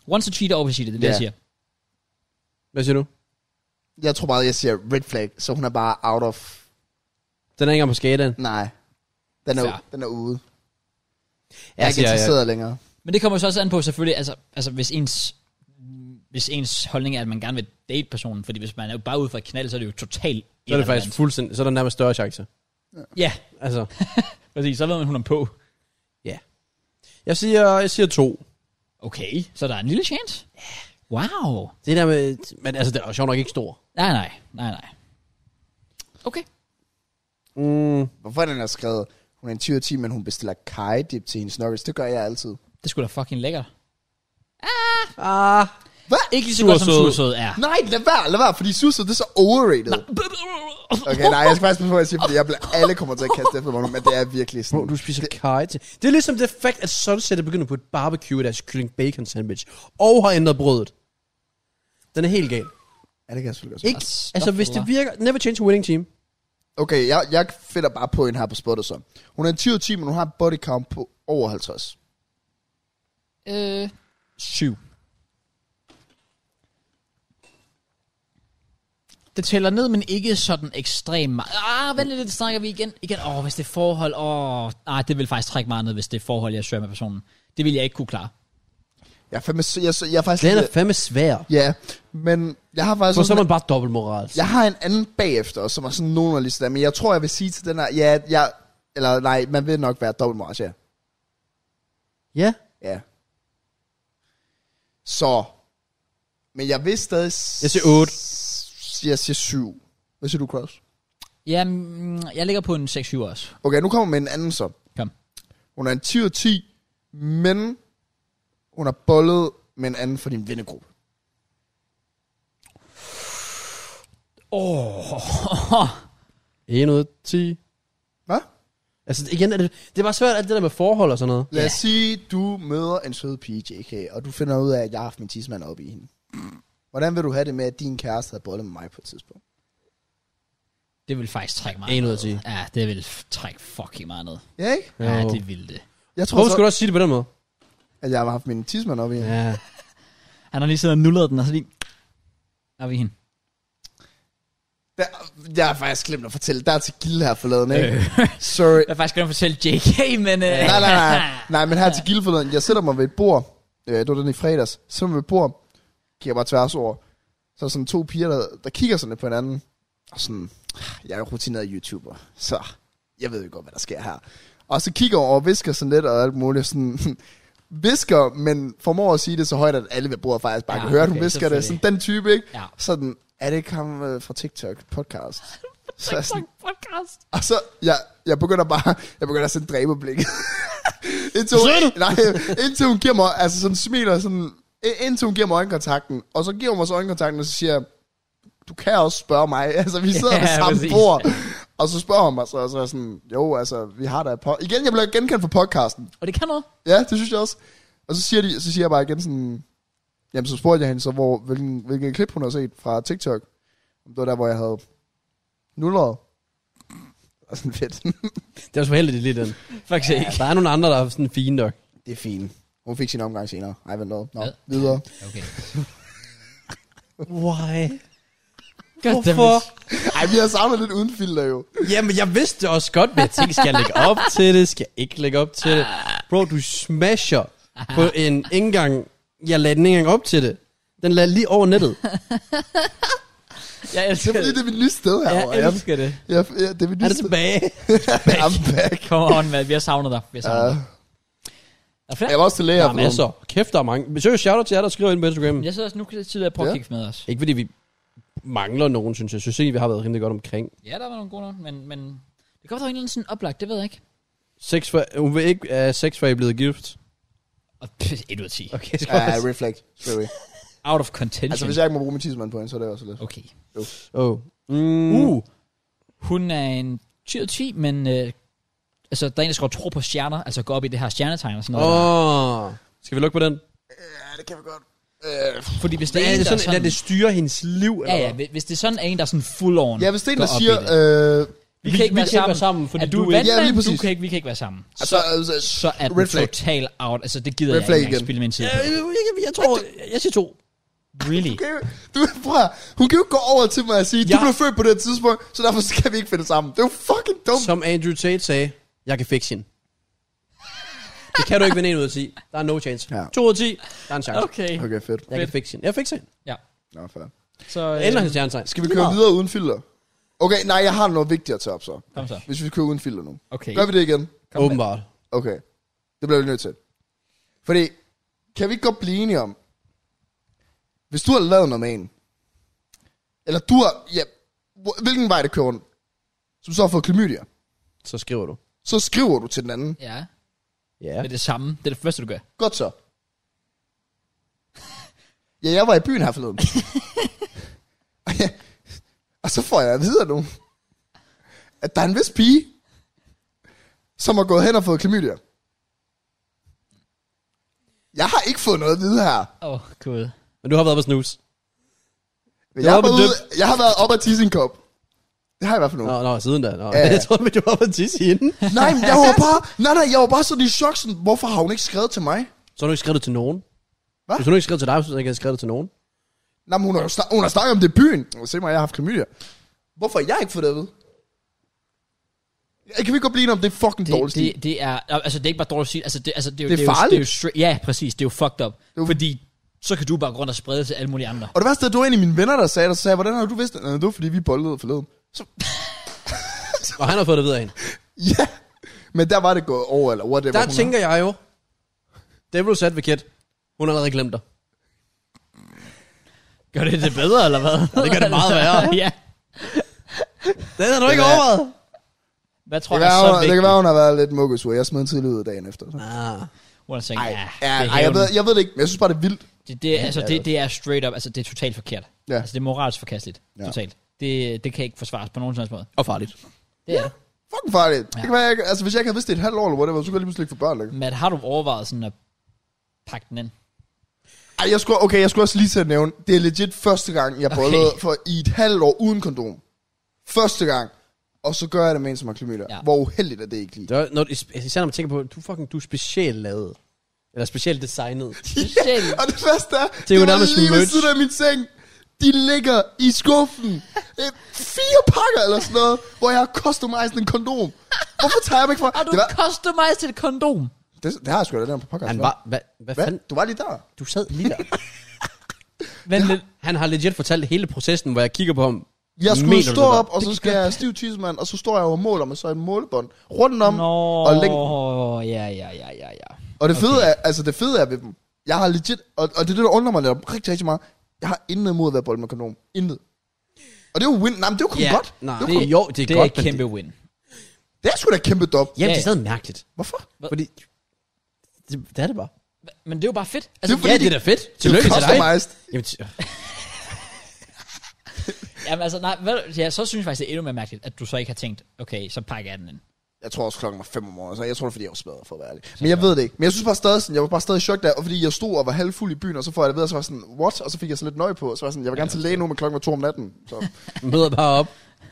Speaker 1: Once a cheater, always a cheater, det er det,
Speaker 3: Ja.
Speaker 1: jeg siger.
Speaker 4: hvad siger du?
Speaker 3: Jeg tror bare, jeg siger red flag, så hun er bare out of...
Speaker 4: Den er ikke engang på skalaen.
Speaker 3: Nej, den er,
Speaker 1: Fair.
Speaker 3: den er ude. Jeg er
Speaker 4: Jeg
Speaker 3: ikke
Speaker 4: siger, ja.
Speaker 3: interesseret længere.
Speaker 1: Men det kommer så også an på selvfølgelig, altså, altså hvis ens hvis ens holdning er, at man gerne vil date personen, fordi hvis man er jo bare ude for at knalde, så er det jo totalt
Speaker 4: Så er det faktisk fuldstændig, så er der nærmest større chance.
Speaker 1: Ja,
Speaker 4: Altså,
Speaker 1: præcis, så ved man, hun er på.
Speaker 4: ja. Jeg siger, jeg siger to.
Speaker 1: Okay, så der er en lille chance. Wow.
Speaker 4: Det der med, men altså, det er jo sjovt nok ikke stor.
Speaker 1: Nej, nej, nej, nej. Okay.
Speaker 4: Mm.
Speaker 3: Hvorfor er den har skrevet, hun er en 10 af 10, men hun bestiller kajedip til hendes nuggets. Det gør jeg altid.
Speaker 1: Det skulle da fucking lækkert.
Speaker 4: Ah.
Speaker 3: Hvad?
Speaker 1: Ikke lige så godt som
Speaker 4: Sursød.
Speaker 1: sursød er.
Speaker 3: Nej, lad være, lad være, fordi susser, det er så overrated. Nej. Okay, nej, jeg skal faktisk prøve at sige, fordi jeg bliver, alle kommer til at kaste efter mig nu, men det er virkelig sådan.
Speaker 4: Bro, du spiser kaj til. Det er ligesom det fakt, at Sunset er begyndt på et barbecue i deres kylling bacon sandwich. Og har ændret brødet. Den er helt gal.
Speaker 3: Ja, det kan jeg selvfølgelig også.
Speaker 4: Ikke? Altså, hvis det virker... Never change a winning team.
Speaker 3: Okay, jeg, jeg finder bare på en her på spottet så. Hun er en 10 af 10, men hun har en body count på over 50.
Speaker 1: Øh, syv. Det tæller ned, men ikke sådan ekstremt meget. Ah, vent lidt, det snakker vi igen. Igen, åh, oh, hvis det er forhold, åh... Oh, nej, det vil faktisk trække meget ned, hvis det er forhold, jeg søger med personen. Det vil jeg ikke kunne klare.
Speaker 3: Jeg er, fandme, jeg, jeg, jeg er faktisk...
Speaker 4: Den er fandme svær.
Speaker 3: Ja, men jeg har faktisk...
Speaker 4: For så er
Speaker 3: sådan-
Speaker 4: man bare dobbelt moral.
Speaker 3: Jeg har en anden bagefter, som er sådan nogenlunde lige sådan, men jeg tror, jeg vil sige til den her, ja, jeg, eller nej, man vil nok være dobbelt moral, ja.
Speaker 4: Ja.
Speaker 3: ja. Så, men jeg vil stadig... s-
Speaker 4: Jeg siger otte.
Speaker 3: s- Jeg siger 7. Hvad siger du, Cross?
Speaker 1: Jamen, jeg ligger på en 6-7 også.
Speaker 3: Okay, nu kommer med en anden så.
Speaker 1: Kom.
Speaker 3: Hun er en 10 ud af 10, men hun har bollet med en anden fra din vennegruppe.
Speaker 1: Åh,
Speaker 4: 1 ud af 10.
Speaker 3: Hvad?
Speaker 4: Altså, igen, er det, det er bare svært, alt det der med forhold og sådan noget.
Speaker 3: Lad os sige, du møder en sød pige, JK, og du finder ud af, at jeg har haft min tidsmand op i hende. Hvordan vil du have det med, at din kæreste havde bollet med mig på et tidspunkt?
Speaker 1: det vil faktisk trække meget
Speaker 4: En ud af
Speaker 1: ned.
Speaker 4: ti.
Speaker 1: Ja, det vil f- trække fucking meget ned.
Speaker 3: Ja, ikke?
Speaker 1: Ja,
Speaker 4: Jo.
Speaker 1: det vil det.
Speaker 3: Jeg tror
Speaker 4: Hvorfor skulle
Speaker 3: så,
Speaker 4: du også sige det på den måde?
Speaker 3: at jeg har haft min tidsmand op i hende. Ja.
Speaker 4: Ja.
Speaker 1: Han har lige siddet og nullet den, og så lige... Er vi hende?
Speaker 3: Der, jeg har faktisk glemt at fortælle. Der er til Gilde her forleden, ikke? Sorry.
Speaker 1: Jeg har faktisk gerne fortælle JK, men... Øh,
Speaker 3: Nej, nej, nej. Nej, men her til Gilde forleden. Jeg sætter mig ved et bord. Øh, det var den i fredags. Så mig ved et bord. Kigger bare tværs over. Så er sådan to piger, der, der kigger sådan lidt på hinanden. Og sådan, "Ah, jeg er jo rutineret YouTuber, så jeg ved jo godt, hvad der sker her. Og så kigger over og visker sådan lidt og alt muligt. Sådan, visker, men formår at sige det så højt, at alle ved bordet faktisk bare
Speaker 1: Ja,
Speaker 3: ja, kan høre, at hun
Speaker 1: okay,
Speaker 3: visker det. Sådan
Speaker 1: selvfølgelig.
Speaker 3: den type, ikke?
Speaker 1: Ja.
Speaker 3: Sådan, er det ikke ham øh, fra TikTok podcast? så er jeg sådan,
Speaker 1: podcast.
Speaker 3: og så, jeg, jeg begynder bare, jeg begynder at sende dræberblik. indtil, hun, nej, indtil hun giver mig, altså sådan smiler sådan, i- indtil hun giver mig øjenkontakten, og så giver hun mig så øjenkontakten, og så siger jeg, du kan også spørge mig, altså vi sidder
Speaker 1: Ja,
Speaker 3: ja, ved samme
Speaker 1: præcis.
Speaker 3: bord, og så spørger hun mig, så, og så er jeg sådan, jo, altså, vi har da et pod-" Igen, jeg bliver genkendt for podcasten.
Speaker 1: Og det kan noget.
Speaker 3: Ja, det synes jeg også. Og så siger, de, så siger jeg bare igen sådan, jamen så spurgte jeg hende så, hvor, hvilken, hvilken klip hun har set fra TikTok. Det var der, hvor jeg havde nulleret. Og sådan fedt.
Speaker 4: Det er også for heldigt, lige den.
Speaker 1: Faktisk
Speaker 4: Ja, der er nogle andre, der er sådan fine nok.
Speaker 3: Det er fint. Hun fik sin omgang senere. Ej, vent noget. Nå,
Speaker 1: Hvad?
Speaker 3: videre.
Speaker 1: Okay.
Speaker 4: Why?
Speaker 1: Hvorfor?
Speaker 4: Hvorfor?
Speaker 3: Ej, vi har savnet lidt uden filter jo.
Speaker 4: Jamen, jeg vidste det også godt, men jeg tænkte, skal jeg lægge op til det? Skal jeg ikke lægge op til det? Bro, du smasher på en ikke engang... Jeg lagde den ikke engang op til det. Den lagde lige over nettet.
Speaker 1: Jeg
Speaker 3: Det
Speaker 1: elsker
Speaker 3: er fordi, det er mit nye sted her.
Speaker 1: Jeg
Speaker 3: og jeg,
Speaker 1: elsker det.
Speaker 3: jeg, jeg, det er mit
Speaker 4: Er
Speaker 3: nye
Speaker 4: det
Speaker 3: sted.
Speaker 4: tilbage?
Speaker 3: I'm back.
Speaker 1: Come on, man. Vi har savnet dig. Vi har savnet
Speaker 3: Ja.
Speaker 1: dig. Er der flere?
Speaker 3: Jeg var også til læger
Speaker 4: Der er masser. altså. Kæft, der er mange. Men seriøst, shout out til jer, der skriver ind på Instagram.
Speaker 1: Jeg sidder også nu tidligere på at
Speaker 3: Ja.
Speaker 1: kigge med os.
Speaker 4: Ikke fordi vi mangler nogen, synes jeg. Jeg synes egentlig, vi har været rimelig godt omkring.
Speaker 1: Ja, der var nogle gode nogen, men, men det kan godt være en eller anden sådan oplagt, det ved jeg ikke.
Speaker 4: Sex for, hun vil ikke have sex, for I er blevet gift.
Speaker 1: Og pff, 1 ud af 10.
Speaker 4: Okay,
Speaker 3: Ja, ja, reflect. Sorry.
Speaker 1: Out of contention.
Speaker 3: Altså, hvis jeg ikke må bruge min tidsmand på hende, så er det også lidt.
Speaker 1: Okay.
Speaker 4: Oh. Mm. Uh.
Speaker 1: Hun er en 10 ud af 10, men øh, altså, der er en, der skal tro på stjerner, altså gå op i det her stjernetegn og sådan noget. der.
Speaker 4: Oh. Skal vi lukke på den?
Speaker 3: Ja, det kan vi godt. Øh,
Speaker 1: Fordi hvis det
Speaker 4: Det
Speaker 1: er,
Speaker 4: er,
Speaker 1: en,
Speaker 4: det
Speaker 1: der
Speaker 4: sådan, at det styrer hendes liv?
Speaker 1: Ja,
Speaker 4: Eller
Speaker 1: ja, hvis- hvis det er sådan en, der er sådan full on.
Speaker 3: ja, hvis det er en,
Speaker 1: går
Speaker 3: der
Speaker 1: op i
Speaker 3: siger,
Speaker 1: det.
Speaker 3: øh,
Speaker 1: vi, kan ikke være sammen.
Speaker 4: fordi
Speaker 1: er du, du
Speaker 3: Ja, lige
Speaker 1: du
Speaker 3: præcis.
Speaker 1: kan ikke, vi kan ikke være sammen.
Speaker 3: altså, altså,
Speaker 1: Så er den
Speaker 3: Red flag.
Speaker 1: total out. Altså, det gider
Speaker 3: Red
Speaker 1: jeg
Speaker 3: flag
Speaker 1: ikke engang
Speaker 3: igen.
Speaker 1: spille min tid
Speaker 4: Ja,
Speaker 1: på.
Speaker 4: jeg, Øh, jeg, jeg tror, jeg siger to.
Speaker 1: Really?
Speaker 3: kan jo- du, prøv at, hun kan jo ikke gå over til mig og sige, du
Speaker 4: Ja.
Speaker 3: blev født på det her tidspunkt, så derfor skal vi ikke finde sammen. Det er jo fucking dumt.
Speaker 4: Som Andrew Tate sagde, jeg kan fikse hende. Det kan du ikke vinde en ud af 10. Der er no chance.
Speaker 3: Ja.
Speaker 4: 2 ud af 10, der er en chance.
Speaker 1: Okay.
Speaker 3: Okay, fedt.
Speaker 4: Jeg kan fikse hende. Jeg fikser hende.
Speaker 1: Ja.
Speaker 3: Nå, fair.
Speaker 1: Så øh,
Speaker 4: Jeg ændrer hendes stjernetegn.
Speaker 3: Skal vi køre videre uden filter? Okay, nej, jeg har noget vigtigt at tage op så.
Speaker 1: Kom så.
Speaker 3: Hvis vi kører uden filter nu.
Speaker 1: Okay.
Speaker 3: Gør vi det igen?
Speaker 4: Åbenbart.
Speaker 3: Okay. Det bliver vi nødt til. Fordi, kan vi ikke godt blive enige om, hvis du har lavet noget med en, eller du har, ja, hvor- hvilken vej det kører rundt, som så har fået klamydia,
Speaker 4: Så skriver du.
Speaker 3: så skriver du til den anden,
Speaker 1: Ja.
Speaker 4: Ja.
Speaker 1: Det er det samme. Det er det første, du gør.
Speaker 3: godt så. Ja, jeg var i byen her forleden. og, ja, og så får jeg at vide af nogen, at der er en vis pige, som har gået hen og fået klamydia. Jeg har ikke fået noget at vide her.
Speaker 1: Åh, oh, gud.
Speaker 4: Men du har været på snus.
Speaker 3: Men
Speaker 4: Det
Speaker 3: jeg,
Speaker 4: var
Speaker 3: har
Speaker 4: på
Speaker 3: været ude, jeg har været op ad tisse i en kop. Det har jeg i hvert fald nu.
Speaker 4: Nå, nå, siden da. Nå.
Speaker 3: Ja, ja.
Speaker 4: Jeg troede, du var på en tisse inden.
Speaker 3: Nej, men jeg var bare, nej, nej, jeg var bare sådan i chok, sådan, hvorfor har hun ikke skrevet til mig?
Speaker 4: Så har du ikke skrevet det til nogen.
Speaker 3: Hva?
Speaker 4: Hvis du nu ikke skrev til dig, så har du ikke skrevet det til nogen.
Speaker 3: Nej, men hun har jo snak, hun har snakket om det i byen. Se mig, jeg har haft klamydia. Hvorfor har jeg ikke fået det at vide? Ja, Kan vi godt blive enige om, det er fucking dårligt
Speaker 1: Det,
Speaker 3: stil?
Speaker 1: det, det er, altså det er ikke bare dårligt stil, altså det, altså det, jo-
Speaker 3: Det er
Speaker 1: jo-
Speaker 3: farligt.
Speaker 1: Det er jo straight, ja, præcis, det er jo fucked up.
Speaker 3: jo-
Speaker 1: Fordi så kan du bare gå rundt og sprede det til alle mulige andre.
Speaker 3: Og det værste er, at du var en af mine venner, der sagde det, så sagde jeg, hvordan har du vidst det? "Nej, Det var fordi, vi bollede forleden.
Speaker 4: Og han har fået det videre af hende.
Speaker 3: Ja, men der var det gået over, eller whatever.
Speaker 4: Der
Speaker 3: hun
Speaker 4: tænker jeg jo, Devil's Advocate, hun har allerede glemt dig.
Speaker 1: Gør det det bedre, eller hvad?
Speaker 4: det gør det meget værre.
Speaker 1: ja.
Speaker 4: Den har du ikke
Speaker 3: er-
Speaker 4: overvejet.
Speaker 1: Hvad tror
Speaker 3: har.
Speaker 1: du
Speaker 3: det, kan
Speaker 1: er så
Speaker 3: være, hun, det kan
Speaker 1: vigtigt?
Speaker 3: være, hun har været lidt mukkesur. Jeg smed tidligt ud dagen efter. Så.
Speaker 4: Ah.
Speaker 1: Hun har tænkt,
Speaker 3: Ej,
Speaker 1: ja,
Speaker 3: ja,
Speaker 1: det er
Speaker 3: ej jeg, ved,
Speaker 1: hævn.
Speaker 3: jeg ved det ikke, men jeg synes bare, det er vildt.
Speaker 1: Det, det, altså,
Speaker 4: det er
Speaker 1: det, det er straight up, altså det er totalt forkert.
Speaker 3: Ja.
Speaker 1: Altså det er moralsk forkasteligt,
Speaker 3: Ja.
Speaker 1: ja. totalt. Det, det kan ikke forsvares på nogen som helst måde.
Speaker 4: Og farligt.
Speaker 1: Det er.
Speaker 3: Fucking farligt. Ja. Det
Speaker 1: Ja.
Speaker 3: kan være, jeg, ikke- altså, hvis jeg ikke havde vidst det i et halvt år, eller whatever, så kunne jeg lige pludselig ikke få børn længere.
Speaker 1: Matt, har du overvejet sådan at pakke den ind?
Speaker 3: Ej, jeg skulle, okay, jeg skulle også lige til at nævne, det er legit første gang, jeg
Speaker 1: Okay.
Speaker 3: bollede for i et halvt år uden kondom. Første gang. Og så gør jeg det med en, som har klamydia. Ja.
Speaker 1: Ja.
Speaker 3: Hvor uheldigt er det ikke lige.
Speaker 4: Det var, når, især når man tænker på, du fucking, du er specielt lavet. Eller specielt designet.
Speaker 1: Specielt.
Speaker 3: Og det første er, det,
Speaker 4: jo
Speaker 3: det var
Speaker 4: nærmest
Speaker 3: lige ved
Speaker 4: merch.
Speaker 3: siden af min seng. De ligger i skuffen. Øh, Fire pakker eller sådan noget, hvor jeg har customized en kondom. Hvorfor tager jeg mig ikke fra?
Speaker 1: Har du
Speaker 3: Det, var,
Speaker 1: customized et kondom?
Speaker 3: det, det har jeg sgu da der på podcast.
Speaker 4: Han
Speaker 3: hva'?
Speaker 4: var, hvad, hvad
Speaker 3: Hvad?
Speaker 4: fanden?
Speaker 3: Du var lige der.
Speaker 4: Du sad lige der.
Speaker 1: Vent lidt.
Speaker 4: Han har legit fortalt hele processen, hvor jeg kigger på ham.
Speaker 3: Jeg skulle
Speaker 4: Mener du det
Speaker 3: stå
Speaker 4: var-
Speaker 3: op, og så skal jeg stiv tissemand, og så står jeg og måler med så et målebånd rundt om
Speaker 1: Nå,
Speaker 3: og længden.
Speaker 1: ja, ja, ja, ja, ja.
Speaker 3: Og det fede er, altså det fede er ved dem, jeg har legit, og, og det er det, der undrer mig lidt om rigtig, rigtig meget, jeg har intet imod at være bold med kondom. Intet. Og det er jo win, nej, men det er jo kun
Speaker 4: Ja,
Speaker 3: godt.
Speaker 4: nej.
Speaker 3: det, er jo,
Speaker 4: Det-
Speaker 3: kun-
Speaker 4: jo, det er
Speaker 1: det
Speaker 4: godt,
Speaker 1: er
Speaker 4: men
Speaker 1: et kæmpe win.
Speaker 3: det er sgu da et kæmpe dop.
Speaker 4: Jamen,
Speaker 1: Ja,
Speaker 4: det
Speaker 1: ja.
Speaker 4: er stadig mærkeligt.
Speaker 3: Hvorfor?
Speaker 4: Fordi, det, det er det bare.
Speaker 1: Men det er jo bare fedt. Altså,
Speaker 3: Det er fordi,
Speaker 4: ja,
Speaker 3: de-
Speaker 4: det er da fedt. Tillykke til dig.
Speaker 3: customized.
Speaker 4: Jamen, t-
Speaker 1: Jamen altså, nej, hvad, ja, så synes jeg faktisk, det er endnu mere mærkeligt, at du så ikke har tænkt, okay, så pakker jeg den ind.
Speaker 3: Jeg tror også klokken var 5 om morgenen, så jeg tror det er, fordi jeg var smadret for at være ærlig. Men jeg ved det ikke. Men jeg synes bare stadig sådan, jeg var bare stadig i chok der, og fordi jeg stod og var halvfuld i byen, og så får jeg det ved, og så var jeg sådan, what? Og så fik jeg så lidt nøje på, og så var jeg sådan, jeg vil gerne til læge nu, men klokken var 2 om natten. Så.
Speaker 4: møder bare op.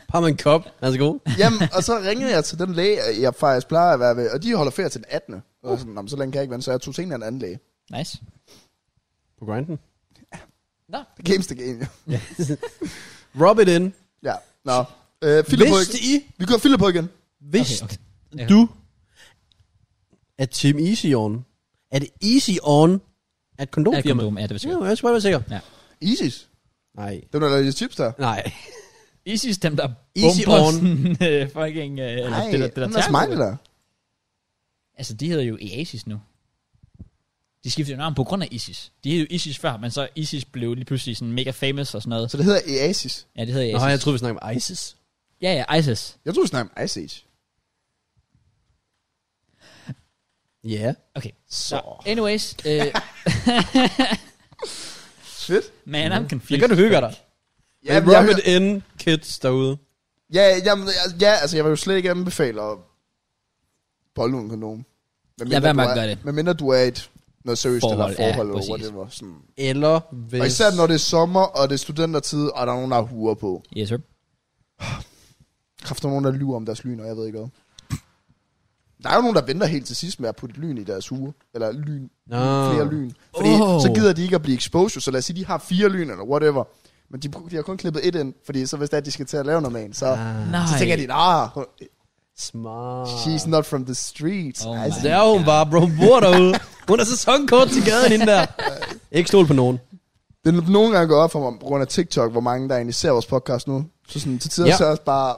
Speaker 4: Har man en kop. Værsgo.
Speaker 3: Jamen, og så ringede jeg til den læge, jeg faktisk plejer at være ved, og de holder ferie til den 18. Og jeg var sådan, "Nå, men så længe kan jeg ikke vente, så jeg tog til en eller anden læge.
Speaker 1: Nice.
Speaker 4: På grinden.
Speaker 1: Nå,
Speaker 3: Games the game, jo.
Speaker 4: Rub it in.
Speaker 3: Ja, nå. Øh, Philip på
Speaker 4: Hvis
Speaker 3: igen.
Speaker 4: I,
Speaker 3: Vi kører Philip på igen.
Speaker 4: hvis
Speaker 1: okay, okay. Ja.
Speaker 4: du er Team Easy On, er det Easy On, at
Speaker 1: Er det
Speaker 4: kondomfirma?
Speaker 1: kondom? Ja, det vil
Speaker 4: Ja,
Speaker 1: sige.
Speaker 4: jeg skal bare være sikker.
Speaker 3: Isis.
Speaker 4: Nej.
Speaker 3: Det var der lidt chips der.
Speaker 4: Nej.
Speaker 1: Easy dem, der
Speaker 4: Easy
Speaker 1: bomber
Speaker 4: on.
Speaker 1: sådan, øh, fucking... Øh, eller
Speaker 3: Nej,
Speaker 1: det, der, det, der
Speaker 3: den er
Speaker 1: terror.
Speaker 3: smiley der.
Speaker 1: Altså, de hedder jo Oasis nu. De skiftede jo navn på grund af ISIS. De hed jo ISIS før, men så ISIS blev lige pludselig sådan mega famous og sådan noget.
Speaker 3: Så det hedder Oasis.
Speaker 1: Ja, det hedder
Speaker 4: Nå,
Speaker 1: ISIS.
Speaker 4: jeg troede, vi snakkede om ISIS.
Speaker 1: Ja, ja, ISIS.
Speaker 3: Jeg tror, vi snakker om Ice Age.
Speaker 4: Ja.
Speaker 1: Okay, så anyways. Øh,
Speaker 3: Fedt.
Speaker 1: man, I'm confused.
Speaker 4: Det kan du hygge dig.
Speaker 3: Ja,
Speaker 4: Men
Speaker 3: men jeg,
Speaker 4: rub it in, kids derude.
Speaker 3: ja, jamen, jeg- ja, altså, jeg vil jo slet ikke anbefale at bolle en kondom. Medmindre
Speaker 1: Lad være med
Speaker 3: du
Speaker 1: at
Speaker 3: er-
Speaker 1: gøre det.
Speaker 3: Medmindre du er i et noget seriøst forhold,
Speaker 1: Forhold,
Speaker 3: eller forhold,
Speaker 1: ja,
Speaker 3: eller
Speaker 1: præcis.
Speaker 3: whatever. Sådan.
Speaker 4: Eller hvis...
Speaker 3: Og især når det er sommer, og det er studentertid, og der er nogen, der har huer på.
Speaker 1: Yes, sir.
Speaker 3: Kræfter nogen, der lyver om deres lyn, og jeg ved ikke hvad. Der er jo nogen, der venter helt til sidst med at putte lyn i deres huer. Eller lyn.
Speaker 4: Nå.
Speaker 3: Flere lyn. Fordi
Speaker 1: Oh.
Speaker 3: så gider de ikke at blive exposure, så lad os sige, de har fire lyn eller whatever. Men de, de har kun klippet et ind, fordi så hvis det er, at de skal til at lave noget med en, så,
Speaker 4: Ah,
Speaker 1: Nej.
Speaker 3: så tænker de, ah,
Speaker 4: smart.
Speaker 3: she's not from the streets.
Speaker 1: Oh
Speaker 3: Oh
Speaker 1: my
Speaker 3: altså,
Speaker 4: Det er hun bare, bro. Hun bor derude. Hun er sæsonkort til gaden, hende der. Ikke stol på nogen.
Speaker 3: det er nogle gange gået op for mig, på grund af TikTok, hvor mange der egentlig ser vores podcast nu. Så sådan, til tider
Speaker 4: Ja.
Speaker 3: ja. så er jeg også bare,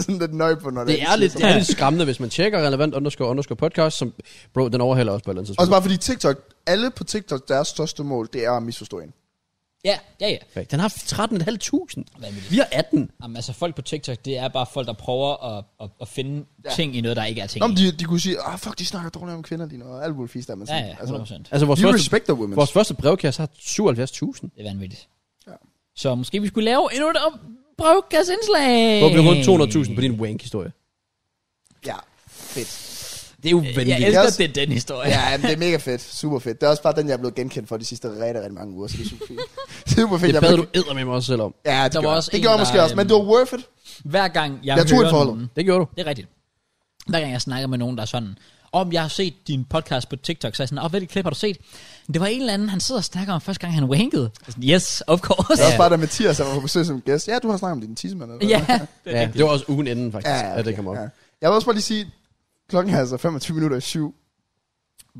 Speaker 3: sådan lidt nøje på, når det,
Speaker 4: Det er lidt, det er lidt skræmmende, hvis man tjekker relevant underscore underscore podcast, som, bro, den overhælder også på et eller andet
Speaker 3: Også
Speaker 4: tidspunkt.
Speaker 3: bare fordi TikTok, alle på TikTok, deres største mål, det er at misforstå en.
Speaker 1: Ja, ja, ja.
Speaker 4: Perfekt. Den har 13.500.
Speaker 1: Vanvittigt.
Speaker 4: Vi har 18.
Speaker 1: Jamen, altså, folk på TikTok, det er bare folk, der prøver at, at, at finde ja. ting i noget, der ikke er ting.
Speaker 3: Nå,
Speaker 1: i.
Speaker 3: men de, de kunne sige, ah, fuck, de snakker dårligt om kvinder lige nu, og alt muligt fisk der, men
Speaker 1: ja,
Speaker 3: sådan,
Speaker 1: ja, 100%. Altså.
Speaker 4: Altså, vores,
Speaker 3: de
Speaker 4: første,
Speaker 3: respecter women.
Speaker 4: vores første brevkasse har 77.000.
Speaker 1: Det er vanvittigt.
Speaker 3: Ja.
Speaker 1: Ja. Så måske vi skulle lave endnu et op- brevkasseindslag.
Speaker 4: Hvor vi rundt 200.000 på din wank-historie.
Speaker 3: Ja, fedt.
Speaker 4: Det er jo
Speaker 1: Jeg
Speaker 4: vanvittigt.
Speaker 1: elsker,
Speaker 3: også-
Speaker 1: det er den historie.
Speaker 3: Ja, jamen, det er mega fedt. Super fedt. Det er også bare den, jeg er blevet genkendt for de sidste rigtig, rigtig mange uger, så det er super fedt. super fedt.
Speaker 4: Det
Speaker 3: jeg
Speaker 4: bad
Speaker 3: blev-
Speaker 4: du æder med mig også selv om.
Speaker 3: Ja, det,
Speaker 1: Der var
Speaker 3: gjorde,
Speaker 1: også
Speaker 3: det
Speaker 1: en,
Speaker 3: gjorde jeg
Speaker 1: der, øhm,
Speaker 3: måske også, men det var worth it.
Speaker 1: Hver gang jeg hører
Speaker 3: Naturforholdet.
Speaker 1: nogen,
Speaker 4: Det gjorde du.
Speaker 1: det er rigtigt. Hver gang jeg snakker med nogen, der er sådan, om jeg har set din podcast på TikTok, så er jeg sådan, åh, oh, hvilket klip har du set? Men Det var en eller anden, han sidder og snakker om første gang, han wankede. Jeg er Sådan, yes, of
Speaker 3: Det
Speaker 1: course.
Speaker 3: er også bare, da Mathias han var på besøg som gæst. Ja, du har snakket om din tissemand. eller hvad?
Speaker 1: ja.
Speaker 4: Ja, det var også ugen inden, faktisk,
Speaker 3: ja, ja,
Speaker 4: at det kom op.
Speaker 3: ja. Jeg vil også bare lige sige, klokken er altså 25 minutter i syv.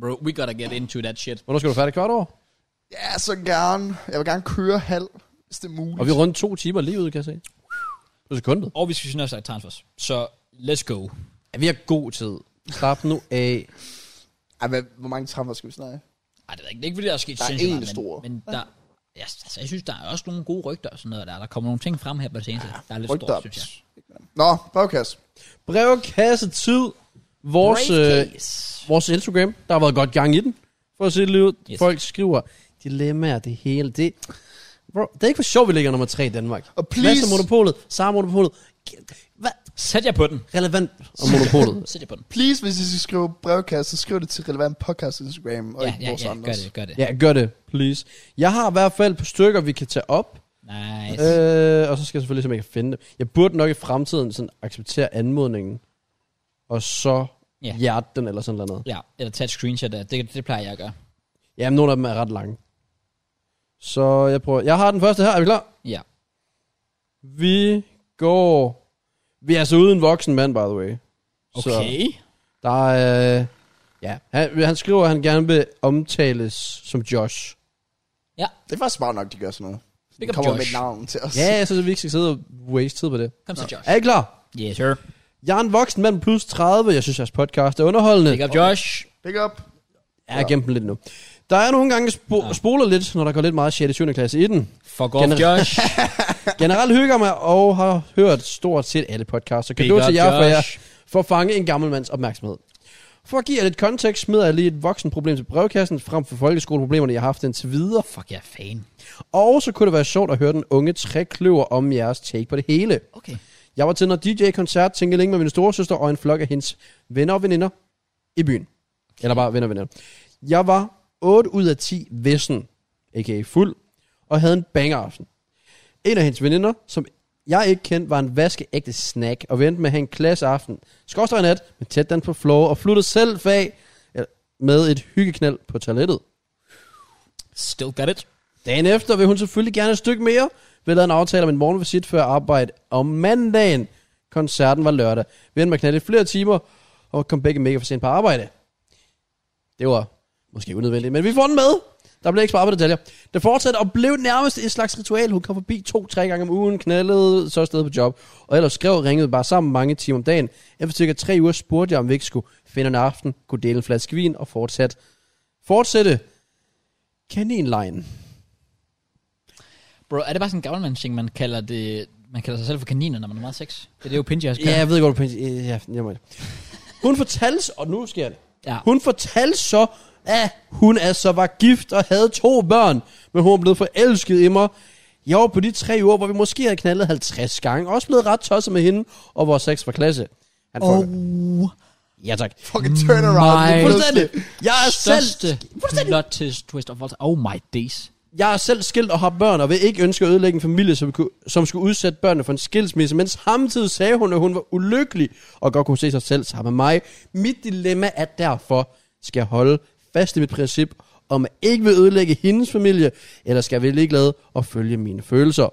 Speaker 1: Bro, we gotta get into that shit.
Speaker 4: Hvornår skal du færdig kvart over?
Speaker 3: Ja, så gerne. Jeg vil gerne køre halv, hvis det er muligt.
Speaker 4: Og vi er rundt to timer lige ud, kan jeg se. På sekundet.
Speaker 1: Og vi skal synes også transfers. Så let's go.
Speaker 4: Ja, vi har god tid. Slap nu af.
Speaker 3: Ej, hvad, hvor mange trammer skal vi snakke?
Speaker 1: Ej, det er ikke, det er ikke fordi, der er sket
Speaker 3: Der er
Speaker 1: sindssygt
Speaker 3: én
Speaker 1: meget, men-
Speaker 3: stor.
Speaker 1: Men der, ja, altså, jeg synes, der er også nogle gode rygter og sådan noget der. Der kommer nogle ting frem her på det seneste. Der er lidt
Speaker 3: Rygt
Speaker 1: stort,
Speaker 3: op.
Speaker 1: synes jeg.
Speaker 3: Nå, bagkasse.
Speaker 4: Brevkasse tid. Vores, øh,
Speaker 1: Briefcase.
Speaker 4: vores Instagram, der har været godt gang i den. For at se det lige ud.
Speaker 1: Yes.
Speaker 4: Yes. Folk skriver dilemmaer, det hele. Det, bro, det er ikke for sjovt, vi ligger nummer tre i Danmark.
Speaker 3: Og
Speaker 4: Hvad
Speaker 3: please-
Speaker 4: så monopolet? Sara monopolet. Hvad?
Speaker 1: Sæt jer på den.
Speaker 4: Relevant om monopolet.
Speaker 1: Sæt jer på den.
Speaker 3: Please, hvis I skal skrive brevkasse, så skriv det til relevant podcast Instagram, og
Speaker 1: Ja,
Speaker 3: ikke
Speaker 1: ja,
Speaker 3: vores
Speaker 1: ja,
Speaker 3: andres.
Speaker 1: gør det, gør det.
Speaker 4: ja, gør det, please. Jeg har i hvert fald på stykker, vi kan tage op.
Speaker 1: Nice.
Speaker 4: Øh, og så skal jeg selvfølgelig se, om jeg kan finde dem. Jeg burde nok i fremtiden sådan acceptere anmodningen, og så
Speaker 1: Ja.
Speaker 4: yeah. hjerte den eller sådan noget.
Speaker 1: Ja, eller tag et screenshot af. Det, det plejer jeg at gøre.
Speaker 4: Jamen, nogle af dem er ret lange. Så jeg prøver. Jeg har den første her. Er vi klar?
Speaker 1: Ja.
Speaker 4: Vi går... Vi er altså uden voksen mand, by the way. Så
Speaker 1: Okay.
Speaker 4: der er... Øh, ja, han, han skriver, at han gerne vil omtales som Josh.
Speaker 3: Det er faktisk smart nok, de gør sådan noget.
Speaker 1: Pick
Speaker 3: De
Speaker 1: up
Speaker 3: kommer
Speaker 1: Josh.
Speaker 3: med et navn til os.
Speaker 4: Ja, jeg synes, at vi ikke skal sidde og waste tid på det.
Speaker 1: Kom så, Josh.
Speaker 4: Er I klar?
Speaker 1: Yes, sir.
Speaker 4: Jeg er en voksen mand plus 30. Jeg synes, jeres podcast er underholdende.
Speaker 1: Pick up Josh.
Speaker 3: Pick up.
Speaker 4: Jeg har gemt den lidt nu. Der er nogle gange, jeg spo- spoler lidt, når der går lidt meget 6. og 7. klasse i den.
Speaker 1: Fuck off,
Speaker 4: Gener-
Speaker 1: Josh.
Speaker 4: Generelt hygger mig og har hørt stort set alle podcasts. Og kan
Speaker 1: Big
Speaker 4: du
Speaker 1: up,
Speaker 4: til jer for, jer,
Speaker 1: Josh.
Speaker 4: for at fange en gammel mands opmærksomhed. For at give jer lidt kontekst, smider jeg lige et voksenproblem til brevkassen, frem for folkeskoleproblemerne, jeg har haft indtil videre.
Speaker 1: Fuck, jeg er fan.
Speaker 4: Og så kunne det være sjovt at høre den unge trækløver om jeres take på det hele.
Speaker 1: Okay.
Speaker 4: Jeg var til noget DJ-koncert, tænkte længe med min storesøster og en flok af hendes venner og veninder i byen. Eller bare venner og veninder. Jeg var 8 ud af 10 vessen, a.k.a. fuld, og havde en bangeraften. En af hendes veninder, som jeg ikke kendte, var en vaskeægte snack, og vendte med at have en klasseaften. Skorstøj nat, med tæt den på floor, og fluttede selv fag eller med et hyggeknald på toilettet.
Speaker 1: Still got it.
Speaker 4: Dagen efter vil hun selvfølgelig gerne et stykke mere. Vi lavede en aftale om en morgenvisit før arbejde om mandagen. Koncerten var lørdag. Vi endte med at knalde i flere timer, og kom begge mega for sent på arbejde. Det var måske unødvendigt, men vi får den med. Der blev ikke sparet på detaljer. Det fortsatte og blev nærmest et slags ritual. Hun kom forbi to-tre gange om ugen, knaldede, så afsted på job. Og ellers skrev og ringede bare sammen mange timer om dagen. Efter cirka tre uger spurgte jeg, om vi ikke skulle finde en aften, kunne dele en flaske vin og fortsat. fortsætte kaninlejen.
Speaker 1: Bro, er det bare sådan en gammelmandsting, man kalder det... Man kalder sig selv for kaniner, når man er meget sex. Det er det jo Pinji også
Speaker 4: Ja,
Speaker 1: kalder.
Speaker 4: jeg ved godt, du penge- øh, ja, jeg må Hun fortalte, s- og nu sker det.
Speaker 1: Ja.
Speaker 4: Hun fortalte så, at hun altså var gift og havde to børn, men hun var blevet forelsket i mig. Jeg var på de tre uger, hvor vi måske havde knaldet 50 gange, også blevet ret tosset med hende, og vores sex var klasse. Han
Speaker 1: Oh,
Speaker 4: fucker. Ja tak.
Speaker 3: Fucking turnaround.
Speaker 1: My-
Speaker 3: lige pludselig.
Speaker 4: Fuldstændig. Jeg er,
Speaker 1: største
Speaker 4: selv,
Speaker 1: plot twist, twist of all time. Oh my days.
Speaker 4: jeg er selv skilt og har børn, og vil ikke ønske at ødelægge en familie, som, kunne- som skulle udsætte børnene for en skilsmisse, men samtidig sagde hun, at hun var ulykkelig og godt kunne se sig selv sammen med mig. Mit dilemma er derfor, skal jeg holde fast i mit princip om at ikke vil ødelægge hendes familie, eller skal jeg være ligeglad og følge mine følelser?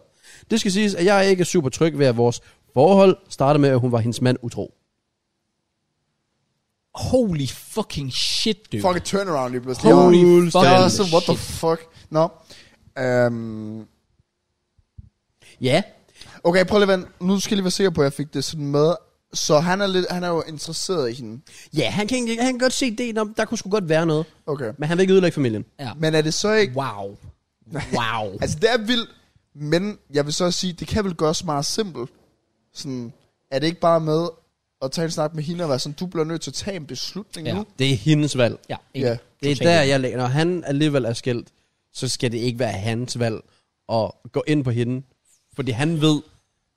Speaker 4: Det skal siges, at jeg ikke er super tryg ved, at vores forhold startede med, at hun var hendes mand utro.
Speaker 1: Holy fucking shit, dude.
Speaker 3: Fucking turnaround lige pludselig.
Speaker 1: Holy
Speaker 3: Jeg var-
Speaker 1: fucking
Speaker 3: Jeg var også sådan, what the
Speaker 1: shit.
Speaker 3: fuck? Nå. Øhm,
Speaker 4: Ja.
Speaker 3: Okay, prøv lige at vente. Nu skal jeg lige være sikker på, at jeg fik det sådan med. Så han er, lidt, han er jo interesseret i hende.
Speaker 4: Ja, han kan, egentlig- han kan godt se det, om der kunne sgu godt være noget.
Speaker 3: Okay.
Speaker 4: Men han vil ikke ødelægge familien.
Speaker 1: Ja.
Speaker 3: Men er det så ikke...
Speaker 1: Wow. Wow.
Speaker 3: Altså, det er vildt, men jeg vil så også sige, det kan vel gøres meget simpelt. Sådan, er det ikke bare med at tage en snak med hende og være sådan, du bliver nødt til at tage en beslutning
Speaker 1: Ja.
Speaker 3: ja. nu?
Speaker 4: Det er hendes valg.
Speaker 1: ja,
Speaker 3: Ja.
Speaker 4: Det er der, jeg lægger. Når han alligevel er skilt, så skal det ikke være hans valg at gå ind på hende. Fordi han ved,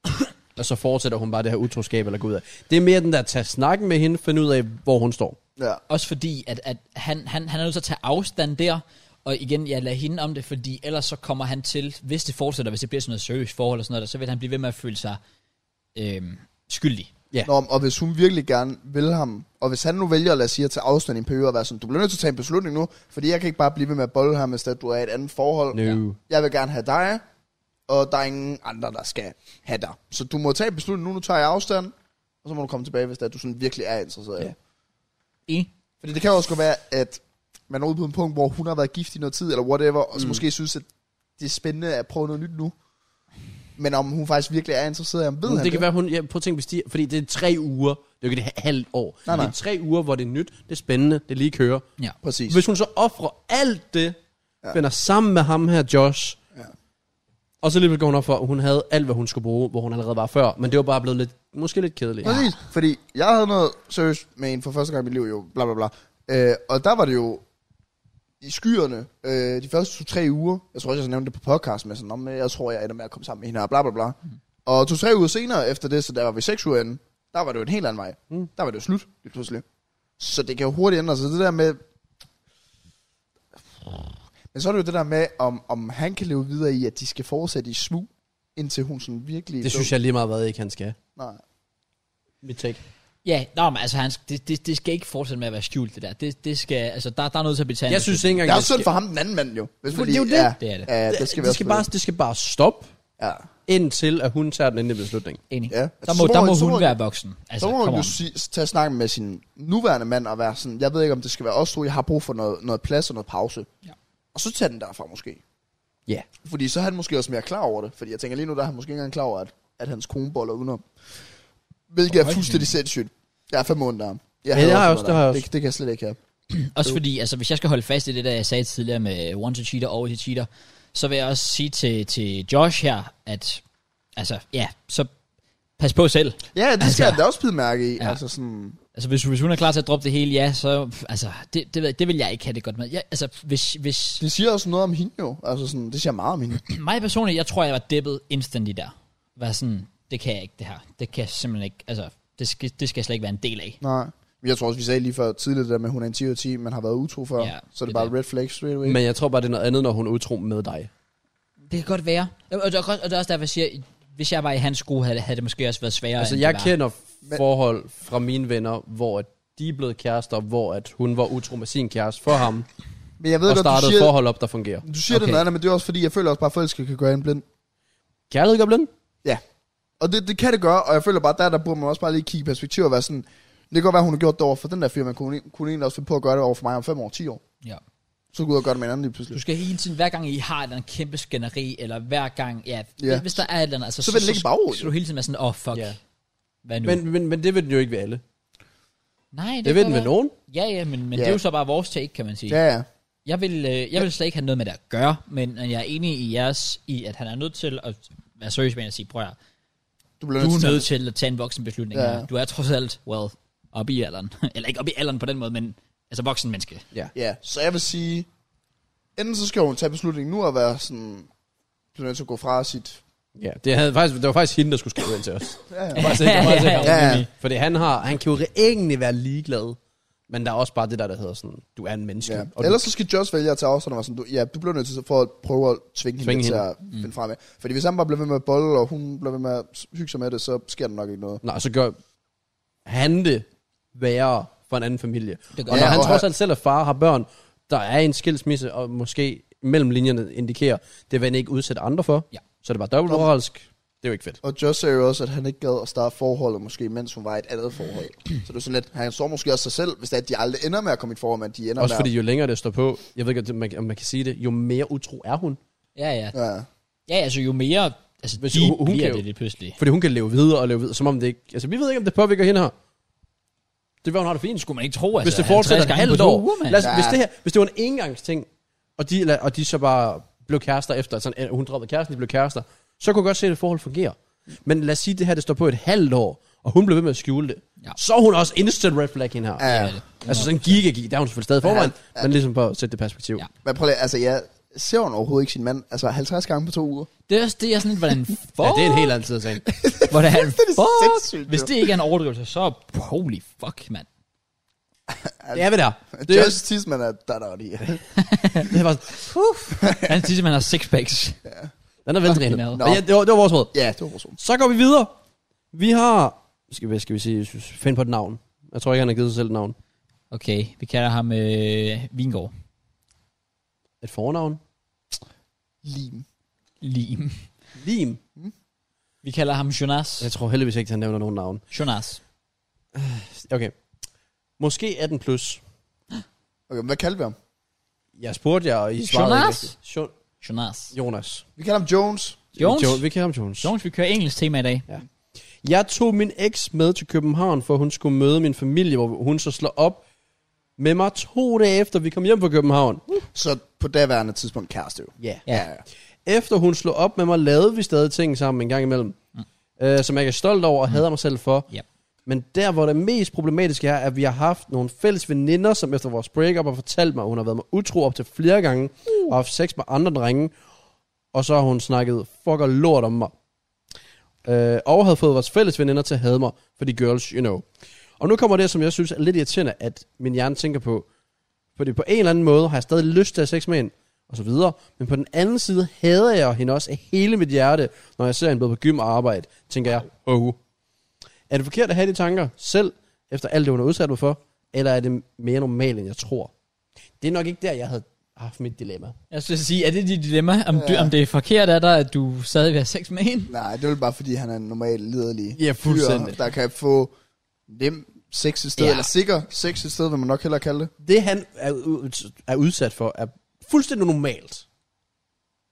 Speaker 4: og så fortsætter hun bare det her utroskab eller gå ud af. Det er mere den der, tage snakken med hende, finde ud af, hvor hun står.
Speaker 3: Ja.
Speaker 1: Også fordi, at, at han, han, han er nødt til at tage afstand der, og igen, jeg lader hende om det, fordi ellers så kommer han til, hvis det fortsætter, hvis det bliver sådan noget seriøst forhold og sådan noget, der, så vil han blive ved med at føle sig øhm, skyldig.
Speaker 3: Nå, og hvis hun virkelig gerne vil ham, og hvis han nu vælger, lad os sige, at tage afstand i en periode og være sådan, du bliver nødt til at tage en beslutning nu, fordi jeg kan ikke bare blive ved med at bolle ham, hvis at du er i et andet forhold.
Speaker 4: No. Ja.
Speaker 3: Jeg vil gerne have dig, og der er ingen andre, der skal have dig. Så du må tage en beslutning nu, nu tager jeg afstand, og så må du komme tilbage, hvis det er, at du sådan virkelig er interesseret i
Speaker 4: Ja.
Speaker 3: det.
Speaker 1: Enig?
Speaker 3: Fordi det kan jo også godt være, at man er ude på en punkt, hvor hun har været gift i noget tid, eller whatever, og så
Speaker 4: Mm.
Speaker 3: mm. måske synes, at det er spændende at prøve noget nyt nu. Men om hun faktisk virkelig er interesseret i ham, ved
Speaker 4: Mm, Det,
Speaker 3: han
Speaker 4: kan være, hun... Ja, prøv at tænke, hvis de, fordi det er tre uger. Det er jo ikke et halvt år.
Speaker 3: Nej, nej.
Speaker 4: Det er tre uger, hvor det er nyt, det er spændende, det lige kører.
Speaker 1: Ja.
Speaker 3: Præcis.
Speaker 4: Hvis hun så offrer alt det, ja. finder sammen med ham her, Josh, ja.
Speaker 3: Ja.
Speaker 4: og så lige pludselig går hun op for, at hun havde alt, hvad hun skulle bruge, hvor hun allerede var før, men det var bare blevet lidt, måske lidt kedeligt. Ja.
Speaker 3: Præcis, fordi jeg havde noget seriøst med en for første gang i mit liv, jo, bla bla bla. Øh, og der var det jo i skyerne, øh, de første to-tre uger, jeg tror også, jeg nævnte det på podcast, men sådan, om jeg tror, jeg ender med at komme sammen med hende her, bla bla bla. Mm. Og to-tre uger senere efter det, så der var vi seks uger inde, der var det jo en helt anden vej.
Speaker 4: Mm.
Speaker 3: Mm. Der var det jo slut, lige pludselig. Så det kan jo hurtigt ændre sig, det der med... Men så er det jo det der med, om, om han kan leve videre i, at de skal fortsætte i smug, indtil hun sådan virkelig...
Speaker 4: Det synes jeg lige meget, hvad ikke han skal.
Speaker 3: Nej.
Speaker 4: Mit take.
Speaker 1: Ja, nå, men altså, han, det, det, det, skal ikke fortsætte med at være skjult, det der. Det, det skal, altså, der, der er noget til at betale.
Speaker 4: Jeg synes ikke engang,
Speaker 3: Det er
Speaker 4: det
Speaker 3: også synd
Speaker 4: skal-
Speaker 3: for ham, den anden mand jo. Hvis
Speaker 4: Men
Speaker 3: fordi-
Speaker 4: det er jo det.
Speaker 3: Ja,
Speaker 1: Det er det.
Speaker 3: Ja, det skal,
Speaker 4: det, det, skal bare, det skal bare stoppe,
Speaker 3: Ja.
Speaker 4: indtil at hun tager den endelige beslutning.
Speaker 1: Enig.
Speaker 3: ja.
Speaker 1: Der
Speaker 3: Så
Speaker 1: må, der må
Speaker 3: så
Speaker 1: hun være voksen.
Speaker 3: Så
Speaker 1: Altså,
Speaker 3: må hun
Speaker 1: come
Speaker 3: jo
Speaker 1: on.
Speaker 3: sige, tage snakken med sin nuværende mand og være sådan, jeg ved ikke, om det skal være os to, jeg har brug for noget, noget plads og noget pause.
Speaker 1: Ja.
Speaker 3: Og så tage den derfra måske.
Speaker 4: Ja.
Speaker 3: Fordi så er han måske også mere klar over det. Fordi jeg tænker lige nu, der er han måske ikke engang klar over, at, at hans kone boller udenom. Hvilket er
Speaker 1: Hold
Speaker 3: fuldstændig sindssygt. Jeg er fem måneder der. Jeg
Speaker 4: det
Speaker 3: hader
Speaker 4: har jeg
Speaker 3: sådan
Speaker 4: også,
Speaker 3: noget
Speaker 4: det har
Speaker 3: der.
Speaker 4: jeg også.
Speaker 3: Det, det kan jeg slet ikke have.
Speaker 1: Også fordi, altså hvis jeg skal holde fast i det der, jeg sagde tidligere med one to cheater, always to cheater, så vil jeg også sige til, til Josh her, at altså, ja, så pas på selv.
Speaker 3: Ja, det
Speaker 1: Altså-
Speaker 3: skal jeg da også bide mærke i.
Speaker 1: Ja.
Speaker 3: Ja. Altså sådan,
Speaker 1: Altså hvis, hvis hun er klar til at droppe det hele, ja, så pff, altså, det, det, ved jeg- det vil jeg ikke have det godt med. Jeg, altså hvis, hvis
Speaker 3: det siger også noget om hende jo. Altså sådan, det siger meget om hende.
Speaker 1: mig personligt, jeg tror, jeg var dippet instantly der. Var sådan, det kan jeg ikke det her. Det kan jeg simpelthen ikke, altså det skal, det skal jeg slet ikke være en del af.
Speaker 3: Nej. Men Jeg tror også, vi sagde lige før tidligere det der med, at hun er en 10 ud af 10, men har været utro før.
Speaker 1: Ja,
Speaker 3: Ja, så
Speaker 1: det
Speaker 3: er det
Speaker 1: er
Speaker 3: bare
Speaker 1: det.
Speaker 3: red flag straight away. Men,
Speaker 4: Men jeg tror bare, det er noget andet, når hun er utro med dig.
Speaker 1: Det kan godt være. Og det er, også- og det er også derfor, jeg siger, hvis jeg var i hans sko, havde, havde det måske også været sværere.
Speaker 4: Altså,
Speaker 1: end
Speaker 4: jeg
Speaker 1: det var.
Speaker 4: kender forhold fra mine venner, hvor at de er blevet kærester, hvor at hun var utro med sin kæreste for ham,
Speaker 3: men jeg ved
Speaker 4: og
Speaker 3: godt, du
Speaker 4: startede
Speaker 3: siger,
Speaker 4: forhold op, der fungerer.
Speaker 3: du siger okay.
Speaker 1: Okay.
Speaker 3: det noget andet, men det er også fordi, jeg føler også bare, at forelskelse kan gøre en blind.
Speaker 4: Kærlighed gør blind?
Speaker 3: Ja. Og det, det kan det gøre, og jeg føler bare, der, der burde man også bare lige kigge i perspektiv og være sådan, det kan godt være, hun har gjort det over for den der firma, kunne, kunne egentlig også finde på at gøre det over for mig om 5 år, 10 år.
Speaker 1: Ja.
Speaker 3: Så går ud og gøre det med en anden lige
Speaker 1: Du
Speaker 3: pludselig.
Speaker 1: skal hele tiden, hver gang I har et eller andet kæmpe skænderi, eller hver gang, ja, ja.
Speaker 3: Ja.
Speaker 1: hvis der er et eller andet, altså,
Speaker 3: Så vil den ligge i baghovedet,
Speaker 1: Så skal du hele tiden være sådan, åh, oh, fuck,
Speaker 4: Ja.
Speaker 1: ja. hvad nu? Men,
Speaker 4: Men, men, men det ved den jo ikke ved alle.
Speaker 1: Nej, det,
Speaker 4: Det ved
Speaker 1: kan
Speaker 4: den ved
Speaker 1: være.
Speaker 4: nogen.
Speaker 1: Ja, ja, men, men ja.
Speaker 3: Ja.
Speaker 1: det er jo så bare vores take, kan man sige. Ja.
Speaker 3: Ja, ja.
Speaker 1: Jeg, vil, øh, jeg vil slet ikke have noget med det at gøre, men øh, jeg er enig i jeres, i at han er nødt til at være seriøs med at sige, prøv at høre,
Speaker 3: Du bliver
Speaker 1: du
Speaker 3: nødt til
Speaker 1: er
Speaker 3: at
Speaker 1: nødt til at tage en voksen beslutning
Speaker 3: Ja.
Speaker 1: ja. Du er trods alt, well, op i alderen. eller ikke op i alderen på den måde, men altså voksen menneske.
Speaker 3: Ja, så jeg vil sige, enten så skal hun tage beslutningen nu og være sådan, du er nødt til at gå fra sit...
Speaker 4: Ja, det, havde faktisk, det var faktisk hende, der skulle skrive ind til os.
Speaker 3: Ja, ja.
Speaker 4: Det var faktisk ikke- det var faktisk ikke ham.
Speaker 3: Ja, ja.
Speaker 4: Fordi han, har, han kan jo egentlig være ligeglad, men der er også bare det der, der hedder sådan, du er en menneske.
Speaker 3: Ja.
Speaker 4: Og
Speaker 3: Ellers
Speaker 4: du,
Speaker 3: så skal Josh vælge at tage afstand og være sådan, du, ja, du bliver nødt til for at prøve at tvinge,
Speaker 4: Tvinge
Speaker 3: hende, til
Speaker 4: hende. Mm.
Speaker 3: at finde frem med. Fordi hvis han bare bliver ved med at bolle, og hun bliver ved med at hygge sig med det, så sker der nok ikke noget.
Speaker 4: nej, så gør han det værre for en anden familie.
Speaker 1: Det gør
Speaker 4: og når
Speaker 3: Ja,
Speaker 4: han
Speaker 3: og
Speaker 4: trods
Speaker 3: han-
Speaker 4: alt selv er far har børn, der er en skilsmisse, og måske mellem linjerne indikerer, det vil han ikke udsætte andre for.
Speaker 1: Ja.
Speaker 4: Så er det bare dobbelt moralsk. Det er jo ikke fedt.
Speaker 3: Og Josh sagde jo også, at han ikke gad at starte forholdet, måske mens hun var i et andet forhold. så det er sådan lidt, han så måske også sig selv, hvis det er, at de aldrig ender med at komme i et forhold, men de ender
Speaker 4: Også
Speaker 3: med
Speaker 4: fordi jo længere det står på, jeg ved ikke, om man, om man kan sige det, jo mere utro er hun.
Speaker 1: Ja, ja.
Speaker 3: at, ja.
Speaker 1: Ja, altså jo mere altså,
Speaker 4: Hvis
Speaker 1: de
Speaker 4: hun- hun
Speaker 1: bliver
Speaker 4: kan jo-
Speaker 1: det lige pludselig.
Speaker 4: Fordi hun kan leve videre og leve videre, som om det ikke... Altså, vi ved ikke, om det påvirker hende her. Det var, hun har det fint.
Speaker 1: Skulle man ikke tro, altså,
Speaker 4: hvis det fortsætter
Speaker 1: 50
Speaker 4: et
Speaker 1: gange
Speaker 4: halvt
Speaker 1: på to
Speaker 4: år.
Speaker 1: uger, mand.
Speaker 4: lad os,
Speaker 3: Ja.
Speaker 4: hvis, det her, hvis det var en engangsting, og de, la- og de så bare blev kærester efter, sådan, øh, hun droppede kæresten, de blev kærester, så kunne jeg godt se, at det forhold fungerer. Men lad os sige, at det her det står på et halvt år, og hun blev ved med at skjule det.
Speaker 1: Ja.
Speaker 4: Ja. Så er hun også instant red flag hende her. Ja.
Speaker 3: Ja.
Speaker 4: Altså sådan en gigagig, der er hun selvfølgelig stadig forvejen,
Speaker 3: Ja.
Speaker 4: ja. men ligesom for at sætte det perspektiv.
Speaker 1: Ja.
Speaker 4: Ja.
Speaker 3: Men prøv lige, altså jeg ser hun overhovedet ikke sin mand, altså 50 gange på to uger.
Speaker 1: Det er også det, jeg er sådan lidt, hvordan fuck,
Speaker 4: ja, det er en helt anden side af sagen.
Speaker 1: hvordan,
Speaker 3: sindssygt,
Speaker 1: fuck,
Speaker 3: jo.
Speaker 1: hvis det ikke er en overdrivelse, så holy fuck, mand.
Speaker 4: det er vi der.
Speaker 3: Det
Speaker 4: Det,
Speaker 3: er
Speaker 4: er-
Speaker 3: Just Tisman er der, der er lige.
Speaker 4: det er bare sådan,
Speaker 1: Han siger, at man har six packs.
Speaker 4: den er veltrænet.
Speaker 1: Fucking
Speaker 4: No. Ja, det, var, det var vores råd.
Speaker 3: ja, det var vores ord.
Speaker 4: Så går vi videre. Vi har... Skal vi, skal vi sige, find på et navn. Jeg tror ikke, han har givet sig selv et navn.
Speaker 1: Okay, vi kalder ham øh, Vingård.
Speaker 4: Et fornavn?
Speaker 3: Lim.
Speaker 1: Lim.
Speaker 4: Lim.
Speaker 1: Vi kalder ham Jonas.
Speaker 4: Jeg tror heldigvis ikke, han nævner nogen navn.
Speaker 1: Jonas.
Speaker 4: Okay. Måske 18 plus.
Speaker 3: Okay, men hvad kaldte vi ham?
Speaker 4: Jeg spurgte jer, og I svarede
Speaker 1: Jonas?
Speaker 4: ikke rigtigt. Jo-
Speaker 1: Jonas.
Speaker 4: Jonas.
Speaker 3: Vi kaldte ham Jones.
Speaker 1: Jones?
Speaker 4: Jo, vi kan ham Jones.
Speaker 1: Jones, vi kører engelsk tema i dag.
Speaker 4: Jeg tog min eks med til København, for hun skulle møde min familie, hvor hun så slår op med mig to dage efter, vi kom hjem fra København.
Speaker 3: Så på daværende tidspunkt kæreste jo.
Speaker 4: Ja.
Speaker 1: Ja.
Speaker 4: Efter hun slog op med mig, lavede vi stadig ting sammen en gang imellem, mm. øh, som jeg ikke er stolt over og hader mig selv for.
Speaker 1: Yep.
Speaker 4: Men der, hvor det mest problematiske er, at vi har haft nogle fælles veninder, som efter vores breakup har fortalt mig, at hun har været med utro op til flere gange, uh. og haft sex med andre drenge, og så har hun snakket fuck og lort om mig. Øh, og havde fået vores fælles veninder til at hade mig, for de girls, you know. Og nu kommer det, som jeg synes er lidt irriterende, at min hjerne tænker på, fordi på en eller anden måde har jeg stadig lyst til at have sex med hende, og så videre. Men på den anden side hader jeg hende også af hele mit hjerte, når jeg ser hende både på gym og arbejde, tænker jeg, oh. Er det forkert at have de tanker selv, efter alt det, hun er udsat mig for? Eller er det mere normalt, end jeg tror? Det er nok ikke der, jeg havde haft mit dilemma.
Speaker 1: Jeg skulle sige, er det dit dilemma? Om, ja. du, om det er forkert af dig, at du stadig vil have sex med hende?
Speaker 3: Nej, det er vel bare fordi, han er en normal liderlig
Speaker 4: Ja, fuldstændig.
Speaker 3: fyr, der kan få nem sex et sted,
Speaker 1: Ja.
Speaker 3: ja. eller sikker sex et sted, vil man nok hellere kalde det.
Speaker 4: Det, han er, ud- er udsat for, er fuldstændig normalt.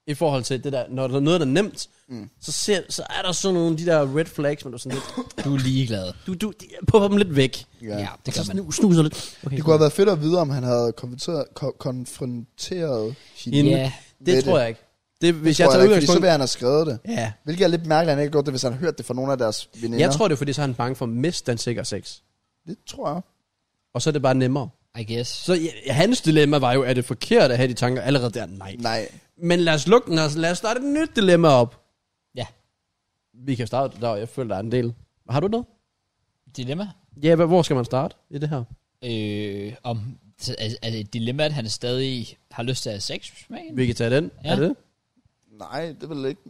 Speaker 4: I forhold til det der, når der er noget, der er nemt, mm. så, ser, så er der sådan nogle af de der red flags, men du er sådan lidt,
Speaker 1: Du er ligeglad.
Speaker 4: du, du de- pupper dem lidt væk.
Speaker 1: Ja, ja det gør man.
Speaker 4: Snu, snuser lidt. Okay,
Speaker 3: Det kunne have været fedt at vide, om han havde konfronteret, ko- konfronteret hende.
Speaker 4: Inden-
Speaker 1: Ja,
Speaker 4: det,
Speaker 3: med
Speaker 4: det tror
Speaker 3: det.
Speaker 4: jeg ikke. Det, hvis
Speaker 3: Tror
Speaker 4: jeg
Speaker 3: jeg
Speaker 4: tager
Speaker 3: ikke, fordi så
Speaker 4: udgangspunkt...
Speaker 3: vil han have skrevet det.
Speaker 4: Ja.
Speaker 3: Hvilket er lidt mærkeligt, at han ikke har gjort det, hvis han har hørt det fra nogle af deres veninder.
Speaker 4: Jeg tror, det er, fordi så er han bange for at miste den sikre sex.
Speaker 3: Det tror jeg.
Speaker 4: Og så er det bare nemmere.
Speaker 1: I guess.
Speaker 4: Så ja, hans dilemma var jo, er det forkert at have de tanker allerede der? Nej.
Speaker 3: Nej.
Speaker 4: Men lad os lukke den, og lad os starte et nyt dilemma op.
Speaker 1: Ja.
Speaker 4: Vi kan starte der, jeg føler, der er en del. Har du noget?
Speaker 1: Dilemma?
Speaker 4: Ja, hva- hvor skal man starte i det her?
Speaker 1: Øh, om, så er, er det et dilemma, at han stadig har lyst til at have sex med hende?
Speaker 4: Vi kan tage den.
Speaker 1: Ja.
Speaker 4: Ja. Er det det?
Speaker 3: Nej, det vil ikke.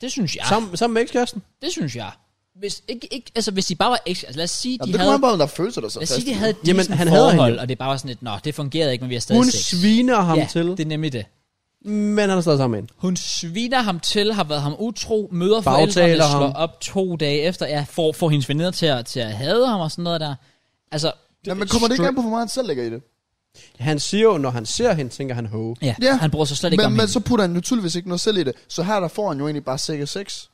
Speaker 1: Det synes jeg.
Speaker 4: Sammen, sammen med ekskæresten?
Speaker 1: Det synes jeg. Hvis, ikke, ikke, altså, hvis de bare var eks... Altså, lad os sige, de
Speaker 3: Jamen, det
Speaker 1: havde...
Speaker 3: kommer an på, om der er følelser, der så
Speaker 1: Lad os
Speaker 3: fast
Speaker 1: sige,
Speaker 3: i
Speaker 1: de
Speaker 3: det.
Speaker 1: havde et
Speaker 4: Jamen,
Speaker 1: decent
Speaker 4: han havde
Speaker 1: forhold,
Speaker 4: hende
Speaker 1: og det bare var sådan lidt, nå, det fungerede ikke, men vi har stadig
Speaker 4: Hun
Speaker 1: sex.
Speaker 4: sviner ham
Speaker 1: ja,
Speaker 4: ja. til,
Speaker 1: det er nemlig det.
Speaker 4: men han er stadig sammen med hende.
Speaker 1: Hun sviner ham til, har været ham utro, møder
Speaker 4: Bagtaler
Speaker 1: forældrene, slår
Speaker 4: ham.
Speaker 1: op to dage efter, ja, får, får hendes veninder til at, til at hade ham og sådan noget der. Altså,
Speaker 3: Jamen, men kommer det ikke an på, hvor meget han selv lægger i det?
Speaker 4: Han siger jo, når han ser hende, tænker han, ho.
Speaker 1: ja,
Speaker 3: Ja.
Speaker 1: ja, han bruger sig slet ikke
Speaker 3: Men,
Speaker 1: om
Speaker 3: men
Speaker 1: hende.
Speaker 3: så putter han jo tydeligvis ikke noget selv i det. Så her der får han jo egentlig bare sikker sex.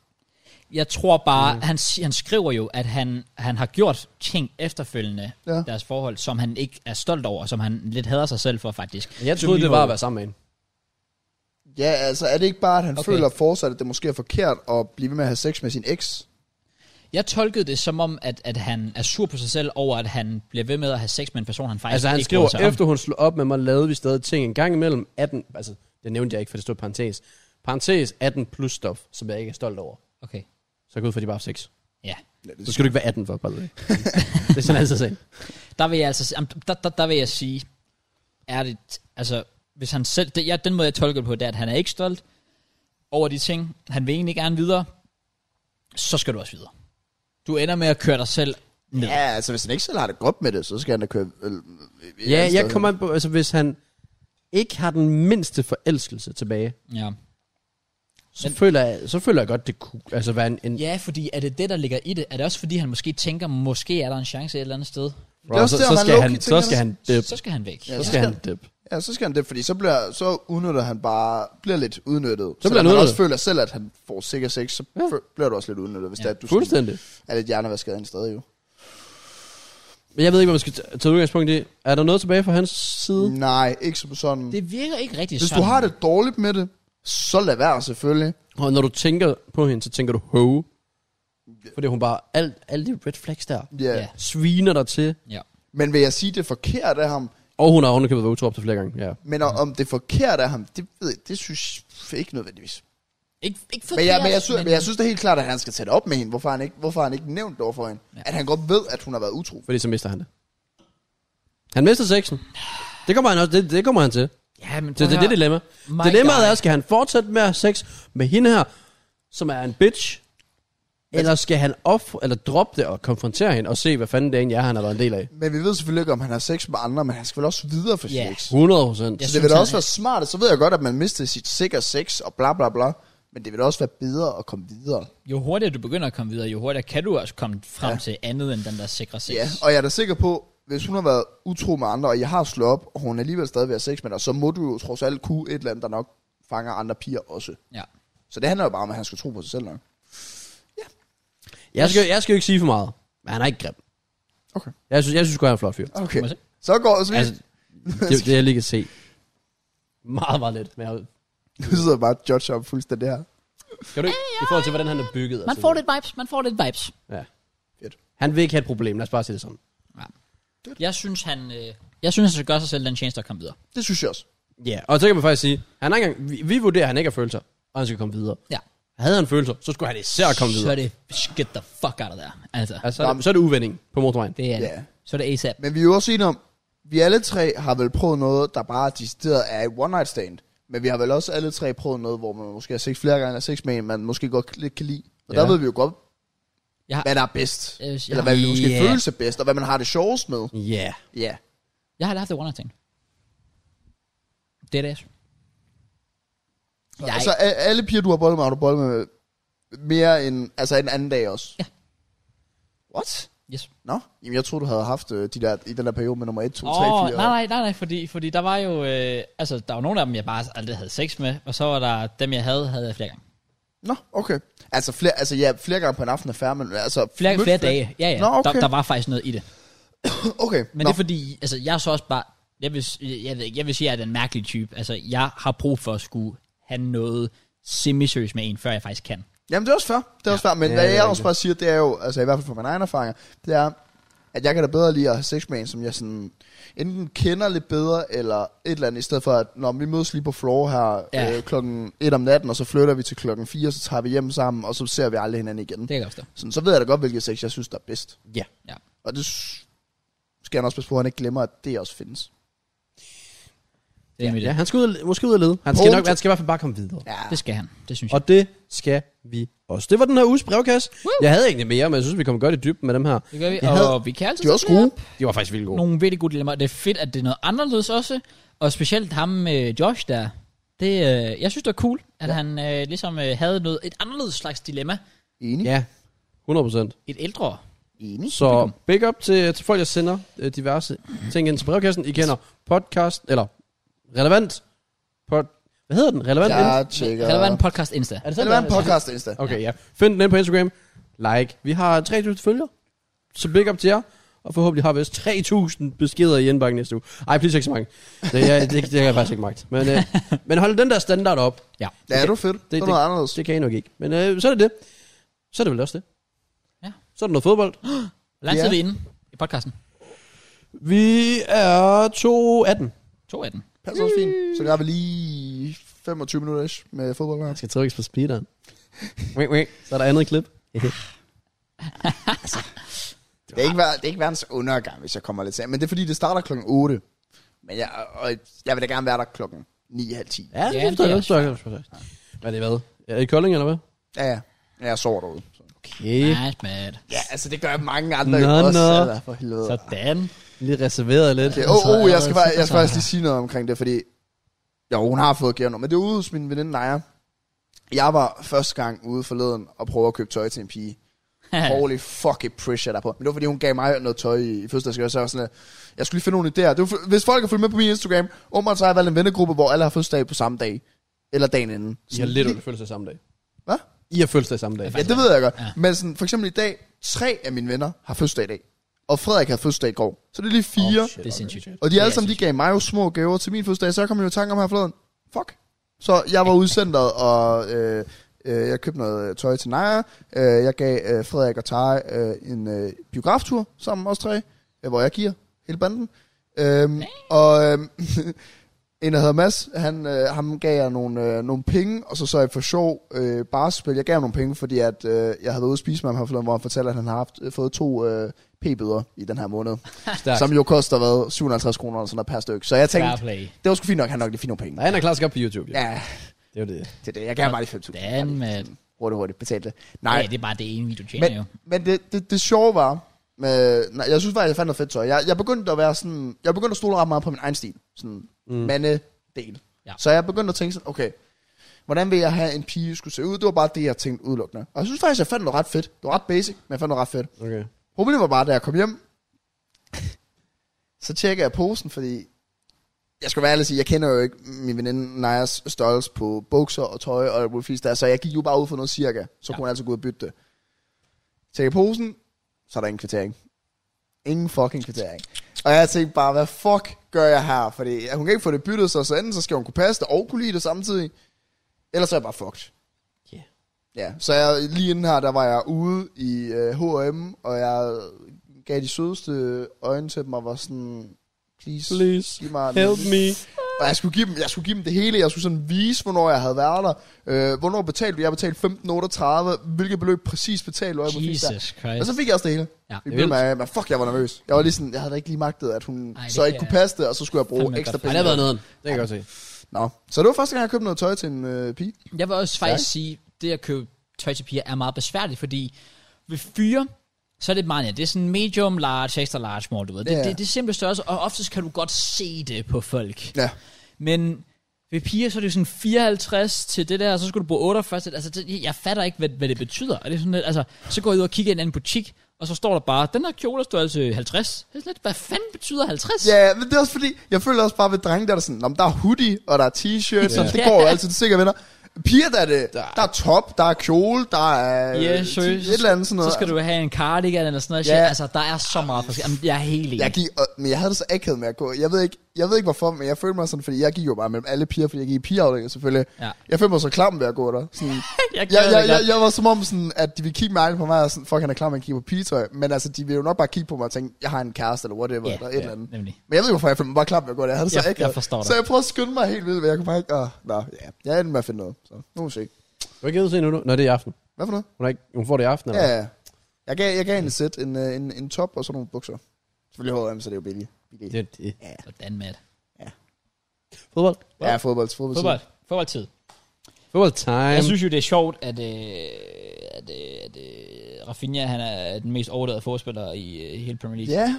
Speaker 1: Jeg tror bare, mm. han, si- han skriver jo, at han, han har gjort ting efterfølgende, ja.
Speaker 3: Ja.
Speaker 1: deres forhold, som han ikke er stolt over, og som han lidt hader sig selv for, faktisk.
Speaker 4: Jeg troede, det var at være sammen med hende.
Speaker 3: Ja, altså er det ikke bare, at han
Speaker 1: Okay.
Speaker 3: okay. føler fortsat, at det måske er forkert at blive ved med at have sex med sin eks?
Speaker 1: Jeg tolkede det som om, at, at han er sur på sig selv over, at han bliver ved med at have sex med en person, han faktisk
Speaker 4: Altså han
Speaker 1: ikke bryder
Speaker 4: skriver,
Speaker 1: sig om.
Speaker 4: efter hun slog op med mig, lavede vi stadig ting en gang imellem 18... Altså, det nævnte jeg ikke, for det stod parentes. Parentes 18 plus stof, som jeg ikke er stolt over.
Speaker 1: Okay,
Speaker 4: Så jeg går ud for, at de bare har sex.
Speaker 1: ja.
Speaker 4: Så skal du ikke være 18 for, by the way. det er sådan altid sagen.
Speaker 1: Der vil jeg altså si- jamen, der, der, der vil jeg sige, er det, altså, hvis han selv, det, ja, den måde jeg tolker det på, det er, at han er ikke stolt over de ting, han vil egentlig gerne videre, så skal du også videre. Du ender med at køre dig selv ned.
Speaker 3: Ja, altså hvis han ikke selv har det godt med det, så skal han da køre... Øh, øh,
Speaker 4: Ja,
Speaker 3: et
Speaker 4: jeg
Speaker 3: sted
Speaker 4: kommer an på, altså hvis han ikke har den mindste forelskelse tilbage,
Speaker 1: Ja.
Speaker 4: så,
Speaker 1: Men-
Speaker 4: Men, føler, jeg, så føler jeg godt, det kunne altså være en... en
Speaker 1: ja, fordi er det det, der ligger i det? Er det også fordi, han måske tænker, måske er der en chance et eller andet sted?
Speaker 4: Bro,
Speaker 3: også
Speaker 4: så,
Speaker 3: der,
Speaker 4: så,
Speaker 3: man
Speaker 4: skal
Speaker 3: low-key
Speaker 4: han,
Speaker 3: tænker
Speaker 4: altså. så skal
Speaker 3: det.
Speaker 4: han dip.
Speaker 1: Så skal han væk.
Speaker 3: Ja,
Speaker 4: Så
Speaker 3: så
Speaker 4: skal
Speaker 3: skal-
Speaker 4: han dip.
Speaker 3: Ja, så skal han det, fordi så, bliver, så udnytter han bare, bliver lidt udnyttet. Så
Speaker 4: bliver han
Speaker 3: han
Speaker 4: udnyttet.
Speaker 3: også føler selv, at han får sikker sex, så ja. bliver du også lidt udnyttet, hvis ja. det er, at du sådan
Speaker 4: Fuldstændig.
Speaker 3: er lidt hjernevasket ind stadig jo.
Speaker 4: Men jeg ved ikke, hvad man skal t- tage udgangspunkt i. Er der noget tilbage fra hans side? Mm.
Speaker 3: Nej, ikke som sådan. Det
Speaker 1: Det virker ikke rigtig
Speaker 3: Hvis
Speaker 1: sådan.
Speaker 3: du har det dårligt med det, så lad være selvfølgelig.
Speaker 4: Og når du tænker på hende, så tænker du, ho. Fordi hun bare, alt, alle de red flags der,
Speaker 3: Ja.
Speaker 1: Ja.
Speaker 3: Yeah.
Speaker 4: sviner dig til.
Speaker 1: Ja.
Speaker 3: Men vil jeg sige, det er forkert af ham?
Speaker 4: Og hun har underkøbet været utro op til flere gange. Ja.
Speaker 3: Men mm. om det er forkert af ham, det, ved jeg, det synes jeg ikke nødvendigvis.
Speaker 1: Ikke, ikke forkert,
Speaker 3: Men jeg, men, jeg synes, men jeg synes det er helt klart, at han skal tage det op med hende. Hvorfor har han ikke, hvorfor har han ikke nævnt det over for hende? Ja. At han godt ved, at hun har været utro.
Speaker 4: Fordi så mister han det. Han mister sexen. Det kommer han, også, det, det kommer han til.
Speaker 1: Ja, men
Speaker 4: Det er det, det dilemma.
Speaker 1: My
Speaker 4: Dilemmaet
Speaker 1: guy.
Speaker 4: er, skal han fortsætte med at have sex med hende her, som er en bitch? Eller skal han ofre, eller droppe det og konfrontere hende og se, hvad fanden det egentlig er, han har været en del af?
Speaker 3: Men vi ved selvfølgelig ikke, om han har sex med andre, men han skal vel også videre for
Speaker 1: Ja.
Speaker 3: yeah. sex.
Speaker 4: 100 procent.
Speaker 1: Jeg
Speaker 3: Så det vil
Speaker 1: synes,
Speaker 3: da
Speaker 1: han
Speaker 3: også
Speaker 1: er-
Speaker 3: være smart, så ved jeg godt, at man mister sit sikker sex og bla bla bla. Men det vil da også være bedre at komme videre.
Speaker 1: Jo hurtigere du begynder at komme videre, jo hurtigere kan du også komme frem ja. til andet end den der sikre sex.
Speaker 3: Ja, og jeg er da sikker på, hvis hun har været utro med andre, og jeg har slået op, og hun er alligevel stadig ved at have sex med dig, så må du jo trods alt kunne et eller andet, der nok fanger andre piger også.
Speaker 1: ja.
Speaker 3: Så det handler jo bare om, at han skal tro på sig selv nok.
Speaker 4: Jeg skal, jeg skal jo ikke sige for meget, men han er ikke grim.
Speaker 3: Okay.
Speaker 4: Jeg synes, jeg synes godt, han er en flot fyr.
Speaker 3: Okay.
Speaker 1: Må jeg se?
Speaker 3: Så går så
Speaker 4: Altså,
Speaker 3: altså,
Speaker 4: det, det jeg lige kan se. Meget, meget lidt. Men jeg,
Speaker 3: vi sidder bare og judger ham fuldstændig her.
Speaker 4: kan du, ikke- I forhold til, hvordan han er bygget. og
Speaker 1: Man
Speaker 3: Altså,
Speaker 4: så
Speaker 1: får
Speaker 4: videre.
Speaker 1: lidt vibes, man får lidt vibes.
Speaker 4: Ja.
Speaker 3: Fedt.
Speaker 4: Han vil ikke have et problem, lad os bare sige det sådan.
Speaker 1: Jeg synes, han, øh, jeg synes, han skal gøre sig selv den tjeneste at komme videre.
Speaker 3: Det synes jeg også.
Speaker 4: Ja, yeah. og så kan man faktisk sige, han er ikke engang, vi, vi vurderer, at han ikke har følelser, og han skal komme videre.
Speaker 1: Ja.
Speaker 4: Havde han følelser, så skulle han især komme
Speaker 1: Så
Speaker 4: videre.
Speaker 1: er det, get the fuck out of there. Altså,
Speaker 4: Altså, så, er det, så er det udvending på motorvejen.
Speaker 1: det er det.
Speaker 3: Ja.
Speaker 1: Så er det ASAP.
Speaker 3: Men vi er jo også enige om, vi alle tre har vel prøvet noget, der bare decideret er et one night stand. Men vi har vel også alle tre prøvet noget, hvor man måske har sex flere gange, og sex med en, man måske godt lidt kan lide. Og ja.
Speaker 4: Ja.
Speaker 3: der ved vi jo godt,
Speaker 1: Jeg har,
Speaker 3: hvad der er bedst.
Speaker 1: Jeg vil sige-
Speaker 3: Eller hvad vi måske
Speaker 1: Øh, Ja.
Speaker 3: føler sig bedst, og hvad man har det sjovest med.
Speaker 4: Ja. Yeah.
Speaker 3: Ja.
Speaker 1: jeg har aldrig haft det one night stand. Det er det.
Speaker 3: Så,
Speaker 1: Jeg-
Speaker 3: altså, a- alle piger, du har boldet med, har du boldet med mere end, altså en anden dag også?
Speaker 1: Ja.
Speaker 3: What?
Speaker 1: Yes.
Speaker 3: Nå, jamen jeg troede, du havde haft øh, de der, i den der periode med nummer 1, 2, 3, 4.
Speaker 1: Åh, nej, nej, nej, nej, fordi, fordi der var jo, øh, altså, der var nogle af dem, jeg bare aldrig havde sex med, og så var der dem, jeg havde, havde jeg flere gange.
Speaker 3: Nå, okay. Altså, flere, altså ja, flere gange på en aften er færre, men altså...
Speaker 1: Flere,
Speaker 3: mødt
Speaker 1: flere dage, ja, ja.
Speaker 3: Nå, okay.
Speaker 1: der, der, var faktisk noget i det.
Speaker 3: Okay,
Speaker 1: Men Nå. det er fordi, altså, jeg er så også bare, jeg vil, jeg ved ikke, jeg vil sige, at jeg er den mærkelige type. Altså, jeg har brug for at skulle have noget semi-seriøst med en, før jeg faktisk kan.
Speaker 3: Jamen, det er også fair. Det er ja. også fair. Men
Speaker 4: Ja,
Speaker 3: ja, hvad
Speaker 4: det er
Speaker 3: jeg også
Speaker 4: rigtigt.
Speaker 3: bare siger, det er jo, altså i hvert fald fra mine egne erfaringer, det er, at jeg kan da bedre lide at have sex med en, som jeg sådan enten kender lidt bedre, eller et eller andet, i stedet for at, når vi mødes lige på floor her
Speaker 1: Ja.
Speaker 3: ja. øh, klokken 1 om natten, og så flytter vi til klokken 4, så tager vi hjem sammen, og så ser vi aldrig hinanden igen.
Speaker 1: Det kan jeg godt forstå.
Speaker 3: Sådan, så ved jeg da godt, hvilket sex jeg synes, der er bedst.
Speaker 4: Ja.
Speaker 1: Ja.
Speaker 3: Og det s- skal han også passe på, at han ikke glemmer, at det også findes.
Speaker 1: Det er ja,
Speaker 4: ja,
Speaker 1: ja.
Speaker 4: han skal ud, måske ud og lede. Han skal,
Speaker 3: Punkt.
Speaker 4: nok, han skal i hvert fald bare komme videre.
Speaker 3: Ja.
Speaker 1: Det skal han, det synes jeg.
Speaker 4: Og det skal vi også. Det var den her uges brevkasse. Woo. Jeg havde egentlig mere, men jeg synes, vi kom godt i dybden med dem her.
Speaker 1: Det gør vi,
Speaker 4: Jeg
Speaker 1: og
Speaker 4: havde-
Speaker 1: vi kan altid
Speaker 3: De er også
Speaker 1: tage
Speaker 3: gode.
Speaker 1: op
Speaker 4: De var faktisk vildt gode.
Speaker 1: nogle virkelig gode dilemmaer. Det er fedt, at det er noget anderledes også, og specielt ham med øh, Josh der. Det, øh, jeg synes, det var cool, at ja. han øh, ligesom øh, havde noget, et anderledes slags dilemma.
Speaker 3: Enig.
Speaker 4: Ja, 100 procent.
Speaker 1: Et ældre.
Speaker 3: Enig.
Speaker 4: Så big up til, til folk, jeg sender øh, diverse ting ind til brevkassen. I kender podcast, eller relevant pod... Hvad hedder den? Relevant? Ja.
Speaker 3: Jeg tjekker...
Speaker 1: Kan der være en podcast Insta?
Speaker 4: Er det
Speaker 3: Kan
Speaker 4: sådan,
Speaker 3: det være en
Speaker 4: der-
Speaker 3: podcast, Insta?
Speaker 4: Okay, ja. Find den ind på Instagram. Like. Vi har 3.000 følgere. Så big up til jer. Og forhåbentlig har vi også 3.000 beskeder i indbakken næste uge. Ej, please ikke så mange. Det, jeg, det, det kan jeg faktisk ikke magt. Men, øh, men hold den der standard op.
Speaker 1: Ja.
Speaker 3: Ja, det er fedt. Det, det er noget anderledes.
Speaker 4: Det kan I nok ikke. Men øh, så er det det. Så er det vel også det.
Speaker 1: Ja.
Speaker 4: Så er der noget fodbold.
Speaker 1: Hvor lang tid er
Speaker 3: Ja.
Speaker 1: vi inde i podcasten?
Speaker 4: Vi er 2.18.
Speaker 1: 2 af den.
Speaker 3: Passer også fint. Så gør vi lige 25 minutter ish med fodbold.
Speaker 4: Jeg skal trykkes på speederen. Wink, wink. Så er der andet klip.
Speaker 3: Det er ikke, ver- det er ikke verdens undergang, hvis jeg kommer lidt senere. Men det er fordi, det starter klokken 8. Men jeg, og jeg vil da gerne være der klokken 9.30.
Speaker 1: det
Speaker 4: Ja, det
Speaker 1: er
Speaker 4: forstår jeg
Speaker 1: også
Speaker 4: godt. Det forstår jeg godt. Hvad er det hvad? Er det i Kolding, eller hvad?
Speaker 3: Ja, ja. Ja, jeg sover derude. Så.
Speaker 4: Okay.
Speaker 1: Nice, man.
Speaker 3: Ja, altså det gør mange andre
Speaker 4: Nå,
Speaker 3: jo også.
Speaker 4: nå.
Speaker 3: Altså, for helvede. Så,
Speaker 1: Sådan.
Speaker 4: Lige reserveret lidt. Altså,
Speaker 3: okay. oh, oh, jeg skal,
Speaker 4: bare...
Speaker 3: bare, jeg skal faktisk lige sige noget omkring det, fordi... Jo, hun har fået gave nu, men det er ude hos min veninde Naja. Jeg var første gang ude forleden og prøve at købe tøj til en pige. Holy fucking pressure derpå. Men det var, fordi hun gav mig noget tøj i, i fødselsdagsgave, så jeg var sådan, at jeg skulle lige finde nogle idéer. Det var, for- hvis folk har fulgt med på min Instagram, åbenbart så har jeg valgt en vennegruppe, hvor alle har fødselsdag på samme dag. Eller dagen inden.
Speaker 4: I har
Speaker 3: Sådan
Speaker 4: lidt fødselsdag samme dag.
Speaker 3: Hvad?
Speaker 4: I har fødselsdag samme dag.
Speaker 3: Ja, det ved jeg godt.
Speaker 1: Ja.
Speaker 3: Ja. Men sådan, for eksempel i dag, tre af mine venner har fødselsdag i dag. Og Frederik har fødselsdag i går. Så det er lige fire. Oh,
Speaker 1: det er sindssygt.
Speaker 3: og de
Speaker 1: Ja,
Speaker 3: alle sammen, de gav mig jo små gaver til min fødselsdag, så jeg kom jo i tanke om her forleden. Fuck. Så jeg var udsendt, og øh, øh, jeg købte noget øh, tøj til Naja. Øh, jeg gav øh, Frederik og Tara øh, en øh, biograftur sammen, os tre, øh, hvor jeg giver hele banden. Øhm, og øhm, en, der hedder Mads, han, øh, ham gav jeg nogle, øh, nogle penge, og så så jeg for sjov øh, barspil. Jeg gav ham nogle penge, fordi at, øh, jeg havde været ude at spise med ham her forleden, hvor han fortalte, at han har haft, øh, fået to øh, p-bøder i den her måned.
Speaker 4: Stærkt.
Speaker 3: Som jo koster, hvad, 750 kroner eller sådan noget per stykke. Så jeg tænkte,
Speaker 1: Fair play.
Speaker 3: det var sgu fint nok, han nok lige fint nogle penge.
Speaker 4: Nej, han er klar til at gå på YouTube. Ja.
Speaker 3: Ja,
Speaker 4: Det er jo det.
Speaker 3: det er det. Jeg gav ham bare lige 5.000.
Speaker 1: Dan, mand.
Speaker 3: Hurtigt, hurtigt. Betalt det.
Speaker 1: Nej,
Speaker 3: Nej,
Speaker 1: det er bare det ene video tjener jo.
Speaker 3: men, men det, det, det sjove var, med, nej, jeg synes faktisk, jeg fandt noget fedt tøj. Jeg, jeg begyndte at være sådan, jeg begyndte at stole ret meget på min egen stil. Sådan mm. mandedel.
Speaker 1: Ja.
Speaker 3: Ja. Så jeg begyndte at tænke sådan, okay, hvordan vil jeg have en pige skulle se ud? Det var bare det, jeg tænkte udelukkende. Og jeg synes faktisk, jeg fandt noget ret fedt. Det var ret basic, men jeg fandt noget ret fedt.
Speaker 4: Okay.
Speaker 3: Problemet var bare, da jeg kom hjem, så tjekker jeg posen, fordi jeg skal være ærlig og sige, jeg kender jo ikke min veninde Najas størrelse på bukser og tøj og wolfies der, så jeg gik jo bare ud for noget cirka,
Speaker 1: Ja.
Speaker 3: så ja. kunne hun altså gå ud og bytte det. Tjekker posen, så er der ingen kvittering. Ingen fucking kvittering. Og jeg tænkte bare, hvad fuck gør jeg her? Fordi hun kan ikke få det byttet, så, så enten så skal hun kunne passe det og kunne lide det samtidig, ellers er jeg bare fucked. Ja, så jeg, lige inden her, der var jeg ude i øh, H&M, og jeg gav de sødeste øjne til dem, og var sådan, please,
Speaker 4: Please,
Speaker 3: giv mig
Speaker 4: Help me.
Speaker 3: Og jeg skulle, give dem, jeg skulle give dem det hele, jeg skulle sådan vise, hvornår jeg havde været der. Øh, hvornår betalte du? Jeg betalte 15,38. Hvilket beløb præcis betalte du? Og jeg var præcis der.
Speaker 1: Jesus Christ.
Speaker 3: Og så fik jeg også det hele.
Speaker 1: Ja.
Speaker 3: Ja, det med, men fuck, jeg var nervøs. Jeg var lige sådan, jeg havde da ikke lige magtet, at hun
Speaker 1: Ej,
Speaker 3: Ej,
Speaker 1: det
Speaker 3: så ikke
Speaker 1: kan
Speaker 3: kunne passe det, og så skulle jeg bruge
Speaker 1: fandme
Speaker 3: ekstra
Speaker 1: godt
Speaker 4: Ej,
Speaker 3: penge.
Speaker 4: det har været noget. Det kan jeg godt se.
Speaker 3: Nå, så det var første gang, jeg købte noget tøj til en øh, pige.
Speaker 1: Jeg vil også faktisk sige, det at købe tøj til piger er meget besværligt, fordi ved fyre, så er det meget nemt. Det er sådan medium, large, extra large, small, du ved. Det,
Speaker 3: Ja.
Speaker 1: det, det er simple størrelse, og oftest kan du godt se det på folk.
Speaker 3: Ja.
Speaker 1: Men ved piger, så er det jo sådan 54 til det der, og så skulle du bruge 48 til, altså det, jeg fatter ikke, hvad, hvad det betyder. Og det er sådan lidt, altså, så går jeg ud og kigger i en anden butik, og så står der bare, den her kjole er størrelse 50. Det er sådan lidt, hvad fanden betyder 50?
Speaker 3: Ja, men det er også fordi, jeg føler også bare ved drenge, der er sådan, "Nå, men der er hoodie, og der er t-shirt, så det
Speaker 1: Ja.
Speaker 3: går jo altid til sikkert venner. Piger, der er det, der er top, der er kjole, der er
Speaker 1: Ja,
Speaker 3: øh,
Speaker 1: seriøst.
Speaker 3: et eller andet sådan noget.
Speaker 1: Så skal du have en cardigan eller sådan noget.
Speaker 3: Ja.
Speaker 1: Ja. Altså, der er så meget forskelligt. Jamen, jeg er helt enig.
Speaker 3: Jeg gik, og, men jeg havde det så akavet med at gå. Jeg ved, ikke, jeg ved ikke hvorfor, men jeg følte mig sådan, fordi jeg gik jo bare mellem alle piger, fordi jeg gik i pigeafdelingen selvfølgelig.
Speaker 1: Ja.
Speaker 3: Jeg følte mig så klam ved at gå der. Sådan,
Speaker 1: jeg,
Speaker 3: jeg, jeg, jeg, jeg, var som om, sådan, at de ville kigge mig på mig, og sådan, fuck, han er klam, han kigger på pigetøj. Men altså, de ville jo nok bare kigge på mig og tænke, jeg har en kæreste, eller whatever,
Speaker 1: Ja,
Speaker 3: eller et
Speaker 1: ja,
Speaker 3: eller andet.
Speaker 1: nemlig.
Speaker 3: Men jeg ved ikke, hvorfor jeg følte mig bare klam, jeg går der. Jeg havde det
Speaker 1: Jeg-
Speaker 3: så ikke.
Speaker 1: jeg forstår dig.
Speaker 3: Så jeg prøvede at skynde mig helt vildt, men jeg kunne bare ikke... Åh, nå, ja. Jeg endte med at finde noget. Så, nu må vi se.
Speaker 4: Du har ikke givet se nu? Nå, det er i aften.
Speaker 3: Hvad for noget?
Speaker 4: Hun, er ikke, hun får det i aften, eller?
Speaker 3: Ja, ja. Jeg gav, jeg gav en sæt, en, øh, en, en top og sådan nogle bukser. Selvfølgelig H&M, så det er jo billigt.
Speaker 4: Det, er det.
Speaker 1: Sådan, Matt.
Speaker 4: Fodbold.
Speaker 3: Ja, fodbold, fodbold.
Speaker 1: Fodbold. Fodboldtid.
Speaker 3: Øhm.
Speaker 4: Fodbold time.
Speaker 1: Jeg synes jo, det er sjovt, at, øh, at, øh, at øh, Rafinha han er den mest overlevede forspiller i øh, hele Premier League.
Speaker 3: Ja.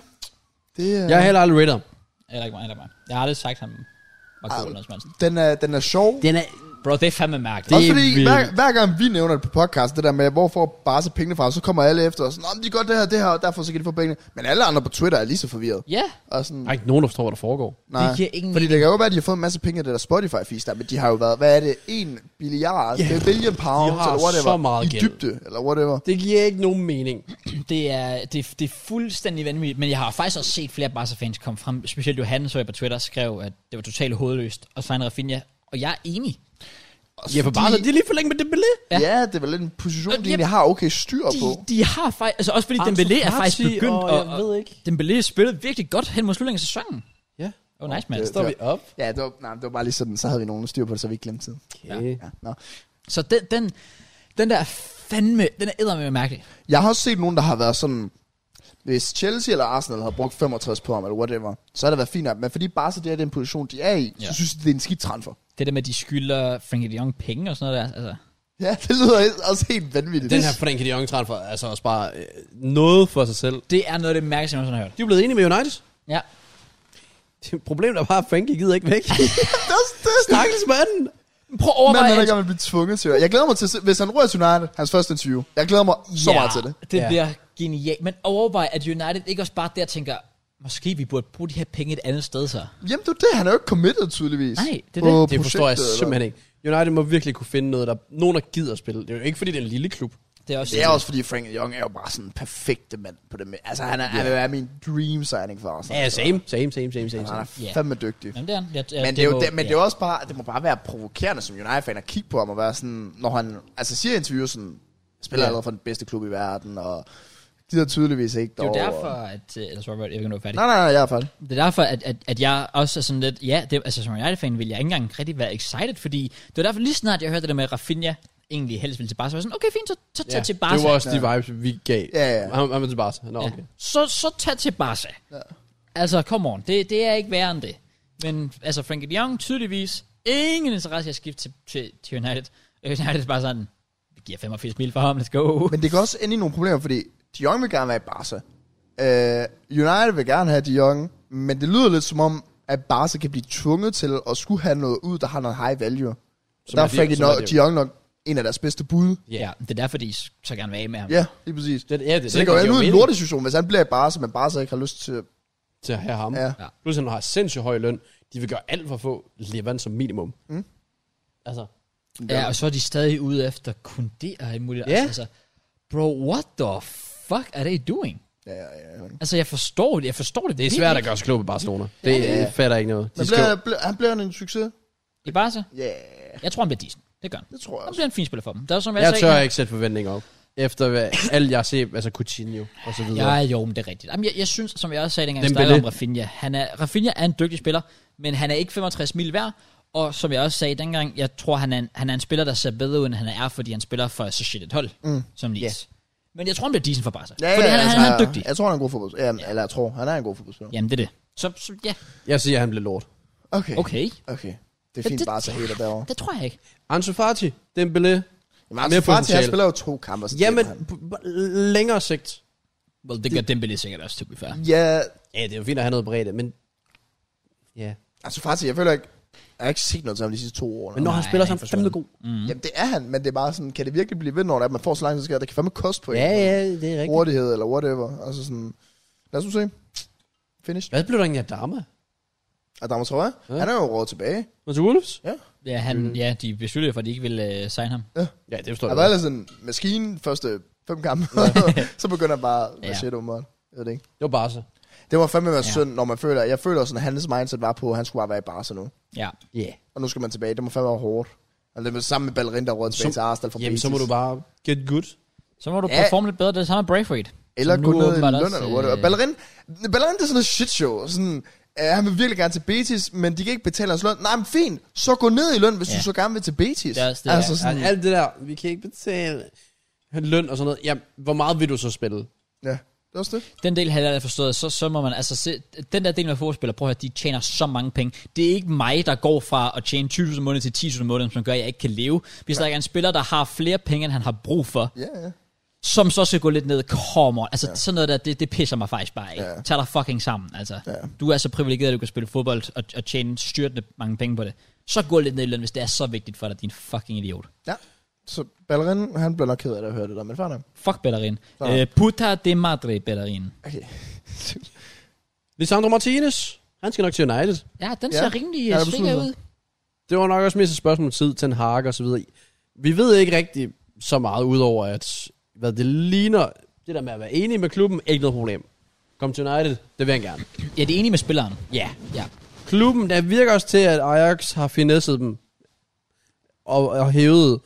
Speaker 3: Det er...
Speaker 4: jeg er heller aldrig rated.
Speaker 1: Eller ikke mig, eller ikke mig. Jeg har aldrig sagt ham. Marco Olsen
Speaker 3: Den er, den er sjov. Det
Speaker 4: Den er...
Speaker 1: Bro, det er fandme mærkeligt.
Speaker 3: er også fordi,
Speaker 4: vildt.
Speaker 3: hver, hver, gang vi nævner det på podcast, det der med, hvor får Barca pengene fra, så kommer alle efter og sådan, "Nå, men de gør det her, det her, og derfor så kan de få pengene. Men alle andre på Twitter er lige så forvirret.
Speaker 1: Ja,
Speaker 3: Og sådan,
Speaker 4: Der er ikke nogen, der forstår, hvad der foregår.
Speaker 3: nej.
Speaker 1: det giver ingen
Speaker 3: Fordi det kan jo være, at de har fået en masse penge af det der spotify fees der, men de har jo været, hvad er det, en billiard, yeah. det er billion pounds,
Speaker 4: har
Speaker 3: eller whatever,
Speaker 4: så meget
Speaker 3: i
Speaker 4: gæld.
Speaker 3: dybde, eller whatever.
Speaker 4: Det giver ikke nogen mening.
Speaker 1: Det er, det, det er fuldstændig vanvittigt, men jeg har faktisk også set flere Barca-fans komme frem. Specielt Johan, så jeg på Twitter, skrev, at det var totalt hovedløst. Og så en Rafinha, og jeg er enig.
Speaker 4: Ja, for bare, de er lige for længe med det billede.
Speaker 1: Ja.
Speaker 3: Ja. ja, det er vel en position,
Speaker 1: Og
Speaker 3: de
Speaker 1: de-
Speaker 3: egentlig har okay styr
Speaker 1: De,
Speaker 3: på.
Speaker 1: de har faktisk, altså også fordi Dembélé er faktisk
Speaker 4: Ansu Fati,
Speaker 1: begyndt,
Speaker 4: Ah, og
Speaker 1: og,
Speaker 4: jeg ved ikke.
Speaker 1: Dembélé spillede virkelig godt hen mod slutningen af sæsonen.
Speaker 4: Ja.
Speaker 1: Oh, nice, man.
Speaker 3: det-
Speaker 4: Står vi op?
Speaker 3: Ja, det var, nej, det var bare lige sådan, så havde vi nogen styr på det, så vi ikke glemte tiden.
Speaker 4: Okay.
Speaker 3: Ja, nå.
Speaker 1: Så den, den, den der er fandme, den er eddermame mærkelig.
Speaker 3: Jeg har også set nogen, der har været sådan, hvis Chelsea eller Arsenal havde brugt 65 på ham, eller whatever, så havde det været fint nok. Men fordi Barca, det er den position, de er i, ja.
Speaker 1: Ja.
Speaker 3: så synes de, det er en skidt transfer.
Speaker 1: Det der med, at de skylder Frankie de Jong penge og sådan noget der. Altså,
Speaker 3: Ja, det lyder også helt vanvittigt.
Speaker 4: Den her Frenkie de Jong transfer er altså også bare øh, noget for sig selv.
Speaker 1: det er noget af det mærkeligste, jeg nogensinde har hørt.
Speaker 4: De er blevet enige med United.
Speaker 1: Ja.
Speaker 4: Det er Problemet er bare, at Frankie gider ikke væk. Stakkels
Speaker 1: Prøv
Speaker 4: manden.
Speaker 1: at
Speaker 3: Manden
Speaker 1: overveje,
Speaker 3: er ikke,
Speaker 1: at
Speaker 3: om han bliver tvunget til det. Jeg glæder mig til, at se- hvis han rører til United, hans første interview. Jeg glæder mig så meget til det.
Speaker 1: det
Speaker 4: Ja.
Speaker 1: bliver genialt. Men overvej, at United ikke også bare der tænker, måske vi burde bruge de her penge et andet sted så.
Speaker 3: Jamen, det er det. Han er jo ikke committed, tydeligvis.
Speaker 1: Nej, det er
Speaker 3: på
Speaker 1: det.
Speaker 4: Det forstår jeg
Speaker 3: projektet, eller-
Speaker 4: simpelthen ikke. United må virkelig kunne finde noget, der nogen der gider spille. Det er jo ikke fordi, det er en lille klub.
Speaker 1: Det er også,
Speaker 3: Det er også fordi Frank Young er jo bare sådan en perfekte mand på det. med- Altså, han er, yeah. han er min dream signing for Arsenal.
Speaker 4: Ja, same, same, same, same, same.
Speaker 3: Han
Speaker 4: same.
Speaker 3: er
Speaker 1: Ja.
Speaker 3: fandme dygtig.
Speaker 1: Jamen, det er han. Jeg, jeg,
Speaker 3: Men det, er jo,
Speaker 1: må-
Speaker 3: det, men det, er jo også bare, det må bare være provokerende som United-fan at kigge på ham og være sådan, når han altså siger i interviews sådan, spiller
Speaker 4: Ja.
Speaker 3: allerede for den bedste klub i verden, og gider tydeligvis ikke
Speaker 1: Det er jo
Speaker 3: derovre.
Speaker 1: derfor, at... øh, Eller sorry, jeg ved ikke, om du er færdig.
Speaker 3: Nej, nej, nej, jeg er færdig.
Speaker 1: Det er derfor, at, at, at jeg også er sådan lidt... Ja, det, altså som United-fan vil jeg ikke engang rigtig være excited, fordi... Det var derfor lige snart, jeg hørte det der med, at Rafinha egentlig helst ville til Barca. Så var jeg sådan, okay, fint, så, så tag til Barca.
Speaker 4: Det var også de vibes, vi gav.
Speaker 3: Ja, ja.
Speaker 4: Han, han var til Barca. Nå,
Speaker 1: ja.
Speaker 4: okay.
Speaker 1: så, så tag til Barca. Ja. Altså, come on. Det, det er ikke værre end det. Men altså, Frankie de Jong tydeligvis ingen interesse i at skifte til, til, til United. Øh, United er bare sådan, vi giver 85 mil for ham, let's go.
Speaker 3: Men det kan også ende i nogle problemer, fordi De Jong vil gerne være i Barca. Uh, United vil gerne have De Jong, men det lyder lidt som om, at Barca kan blive tvunget til at skulle have noget ud, der har noget high value. Så
Speaker 4: Som
Speaker 3: der er
Speaker 4: er det-
Speaker 3: Frankie
Speaker 4: som er
Speaker 3: nok,
Speaker 4: det
Speaker 3: De
Speaker 4: jo.
Speaker 3: Jong nok en af deres bedste bud.
Speaker 1: Ja, yeah. det er derfor, de så gerne vil af med ham.
Speaker 3: Ja, lige præcis.
Speaker 4: Det, ja, det,
Speaker 3: Så det går jo
Speaker 4: giver
Speaker 3: endnu en
Speaker 4: mening
Speaker 3: lortesituation, hvis han bliver i Barca, men Barca ikke har lyst til...
Speaker 4: Til at have ham.
Speaker 3: Ja.
Speaker 1: Ja.
Speaker 4: Plus han har sindssygt høj løn. De vil gøre alt for at få Levan som minimum. Mm. Altså,
Speaker 1: Ja, og så er de stadig ude efter kun det og alt muligt.
Speaker 4: Ja.
Speaker 1: Altså, bro, what the fuck are they doing?
Speaker 3: Ja, ja, ja.
Speaker 1: Altså, jeg forstår det. Jeg forstår det.
Speaker 4: det er svært at gøre sig klog på Barcelona. Det ja, ja. fatter ikke noget.
Speaker 3: Men
Speaker 4: De skal,
Speaker 3: bliver, bliver, han bliver en succes?
Speaker 1: I Barca?
Speaker 3: Ja, yeah,
Speaker 1: Jeg tror, han bliver decent. Det gør han.
Speaker 3: det tror jeg
Speaker 1: Han
Speaker 3: også.
Speaker 1: bliver en fin spiller for dem. Der er, som jeg,
Speaker 4: jeg
Speaker 1: sagde,
Speaker 4: tør ikke sætte forventninger op. Efter hvad, alt jeg har set, altså Coutinho og så videre.
Speaker 1: Ja, jo, men det er rigtigt. Jamen, jeg, jeg synes, som jeg også sagde, dengang jeg
Speaker 4: Dembélé.
Speaker 1: snakkede om Rafinha, han er, Rafinha er en dygtig spiller, men han er ikke 65 mil værd, og som jeg også sagde dengang, jeg tror, han er, en, han er en spiller, der ser bedre ud, end han er, fordi han spiller for så shit et hold, mm. som Leeds. Men jeg tror, han bliver decent for Barca.
Speaker 3: Ja,
Speaker 1: fordi han,
Speaker 3: altså,
Speaker 1: han, han er dygtig.
Speaker 3: Jeg tror, han er en god fodboldspiller. Ja, eller jeg tror, han er en god fodboldspiller.
Speaker 1: Jamen, det er det. Så, så ja,
Speaker 4: Jeg siger, at han bliver lort.
Speaker 3: Okay.
Speaker 1: okay.
Speaker 3: Okay. Det er
Speaker 1: Men
Speaker 3: fint,
Speaker 1: det-
Speaker 3: Barca hater derovre.
Speaker 1: Det tror jeg ikke.
Speaker 4: Ansu Fati, Dembélé.
Speaker 3: Jamen, altså, Fati, han
Speaker 4: potentiale.
Speaker 3: spiller jo to kampe. så
Speaker 4: Jamen,
Speaker 3: taber han.
Speaker 4: på på længere sigt.
Speaker 1: Well, det gør Dembélé sikkert også, to be fair.
Speaker 3: Ja,
Speaker 4: Ja, det er jo fint at have noget bredt, men... Ja.
Speaker 3: altså Fati, jeg føler ikke... Jeg har ikke set noget til ham de sidste to år.
Speaker 4: Men når
Speaker 3: Nej.
Speaker 4: han
Speaker 1: Nej,
Speaker 4: spiller, så
Speaker 1: han
Speaker 4: er
Speaker 1: er
Speaker 4: han fandme god.
Speaker 3: Jamen, det er han, men det er bare sådan, kan det virkelig blive ved, når det er, at man får så lang tid, der kan fandme koste på en.
Speaker 4: Ja, ja, det er rigtigt.
Speaker 3: Hurtighed eller whatever. Altså sådan, lad os nu se. Finish.
Speaker 4: Hvad blev der egentlig af Dama?
Speaker 3: Adam Traoré,
Speaker 4: Ja.
Speaker 3: han er jo råd tilbage.
Speaker 4: Og til Wolves?
Speaker 1: Ja,
Speaker 3: Mm.
Speaker 1: han, ja de besluttede for, at de ikke ville uh, signe ham.
Speaker 4: Ja, det forstår
Speaker 3: Han
Speaker 4: jeg.
Speaker 3: var
Speaker 4: godt.
Speaker 3: ellers en maskine første fem kampe, så begynder han bare at
Speaker 1: Ja.
Speaker 3: ja. shit åbenbart. Jeg ved det ikke.
Speaker 4: Det var bare så.
Speaker 3: Det var fandme være
Speaker 1: Ja.
Speaker 3: ja. synd, når man føler, jeg føler sådan, at hans mindset var på, at han skulle bare være i Barca nu.
Speaker 1: Ja.
Speaker 4: Ja.
Speaker 3: Og nu skal man tilbage, det må fandme være hårdt. Og det er sammen med Ballerin, der råd tilbage
Speaker 4: Som-
Speaker 3: til Arsenal fra
Speaker 4: Jamen, så
Speaker 3: Betis.
Speaker 4: må du bare get good.
Speaker 1: Så må du
Speaker 3: Ja.
Speaker 1: performe lidt bedre. Det er samme med Braithwaite.
Speaker 3: Eller
Speaker 1: som
Speaker 3: gå
Speaker 1: nu
Speaker 3: ned i
Speaker 1: åbenbart
Speaker 3: løn
Speaker 1: også,
Speaker 3: eller whatever.
Speaker 1: øh,
Speaker 3: Ballerin, Ballerin, det er sådan et shit show. Sådan, øh, han vil virkelig gerne til Betis, men de kan ikke betale hans løn. Nej, men fint, så gå ned i løn, hvis
Speaker 1: Ja.
Speaker 3: ja. du så gerne vil til Betis.
Speaker 1: Det er også det,
Speaker 3: altså
Speaker 1: ja.
Speaker 3: sådan,
Speaker 4: Altså, alt det der, vi kan ikke betale løn og sådan noget. Jamen, hvor meget vil du så spille?
Speaker 3: ja. Det er også det.
Speaker 1: Den del havde jeg aldrig forstået, så, så må man altså se, den der del med fodboldspillere, prøv at høre, de tjener så mange penge. Det er ikke mig, der går fra at tjene 20.000 om måneden til 10.000 om måneden, som gør, at jeg ikke kan leve. Hvis der er en spiller, der har flere penge, end han har brug for,
Speaker 3: Ja, ja.
Speaker 1: som så skal gå lidt ned, kommer. Altså ja. sådan noget der, det, det pisser mig faktisk bare af. Ja.
Speaker 3: Ja.
Speaker 1: Tag dig fucking sammen, altså. Ja. Du er så privilegeret, at du kan spille fodbold og, og tjene styrtende mange penge på det. Så gå lidt ned i løn, hvis det er så vigtigt for dig, din fucking idiot.
Speaker 3: ja. Så Ballerin, han bliver nok ked af det at høre det der, men fair nok.
Speaker 1: Fuck Bellerin.
Speaker 3: Ja.
Speaker 1: Øh, puta de madre Bellerin.
Speaker 3: Okay.
Speaker 4: Lisandro Martinez, han skal nok til United.
Speaker 1: Ja, den
Speaker 3: Ja.
Speaker 1: ser rimelig øh,
Speaker 3: Ja,
Speaker 1: ja,
Speaker 3: det
Speaker 1: sikker
Speaker 3: betyder
Speaker 1: ud.
Speaker 4: Det var nok også mest et spørgsmål om tid til en hak og så videre. Vi ved ikke rigtig så meget, udover at hvad det ligner, det der med at være enig med klubben, ikke noget problem. Kom til United, det vil han gerne.
Speaker 1: Ja, det er enig med spilleren.
Speaker 4: Ja.
Speaker 1: Ja.
Speaker 4: Klubben, der virker også til, at Ajax har finesset dem og, og hævet,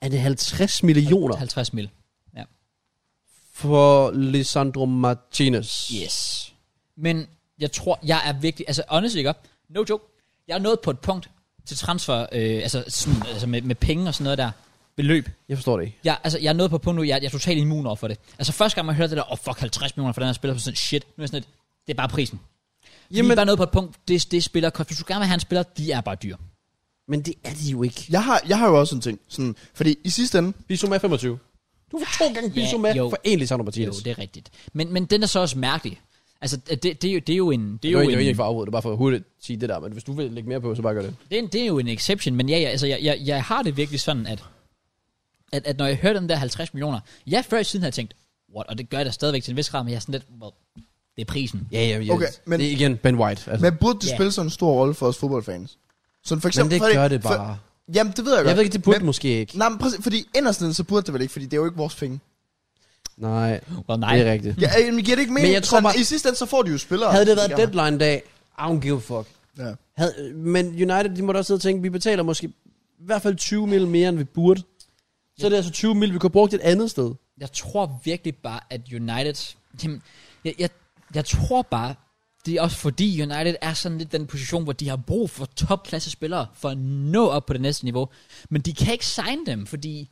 Speaker 4: er det 50 millioner
Speaker 1: 50 mil. Ja.
Speaker 4: for Lisandro Martinez?
Speaker 1: Yes. Men jeg tror, jeg er virkelig, altså honestly ikke op, no joke, jeg er nået på et punkt til transfer, øh, altså, sådan, altså med, med penge og sådan noget der, beløb.
Speaker 4: Jeg forstår det ikke.
Speaker 1: Jeg, altså, jeg er nået på et punkt nu, jeg, jeg er totalt immun over for det. Altså første gang man hørte det der, åh oh, fuck 50 millioner for den her spiller, så sådan shit, nu er jeg sådan lidt, det er bare prisen. Jamen, Vi er
Speaker 4: Jamen-
Speaker 1: bare nået på et punkt, det, det spiller, hvis du gerne vil have en spiller, de er bare dyre.
Speaker 4: Men det er de jo ikke.
Speaker 3: Jeg har, jeg har jo også en ting. Sådan, fordi i sidste ende,
Speaker 4: Bissouma er 25. Du får to gange
Speaker 1: Ja,
Speaker 4: Bissouma
Speaker 1: jo.
Speaker 4: for en Lisandro
Speaker 1: Jo,
Speaker 4: Martinez.
Speaker 1: det er rigtigt. Men, men den er så også mærkelig. Altså, det, det, er jo, det er jo en... Det er
Speaker 4: Det
Speaker 1: jo,
Speaker 4: var egentlig det var
Speaker 1: en,
Speaker 4: egentlig ikke for at afbryde, det er bare for hurtigt at sige det der, men hvis du vil lægge mere på, så bare gør det.
Speaker 1: det, er, en- det er jo en exception, men ja, ja altså, jeg, jeg, jeg har det virkelig sådan, at, at, at når jeg hører den der 50 millioner, jeg før i tiden havde jeg tænkt, what, og det gør jeg da stadigvæk til en vis grad, men jeg er sådan lidt, well, det er prisen.
Speaker 4: Ja, ja,
Speaker 3: Okay, men-
Speaker 4: det er igen Ben White. Altså.
Speaker 3: Men burde det
Speaker 1: Ja.
Speaker 3: spille sådan en stor rolle for os fodboldfans? Sådan for eksempel,
Speaker 4: det
Speaker 3: for
Speaker 4: gør det
Speaker 3: for-
Speaker 4: bare.
Speaker 3: jamen, det ved jeg godt.
Speaker 4: jeg ved ikke, det burde
Speaker 3: men,
Speaker 4: måske ikke.
Speaker 3: Nej, men præcis, fordi inderst inde, så burde det vel ikke, fordi det er jo ikke vores penge.
Speaker 4: Mm. Nej,
Speaker 1: Well, nej.
Speaker 4: det er rigtigt.
Speaker 3: Ja, øh, men giver det ikke mening?
Speaker 4: Men jeg tror
Speaker 3: Sådan,
Speaker 4: bare-
Speaker 3: I sidste ende, så får de jo spillere.
Speaker 4: Havde det været
Speaker 3: Ja.
Speaker 4: deadline dag, I don't give a fuck.
Speaker 3: Ja.
Speaker 4: Havde, men United, de måtte også sidde og tænke, vi betaler måske i hvert fald 20 mil mere, end vi burde. Så er det altså 20 mil, vi kunne have brugt et andet sted.
Speaker 1: jeg tror virkelig bare, at United... Jamen, jeg, jeg, jeg tror bare, det er også fordi United er sådan lidt den position, hvor de har brug for topklasse spillere for at nå op på det næste niveau. Men de kan ikke signe dem, fordi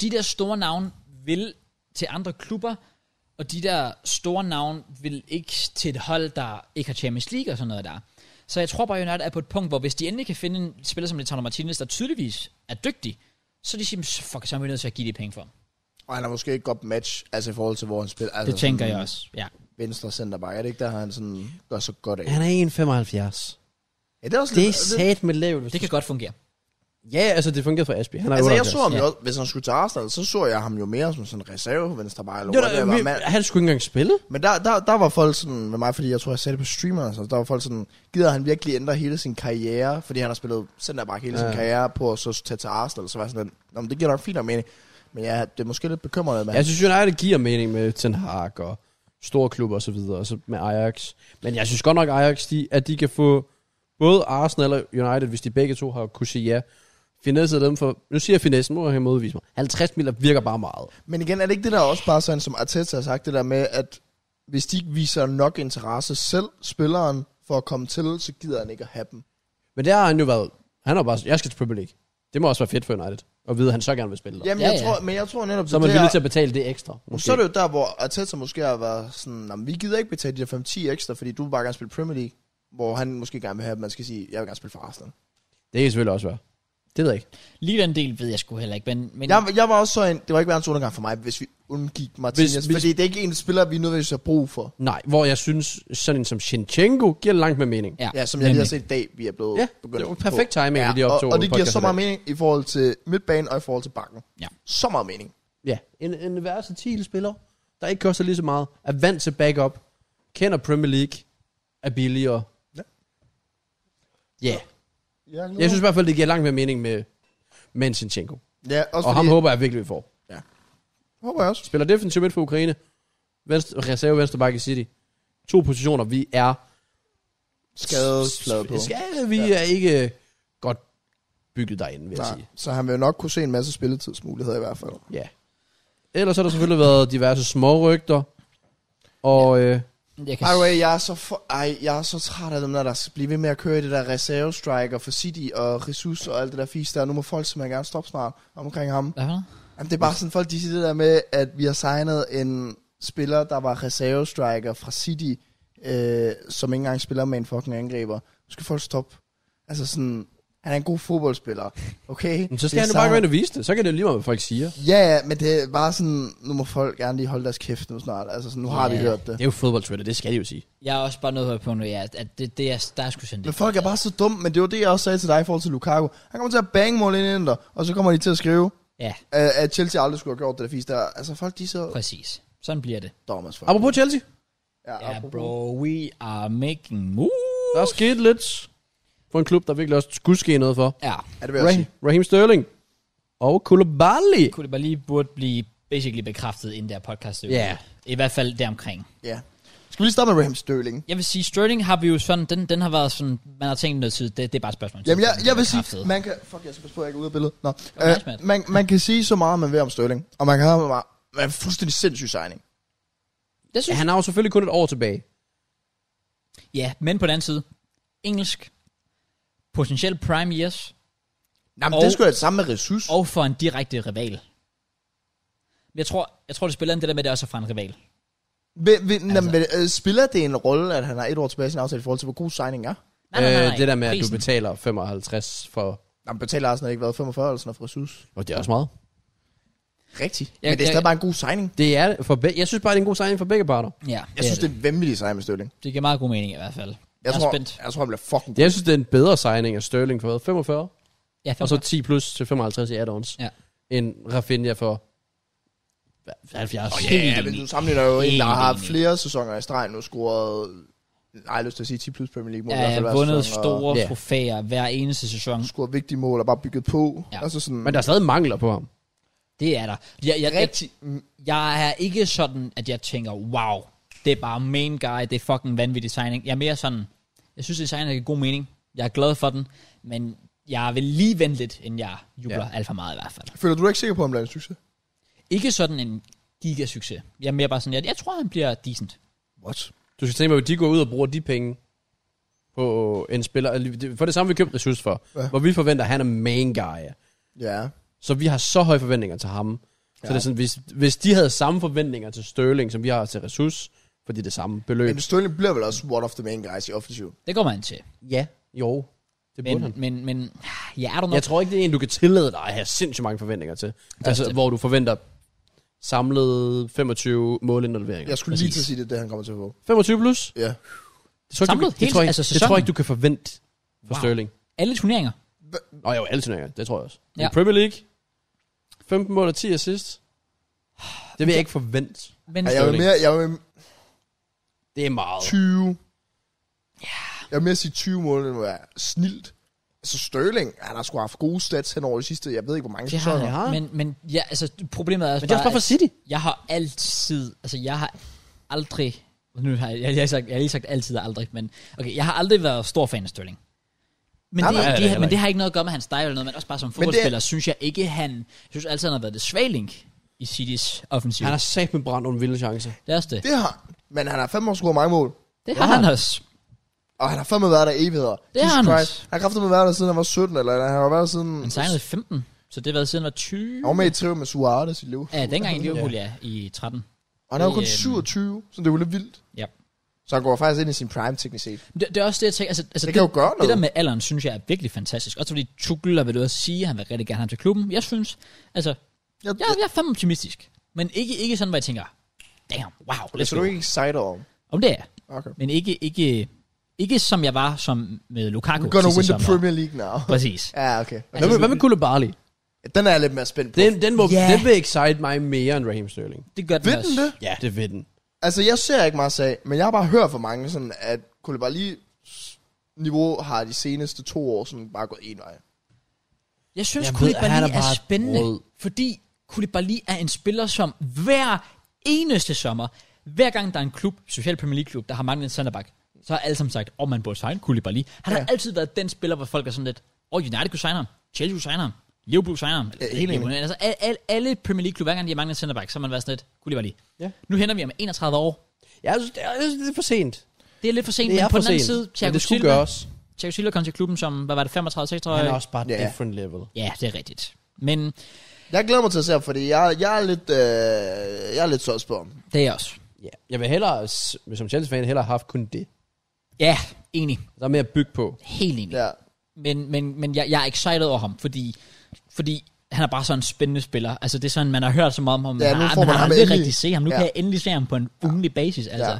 Speaker 1: de der store navne vil til andre klubber, og de der store navne vil ikke til et hold, der ikke har Champions League og sådan noget der. Så jeg tror bare, United er på et punkt, hvor hvis de endelig kan finde en spiller som Lautaro Martinez, der tydeligvis er dygtig, så er de siger, fuck, så er vi nødt til at give de penge for ham.
Speaker 3: Og han er måske ikke godt match, altså i forhold til, hvor han spiller. Altså,
Speaker 1: Det tænker
Speaker 3: sådan
Speaker 1: jeg også, ja.
Speaker 3: Venstre centerback, er det ikke der, han sådan gør så godt af?
Speaker 4: Han er 1,75.
Speaker 3: Ja, det er også
Speaker 4: Det er
Speaker 3: lidt-
Speaker 4: sat med lavt.
Speaker 1: Det kan godt fungere.
Speaker 4: Ja, altså det fungerede for Asby. Han er
Speaker 3: Altså, jeg så
Speaker 4: 78.
Speaker 3: ham jo,
Speaker 1: Ja.
Speaker 3: også- hvis han skulle til Arsenal, så så jeg ham jo mere som sådan en reserve venstreback eller
Speaker 4: Det var
Speaker 3: whatever.
Speaker 4: da,
Speaker 3: Men,
Speaker 4: vi, han skulle ikke engang spille.
Speaker 3: men der, der, der var folk sådan med mig, fordi jeg tror, jeg sagde det på streameren, så der var folk sådan, gider han virkelig ændre hele sin karriere, fordi han har spillet centerback hele sin
Speaker 4: Ja.
Speaker 3: karriere på at så tage til Arsenal, så var jeg sådan, lidt, "Nå, men det giver nok fint nok mening. Men ja, det er måske lidt bekymrende, men
Speaker 4: Jeg synes, United giver mening med Ten Hag og store klubber og så videre, og så med Ajax. Men jeg synes godt nok, Ajax, de, at de kan få både Arsenal og United, hvis de begge to har kunne sige ja, finesset dem for, nu siger jeg finessen, nu har jeg modvist mig, 50 mil virker bare meget.
Speaker 3: Men igen, er det ikke det der også bare sådan, som Arteta har sagt, det der med, at hvis de ikke viser nok interesse selv, spilleren, for at komme til, så gider han ikke at have dem.
Speaker 4: Men der har han jo været, han har bare, jeg skal til Premier League. Det må også være fedt for United, at vide, at han så gerne vil spille der.
Speaker 3: Jamen,
Speaker 1: Ja,
Speaker 3: ja, jeg
Speaker 1: ja.
Speaker 3: Tror, men jeg tror netop,
Speaker 4: så er man
Speaker 3: det
Speaker 4: villig
Speaker 3: der,
Speaker 4: til at betale det ekstra. Måske.
Speaker 3: så er det jo der, hvor Arteta måske har været sådan, "Nå, men vi gider ikke betale de der 5-10 ekstra, fordi du vil bare gerne spille Premier League, hvor han måske gerne vil have, at man skal sige, jeg vil gerne spille for Arsenal.
Speaker 4: det kan selvfølgelig også være. Det ved jeg ikke.
Speaker 1: Lige den del ved jeg sgu heller ikke, men, men
Speaker 3: Jeg, jeg var også så en, det var ikke verdens undergang for mig, hvis vi undgik Martinez, hvis,
Speaker 4: hvis-
Speaker 3: fordi det er ikke en spiller, vi nødvendigvis har brug for.
Speaker 4: Nej, hvor jeg synes, sådan en som Shinchenko giver langt med mening.
Speaker 1: ja,
Speaker 3: Ja, som jeg lige har set i dag, vi er blevet
Speaker 4: Ja,
Speaker 3: begyndt
Speaker 4: det var
Speaker 3: på.
Speaker 4: perfekt timing, at vi lige
Speaker 3: og,
Speaker 4: optog
Speaker 3: og det giver
Speaker 4: podcasten
Speaker 3: så
Speaker 4: i
Speaker 3: meget
Speaker 4: dag.
Speaker 3: mening i forhold til midtbanen og i forhold til bakken.
Speaker 1: Ja.
Speaker 3: Så meget mening.
Speaker 4: Ja, en, en versatil spiller, der ikke koster lige så meget, er vant til backup, kender Premier League, er billigere.
Speaker 3: Ja.
Speaker 4: Ja,
Speaker 3: Ja,
Speaker 4: jeg synes i hvert fald, det giver langt mere mening med, med en Sinchenko.
Speaker 3: ja også
Speaker 4: Og ham håber jeg virkelig, vi får.
Speaker 3: håber jeg også.
Speaker 4: Spiller defensiv midt for Ukraine, venstre, reserve venstre bakke i City. To positioner, vi er...
Speaker 3: Skadesplade på.
Speaker 4: Skade, vi ja. er ikke øh, godt bygget derinde, vil jeg
Speaker 3: Nej,
Speaker 4: sige.
Speaker 3: så han vil jo nok kunne se en masse spilletidsmuligheder i hvert fald.
Speaker 4: Ja. Ellers har der selvfølgelig været diverse små rygter, og... Ja. Øh,
Speaker 1: jeg kan
Speaker 3: By the way, jeg er så, for, ej, jeg er så træt af dem der, der bliver ved med at køre i det der reserve striker for City og Jesus og alt det der fis der. Nu må folk simpelthen gerne stoppe snart omkring ham.
Speaker 1: Hvad for noget?
Speaker 3: Jamen, det er bare sådan, folk de siger det der med, at vi har signet en spiller, der var reserve striker fra City, øh, som ikke engang spiller med en fucking angriber. Nu skal folk stoppe. Altså sådan, han er en god fodboldspiller, okay?
Speaker 4: Men så skal
Speaker 3: Det
Speaker 4: han
Speaker 3: er
Speaker 4: jo bare gå
Speaker 3: signet-
Speaker 4: ind og vise det. Så kan det jo lige meget, hvad folk siger.
Speaker 3: Ja, ja, men det er bare sådan, nu må folk gerne lige holde deres kæft nu snart. Altså sådan, nu har vi
Speaker 1: Ja.
Speaker 3: hørt det.
Speaker 4: er jo fodboldtwitter, det skal de jo sige.
Speaker 1: Jeg er også bare nødt til at høre på nu, ja, at- at det, det er, der er sgu sådan
Speaker 3: Men
Speaker 1: det.
Speaker 3: folk er bare så dumme, men det var det, jeg også sagde til dig i forhold til Lukaku. Han kommer til at bange mål ind i den der, og så kommer de til at skrive,
Speaker 1: Ja,
Speaker 3: øh, at Chelsea aldrig skulle have gjort det der fisk der. Altså folk, de er så
Speaker 1: præcis. Sådan bliver det.
Speaker 3: dumme as fuck.
Speaker 4: Apropos Chelsea,
Speaker 1: Ja,
Speaker 3: apropos.
Speaker 1: bro, we are making moves.
Speaker 4: der er sket lidt for en klub, der virkelig også skulle ske noget for.
Speaker 1: Ja,
Speaker 3: Ja, det vil jeg også
Speaker 4: Raheem,
Speaker 3: sige.
Speaker 4: Raheem Sterling og Koulibaly.
Speaker 1: kunne det bare lige burde blive basically bekræftet inden der podcast. er ude.
Speaker 4: Ja.
Speaker 1: I hvert fald deromkring.
Speaker 3: Ja. Skal vi lige starte med Raheem Sterling?
Speaker 1: Jeg vil sige, Sterling har vi jo sådan, den, den har været sådan, man har tænkt noget tid, det, det er bare et spørgsmål. om tid,
Speaker 3: Jamen, jeg,
Speaker 1: før den bliver
Speaker 3: jeg vil sige,
Speaker 1: bekræftet.
Speaker 3: man kan... Fuck, jeg skal passe på, at jeg ikke er ude af billedet. Nå.
Speaker 1: var nice,
Speaker 3: Øh,
Speaker 1: Matt.
Speaker 3: man, man kan sige så meget, man ved om Sterling, og man kan have man er en fuldstændig sindssyg signing.
Speaker 1: Det synes
Speaker 4: Han har jo selvfølgelig kun et år tilbage.
Speaker 1: Ja, men på den anden side, engelsk, potentielt prime years,
Speaker 3: Jamen,
Speaker 1: Og-
Speaker 3: det skulle sgu da det samme med Ressus.
Speaker 1: og for en direkte rival. Men Jeg tror, jeg tror, det spiller ind det der med, at det også er fra en
Speaker 4: Øh,
Speaker 1: rival.
Speaker 3: Vil- vil-
Speaker 1: Altså-
Speaker 3: jamen, vil- øh, Spiller det en rolle, at han har et år tilbage i sin aftale i forhold til, hvor god signing er?
Speaker 1: Nej, nej, nej, nej.
Speaker 4: Øh, det der med, at du
Speaker 1: Prisen.
Speaker 4: betaler 55 for...
Speaker 3: Jamen, betaler Arsenal ikke været 45 eller sådan noget for Ressus?
Speaker 4: Og det er også meget.
Speaker 3: Rigtigt.
Speaker 1: Jeg-
Speaker 3: Men det er
Speaker 1: jeg-
Speaker 3: stadig bare en god signing.
Speaker 4: Det er det for be- jeg synes bare, det er en god signing for begge parter.
Speaker 1: Ja,
Speaker 3: Jeg synes, det er en vanvittig signing med Sterling.
Speaker 1: det giver meget god mening i hvert fald. Jeg,
Speaker 3: Jeg,
Speaker 1: er
Speaker 3: tror,
Speaker 1: spændt.
Speaker 3: jeg tror, han bliver fucking
Speaker 4: Jeg synes, det er en bedre signing af Sterling for hvad, 45,
Speaker 1: Ja,
Speaker 4: og så 10 plus til 55 i add-ons,
Speaker 1: Ja.
Speaker 4: end Rafinha for hvad, 70.
Speaker 1: Åh,
Speaker 3: Ja, ja,
Speaker 1: Helt
Speaker 3: men
Speaker 1: enig.
Speaker 3: du sammenligner jo en,
Speaker 1: Helt
Speaker 3: der har
Speaker 1: enig.
Speaker 3: haft flere sæsoner i streg nu, scoret, nej, lyst til at sige 10 plus Premier League mål. i hvert
Speaker 1: ja,
Speaker 3: fald hver
Speaker 1: vundet
Speaker 3: sæson,
Speaker 1: store
Speaker 4: Ja.
Speaker 1: trofæer hver eneste sæson.
Speaker 3: Og scoret vigtige mål og bare bygget på.
Speaker 1: Ja.
Speaker 3: Ja. Altså sådan,
Speaker 4: Men der er stadig mangler på ham.
Speaker 1: Det er der. Jeg, jeg, jeg,
Speaker 3: rigtig,
Speaker 1: jeg er ikke sådan, at jeg tænker, wow, det er bare main guy, det er fucking vanvittig signing. Jeg er mere sådan, jeg synes, det er signing, der giver god mening. Jeg er glad for den, men jeg vil lige vente lidt, inden jeg jubler ja. alt for meget i hvert fald.
Speaker 3: føler du dig ikke sikker på, om det er en succes?
Speaker 1: Ikke sådan en gigasucces. Jeg er mere bare sådan, jeg, jeg tror, han bliver decent.
Speaker 3: What?
Speaker 4: Du skal tænke på, at de går ud og bruger de penge på en spiller. For det samme, vi købte Ressus for, ja.
Speaker 3: Ja.
Speaker 4: hvor vi forventer, at han er main guy.
Speaker 3: Ja.
Speaker 4: Så vi har så høje forventninger til ham. Så
Speaker 3: Ja.
Speaker 4: det er sådan, hvis, hvis de havde samme forventninger til Sterling, som vi har til Ressus, fordi det er samme beløb.
Speaker 3: Men Sterling bliver vel også one of the main guys i offensiven.
Speaker 1: Det kommer han til.
Speaker 4: Ja, jo. Det burde
Speaker 1: Men,
Speaker 4: han.
Speaker 1: men, men jeg er der nok.
Speaker 4: Jeg tror ikke, det er en, du kan tillade dig at have sindssygt mange forventninger til. Altså,
Speaker 1: det.
Speaker 4: hvor du forventer samlet 25 målindleveringer.
Speaker 3: Jeg skulle lige til at sige, det er det, han kommer til at få.
Speaker 4: 25 plus?
Speaker 3: Ja.
Speaker 4: Det tror jeg ikke,
Speaker 1: Samlet?
Speaker 4: du, det,
Speaker 1: Helt-
Speaker 4: tror jeg,
Speaker 1: altså
Speaker 4: det tror
Speaker 1: sæsonen?
Speaker 4: jeg ikke, du kan forvente for
Speaker 1: Wow.
Speaker 4: wow. Sterling.
Speaker 1: Alle turneringer.
Speaker 4: Nå jo, alle turneringer, det tror jeg også.
Speaker 1: Ja.
Speaker 4: Ja. Premier League, 15 mål og 10 assist. Det vil jeg ikke forvente.
Speaker 1: Men
Speaker 3: Ja, jeg vil
Speaker 4: Sterling.
Speaker 3: mere, jeg vil
Speaker 4: Det er meget.
Speaker 3: 20. Ja. Jeg vil mere sige 20 mål, end at være snilt. Altså Sterling, han har sgu haft gode stats hen over de sidste, jeg ved ikke, hvor mange
Speaker 1: det har
Speaker 3: sæsoner.
Speaker 1: han.
Speaker 4: har.
Speaker 1: Men, men ja, altså, problemet er også
Speaker 4: Men det er også bare for City.
Speaker 1: Jeg har altid, altså jeg har aldrig, nu har jeg, jeg, har, sagt, jeg har lige sagt altid og aldrig, men okay, jeg har aldrig været stor fan af Sterling. Men,
Speaker 3: Nej,
Speaker 1: det,
Speaker 4: nej,
Speaker 1: det,
Speaker 4: det er
Speaker 1: det,
Speaker 4: heller
Speaker 1: men det
Speaker 4: ikke.
Speaker 1: har ikke noget at gøre med hans style eller noget, men også bare som
Speaker 3: det er-
Speaker 1: fodboldspiller, synes jeg ikke han, jeg synes altid han har været det svage link i Citys offensiv.
Speaker 4: Han har sat med brændt nogle vilde chancer.
Speaker 1: det er også det. Det,
Speaker 3: Det har han. Men han har fandme også scoret mange mål.
Speaker 1: det har han også.
Speaker 3: Og han har fandme været der i evigheder.
Speaker 1: Det har han også.
Speaker 3: Han har kraftedeme været der, siden han var 17, eller han har været der siden...
Speaker 1: Han signede i 15, så det har været siden han var 20.
Speaker 3: Han var med i trio med Suarez i Liverpool.
Speaker 1: Ja, dengang i Liverpool, ja, i 13.
Speaker 3: Og han er jo kun
Speaker 1: Øhm.
Speaker 3: 27, så det er jo lidt vildt.
Speaker 1: Ja.
Speaker 3: Så han går faktisk ind i sin prime teknisk set.
Speaker 1: Det, det er også det, jeg tænker. Altså, altså
Speaker 3: Det kan jo gøre
Speaker 1: Det
Speaker 3: noget.
Speaker 1: der med alderen, synes jeg er virkelig fantastisk. Også fordi Tuchel har været ude at sige, at han vil rigtig gerne have ham til klubben. Jeg synes, altså,
Speaker 3: Jeg,
Speaker 1: jeg, jeg er fandme optimistisk. Men ikke, ikke sådan, hvor jeg tænker, damn, wow,
Speaker 3: det
Speaker 1: let's
Speaker 3: skal du
Speaker 1: go.
Speaker 3: ikke excited om.
Speaker 1: Om det er jeg.
Speaker 3: Okay.
Speaker 1: Men ikke, ikke, ikke som jeg var som med Lukaku.
Speaker 3: We're gonna
Speaker 1: sidste
Speaker 3: win the
Speaker 1: sommer.
Speaker 3: Premier League now.
Speaker 1: Præcis.
Speaker 3: ja, okay.
Speaker 4: Hvad
Speaker 1: Altså-
Speaker 4: med, hvad med Koulibaly?
Speaker 3: Den er jeg lidt mere spændt på.
Speaker 4: Den, den, må,
Speaker 1: Ja.
Speaker 4: yeah. den vil excite mig mere end Raheem Sterling.
Speaker 1: Det gør den
Speaker 3: Ved
Speaker 1: også.
Speaker 3: den det?
Speaker 4: Ja, det vil den.
Speaker 3: Altså, jeg ser ikke meget sag, men jeg har bare hørt fra mange, sådan, at Koulibaly niveau har de seneste to år sådan bare gået en vej.
Speaker 1: Jeg synes,
Speaker 4: Jeg ved,
Speaker 1: Koulibaly
Speaker 4: han
Speaker 1: er,
Speaker 4: er
Speaker 1: er
Speaker 4: bare
Speaker 1: spændende,
Speaker 4: rød.
Speaker 1: fordi Koulibaly er en spiller, som hver eneste sommer, hver gang der er en klub, Social Premier League-klub, der har manglet en centerback, så har alle sammen sagt, om oh, man burde signe Koulibaly. Han ja. har altid været den spiller, hvor folk er sådan lidt, åh, oh, United kunne signe ham, Chelsea kunne signe ham, Liverpool signer ham.
Speaker 3: Ja, helt enig.
Speaker 1: Altså, al, al, alle Premier League-klubber, hver gang de har manglet en centerback, så har man været sådan lidt, Koulibaly.
Speaker 4: Ja.
Speaker 1: Nu henter vi ham med 31 år.
Speaker 4: Jeg synes, det er, jeg synes, det er for sent.
Speaker 1: Det er lidt for sent,
Speaker 4: Det er
Speaker 1: men på
Speaker 4: for
Speaker 1: den anden
Speaker 4: sent.
Speaker 1: side,
Speaker 4: Men
Speaker 1: Thiago
Speaker 4: det skulle
Speaker 1: Silva,
Speaker 4: gøres.
Speaker 1: Thiago Silva kom til klubben som, hvad var det, 35 36
Speaker 4: Han er også bare
Speaker 3: Ja.
Speaker 4: yeah. different level.
Speaker 1: Ja, det er rigtigt. Men
Speaker 3: Jeg glæder mig til at se ham, fordi jeg, jeg er lidt, øh, jeg er lidt sås på ham.
Speaker 1: det er jeg også.
Speaker 4: Ja. Jeg vil hellere, s- som Chelsea-fan, hellere have haft kun det.
Speaker 1: Ja, enig.
Speaker 4: Der er mere at bygge på.
Speaker 1: Helt enig.
Speaker 3: Ja.
Speaker 1: Men, men, men jeg, jeg er excited over ham, fordi, fordi han er bare sådan en spændende spiller. Altså, det er sådan, man har hørt så meget om ham.
Speaker 3: Ja, nu
Speaker 1: Ah,
Speaker 3: får
Speaker 1: men
Speaker 3: man
Speaker 1: har
Speaker 3: ham
Speaker 1: aldrig
Speaker 3: endelig.
Speaker 1: rigtig se ham. Nu ja.
Speaker 3: Ja.
Speaker 1: kan jeg endelig se ham på en ugenlig basis, altså. Ja.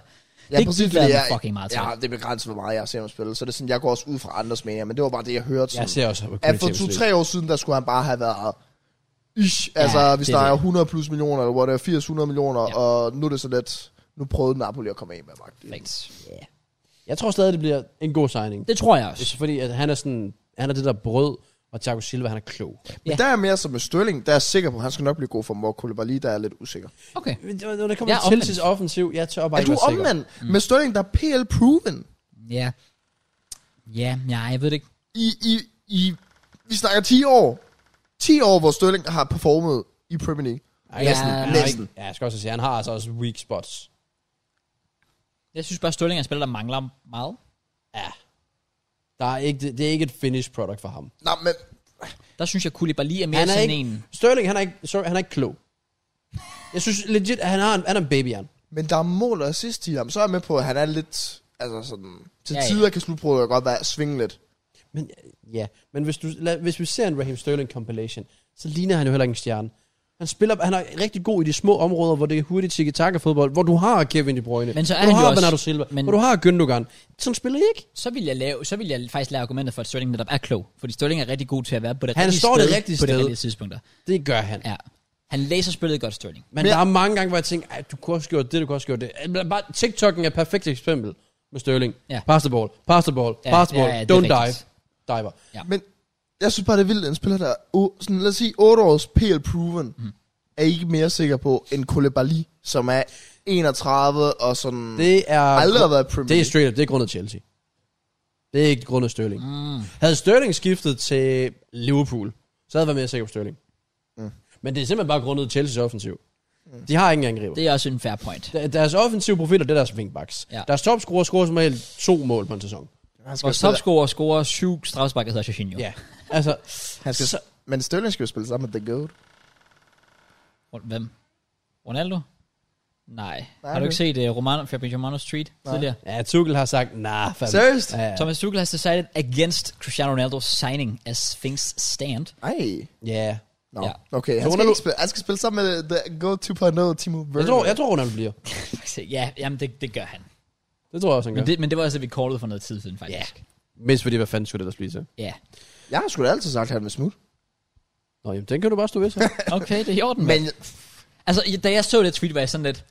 Speaker 3: Ja,
Speaker 1: det
Speaker 3: præcis,
Speaker 1: gik jeg
Speaker 3: fordi
Speaker 1: mig fucking meget til.
Speaker 3: Ja, det er begrænset, hvor meget jeg ser ham spille. Så det er sådan, jeg går også ud fra andres meninger, men det var bare det, jeg hørte. Sådan,
Speaker 4: Jeg ser også, at
Speaker 3: at for to-tre år siden, der skulle han bare have været... Ish, altså,
Speaker 1: Ja,
Speaker 3: ja, vi
Speaker 1: det
Speaker 3: snakker
Speaker 1: ved jeg.
Speaker 3: 100 plus millioner, eller hvor det er 800 millioner,
Speaker 1: Ja.
Speaker 3: ja. og nu er det så let. Nu prøvede Napoli at komme af med magt.
Speaker 1: Perfekt. Ja.
Speaker 4: Jeg tror stadig, det bliver en god signing.
Speaker 1: Det tror jeg
Speaker 4: Det
Speaker 1: også.
Speaker 4: er fordi, at han er sådan, han er det der brød, og Thiago Silva, han er klog.
Speaker 3: Men
Speaker 1: Ja.
Speaker 3: der er mere som med Sterling, der er jeg sikker på, at han skal nok blive god for Mor Koulibaly, der er jeg lidt usikker.
Speaker 1: Okay.
Speaker 4: Når det
Speaker 1: Jeg
Speaker 4: kommer
Speaker 1: er
Speaker 4: til
Speaker 1: omvendt.
Speaker 4: Chelsea's offensiv, jeg tør bare
Speaker 3: Er
Speaker 4: ikke
Speaker 3: du
Speaker 4: være sikker.
Speaker 3: omvendt mm. med Sterling, der er PL-proven?
Speaker 1: Ja. Ja, ja, jeg ved det ikke.
Speaker 3: I, i, I, vi snakker 10 år. 10 år, hvor Sterling har performet i Premier League.
Speaker 4: Ej, næsten,
Speaker 1: Ja,
Speaker 4: ja,
Speaker 3: næsten.
Speaker 4: næsten. Ja, jeg skal også sige, han har altså også weak spots.
Speaker 1: Jeg synes bare, Sterling er en spiller, der mangler meget.
Speaker 4: Ja. Der er ikke, det, det er ikke et finished product for ham.
Speaker 3: Nej, men
Speaker 1: Der synes jeg, Koulibaly er mere
Speaker 4: han er
Speaker 1: sådan
Speaker 4: ikke,
Speaker 1: en...
Speaker 4: Sterling, han er ikke, sorry, han er ikke klog. Jeg synes legit, at han, har en, han er en baby, han.
Speaker 3: Men der er mål og assist i ham. Så er jeg med på, at han er lidt... Altså sådan... Til
Speaker 1: Ja,
Speaker 3: ja,
Speaker 1: ja.
Speaker 3: ja. tider kan slutbruddet godt være svinge lidt.
Speaker 4: Men ja, men hvis, du, lad, hvis vi ser en Raheem Sterling compilation, så ligner han jo heller ikke en stjerne. Han Han, spiller, han er rigtig god i de små områder, hvor det er hurtigt tiki fodbold hvor du har Kevin De Bruyne,
Speaker 1: Men så er
Speaker 4: hvor
Speaker 1: han
Speaker 4: du
Speaker 1: jo
Speaker 4: har
Speaker 1: også-
Speaker 4: Bernardo Silva,
Speaker 1: men-
Speaker 4: hvor du har Gündogan. Sådan spiller I ikke.
Speaker 1: så vil jeg, lave, så vil jeg faktisk lave argumentet for, at Sterling netop er klog. Fordi Sterling er rigtig god til at være på det
Speaker 4: Han
Speaker 1: rigtige
Speaker 4: står
Speaker 1: sted,
Speaker 4: det rigtige
Speaker 1: på
Speaker 4: sted.
Speaker 1: de rigtige tidspunkter.
Speaker 4: Det gør han.
Speaker 1: Ja. Han læser spillet godt, Sterling.
Speaker 4: Men der er mange gange, hvor jeg tænker, at du kunne også gjort det, du kunne også gjort det. Øh, Bare, TikTok'en er et perfekt eksempel med Sterling.
Speaker 1: Ja.
Speaker 4: Pass the ball, pass the ball,
Speaker 1: Ja,
Speaker 4: pass the
Speaker 1: ja,
Speaker 4: ball,
Speaker 1: ja, det er
Speaker 4: don't
Speaker 1: rigtigt.
Speaker 4: dive. Diver.
Speaker 3: Men jeg synes bare, det er vildt, at en spiller, der er, o- sådan, lad os sige, 8 års PL proven, mm. er ikke mere sikker på end Koulibaly, som er 31 og sådan... Det
Speaker 4: Det er...
Speaker 3: aldrig har været Premier
Speaker 4: Det er
Speaker 3: League.
Speaker 4: straight up, det er grundet Chelsea. Det er ikke grundet Sterling. Mm. Havde Sterling skiftet til Liverpool, så havde jeg været mere sikker på Sterling. Mm. Men det er simpelthen bare grundet Chelseas offensiv. Mm. De har ingen angriber.
Speaker 1: Det er også en fair point.
Speaker 4: Det... Deres offensive profiler, det er deres wingbacks.
Speaker 1: Ja.
Speaker 4: Ja. Deres topscorer scorer som regel to mål på en sæson.
Speaker 3: Han skal
Speaker 1: Vores
Speaker 3: spille,
Speaker 1: topscorer scorer syv strafsparker, hedder Jorginho.
Speaker 4: Ja. Altså,
Speaker 3: han skal,
Speaker 4: så-
Speaker 3: men Sterling skal jo spille sammen med The Goat.
Speaker 1: Hvem? Ronaldo? Nej. Har du
Speaker 3: det-
Speaker 1: ikke set uh, Romano, Fabrizio Romano Street Nej. tidligere?
Speaker 4: ja, Tuchel har sagt, nah, fandme.
Speaker 3: Seriøst?
Speaker 4: Ja, ja.
Speaker 1: Thomas Tuchel has decided against Cristiano Ronaldo's signing as Sphinx stand.
Speaker 3: Ej.
Speaker 4: ja.
Speaker 3: Nå,
Speaker 1: Ja.
Speaker 3: ja. okay. Han skal,
Speaker 4: Ronaldo-
Speaker 3: ikke spille, han skal spille sammen med The Goat 2.0, Timo Werner.
Speaker 4: Jeg tror, jeg tror, Ronaldo bliver.
Speaker 1: ja, jamen det, det gør han.
Speaker 4: Det tror jeg også, han gør.
Speaker 1: Men
Speaker 4: Det...
Speaker 1: det, men det var også det, vi callede for noget tid siden, faktisk.
Speaker 4: Mest fordi, hvad fanden skulle det der spise?
Speaker 1: Ja. Yeah.
Speaker 3: jeg har sgu da altid sagt, at han vil smutte.
Speaker 4: Nå, jamen, den kan du bare stå ved så.
Speaker 1: Okay, det er i orden.
Speaker 3: Men,
Speaker 1: Men... Altså, i- da jeg så det tweet, var jeg sådan lidt...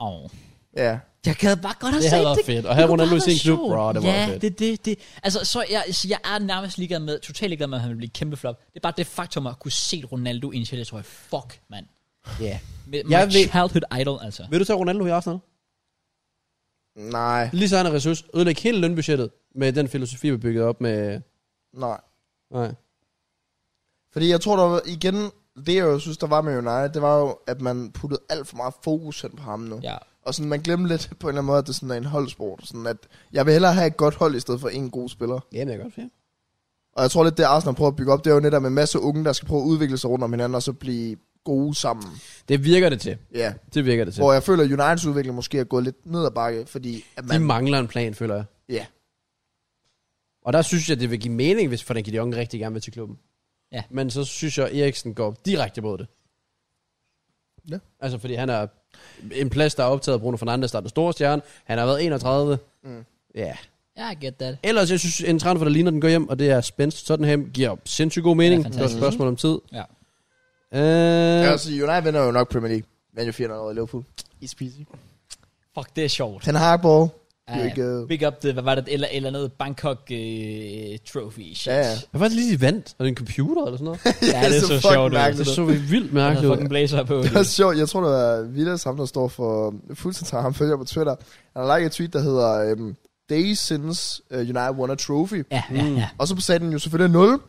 Speaker 1: Åh... Oh.
Speaker 3: ja.
Speaker 1: Jeg kan bare godt have
Speaker 4: Det
Speaker 1: sagt
Speaker 4: havde været fedt. Og have
Speaker 1: kunne
Speaker 4: Ronaldo
Speaker 1: bare
Speaker 4: i sin
Speaker 1: være
Speaker 4: klub.
Speaker 1: sjovt.
Speaker 4: Bro, det var
Speaker 1: ja,
Speaker 4: fedt.
Speaker 1: det, det, det. Altså, så jeg, så jeg er nærmest ligeglad med, totalt ligeglad med, at han vil blive et kæmpe flop. Det er bare det faktum, at jeg kunne se Ronaldo i en Chelsea, tror jeg, fuck, mand.
Speaker 4: Ja.
Speaker 1: Med, my
Speaker 4: Jeg ved-
Speaker 1: childhood idol, altså.
Speaker 4: Vil du tage Ronaldo i Arsenal?
Speaker 3: Nej,
Speaker 4: Lige så han er ressource. Ødelægge hele lønbudgettet med den filosofi, vi byggede op med...
Speaker 3: nej.
Speaker 4: Nej.
Speaker 3: Fordi jeg tror, der var, igen, det jeg jo synes, der var med United, det var jo, at man puttede alt for meget fokus hen på ham nu.
Speaker 1: Ja.
Speaker 3: Og sådan, man glemte lidt på en eller anden måde, at det sådan er en holdsport. Sådan at jeg vil hellere have et godt hold, i stedet for en god spiller.
Speaker 4: Jamen, jeg er godt fedt.
Speaker 3: Og jeg tror lidt, det Arsenal prøver at bygge op, det er jo netop en masse unge, der skal prøve at udvikle sig rundt om hinanden, og så blive gode sammen.
Speaker 4: Det virker det til.
Speaker 3: Ja. Yeah.
Speaker 4: Det virker det til.
Speaker 3: Hvor jeg føler, at Uniteds udvikling måske er gået lidt ned ad bakke, fordi at
Speaker 4: De
Speaker 3: man...
Speaker 4: mangler en plan, føler jeg.
Speaker 3: Ja.
Speaker 4: Og der synes jeg, det vil give mening, hvis Frenkie de Jong rigtig gerne vil til klubben.
Speaker 1: Ja.
Speaker 4: Men så synes jeg, Eriksen går direkte mod det.
Speaker 3: Ja.
Speaker 4: Altså, fordi han er en plads, der er optaget af Bruno Fernandes, der er den store stjerne. Han har været 31.
Speaker 3: Mm.
Speaker 4: Ja.
Speaker 1: Ja, I get that.
Speaker 4: Ellers, jeg synes, en transfer, der ligner, den går hjem, og det er Spence Tottenham, giver sindssygt god mening.
Speaker 1: Ja,
Speaker 4: Det er et
Speaker 1: fantastisk.
Speaker 4: spørgsmål om tid.
Speaker 1: Ja.
Speaker 4: Øh,
Speaker 3: Ja. Altså, United vinder jo nok Premier League. Men jo 400 over Liverpool. Easy peasy.
Speaker 1: Fuck, det er sjovt.
Speaker 3: Ten Hag ball.
Speaker 1: Ja,
Speaker 3: jo
Speaker 1: ja.
Speaker 3: ikke, øh,
Speaker 1: Big up det, hvad var det, eller, eller noget Bangkok øh, trophy shit.
Speaker 3: Ja, ja.
Speaker 4: Jeg var faktisk lige, de vandt. Er det en computer eller sådan noget?
Speaker 1: ja det er så,
Speaker 3: fucking
Speaker 1: sjovt.
Speaker 3: mærkeligt.
Speaker 1: ud.
Speaker 4: Det så vildt
Speaker 1: Han havde
Speaker 4: mærkeligt
Speaker 1: fucking
Speaker 4: ud.
Speaker 1: blazer på.
Speaker 3: Det er også sjovt. Jeg tror, det var Vilas, ham der står for Fuldcentra, ham følger jeg på Twitter. Han har lagt et tweet, der hedder øhm, Days Since øh, United won a trophy.
Speaker 1: Ja, ja, ja.
Speaker 3: Og så sagde den jo selvfølgelig 0.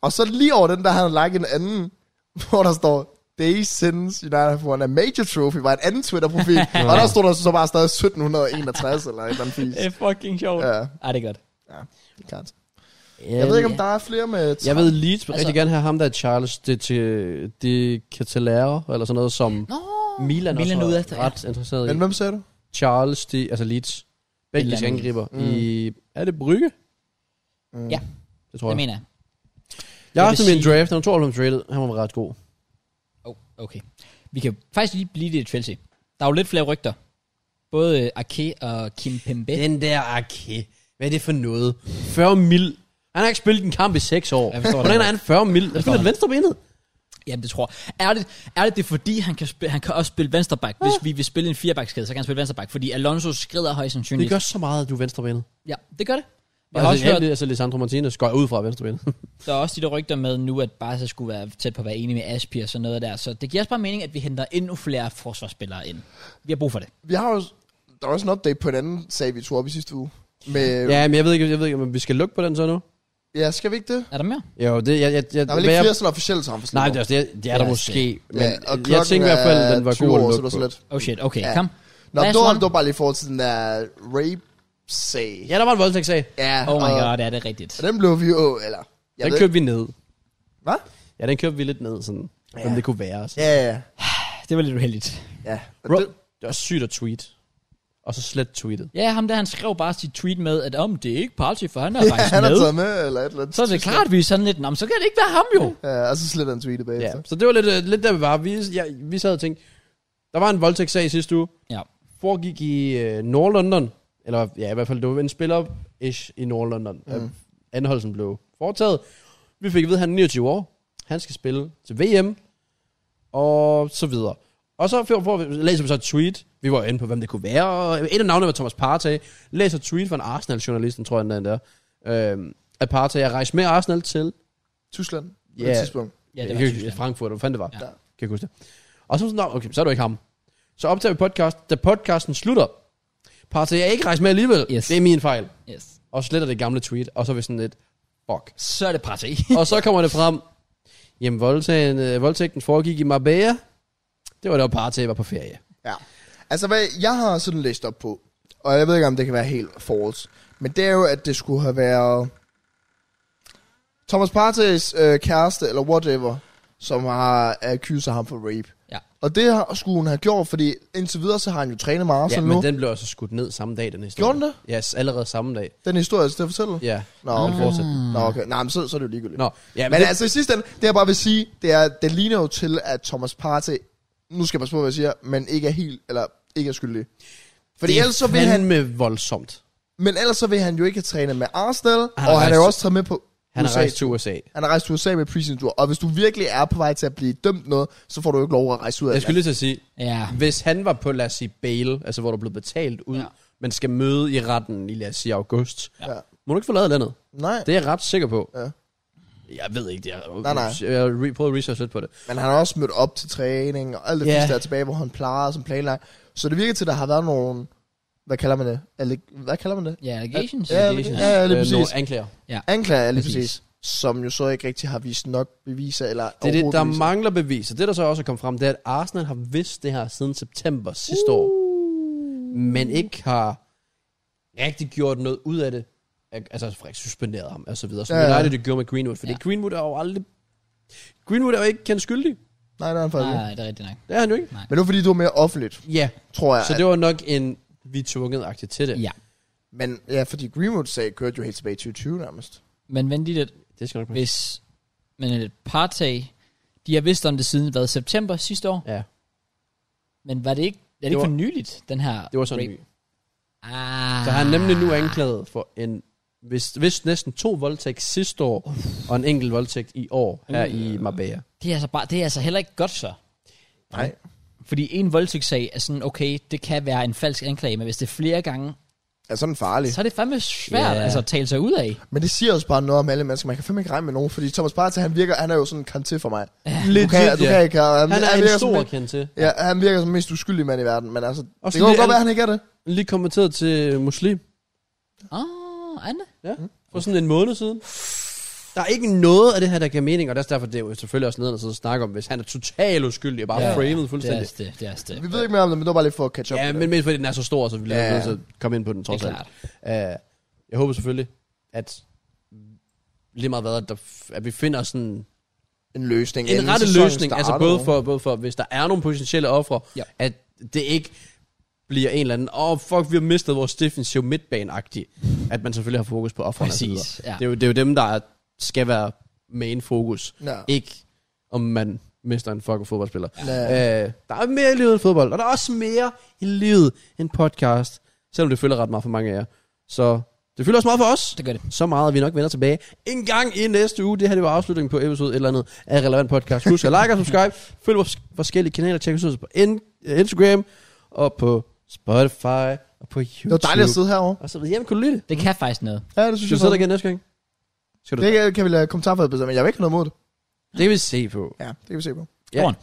Speaker 3: Og så lige over den, der havde han lagt en anden, hvor der står Days Since United have won a major trophy, var en anden Twitter-profil. og der stod der så bare stadig 1761 eller et eller andet fisk.
Speaker 1: Det er fucking sjovt. Ja.
Speaker 3: Ja,
Speaker 1: Ej, det er godt.
Speaker 3: klart. Jeg ved ikke, om der er flere med...
Speaker 4: Jeg ved, Leeds vil
Speaker 1: Altså-
Speaker 4: rigtig gerne have ham der, Charles de, de, de Catalero, eller sådan noget, som
Speaker 1: Nå,
Speaker 4: Milan,
Speaker 1: Milan
Speaker 4: også
Speaker 1: ude
Speaker 4: var
Speaker 1: efter, ja.
Speaker 4: ret interesseret i.
Speaker 3: Men hvem sagde du?
Speaker 4: Charles de, altså Leeds, belgisk
Speaker 1: Milan.
Speaker 4: angriber mm. i, er det Brygge?
Speaker 3: Mm.
Speaker 1: Ja.
Speaker 4: Det tror
Speaker 1: det
Speaker 4: jeg.
Speaker 1: mener jeg.
Speaker 4: Jeg har
Speaker 1: Jeg
Speaker 4: haft
Speaker 1: vil
Speaker 4: min
Speaker 1: sige-
Speaker 4: draft, han var 92 rated, han var ret god.
Speaker 1: Oh, okay. Vi kan faktisk lige blive det i Chelsea. Der er jo lidt flere rygter. Både øh, Ake og Kim Pembe.
Speaker 4: Den der Ake, hvad er det for noget? 40 mil. Han har ikke spillet en kamp i 6 år.
Speaker 1: Jeg forstår det
Speaker 4: Hvordan er
Speaker 1: godt.
Speaker 4: han 40 mil? Han
Speaker 1: forstår
Speaker 4: spiller
Speaker 1: det.
Speaker 4: venstre benet.
Speaker 1: Jamen, det tror jeg. Er det, er det, det er fordi, han kan, spille, han kan også spille venstreback? Hvis vi vil spille en firebakskæde, så kan han spille venstreback. Fordi Alonso skrider højst
Speaker 4: Det
Speaker 1: sandsynligt.
Speaker 4: gør så meget, at du er venstre benet.
Speaker 1: Ja, det gør det. Jeg har
Speaker 4: Altså,
Speaker 1: også
Speaker 4: altså,
Speaker 1: hørt,
Speaker 4: altså Lisandro Martinez går ud fra venstre benet.
Speaker 1: der er også de der rygter med nu, at Barca skulle være tæt på at være enige med Aspie og sådan noget der. Så det giver også bare mening, at vi henter endnu flere forsvarsspillere ind. Vi har brug for det.
Speaker 3: Vi har jo... Der var også en update på en anden sag, vi tog op i sidste uge. Med,
Speaker 4: ja, men jeg ved ikke, jeg ved ikke, om vi skal lukke på den så nu.
Speaker 3: ja, skal vi ikke det?
Speaker 1: Er der mere?
Speaker 4: Jo, det, jeg, jeg, jeg,
Speaker 3: Der er vel
Speaker 4: hvad
Speaker 3: ikke
Speaker 4: jeg-
Speaker 3: flere sådan officielle transfer
Speaker 4: Nej, det er, også- det er, det er
Speaker 1: Ja,
Speaker 4: der
Speaker 1: det-
Speaker 4: måske, men
Speaker 3: Ja, og
Speaker 4: jeg tænker i hvert fald, at den var god
Speaker 3: år,
Speaker 4: at
Speaker 3: så det
Speaker 4: lukke
Speaker 3: var så
Speaker 4: på.
Speaker 3: lidt.
Speaker 1: Oh shit, okay,
Speaker 3: Ja.
Speaker 1: kom.
Speaker 3: Nå,
Speaker 1: Last
Speaker 3: det var,
Speaker 1: one.
Speaker 3: det var bare lige i forhold til den der rape-sag.
Speaker 4: Ja, der var en voldtægtssag.
Speaker 3: ja
Speaker 1: Oh my
Speaker 3: og-
Speaker 1: god, er det rigtigt?
Speaker 3: Og den blev vi jo, eller... Jeg
Speaker 4: Den
Speaker 3: ved-
Speaker 4: kørte vi ned.
Speaker 3: Hvad?
Speaker 4: Ja, den kørte vi lidt ned, sådan, ja.
Speaker 3: Ja.
Speaker 4: det kunne være. altså. Sådan.
Speaker 3: Ja, ja,
Speaker 1: Det var lidt uheldigt.
Speaker 3: ja.
Speaker 4: Bro, det var sygt at tweet. og så slet tweetet.
Speaker 1: Ja, ham der, han skrev bare sit tweet med, at om det er ikke Party, for han er faktisk
Speaker 3: han har
Speaker 1: med.
Speaker 3: taget med, eller et eller andet.
Speaker 1: Så er det klart, vi er sådan lidt, "Nå, men så kan det ikke være ham jo.
Speaker 3: Ja, og så sletter han tweetet
Speaker 4: Ja.
Speaker 3: bagefter.
Speaker 4: Så det var lidt, øh, lidt der, vi var. Vi, ja, vi sad og tænkte, der var en voldtægtssag i sidste uge.
Speaker 1: Ja.
Speaker 4: Foregik i øh, Nordlondon, eller ja, i hvert fald, det var en spiller-ish i Nordlondon. Mm. Anholdelsen blev foretaget. Vi fik at vide, at han er 29 år. Han skal spille til VM, og så videre. Og så for, for, læser vi så et tweet. Vi var jo inde på, hvem det kunne være. Og et af navnene var Thomas Partey. Læser et tweet fra en Arsenal-journalist, den tror jeg, den der. Øhm, at Partey er rejst med Arsenal til
Speaker 3: Tyskland på
Speaker 4: Ja.
Speaker 3: et tidspunkt.
Speaker 1: Ja,
Speaker 4: Ja,
Speaker 1: det
Speaker 4: det
Speaker 1: var
Speaker 4: jeg kan ikke
Speaker 1: Tyskland.
Speaker 4: Frankfurt, hvad fanden det var.
Speaker 1: Ja.
Speaker 4: Ja. Kan jeg ikke huske det. Og så var sådan, "Nå, okay, så er du ikke ham. Så optager vi podcast. Da podcasten slutter, Partey jeg er ikke rejst med alligevel.
Speaker 1: Yes.
Speaker 4: Det er min fejl.
Speaker 1: Yes.
Speaker 4: Og sletter det gamle tweet, og så er vi sådan lidt, fuck.
Speaker 1: Så er det Party.
Speaker 4: og så kommer det frem, jamen voldtagen, øh, voldtægten foregik i Marbella. Det var da Partey var på ferie.
Speaker 3: Ja. Altså, hvad jeg har sådan læst op på, og jeg ved ikke, om det kan være helt false, men det er jo, at det skulle have været Thomas Partey's øh, kæreste, eller whatever, som har accuser ham for rape.
Speaker 1: Ja.
Speaker 3: Og det har, skulle hun have gjort, fordi indtil videre, så har han jo trænet med
Speaker 4: Ja,
Speaker 3: Arsenal
Speaker 4: men
Speaker 3: nu. Den,
Speaker 4: den blev også skudt ned samme dag, den historie.
Speaker 3: Gjorde den det?
Speaker 4: Ja, yes, allerede samme dag.
Speaker 3: den historie, jeg skal fortælle.
Speaker 4: Ja,
Speaker 3: Nå,
Speaker 4: den
Speaker 3: okay.
Speaker 4: fortsatte.
Speaker 3: Nå, okay. Nej, men så, så er det jo ligegyldigt.
Speaker 4: Nå, ja,
Speaker 3: Men altså i sidste ende, det jeg bare vil sige, det er, det ligner jo til, at Thomas Partey, nu skal jeg passe på, hvad jeg siger, men ikke er helt, eller ikke er skyldig. Fordi ellers så vil han,
Speaker 4: med voldsomt.
Speaker 3: men ellers så vil han jo ikke have trænet med Arsenal,
Speaker 4: Han
Speaker 3: han
Speaker 4: har
Speaker 3: og han er jo
Speaker 4: rejst-
Speaker 3: også taget med på
Speaker 4: Han er
Speaker 3: USA.
Speaker 4: rejst til USA.
Speaker 3: han er rejst til USA med preseason tour, og hvis du virkelig er på vej til at blive dømt noget, så får du jo ikke lov at rejse ud af
Speaker 4: Jeg
Speaker 3: det.
Speaker 4: skulle lige til at sige,
Speaker 1: ja.
Speaker 4: Hvis han var på, lad os sige, bail, altså hvor du blev betalt ud,
Speaker 1: Ja.
Speaker 4: ja. men skal møde i retten i, lad os sige, august,
Speaker 1: Ja.
Speaker 3: Ja.
Speaker 4: må du ikke forlade landet.
Speaker 3: Nej,
Speaker 4: Det er jeg ret sikker på.
Speaker 3: Ja.
Speaker 4: Jeg ved ikke, det er,
Speaker 3: Nej, nej.
Speaker 4: jeg har re- prøvet at researche lidt på det.
Speaker 3: men han har også mødt op til træning, og alt det
Speaker 4: Ja.
Speaker 3: yeah. der er tilbage, hvor han plejer som planlagt. Så det virker til, at der har været nogle, hvad kalder man det? Alleg- hvad kalder man det?
Speaker 1: Ja, allegations.
Speaker 3: Ja, ja, ja, lige
Speaker 4: Øh,
Speaker 3: præcis.
Speaker 4: Nogle anklager.
Speaker 3: Anklager, lige
Speaker 1: Præcis.
Speaker 3: præcis. præcis. Som jo så ikke rigtig har vist nok beviser, eller
Speaker 4: Det er det, der
Speaker 3: overhovedet beviser.
Speaker 4: mangler beviser. Det, der så også er kommet frem, det er, at Arsenal har vidst det her siden september sidste år,
Speaker 1: Uh.
Speaker 4: men ikke har rigtig gjort noget ud af det. Altså, for eksempel suspenderet ham, og så videre. Som
Speaker 3: Ja,
Speaker 4: ja,
Speaker 3: ja.
Speaker 4: ja. United det gjorde med Greenwood, fordi
Speaker 1: Ja.
Speaker 4: ja. Greenwood er jo aldrig... Greenwood er jo ikke kendt skyldig.
Speaker 3: Nej, det er han faktisk ikke.
Speaker 1: Nej, Ah, det er rigtigt nok.
Speaker 4: Det er han jo ikke.
Speaker 3: Men det var fordi, du var mere offentligt,
Speaker 4: Ja,
Speaker 3: tror jeg.
Speaker 4: Så det var nok en, vi tvunget agtigt til det.
Speaker 1: Ja.
Speaker 3: at, men ja, fordi Greenwood-sag kørte jo helt tilbage i 2020 nærmest.
Speaker 1: Men vent lige lidt.
Speaker 4: Det skal nok blive.
Speaker 1: Hvis men et partag, de har vidst om det siden, hvad, september sidste år?
Speaker 4: Ja,
Speaker 1: Men var det ikke, er det,
Speaker 4: Det
Speaker 1: ikke
Speaker 4: var-
Speaker 1: for nyligt, den her
Speaker 4: det var sådan
Speaker 1: rape?
Speaker 4: ny.
Speaker 1: Ah.
Speaker 4: Så han er nemlig nu anklaget for en, hvis, hvis næsten to voldtægt sidste år, og en enkelt voldtægt i år, her i Marbella.
Speaker 1: Det er, altså bare, det er altså heller ikke godt så.
Speaker 3: Nej.
Speaker 1: Fordi en voldtægtssag er sådan, okay, det kan være en falsk anklage, men hvis det er flere gange,
Speaker 3: Er sådan farlig.
Speaker 1: så er det fandme svært
Speaker 4: Ja.
Speaker 1: yeah. altså, at tale sig ud af.
Speaker 3: Men det siger også bare noget om alle mennesker. Man kan fandme ikke regne med nogen, fordi Thomas Partey, han virker, han er jo sådan en kante for mig.
Speaker 4: Legit,
Speaker 3: Du kan, du kan ikke, han,
Speaker 4: Han er
Speaker 3: han virker
Speaker 4: en
Speaker 3: som
Speaker 4: stor
Speaker 3: den-
Speaker 4: kendt til.
Speaker 3: Ja, han virker som den mest uskyldige mand i verden, men altså,
Speaker 4: Og
Speaker 3: det
Speaker 4: så
Speaker 3: kan jo
Speaker 4: lige
Speaker 3: godt
Speaker 4: alle-
Speaker 3: være, han ikke er det.
Speaker 4: Lige kommenteret til muslim
Speaker 1: Åh, oh, Anne.
Speaker 4: for sådan en måned siden. Der er ikke noget af det her, der giver mening, og det er også derfor, det er jo selvfølgelig også nede, at sidde og snakke om, hvis han er totalt uskyldig og bare
Speaker 1: Ja,
Speaker 4: ja, framed
Speaker 1: Det er
Speaker 4: fuldstændig.
Speaker 1: også det, det er også det.
Speaker 3: Vi ved ikke mere om det, men det var bare lige for at catch up.
Speaker 4: Ja,
Speaker 3: med
Speaker 4: men
Speaker 3: det.
Speaker 4: mest fordi den er så stor, så vi bliver
Speaker 3: Ja.
Speaker 4: nødt til at komme ind på den trods
Speaker 1: Det er
Speaker 4: alt. Uh, jeg håber selvfølgelig, at lige meget hvad, at, der, f- at vi finder sådan
Speaker 3: en løsning.
Speaker 4: en
Speaker 3: inden
Speaker 4: rette
Speaker 3: sæsonen
Speaker 4: løsning, altså
Speaker 3: starter.
Speaker 4: både for, både for, hvis der er nogle potentielle ofre,
Speaker 1: Ja.
Speaker 4: ja. at det ikke bliver en eller anden, åh oh, fuck, vi har mistet vores defensiv midtbane at man selvfølgelig har fokus på offrene. og så videre.
Speaker 1: Præcis, ja.
Speaker 4: Det, er jo, det er jo dem, der er- skal være main fokus,
Speaker 3: Ja.
Speaker 4: ikke om man mister en fucking fodboldspiller.
Speaker 3: Ja.
Speaker 4: Øh, der er mere i livet end fodbold, og der er også mere i livet end podcast, selvom det følger ret meget for mange af jer. Så det følger også meget for os.
Speaker 1: Det gør det.
Speaker 4: Så meget, at vi nok vender tilbage en gang i næste uge. Det her det var afslutningen på episode et eller andet af Relevant Podcast. Husk at like og subscribe. Følg vores forskellige kanaler. Tjek os ud på in- øh, Instagram og på Spotify og på YouTube.
Speaker 3: Det var dejligt at sidde herovre.
Speaker 4: Og så videre. Jamen, kunne du lide det?
Speaker 1: Det kan faktisk noget.
Speaker 3: Ja, det synes
Speaker 4: Skal du sidde der
Speaker 3: jeg.
Speaker 4: igen næste gang? Skal du?
Speaker 3: Det kan- kan vi lade kommentarfeltet bestemme, men jeg vil ikke have noget mod det.
Speaker 4: det kan vi se på.
Speaker 3: Ja, det kan vi se på.
Speaker 4: Ja.
Speaker 1: Skåren.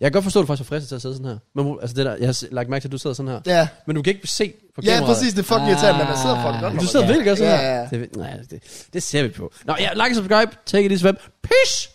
Speaker 4: Jeg kan godt forstå, at du faktisk er fristet til at sidde sådan her. Men, altså det der, jeg har lagt mærke til, at du sidder sådan her.
Speaker 3: Ja,
Speaker 4: Men du kan ikke se på
Speaker 3: ja
Speaker 4: kameraet.
Speaker 3: præcis, det er fucking irriterende, men man sidder fucking godt.
Speaker 1: Ah.
Speaker 4: Du
Speaker 3: når man
Speaker 4: sidder
Speaker 1: Ja.
Speaker 4: virkelig godt sådan
Speaker 3: Ja, ja,
Speaker 4: her. Det, nej, det, det ser vi på. Nå, ja, like og subscribe. Take it easy, web. Peace!